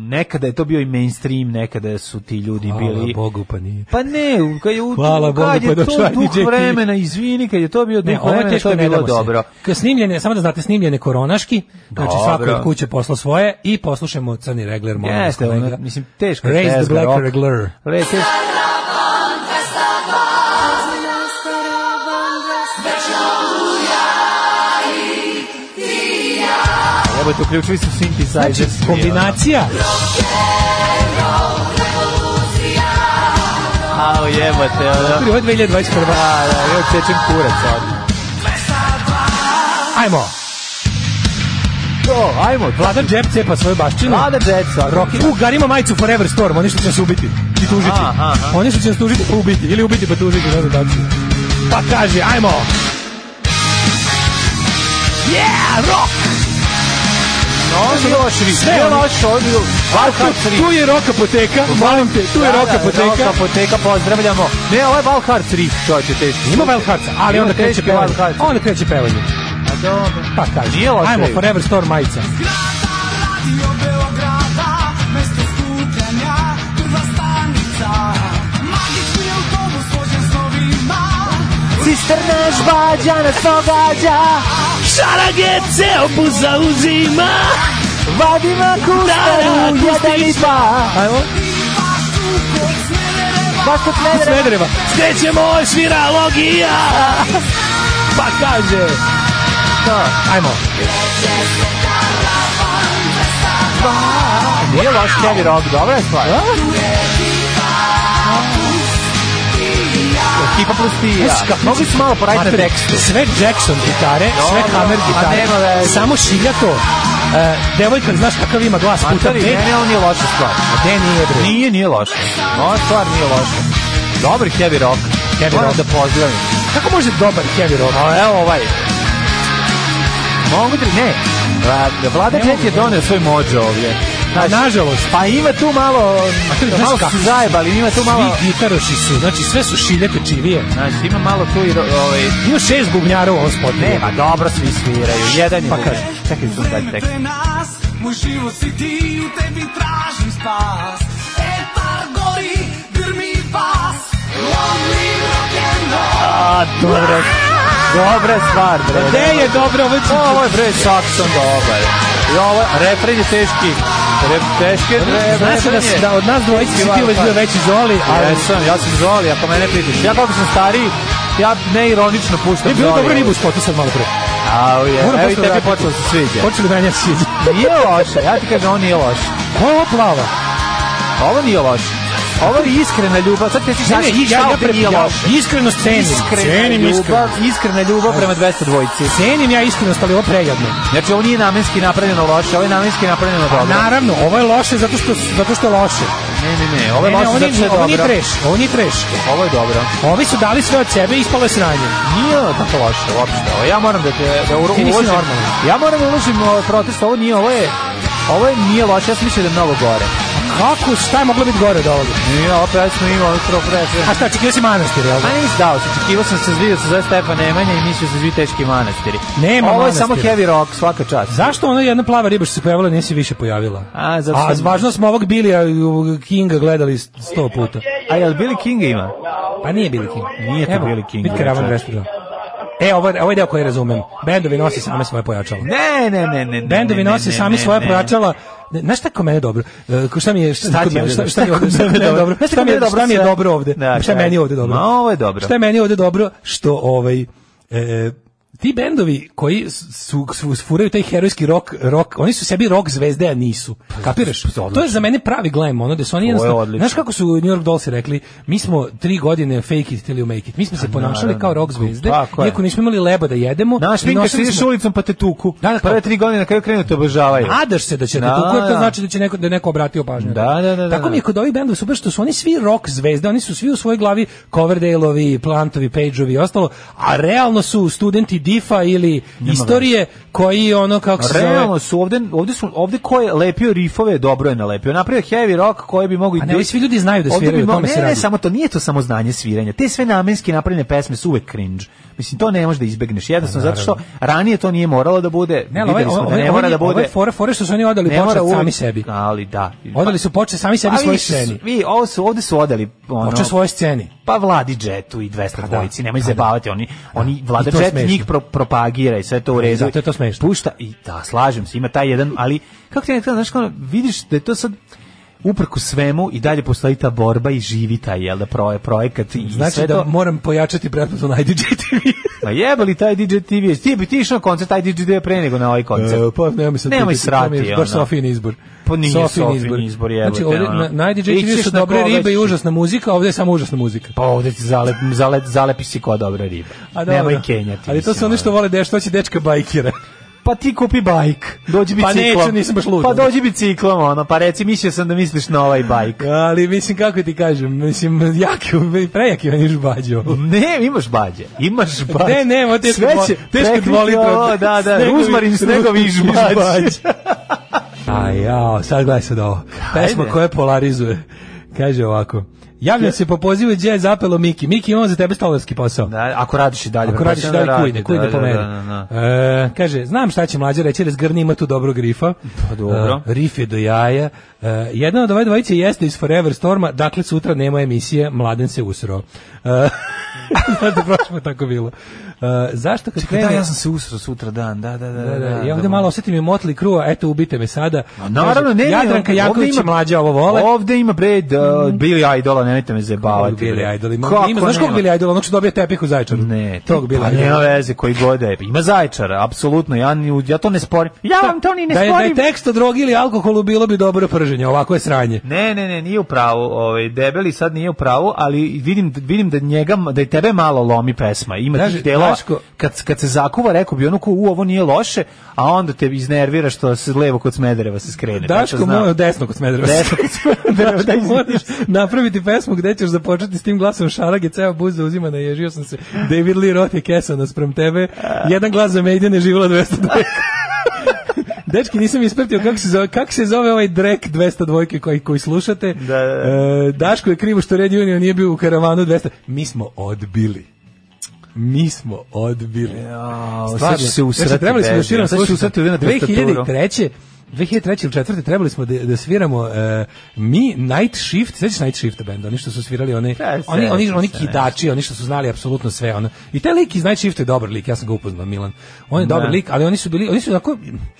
Speaker 5: nekada je to bio i mainstream, nekada su ti ljudi bili...
Speaker 6: Hvala Bogu pa nije.
Speaker 5: Pa ne, u- kad je, u-
Speaker 6: Hvala Bogu,
Speaker 5: kad
Speaker 6: pa
Speaker 5: je to
Speaker 6: došao je DJ
Speaker 5: duh
Speaker 6: Kid.
Speaker 5: vremena, izvini, kad je to bio duh
Speaker 6: Ne, ovo je
Speaker 5: vremena, to
Speaker 6: teško,
Speaker 5: je
Speaker 6: ne
Speaker 5: bilo
Speaker 6: damo se.
Speaker 5: dobro.
Speaker 6: Ka- Snimljene, samo da znate, snimljene koronaški, znači
Speaker 5: Dobro.
Speaker 6: svako je od kuće poslao svoje i poslušamo Crni regler. molim vas,
Speaker 5: Jeste,
Speaker 6: kolega.
Speaker 5: ono, mislim, teško je
Speaker 6: Raise the
Speaker 5: tezga,
Speaker 6: black
Speaker 5: rock.
Speaker 6: regler.
Speaker 5: Re, teško- Jebote, uključili su synthesizer.
Speaker 6: Znači, kombinacija
Speaker 5: Au, jebote, ono.
Speaker 6: Prvo 2021.
Speaker 5: Da, da, joj, sečem kurac ovdje.
Speaker 6: Ajmo.
Speaker 5: To, ajmo,
Speaker 6: Vlada džep cepa svoju baščinu.
Speaker 5: Vlada Jetson.
Speaker 6: Rocky. U, garima majicu Forever Storm, oni što će nas ubiti i tužiti.
Speaker 5: Aha, aha.
Speaker 6: Oni što će nas tužiti pa ubiti, ili ubiti pa tužiti, ne znam da li. Pa kaže, ajmo! Yeah, rock!
Speaker 5: Ovo je loš vid.
Speaker 6: Sve
Speaker 5: Sve
Speaker 6: ono-
Speaker 5: loš, ovo je bio Valhalla
Speaker 6: Tu, tu je rock apoteka, molim te, tu je rock apoteka.
Speaker 5: apoteka, pozdravljamo. Ne, ovo je Valhalla 3, čovječe, teško.
Speaker 6: Ima Wild Hearts, ali
Speaker 5: Ima
Speaker 6: onda kreće
Speaker 5: teške
Speaker 6: pevanje.
Speaker 5: Wild Hearts.
Speaker 6: Onda kreće pevanje.
Speaker 5: A dobro.
Speaker 6: Pa kaže,
Speaker 5: Nije loše.
Speaker 6: ajmo, Forever Storm majica.
Speaker 11: Radio Beograda, mesto skupljanja, prva stanica. Magični Cisterna žbađa nas pogađa Šarag je ceo bus zauzima Vadima kustaru, jedan i dva
Speaker 6: Ajmo
Speaker 11: Baš kod Smedereva.
Speaker 6: Smedereva.
Speaker 11: Skrećemo, svira logija
Speaker 5: Pa kaže.
Speaker 6: Da, ajmo.
Speaker 5: Nije loš heavy rock, dobra je stvar. Ekipa plus ti i ja.
Speaker 6: Znaš, kad-
Speaker 5: Mogli su malo poraditi na
Speaker 6: Mater,
Speaker 5: tekstu.
Speaker 6: Sve Jackson gitare, sve
Speaker 5: Dobro,
Speaker 6: Hammer
Speaker 5: a
Speaker 6: gitare,
Speaker 5: nema veze.
Speaker 6: samo šilja to. E, devojka, znaš kakav ima glas puta
Speaker 5: Matori,
Speaker 6: pet?
Speaker 5: Pa ne, ne, on nije loša stvar.
Speaker 6: A gde nije, bre?
Speaker 5: Nije, nije loša. Ova stvar nije loša. Dobar heavy rock.
Speaker 6: Heavy
Speaker 5: Moram
Speaker 6: rock.
Speaker 5: da pozdravim.
Speaker 6: Kako može dobar heavy rock?
Speaker 5: A evo ovaj. Mogu ti, ne. Vla- Pa, Vlada
Speaker 6: Ne
Speaker 5: Klet
Speaker 6: mogu,
Speaker 5: je donio svoj mođo ovdje. Znaš,
Speaker 6: Nažalost,
Speaker 5: pa ima tu malo,
Speaker 6: Znaš
Speaker 5: malo
Speaker 6: kako?
Speaker 5: su zajebali, ima tu malo...
Speaker 6: Svi gitaroši su, znači sve su šilje čivije.
Speaker 5: Znači, ima malo tu i... ro- Ovaj,
Speaker 6: Ima šest bubnjara u ovom spotu.
Speaker 5: ne, pa dobro svi sviraju, jedan je...
Speaker 6: Pa
Speaker 5: u-
Speaker 6: kaže.
Speaker 5: Čekaj, da daj tekst.
Speaker 11: Vreme nas, moj život si ti, u tebi tražim spas. Etar gori, grmi vas, lonely rock'n'roll.
Speaker 5: A, dobro. Dobra stvar, bre.
Speaker 6: Gde je dobro, ovo je
Speaker 5: O, Ovo je bre sakson dobar. I ovo, refren je teški. Re, teški je re,
Speaker 6: Znaš
Speaker 5: refren
Speaker 6: da,
Speaker 5: je.
Speaker 6: s- da od nas dvojice si ti uveć bio veći zoli,
Speaker 5: A
Speaker 6: ali...
Speaker 5: jesam, ja sam Zoli, ako mene pitaš. Ja kako sam stariji, ja neironično puštam
Speaker 6: Je bilo
Speaker 5: Zoli.
Speaker 6: dobro ribu u spotu sad malo pre.
Speaker 5: Au je,
Speaker 6: Moram
Speaker 5: evo i
Speaker 6: posle
Speaker 5: tebi
Speaker 6: vratiti.
Speaker 5: počelo se sviđa.
Speaker 6: Počeli da nja siđe.
Speaker 5: Nije loše, ja ti kažem, on nije loše.
Speaker 6: Ko je ovo plava?
Speaker 5: Ovo nije loše. Ovo je iskrena ljubav. Sad ti
Speaker 6: Ne,
Speaker 5: znaš,
Speaker 6: ne, ja, ja,
Speaker 5: pre
Speaker 6: pre,
Speaker 5: nije
Speaker 6: ja
Speaker 5: loše.
Speaker 6: iskreno cenim. cenim
Speaker 5: Iskrena
Speaker 6: iskreno.
Speaker 5: ljubav, iskrena ljubav prema 200 dvojci.
Speaker 6: Cenim ja iskrenost, ali ovo prejadno.
Speaker 5: Znači, ovo nije namenski napravljeno loše, ovo je namenski napravljeno
Speaker 6: Pa
Speaker 5: dobro.
Speaker 6: naravno, ovo je loše zato što, zato što je loše.
Speaker 5: Ne, ne, ne, ovo je
Speaker 6: Ne, ne,
Speaker 5: loše zato što je
Speaker 6: ovo nije
Speaker 5: dobro.
Speaker 6: treš, ovo nije treš.
Speaker 5: Ovo je dobro.
Speaker 6: Ovi su dali sve od sebe i ispalo je sranje.
Speaker 5: Nije ovo tako loše uopšte. Ovo ja moram da te da uro,
Speaker 6: Ti nisi
Speaker 5: uložim.
Speaker 6: normalan.
Speaker 5: Ja moram da uložim ovaj protest, ovo nije, ovo je ovo je nije loše, ja sam mislio da je mnogo gore.
Speaker 6: Kako, šta je moglo biti gore od ovoga?
Speaker 5: Nije, ovo pesmu ima ono prvo
Speaker 6: A šta, čekio si manastir, jel? da?
Speaker 5: A nisi dao se, očekivao sam se zvidio se zove Stefan Nemanja i mislio se zvi teški manastiri.
Speaker 6: Nema
Speaker 5: Ovo je
Speaker 6: manastira.
Speaker 5: samo heavy rock, svaka čast.
Speaker 6: Zašto ona jedna plava riba što se pojavila nije se više pojavila?
Speaker 5: A, zato
Speaker 6: A
Speaker 5: što-
Speaker 6: važno smo ovog Bilija i ovog Kinga gledali sto puta.
Speaker 5: A jel Billy King ima?
Speaker 6: Pa nije Billy King.
Speaker 5: Nije to
Speaker 6: Evo,
Speaker 5: Billy King,
Speaker 6: Bitka Ravan
Speaker 5: čovječe.
Speaker 6: 202. E, ovo, je- ovo je deo koji razumem. Bendovi nose same svoje pojačala.
Speaker 5: Ne, ne, ne, ne. ne,
Speaker 6: Bendovi
Speaker 5: ne, ne,
Speaker 6: nose
Speaker 5: ne,
Speaker 6: sami
Speaker 5: ne,
Speaker 6: svoje
Speaker 5: ne.
Speaker 6: pojačala. Ne, Znaš šta je kod mene dobro? E, ko- Šta mi je
Speaker 5: Šta ti je
Speaker 6: kod mene-
Speaker 5: ovde
Speaker 6: šta,
Speaker 5: dobro?
Speaker 6: šta mi
Speaker 5: Šta
Speaker 6: je ovde
Speaker 5: kod mene
Speaker 6: šta mi je
Speaker 5: dobro?
Speaker 6: dobro?
Speaker 5: Znaš šta
Speaker 6: Šta mi je
Speaker 5: kod mene
Speaker 6: šta mi je
Speaker 5: dobro sve?
Speaker 6: dobro ovde?
Speaker 5: Da,
Speaker 6: Šta je
Speaker 5: kaj.
Speaker 6: meni ovde dobro?
Speaker 5: Ma, ovo je dobro.
Speaker 6: Šta je meni ovde dobro što ovaj e, ti bendovi koji su, su, furaju taj herojski rock, rock, oni su sebi rock zvezde, a nisu.
Speaker 5: Pa,
Speaker 6: Kapiraš? To je za mene pravi glam, ono da su oni
Speaker 5: je
Speaker 6: jednostavno...
Speaker 5: odlično.
Speaker 6: Znaš kako su New York Dolls rekli, mi smo tri godine fake it till you make it. Mi smo se ponašali
Speaker 5: Pa, naravno.
Speaker 6: kao rock zvezde,
Speaker 5: Tako je.
Speaker 6: iako nismo imali leba da jedemo.
Speaker 5: Naš Minka
Speaker 6: nosili
Speaker 5: se ideš
Speaker 6: smo-
Speaker 5: ulicom pa te tuku.
Speaker 6: Da, da, kao-
Speaker 5: Prve tri godine na kraju krenu te obožavaju.
Speaker 6: Nadaš se da će da,
Speaker 5: E, Da,
Speaker 6: to
Speaker 5: da.
Speaker 6: znači da će neko da je neko obratio pažnju.
Speaker 5: Da, da, da, da,
Speaker 6: Tako mi je
Speaker 5: da.
Speaker 6: kod ovih bendova super što su oni svi rock zvezde, oni su svi u svojoj glavi Coverdale-ovi, Plantovi, Pageovi i ostalo, a realno su studenti difa ili istorije koji ono kako se
Speaker 5: Realno
Speaker 6: zove
Speaker 5: su ovde, ovde su ovde ko je lepio rifove, dobro je nalepio. Napravio heavy rock koji bi mogao i
Speaker 6: A ne, ovi svi ljudi znaju da
Speaker 5: Ovde
Speaker 6: sviraju,
Speaker 5: bi
Speaker 6: o
Speaker 5: mo-
Speaker 6: tome se
Speaker 5: ne, ne,
Speaker 6: radi.
Speaker 5: samo to nije to samo znanje sviranja. Te sve namenski napravljene pesme su uvek cringe. Mislim to ne možeš da izbegneš. Jednostavno zato što ranije to nije moralo da bude.
Speaker 6: Pa Ne, ali
Speaker 5: videli
Speaker 6: ovaj-
Speaker 5: smo da
Speaker 6: ovaj-
Speaker 5: ne
Speaker 6: ovaj-
Speaker 5: mora da bude.
Speaker 6: ovaj fore, fore što su oni odali
Speaker 5: ne mora
Speaker 6: počet
Speaker 5: uvek-
Speaker 6: sami sebi.
Speaker 5: Ali da. Pa,
Speaker 6: Odali su počet sami sebi
Speaker 5: Ali
Speaker 6: svojoj
Speaker 5: su-
Speaker 6: sceni.
Speaker 5: Vi, ovo su, ovde su odali ono,
Speaker 6: Počet svojoj sceni.
Speaker 5: pa Vladi Džetu i
Speaker 6: Pa
Speaker 5: 200 dvojici, nemoj zabavati, oni, oni Vlada
Speaker 6: I to je
Speaker 5: Džet
Speaker 6: smešno.
Speaker 5: njih pro, propagira i sve to u redu.
Speaker 6: zato je to smešno.
Speaker 5: Pušta i da, slažem se, ima taj jedan, ali kako ti nekada, znaš, kao, vidiš da je to sad uprko svemu i dalje postoji ta borba i živi taj, jel da, proje, projekat i
Speaker 6: Znači
Speaker 5: sve
Speaker 6: da
Speaker 5: to.
Speaker 6: moram pojačati pretplatu na IDG TV.
Speaker 5: Ma jebali taj DJ TV, ti bi ti išao na koncert, taj DJ TV pre nego na ovaj koncert.
Speaker 6: E, pa nemoj
Speaker 5: Nemoj
Speaker 6: sad pitati, to mi je
Speaker 5: srati,
Speaker 6: Baš
Speaker 5: ono.
Speaker 6: Sofijin izbor.
Speaker 5: Pa nije Sofijin izbor, jebote,
Speaker 6: Znači, ovde,
Speaker 5: ono.
Speaker 6: na, na IDG
Speaker 5: Ićeš
Speaker 6: TV su
Speaker 5: na
Speaker 6: dobre
Speaker 5: koga
Speaker 6: ribe i
Speaker 5: ćeš.
Speaker 6: užasna muzika, a ovde je samo užasna muzika.
Speaker 5: Pa ovde ti zalep, zalep, zalepi si ko dobra riba.
Speaker 6: A dobro.
Speaker 5: Nemoj kenjati.
Speaker 6: Ali to su
Speaker 5: mislim,
Speaker 6: oni što
Speaker 5: ono.
Speaker 6: vole da što će dečka bajkira.
Speaker 5: pa ti kupi bajk, dođi
Speaker 6: Pa
Speaker 5: biciklom.
Speaker 6: neću, nisam baš lud.
Speaker 5: Pa dođi biciklom, ono, pa reci, mislio sam da misliš na ovaj bajk.
Speaker 6: Ali mislim kako ti kažem, mislim jaki, prejaki on je žbađao.
Speaker 5: Ne, imaš bađe. Imaš bađe.
Speaker 6: Ne, nema teško
Speaker 5: Sve
Speaker 6: dvo-
Speaker 5: će
Speaker 6: teško
Speaker 5: prekriti
Speaker 6: dvolitra-
Speaker 5: ovo, Da, da,
Speaker 6: snegovi-
Speaker 5: ruzmarin, snegovi i žbađe.
Speaker 6: A ja, sad gledaj sad ovo. Pesma koja polarizuje. Kaže ovako. Javlja se po pozivu gdje je zapelo Miki. Miki, imamo za tebe stolarski posao.
Speaker 5: Da, ako radiš i dalje.
Speaker 6: Ako radiš
Speaker 5: pretpostavljam
Speaker 6: da
Speaker 5: radi,
Speaker 6: kujde, kujde
Speaker 5: Pa da,
Speaker 6: po
Speaker 5: da,
Speaker 6: meni.
Speaker 5: da, da, da.
Speaker 6: E, kaže, znam šta će mlađe reći, razgrni ima tu dobro grifa.
Speaker 5: Pa dobro.
Speaker 6: E, rif je do jaja. E, jedna od ove dvojice jeste iz Forever Storma, dakle sutra nema emisije, mladen se usro. E, Znaš da prošlo tako bilo. Uh, zašto kad
Speaker 5: Čekaj,
Speaker 6: krene...
Speaker 5: Pa da, ja sam se usro sutra dan, da, da, da.
Speaker 6: Da, da, ja
Speaker 5: da,
Speaker 6: ovde malo osetim i motli krua, eto ubite me sada.
Speaker 5: A Naravno, ne, ne,
Speaker 6: Jadranka
Speaker 5: ovde
Speaker 6: Janković
Speaker 5: ima-
Speaker 6: i mlađa ovo vole.
Speaker 5: Ovde ima bre da, Billy Idola, nemojte me zajebavati.
Speaker 6: Ovog Billy
Speaker 5: bre.
Speaker 6: Idol ima.
Speaker 5: Kako
Speaker 6: ima znaš kog
Speaker 5: nema?
Speaker 6: Billy Idol, ono što dobije tepih u Zaječaru. Ne, tog Billy
Speaker 5: Pa
Speaker 6: Idola.
Speaker 5: nema veze koji god je. Ima zajčara, apsolutno. Ja, ni- ja to ne sporim. Ja vam to ni ne
Speaker 6: da je, da
Speaker 5: sporim.
Speaker 6: je tekst o drogi ili alkoholu bilo bi dobro prženje, ovako je sranje.
Speaker 5: Ne, ne, ne, nije u pravu, ovaj debeli sad nije u pravu, ali vidim vidim da njega da i tebe malo lomi pesma. Ima
Speaker 6: Znaš,
Speaker 5: tih delova
Speaker 6: Daško-
Speaker 5: kad kad se zakuva, rekao bi onako u ovo nije loše, a onda te iznervira što se levo kod Smedereva se skrene.
Speaker 6: Daško mora desno kod Smedereva.
Speaker 5: Desno kod Smedereva, da,
Speaker 6: Daško, moraš napraviti pesmu gde ćeš započeti s tim glasom šarage, ceo buz zauzima, naježio sam se. David Lee Roth je kesana sprem tebe. Jedan glas za Maiden je živjela 202. Dečki, nisam ispratio kako se zove, kako se zove ovaj drek 202 koji, koji slušate. E, Daško je krivo što Red Union nije bio u karavanu 200. Mi smo odbili. Mi smo odbili.
Speaker 5: sad ću se usrati,
Speaker 6: znači, trebali smo da
Speaker 5: Bezdan,
Speaker 6: sviramo
Speaker 5: sad ću se
Speaker 6: slušaj,
Speaker 5: usrati ovdje na
Speaker 6: 2003. 2003 ili četvrte trebali smo da, da sviramo e, mi Night Shift, sećaš Night Shift benda, oni što su svirali one,
Speaker 5: Da,
Speaker 6: oni,
Speaker 5: sećam
Speaker 6: oni,
Speaker 5: se,
Speaker 6: oni
Speaker 5: ne.
Speaker 6: kidači, oni što su znali apsolutno sve. Ono. I taj lik iz Night Shifta je dobar lik, ja sam ga upoznao, Milan. On je dobar
Speaker 5: Da.
Speaker 6: lik, ali oni su bili, oni su tako...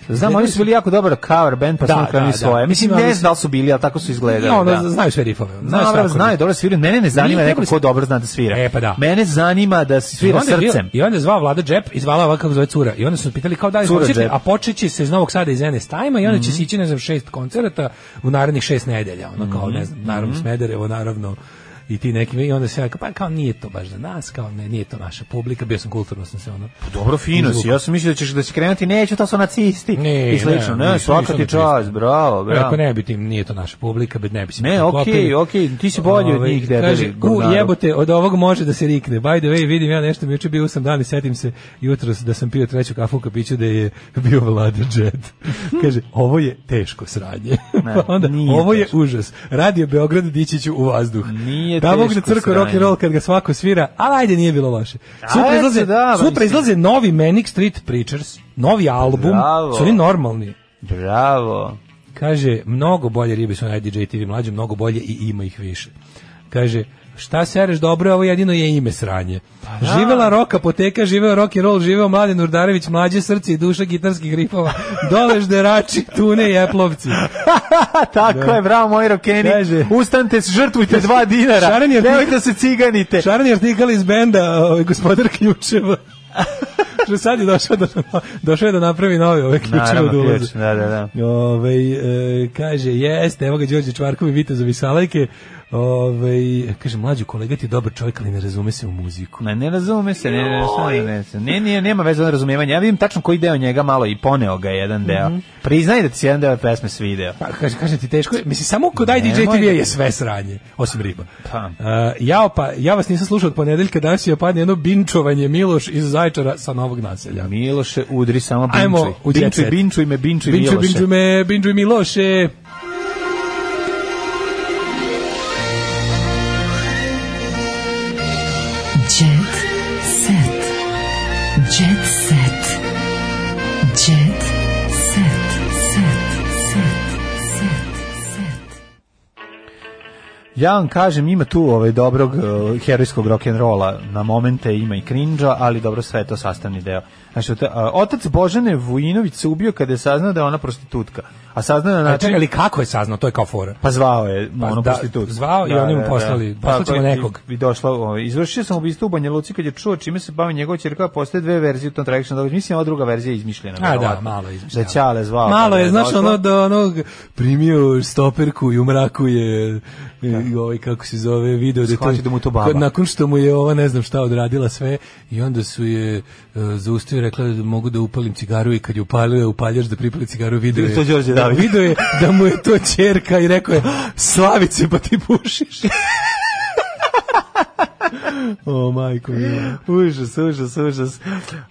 Speaker 5: Znam, oni su bili jako dobar cover band, pa
Speaker 6: Da,
Speaker 5: su oni krenuli
Speaker 6: da, da.
Speaker 5: svoje. Mislim,
Speaker 6: Mislim,
Speaker 5: ne
Speaker 6: ali
Speaker 5: znam da li su bili, ali tako su izgledali.
Speaker 6: Ja, ono,
Speaker 5: da.
Speaker 6: znaju sve rifove. ono,
Speaker 5: Znaju,
Speaker 6: sve
Speaker 5: znaju,
Speaker 6: akorde.
Speaker 5: znaju, dobro sviraju. Mene ne zanima neko
Speaker 6: Mi trebali
Speaker 5: ko
Speaker 6: smo-
Speaker 5: dobro zna da svira.
Speaker 6: E, pa da.
Speaker 5: Mene zanima da se svira
Speaker 6: I onda je bio-
Speaker 5: srcem.
Speaker 6: I onda je zvao Vlada Džep i zvala ovako kako zove cura. I onda su pitali kao da li
Speaker 5: Cura
Speaker 6: hoćete,
Speaker 5: Džep. Mhm.
Speaker 6: a počet će se iz Novog Sada iz NS Time-a i onda će se ići, ne znam, šest koncerata u narednih šest nedelja. Ono kao, ne
Speaker 5: Mhm.
Speaker 6: znam, naravno Smederevo, naravno i ti neki i onda se ja kao, pa kao nije to baš za nas kao ne nije to naša publika bio sam kulturno sam se ono
Speaker 5: Dobro, fino si. Ja sam mislio da ćeš da će krenuti, neću, to su nacisti.
Speaker 6: Ne,
Speaker 5: I slično, ne,
Speaker 6: nisam,
Speaker 5: svaka
Speaker 6: nisam
Speaker 5: ti
Speaker 6: na
Speaker 5: čast,
Speaker 6: pristup.
Speaker 5: bravo, bravo.
Speaker 6: Ako ne bi tim, nije to naša publika, bi ne bi se Ovaj,
Speaker 5: Ne, okej, okej, ti si bolji od njih, debeli
Speaker 6: Kaže, u
Speaker 5: govnaru."
Speaker 6: jebote, od ovog može da se rikne. By the way, vidim ja nešto, mi juče bio sam dan i setim se jutros da sam pio treću kafu u kapiću da je bio vlada džet. Kaže, ovo je teško sranje. Pa onda,
Speaker 5: nije
Speaker 6: ovo
Speaker 5: teško.
Speaker 6: je užas. Radio Beograd dići ću u vazduh.
Speaker 5: Nije
Speaker 6: da Bog da
Speaker 5: teško
Speaker 6: crko rock and roll kad ga svako svira, ali ajde nije bilo loše. Sutra
Speaker 5: Ajde,
Speaker 6: izlaze,
Speaker 5: da,
Speaker 6: sutra
Speaker 5: mislim.
Speaker 6: izlaze novi Manic Street Preachers, novi album,
Speaker 5: Bravo.
Speaker 6: su oni normalni.
Speaker 5: Bravo.
Speaker 6: Kaže, mnogo bolje ribe su na DJ TV mlađe, mnogo bolje i ima ih više. Kaže, šta sereš dobro, ovo jedino je ime sranje. Živela rock apoteka, živeo rock and roll, živeo Mladen Urdarević, mlađe srce i duša gitarskih rifova, dolež derači, tune i eplovci.
Speaker 5: A tako je, bravo moji rokeni.
Speaker 6: Kaže-
Speaker 5: Ustanite, žrtvujte dva dinara.
Speaker 6: Šaran je-
Speaker 5: Nemojte da se ciganite.
Speaker 6: Šaran je artikal iz benda ovaj, gospodar ključeva. Što sad je došao da, došao je da napravi novi ove ključeve
Speaker 5: Naravno,
Speaker 6: od ulaza.
Speaker 5: ključ, da, da, da.
Speaker 6: Ove, e, kaže, jeste, evo ga Đorđe Čvarkovi, vitezovi salajke. Ove, kaže, mlađi kolega ti je dobar čovjek, ali ne razume se u muziku.
Speaker 5: Ne, ne razume se, ne, ne, ne, ne, ne, ne, nije- nema veze na razumevanje. Ja vidim tačno koji deo njega malo i poneo ga je jedan deo.
Speaker 6: Mhm.
Speaker 5: Priznaj da ti se jedan deo pesme svideo.
Speaker 6: Pa, kaže, kaže ti teško, je. mislim, samo kod IDJ
Speaker 5: Nemoj
Speaker 6: TV
Speaker 5: da-
Speaker 6: je sve sranje, osim riba.
Speaker 5: Pa.
Speaker 6: E, jao, pa, ja vas nisam slušao od ponedeljka, danas je padne jedno binčovanje Miloš iz Zajčara sa Novog naselja.
Speaker 5: Miloše, udri samo binčuj.
Speaker 6: Ajmo u jet
Speaker 5: binčuj,
Speaker 6: set.
Speaker 5: binčuj me, binčuj,
Speaker 6: Binčuj,
Speaker 5: Miloše.
Speaker 6: binčuj me, binčuj Miloše.
Speaker 4: Jet set. Jet set. Jet set. Set. Set. Set. Set.
Speaker 5: Ja vam kažem, ima tu ovaj dobrog uh, herojskog rock'n'rolla, na momente ima i krinđa, ali dobro, sve je to sastavni deo. Znači, ota- a, otac Božane Vujinović se ubio kada je saznao da je ona prostitutka. A saznao je na
Speaker 6: A
Speaker 5: način...
Speaker 6: E, čekaj, ali kako je saznao, to je kao fora.
Speaker 5: Pa zvao je
Speaker 6: Pa
Speaker 5: ono
Speaker 6: da,
Speaker 5: prostitutku.
Speaker 6: zvao i oni mu poslali, poslat ćemo
Speaker 5: Pa to je-
Speaker 6: nekog.
Speaker 5: I došla, ovaj, izvršio sam ubistvo u Banja Luci kad je čuo čime se bavi njegova ćerka, a postoje dve verzije u tom tragičnom događaju. Mislim, ova druga verzija je izmišljena.
Speaker 6: A da,
Speaker 5: verovatno.
Speaker 6: malo je
Speaker 5: Da
Speaker 6: izmišljeno.
Speaker 5: pa je Ćale zvao.
Speaker 6: Malo
Speaker 5: kada
Speaker 6: je, znaš,
Speaker 5: došla.
Speaker 6: ono da onog primio stoperku i u mraku je i ovaj, kako se zove, video da je
Speaker 5: Shvatio da mu je to baba.
Speaker 6: nakon što mu je ova ne znam šta odradila sve i onda su je e, zaustavio i rekla da mogu da upalim cigaru i kad je upalio je upaljaš da pripali cigaru video je,
Speaker 5: To je Đorđe
Speaker 6: da,
Speaker 5: David.
Speaker 6: video je da mu je to čerka i rekao je slavice pa ti pušiš o majko mila.
Speaker 5: užas, užas, užas.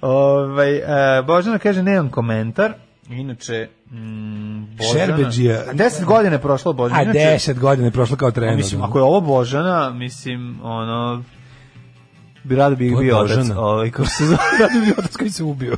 Speaker 5: Ovaj, e, Božana kaže, nemam komentar. Inače, mm, Božana...
Speaker 6: Šerbeđija.
Speaker 5: A Deset godina je prošlo Božana.
Speaker 6: a
Speaker 5: Inače,
Speaker 6: 10 godina je prošlo kao trener
Speaker 5: Mislim, ako je ovo Božana, mislim, ono... Bi rado bi
Speaker 6: To je
Speaker 5: bio otac.
Speaker 6: Božana.
Speaker 5: Ovaj, kako se zove?
Speaker 6: da bi otac koji se ubio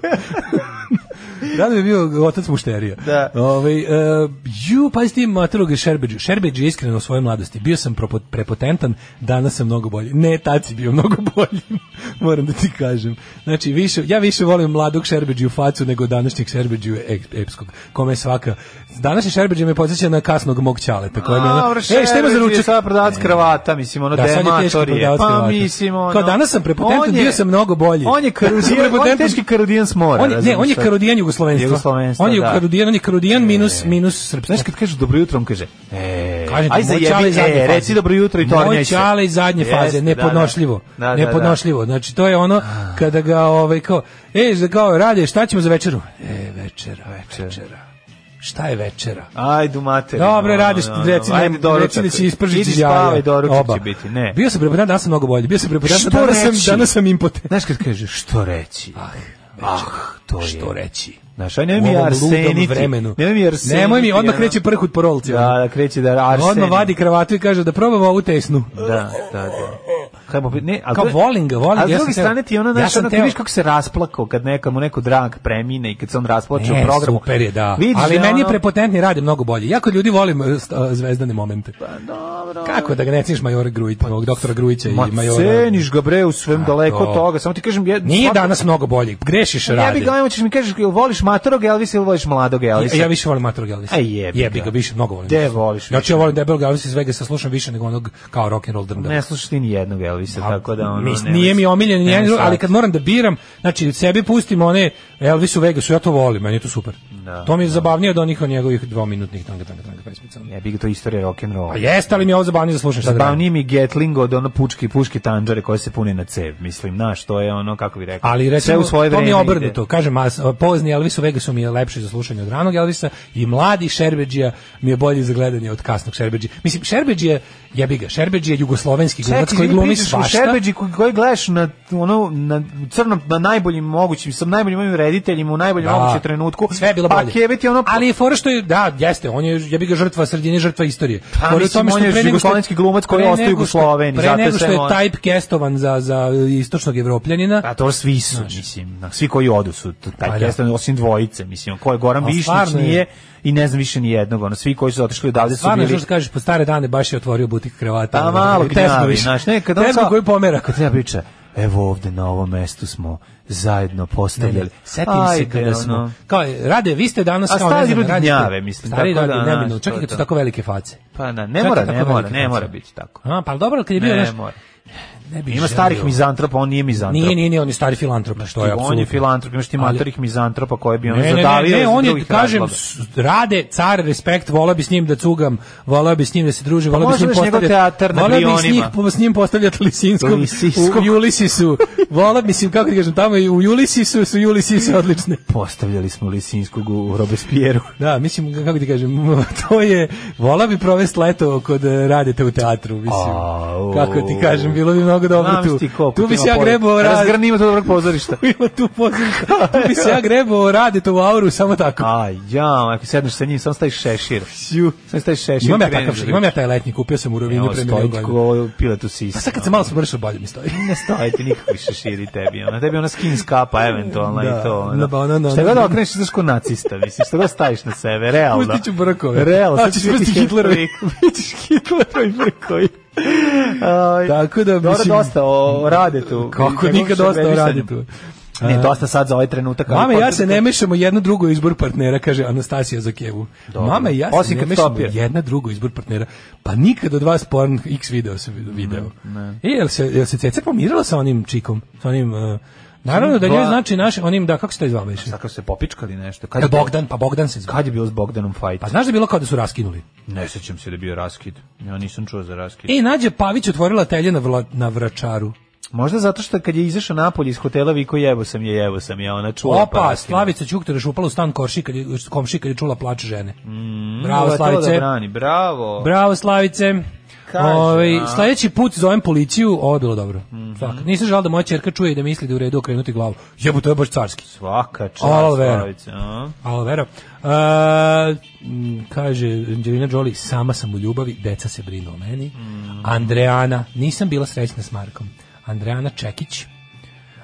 Speaker 6: Rado bi bio otac mušterija.
Speaker 5: Da.
Speaker 6: Ove, uh, ju, pa s tim matroga Šerbeđu. Šerbeđ je iskreno u svojoj mladosti. Bio sam propo- prepotentan, danas sam mnogo bolji. Ne, tad si bio mnogo bolji, moram da ti kažem. Znači, više, ja više volim mladog Šerbeđu u facu nego današnjeg Šerbeđu ep- epskog, kome je svaka... Današnji Šerbeđu me podsjeća na kasnog mog ćaleta. Koji mi je ono,
Speaker 5: A,
Speaker 6: e, šta ima za ručak?
Speaker 5: Sada prodavac kravata, mislim, ono da,
Speaker 6: Da, sad je teški
Speaker 5: dematorije.
Speaker 6: prodavac
Speaker 5: Pa,
Speaker 6: kravata.
Speaker 5: mislim, ono...
Speaker 6: Kao, danas sam prepotentan,
Speaker 5: On je-
Speaker 6: bio sam mnogo bolji.
Speaker 5: On je
Speaker 6: Danas sam
Speaker 5: karudijan, on je
Speaker 6: prepotentan.
Speaker 5: teški karudijan s mora.
Speaker 6: On je, ne,
Speaker 5: razumiješ
Speaker 6: on je
Speaker 5: šta?
Speaker 6: karudijan jugoslovenstva.
Speaker 5: Jugoslovenstva,
Speaker 6: on je
Speaker 5: da.
Speaker 6: karudijan, on je karudijan minus, minus srpstva.
Speaker 5: Znaš kad kažu dobro jutro, on kaže, e,
Speaker 6: Kažem ti,
Speaker 5: aj
Speaker 6: moj čale
Speaker 5: zajebi,
Speaker 6: iz zadnje
Speaker 5: e,
Speaker 6: faze.
Speaker 5: reci dobro jutro i tornjaj
Speaker 6: Moj
Speaker 5: se.
Speaker 6: čale iz zadnje
Speaker 5: Jeste,
Speaker 6: faze,
Speaker 5: da,
Speaker 6: nepodnošljivo.
Speaker 5: da. Da, Ah. da, da.
Speaker 6: nepodnošljivo. Znači, to je ono kada ga, ovaj, kao, e, za- kao, rade, šta ćemo za večeru? E, večera, večera. Šta je večera?
Speaker 5: Ajde, mater. ono,
Speaker 6: Dobro, radiš, reci,
Speaker 5: recimo,
Speaker 6: nam, reci da će ispržići
Speaker 5: Idi spavaj, doručak će biti, ne.
Speaker 6: Bio sam prepoznat, danas sam mnogo bolji. Bio sam prepoznat,
Speaker 5: Što
Speaker 6: danas sam,
Speaker 5: reći?
Speaker 6: danas sam impotent.
Speaker 5: Znaš kad kaže, što reći? Ah, to je.
Speaker 6: Što reći?
Speaker 5: Znaš, aj nemoj
Speaker 6: U
Speaker 5: mi
Speaker 6: ovom
Speaker 5: arseniti.
Speaker 6: ludom vremenu.
Speaker 5: Nemoj mi arseniti.
Speaker 6: Nemoj mi, odmah
Speaker 5: ono.
Speaker 6: kreće prhut po rolci. ono.
Speaker 5: Da, da, kreće da arseniti.
Speaker 6: Odmah vadi kravatu i kaže da probamo ovu tesnu.
Speaker 5: Da, da, da. Kako bi- ne, ali
Speaker 6: Kao
Speaker 5: to je-
Speaker 6: volim ga, volim
Speaker 5: ali
Speaker 6: ga, ja
Speaker 5: s druge
Speaker 6: sam teo-
Speaker 5: strane ti ona
Speaker 6: ja
Speaker 5: znaš,
Speaker 6: sam
Speaker 5: ono, ti
Speaker 6: teo-
Speaker 5: vidiš kako se rasplakao kad nekamo neko drag premine i kad se on rasplače u
Speaker 6: Ne,
Speaker 5: programu.
Speaker 6: super je, da.
Speaker 5: Vidiš
Speaker 6: Ali
Speaker 5: E, da
Speaker 6: meni je
Speaker 5: ono-
Speaker 6: prepotentni radi mnogo bolje. Ja kod ljudi volim eh, st- eh, zvezdane momente.
Speaker 5: Pa
Speaker 6: Kako da ga ne ceniš majora Grujića, ovog doktora Grujića i
Speaker 5: Ma
Speaker 6: majora...
Speaker 5: ceniš ga bre u svem daleko
Speaker 6: to.
Speaker 5: od toga. Samo ti kažem jed,
Speaker 6: Nije
Speaker 5: svako-
Speaker 6: danas mnogo bolji. Grešiš
Speaker 5: Ja bi
Speaker 6: radi.
Speaker 5: ga ajmo ćeš mi kažeš jel voliš matorog Elvisa ili voliš mladog Elvisa?
Speaker 6: Ja, ja više volim Matrog Elvisa.
Speaker 5: A jebi
Speaker 6: jebi
Speaker 5: ga.
Speaker 6: ga. više, mnogo volim.
Speaker 5: Gde
Speaker 6: Elvisa.
Speaker 5: voliš
Speaker 6: Znači, ja volim debelog Elvisa iz Vegasa, slušam više nego onog kao rock'n'roll drndava.
Speaker 5: ne slušaš ti ni jednog Elvisa, tako da ono
Speaker 6: Mis-
Speaker 5: ne
Speaker 6: nije mi omiljen ni
Speaker 5: nemoj
Speaker 6: jedan, ali
Speaker 5: shvatiti.
Speaker 6: kad moram da biram, znači u sebi pustim one Elvis u Vegasu, ja to volim, meni je to super.
Speaker 5: Da,
Speaker 6: to mi je zabavnije od onih od njegovih dvominutnih tanga tanga tanga pesmica.
Speaker 5: jebi ga to je istorija rock and rolla.
Speaker 6: Pa jeste, ali mi je ovo zabavnije da slušam šta da radim.
Speaker 5: Zabavniji mi Getling od ono pučki puški tanđare koje se puni na cev, mislim, znaš, to je ono, kako bi rekao,
Speaker 6: Ali
Speaker 5: sve
Speaker 6: recimo,
Speaker 5: u svoje
Speaker 6: to mi
Speaker 5: vreme
Speaker 6: je
Speaker 5: ide.
Speaker 6: obrnuto. Kažem, a, s- pozni Elvis u Vegasu mi je lepši za slušanje od ranog Elvisa i mladi Šerbeđija mi je bolji za gledanje od kasnog Šerbeđija. Mislim, Šerbeđija, jebi ga, Šerbeđija je jugoslovenski glumac
Speaker 5: Čekaj,
Speaker 6: koji
Speaker 5: ti
Speaker 6: glumi
Speaker 5: pričaš o
Speaker 6: svašta.
Speaker 5: Šerbeđi koji, koji gledaš na ono na crnom na najboljim mogućim, sa najboljim ovim rediteljima u najboljem
Speaker 6: Da.
Speaker 5: mogućem trenutku.
Speaker 6: Sve je bilo
Speaker 5: pa
Speaker 6: bolje.
Speaker 5: Kevin je ono
Speaker 6: Ali je fora što je, da, jeste, on je, ja bih ga žrtva sredine, žrtva istorije.
Speaker 5: Pa,
Speaker 6: Fora je u
Speaker 5: mislim,
Speaker 6: tome što
Speaker 5: on je
Speaker 6: pre nego što-
Speaker 5: jugoslovenski glumac koji
Speaker 6: pre
Speaker 5: je ostao
Speaker 6: nego što-
Speaker 5: Jugosloveni, zato
Speaker 6: Pre nego što
Speaker 5: je
Speaker 6: je
Speaker 5: on-
Speaker 6: typecastovan za, za istočnog evropljanina,
Speaker 5: A to svi su, mislim, na- svi koji odu su t- taj
Speaker 6: Pa, da.
Speaker 5: kestan, osim dvojice, mislim, ko je Goran
Speaker 6: A,
Speaker 5: Višnić
Speaker 6: stvarno je.
Speaker 5: nije i ne znam više ni jednog, ono, svi koji su otišli odavde su
Speaker 6: Stvarno,
Speaker 5: bili...
Speaker 6: što što kažeš, po stare dane baš je otvorio butik kravata.
Speaker 5: Pa
Speaker 6: Ono,
Speaker 5: malo
Speaker 6: tezgo
Speaker 5: gnjavi,
Speaker 6: više.
Speaker 5: znaš, ne, kad on
Speaker 6: Tezgo
Speaker 5: kao-
Speaker 6: koju pomera.
Speaker 5: Kad treba priča, evo ovde na ovom mestu smo zajedno postavljali.
Speaker 6: Setim se
Speaker 5: Ajde,
Speaker 6: kada smo,
Speaker 5: ono.
Speaker 6: kao, rade, vi ste danas
Speaker 5: A
Speaker 6: kao,
Speaker 5: stari
Speaker 6: ne znam,
Speaker 5: ljudi
Speaker 6: radite-
Speaker 5: gnjave, mislim,
Speaker 6: Stari
Speaker 5: tako da,
Speaker 6: radi,
Speaker 5: znaš,
Speaker 6: neminovno,
Speaker 5: to
Speaker 6: čak i
Speaker 5: je
Speaker 6: kad su
Speaker 5: to.
Speaker 6: tako velike face.
Speaker 5: Pa da, ne
Speaker 6: Čak i
Speaker 5: mora,
Speaker 6: tako
Speaker 5: ne mora,
Speaker 6: velike
Speaker 5: ne
Speaker 6: face.
Speaker 5: mora biti tako.
Speaker 6: A, pa dobro, ali kad je bio,
Speaker 5: Ne
Speaker 6: znaš,
Speaker 5: mora.
Speaker 6: ne bi
Speaker 5: Ima
Speaker 6: želio.
Speaker 5: starih mizantropa, on nije mizantrop.
Speaker 6: Nije, nije, nije, on je stari filantrop, što je apsolutno.
Speaker 5: On je filantrop, imaš ti
Speaker 6: Ali-
Speaker 5: matorih mizantropa koje bi on
Speaker 6: Ne, ne, ne,
Speaker 5: zadavio
Speaker 6: ne,
Speaker 5: iz
Speaker 6: on je,
Speaker 5: drugih
Speaker 6: kažem,
Speaker 5: razloga.
Speaker 6: s- rade, car, respekt, volao bi s njim da cugam, volao bi s njim da se družim, volao bi s
Speaker 5: može
Speaker 6: njim
Speaker 5: baš Pa njegov teatar
Speaker 6: postavljati,
Speaker 5: na
Speaker 6: volao bi s, njih,
Speaker 5: Brionima.
Speaker 6: po- s njim postavljati Lisinskog
Speaker 5: Lisinskog.
Speaker 6: u Julisisu, volao bi, mislim, kako ti kažem, tamo i u Julisisu su Julisise odlične.
Speaker 5: Postavljali smo Lisinskog u Robespierru.
Speaker 6: Da, mislim, kako ti kažem, to je, volao bi provesti leto kod eh, radite u teatru, mislim.
Speaker 5: Au.
Speaker 6: Kako ti kažem, bilo bi mnogo dobro tu.
Speaker 5: Znaš ti koliko
Speaker 6: Tu bi
Speaker 5: ima
Speaker 6: se ja
Speaker 5: poruka.
Speaker 6: grebao rad-
Speaker 5: Razgrni ima to dobrog pozorišta.
Speaker 6: Ima tu pozorišta. Tu bi se ja grebao radite u auru samo tako.
Speaker 5: A ja, ako sedneš sa njim, samo staviš šešir. Samo staviš šešir.
Speaker 6: Imam ja
Speaker 5: kreneš
Speaker 6: takav,
Speaker 5: da-
Speaker 6: imam ja taj letnji, kupio sam u Rovinju
Speaker 5: Evo,
Speaker 6: pre
Speaker 5: stoji
Speaker 6: milion
Speaker 5: ti
Speaker 6: godina.
Speaker 5: ko pilet u sisi.
Speaker 6: Pa sad kad se malo smršao, bolje mi stoji.
Speaker 5: Ne stoji ti nikakvi šeširi tebi. Ona tebi ona skin skapa eventualno
Speaker 6: Da,
Speaker 5: i to.
Speaker 6: na
Speaker 5: Ono.
Speaker 6: banana,
Speaker 5: šta
Speaker 6: ono.
Speaker 5: god okreneš, znaš ko nacista, mislim, šta god staviš na sebe, realno.
Speaker 6: Pustit ću brkove.
Speaker 5: Realno,
Speaker 6: A, ćeš pusti Hitlerovi.
Speaker 5: Bićeš Hitlerovi brkovi. Aj,
Speaker 6: Tako da,
Speaker 5: Dobro,
Speaker 6: mislim-
Speaker 5: dosta o Radetu.
Speaker 6: Kako
Speaker 5: Njegovom
Speaker 6: nikad dosta o
Speaker 5: šerbeđisanju.
Speaker 6: Radetu.
Speaker 5: Ne, dosta sad za ovaj trenutak. ali
Speaker 6: Mame, ja
Speaker 5: potrebno-
Speaker 6: se ne mešamo jedno drugo izbor partnera, kaže Anastasija Zakevu.
Speaker 5: Dobro.
Speaker 6: Mama i ja se
Speaker 5: Osim
Speaker 6: ne
Speaker 5: kad
Speaker 6: mešamo
Speaker 5: stopira.
Speaker 6: jedna drugo izbor partnera. Pa nikad od vas porn x video se video. E, jel se, jel se Ceca pomirila sa onim čikom? Sa onim, uh, naravno da njoj
Speaker 5: Dva-
Speaker 6: znači naš, onim, da, kako se to zvao beše?
Speaker 5: Sad kad se popičkali nešto. Kad
Speaker 6: Jel
Speaker 5: je bio-
Speaker 6: Bogdan, pa Bogdan se zvao.
Speaker 5: Kad je bio s Bogdanom fajt?
Speaker 6: Pa znaš da je bilo kao da su raskinuli?
Speaker 5: Ne sećam se da je bio raskid. Ja nisam čuo za raskid.
Speaker 6: E, Nađa Pavić otvorila telje na, vla, na vračaru.
Speaker 5: Možda zato što kad je izašao napolje iz hotela viko jebo sam je, jebo sam je, ona čula. pa
Speaker 6: Opa,
Speaker 5: raskida.
Speaker 6: Slavica Ćukter je šupala u stan komši kad je, komši kad je čula plač žene.
Speaker 5: Ovo
Speaker 6: bravo,
Speaker 5: je Mm, to da
Speaker 6: Slavice.
Speaker 5: brani, bravo.
Speaker 6: bravo, Slavice.
Speaker 5: Kaže, a?
Speaker 6: Ovaj,
Speaker 5: Mhm.
Speaker 6: sledeći put zovem policiju, ovo je bilo dobro. Svaka. Nisam žal da moja čerka čuje i da misli da je u redu okrenuti glavu. Jebu, to je baš carski.
Speaker 5: Svaka čast,
Speaker 6: Alo, Vera.
Speaker 5: Slavice. a?
Speaker 6: Alo, Vero. E, m, kaže Angelina Jolie, sama sam u ljubavi, deca se brinu o meni.
Speaker 5: Mhm.
Speaker 6: Andreana, nisam bila srećna s Markom. Andreana Čekić.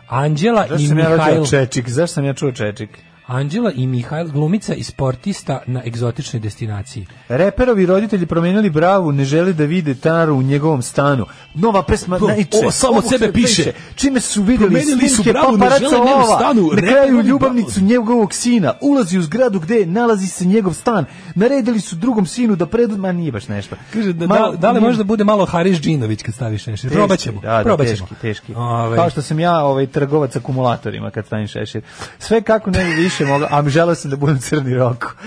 Speaker 6: Anđela
Speaker 5: Zašto
Speaker 6: i
Speaker 5: sam ja
Speaker 6: Mihajl.
Speaker 5: rođao Čečik? Zašto sam ja čuo Čečik?
Speaker 6: Anđela i Mihajl, glumica i sportista na egzotičnoj destinaciji.
Speaker 5: Reperovi roditelji promijenili bravu, ne žele da vide Taru u njegovom stanu. Nova pesma
Speaker 6: To-
Speaker 5: najče.
Speaker 6: ovo samo od sebe piše.
Speaker 5: Čime su videli
Speaker 6: Promijenili su
Speaker 5: snimke
Speaker 6: bravu, ne
Speaker 5: paparaca
Speaker 6: žele njenu
Speaker 5: ova.
Speaker 6: stanu.
Speaker 5: Na kraju
Speaker 6: Reperovi
Speaker 5: ljubavnicu njegovog sina. Ulazi u zgradu gde nalazi se njegov stan. Naredili su drugom sinu da pred... Ma nije baš nešto.
Speaker 6: Kaže, da,
Speaker 5: Malo-
Speaker 6: da, da li
Speaker 5: nije-
Speaker 6: može da bude malo Haris Džinović kad staviš nešto?
Speaker 5: Teški,
Speaker 6: Probat ćemo.
Speaker 5: Da, da,
Speaker 6: probat ćemo.
Speaker 5: teški, teški.
Speaker 6: Ovaj.
Speaker 5: Kao što sam ja ovaj, trgovac akumulatorima kad stavim šešir. Sve kako ne bi više mogla, a želeo sam da budem crni roku.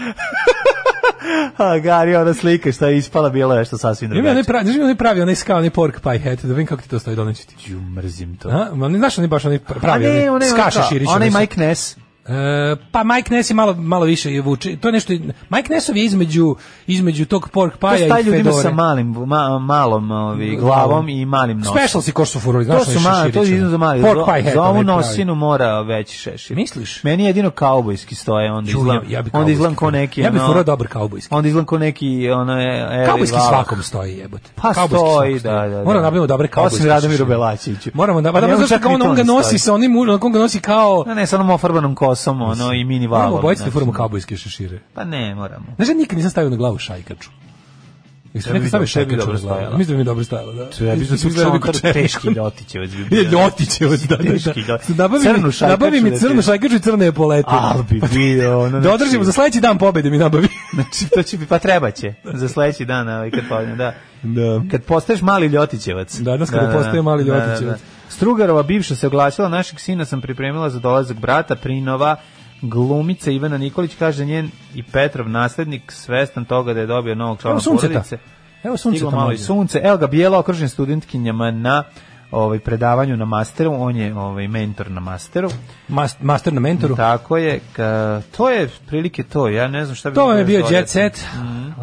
Speaker 5: a Gari, ona slika šta je ispala, bila je nešto sasvim
Speaker 6: Ima onaj
Speaker 5: drugačije.
Speaker 6: pravi, znaš ima onaj pravi, onaj skao, onaj pork pie hat, da vidim kako ti to stoji doneću ti.
Speaker 5: Ju, mrzim to.
Speaker 6: A, ma ne znaš onaj baš onaj pravi,
Speaker 5: A ne,
Speaker 6: onaj
Speaker 5: onaj
Speaker 6: skaša
Speaker 5: onaj kao,
Speaker 6: širić.
Speaker 5: onaj
Speaker 6: sa-
Speaker 5: Mike Ness.
Speaker 6: E, pa Mike Ness je malo, malo više je vuče. To je nešto, Mike Nessov je između, između tog pork
Speaker 5: To
Speaker 6: paja i
Speaker 5: su taj
Speaker 6: fedore.
Speaker 5: ljudima sa malim, ma, malom ovi, glavom i malim nosom.
Speaker 6: Special si koš su furali, znaš
Speaker 5: To su
Speaker 6: onaj
Speaker 5: mali, to
Speaker 6: šeširić,
Speaker 5: je
Speaker 6: onaj.
Speaker 5: za mali.
Speaker 6: ono. Pork
Speaker 5: Za-
Speaker 6: pie hat,
Speaker 5: Za ovu
Speaker 6: onaj pravi.
Speaker 5: nosinu mora veći šešir.
Speaker 6: Misliš?
Speaker 5: Meni jedino kaubojski stoje, onda
Speaker 6: Ju, ja-
Speaker 5: izgledam,
Speaker 6: ja bi
Speaker 5: onda izgledam
Speaker 6: kaubojski.
Speaker 5: ko neki.
Speaker 6: Ja bi
Speaker 5: ono-
Speaker 6: furao dobar kaubojski.
Speaker 5: Onda izgledam ko neki, ono je...
Speaker 6: Kaubojski svakom stoji, jebote.
Speaker 5: Pa
Speaker 6: Kaubojski
Speaker 5: stoji,
Speaker 6: svakom stoji.
Speaker 5: da, da, da.
Speaker 6: Moramo nabavimo dobre kaubojske
Speaker 5: Osim Radomiru
Speaker 6: šešire.
Speaker 5: Belačiću.
Speaker 6: Moramo da, pa
Speaker 5: A
Speaker 6: dobro,
Speaker 5: njemu
Speaker 6: zašto
Speaker 5: čak
Speaker 6: ga
Speaker 5: ni
Speaker 6: on,
Speaker 5: to
Speaker 6: on
Speaker 5: ne
Speaker 6: ga nosi
Speaker 5: stoji.
Speaker 6: sa onim, ul- on ga nosi kao...
Speaker 5: Ne, ne, sa onom ofarbanom kosom, ono, i mini valom.
Speaker 6: Moramo obojiti da
Speaker 5: znači.
Speaker 6: furamo kaubojske šešire.
Speaker 5: Pa ne, moramo.
Speaker 6: Znaš, ja nikad nisam stavio na glavu šajkaču. Jesi
Speaker 5: Tebi bi-
Speaker 6: nekad stavio
Speaker 5: tebi bi
Speaker 6: šajkaču
Speaker 5: dobro
Speaker 6: na glavu?
Speaker 5: stajala.
Speaker 6: Mislim da mi je dobro stajala, da.
Speaker 5: Ja bih da su
Speaker 6: Izgledao bi ko
Speaker 5: čontar
Speaker 6: čerka.
Speaker 5: teški ljotićevac bi bio.
Speaker 6: Je ljotićevac, da, da,
Speaker 5: Teški
Speaker 6: da.
Speaker 5: ljotićevac.
Speaker 6: Nabavi mi-
Speaker 5: Crnu šajkaču
Speaker 6: Nabavi mi
Speaker 5: da
Speaker 6: crnu
Speaker 5: ti-
Speaker 6: šajkaču i crne je polete.
Speaker 5: Al bi bio, ono,
Speaker 6: Da
Speaker 5: znači-
Speaker 6: održimo, za sledeći dan pobede mi nabavi.
Speaker 5: Znači, to će bi, pa treba će. Za sledeći dan, ovaj, kad padne, da.
Speaker 6: Da.
Speaker 5: Kad postaješ mali ljotićevac.
Speaker 6: Danas kada postaje mali ljotićevac.
Speaker 5: Strugarova bivša se oglasila, našeg sina sam pripremila za dolazak brata, prinova glumica Ivana Nikolić, kaže njen i Petrov naslednik, svestan toga da je dobio novog člana
Speaker 6: Evo sunceta.
Speaker 5: porodice.
Speaker 6: Evo sunce
Speaker 5: Stiglo
Speaker 6: tamo
Speaker 5: malo i
Speaker 6: ovdje.
Speaker 5: sunce. Evo ga, bijela okružen studentkinjama na ovaj predavanju na masteru, on je ovaj mentor na masteru.
Speaker 6: Mas- Master na mentoru.
Speaker 5: Tako je, ka- to je prilike to, ja ne znam šta bi...
Speaker 6: To vam je
Speaker 5: još
Speaker 6: bio
Speaker 5: dodao.
Speaker 6: Jet Set.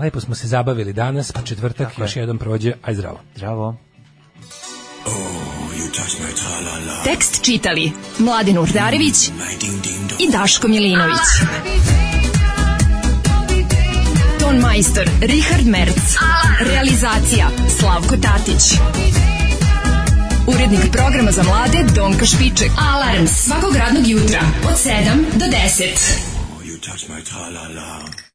Speaker 6: Lepo smo se zabavili danas, pa četvrtak još jedan prođe. Aj zdravo.
Speaker 5: Zdravo.
Speaker 4: Tekst čitali Mladin Urdarević i Daško Milinović. Ton majstor Richard Merc. Realizacija Slavko Tatić. Urednik programa za mlade Donka Špiček. Alarms svakog radnog jutra od 7 do 10.
Speaker 14: You touch my tra-la-la.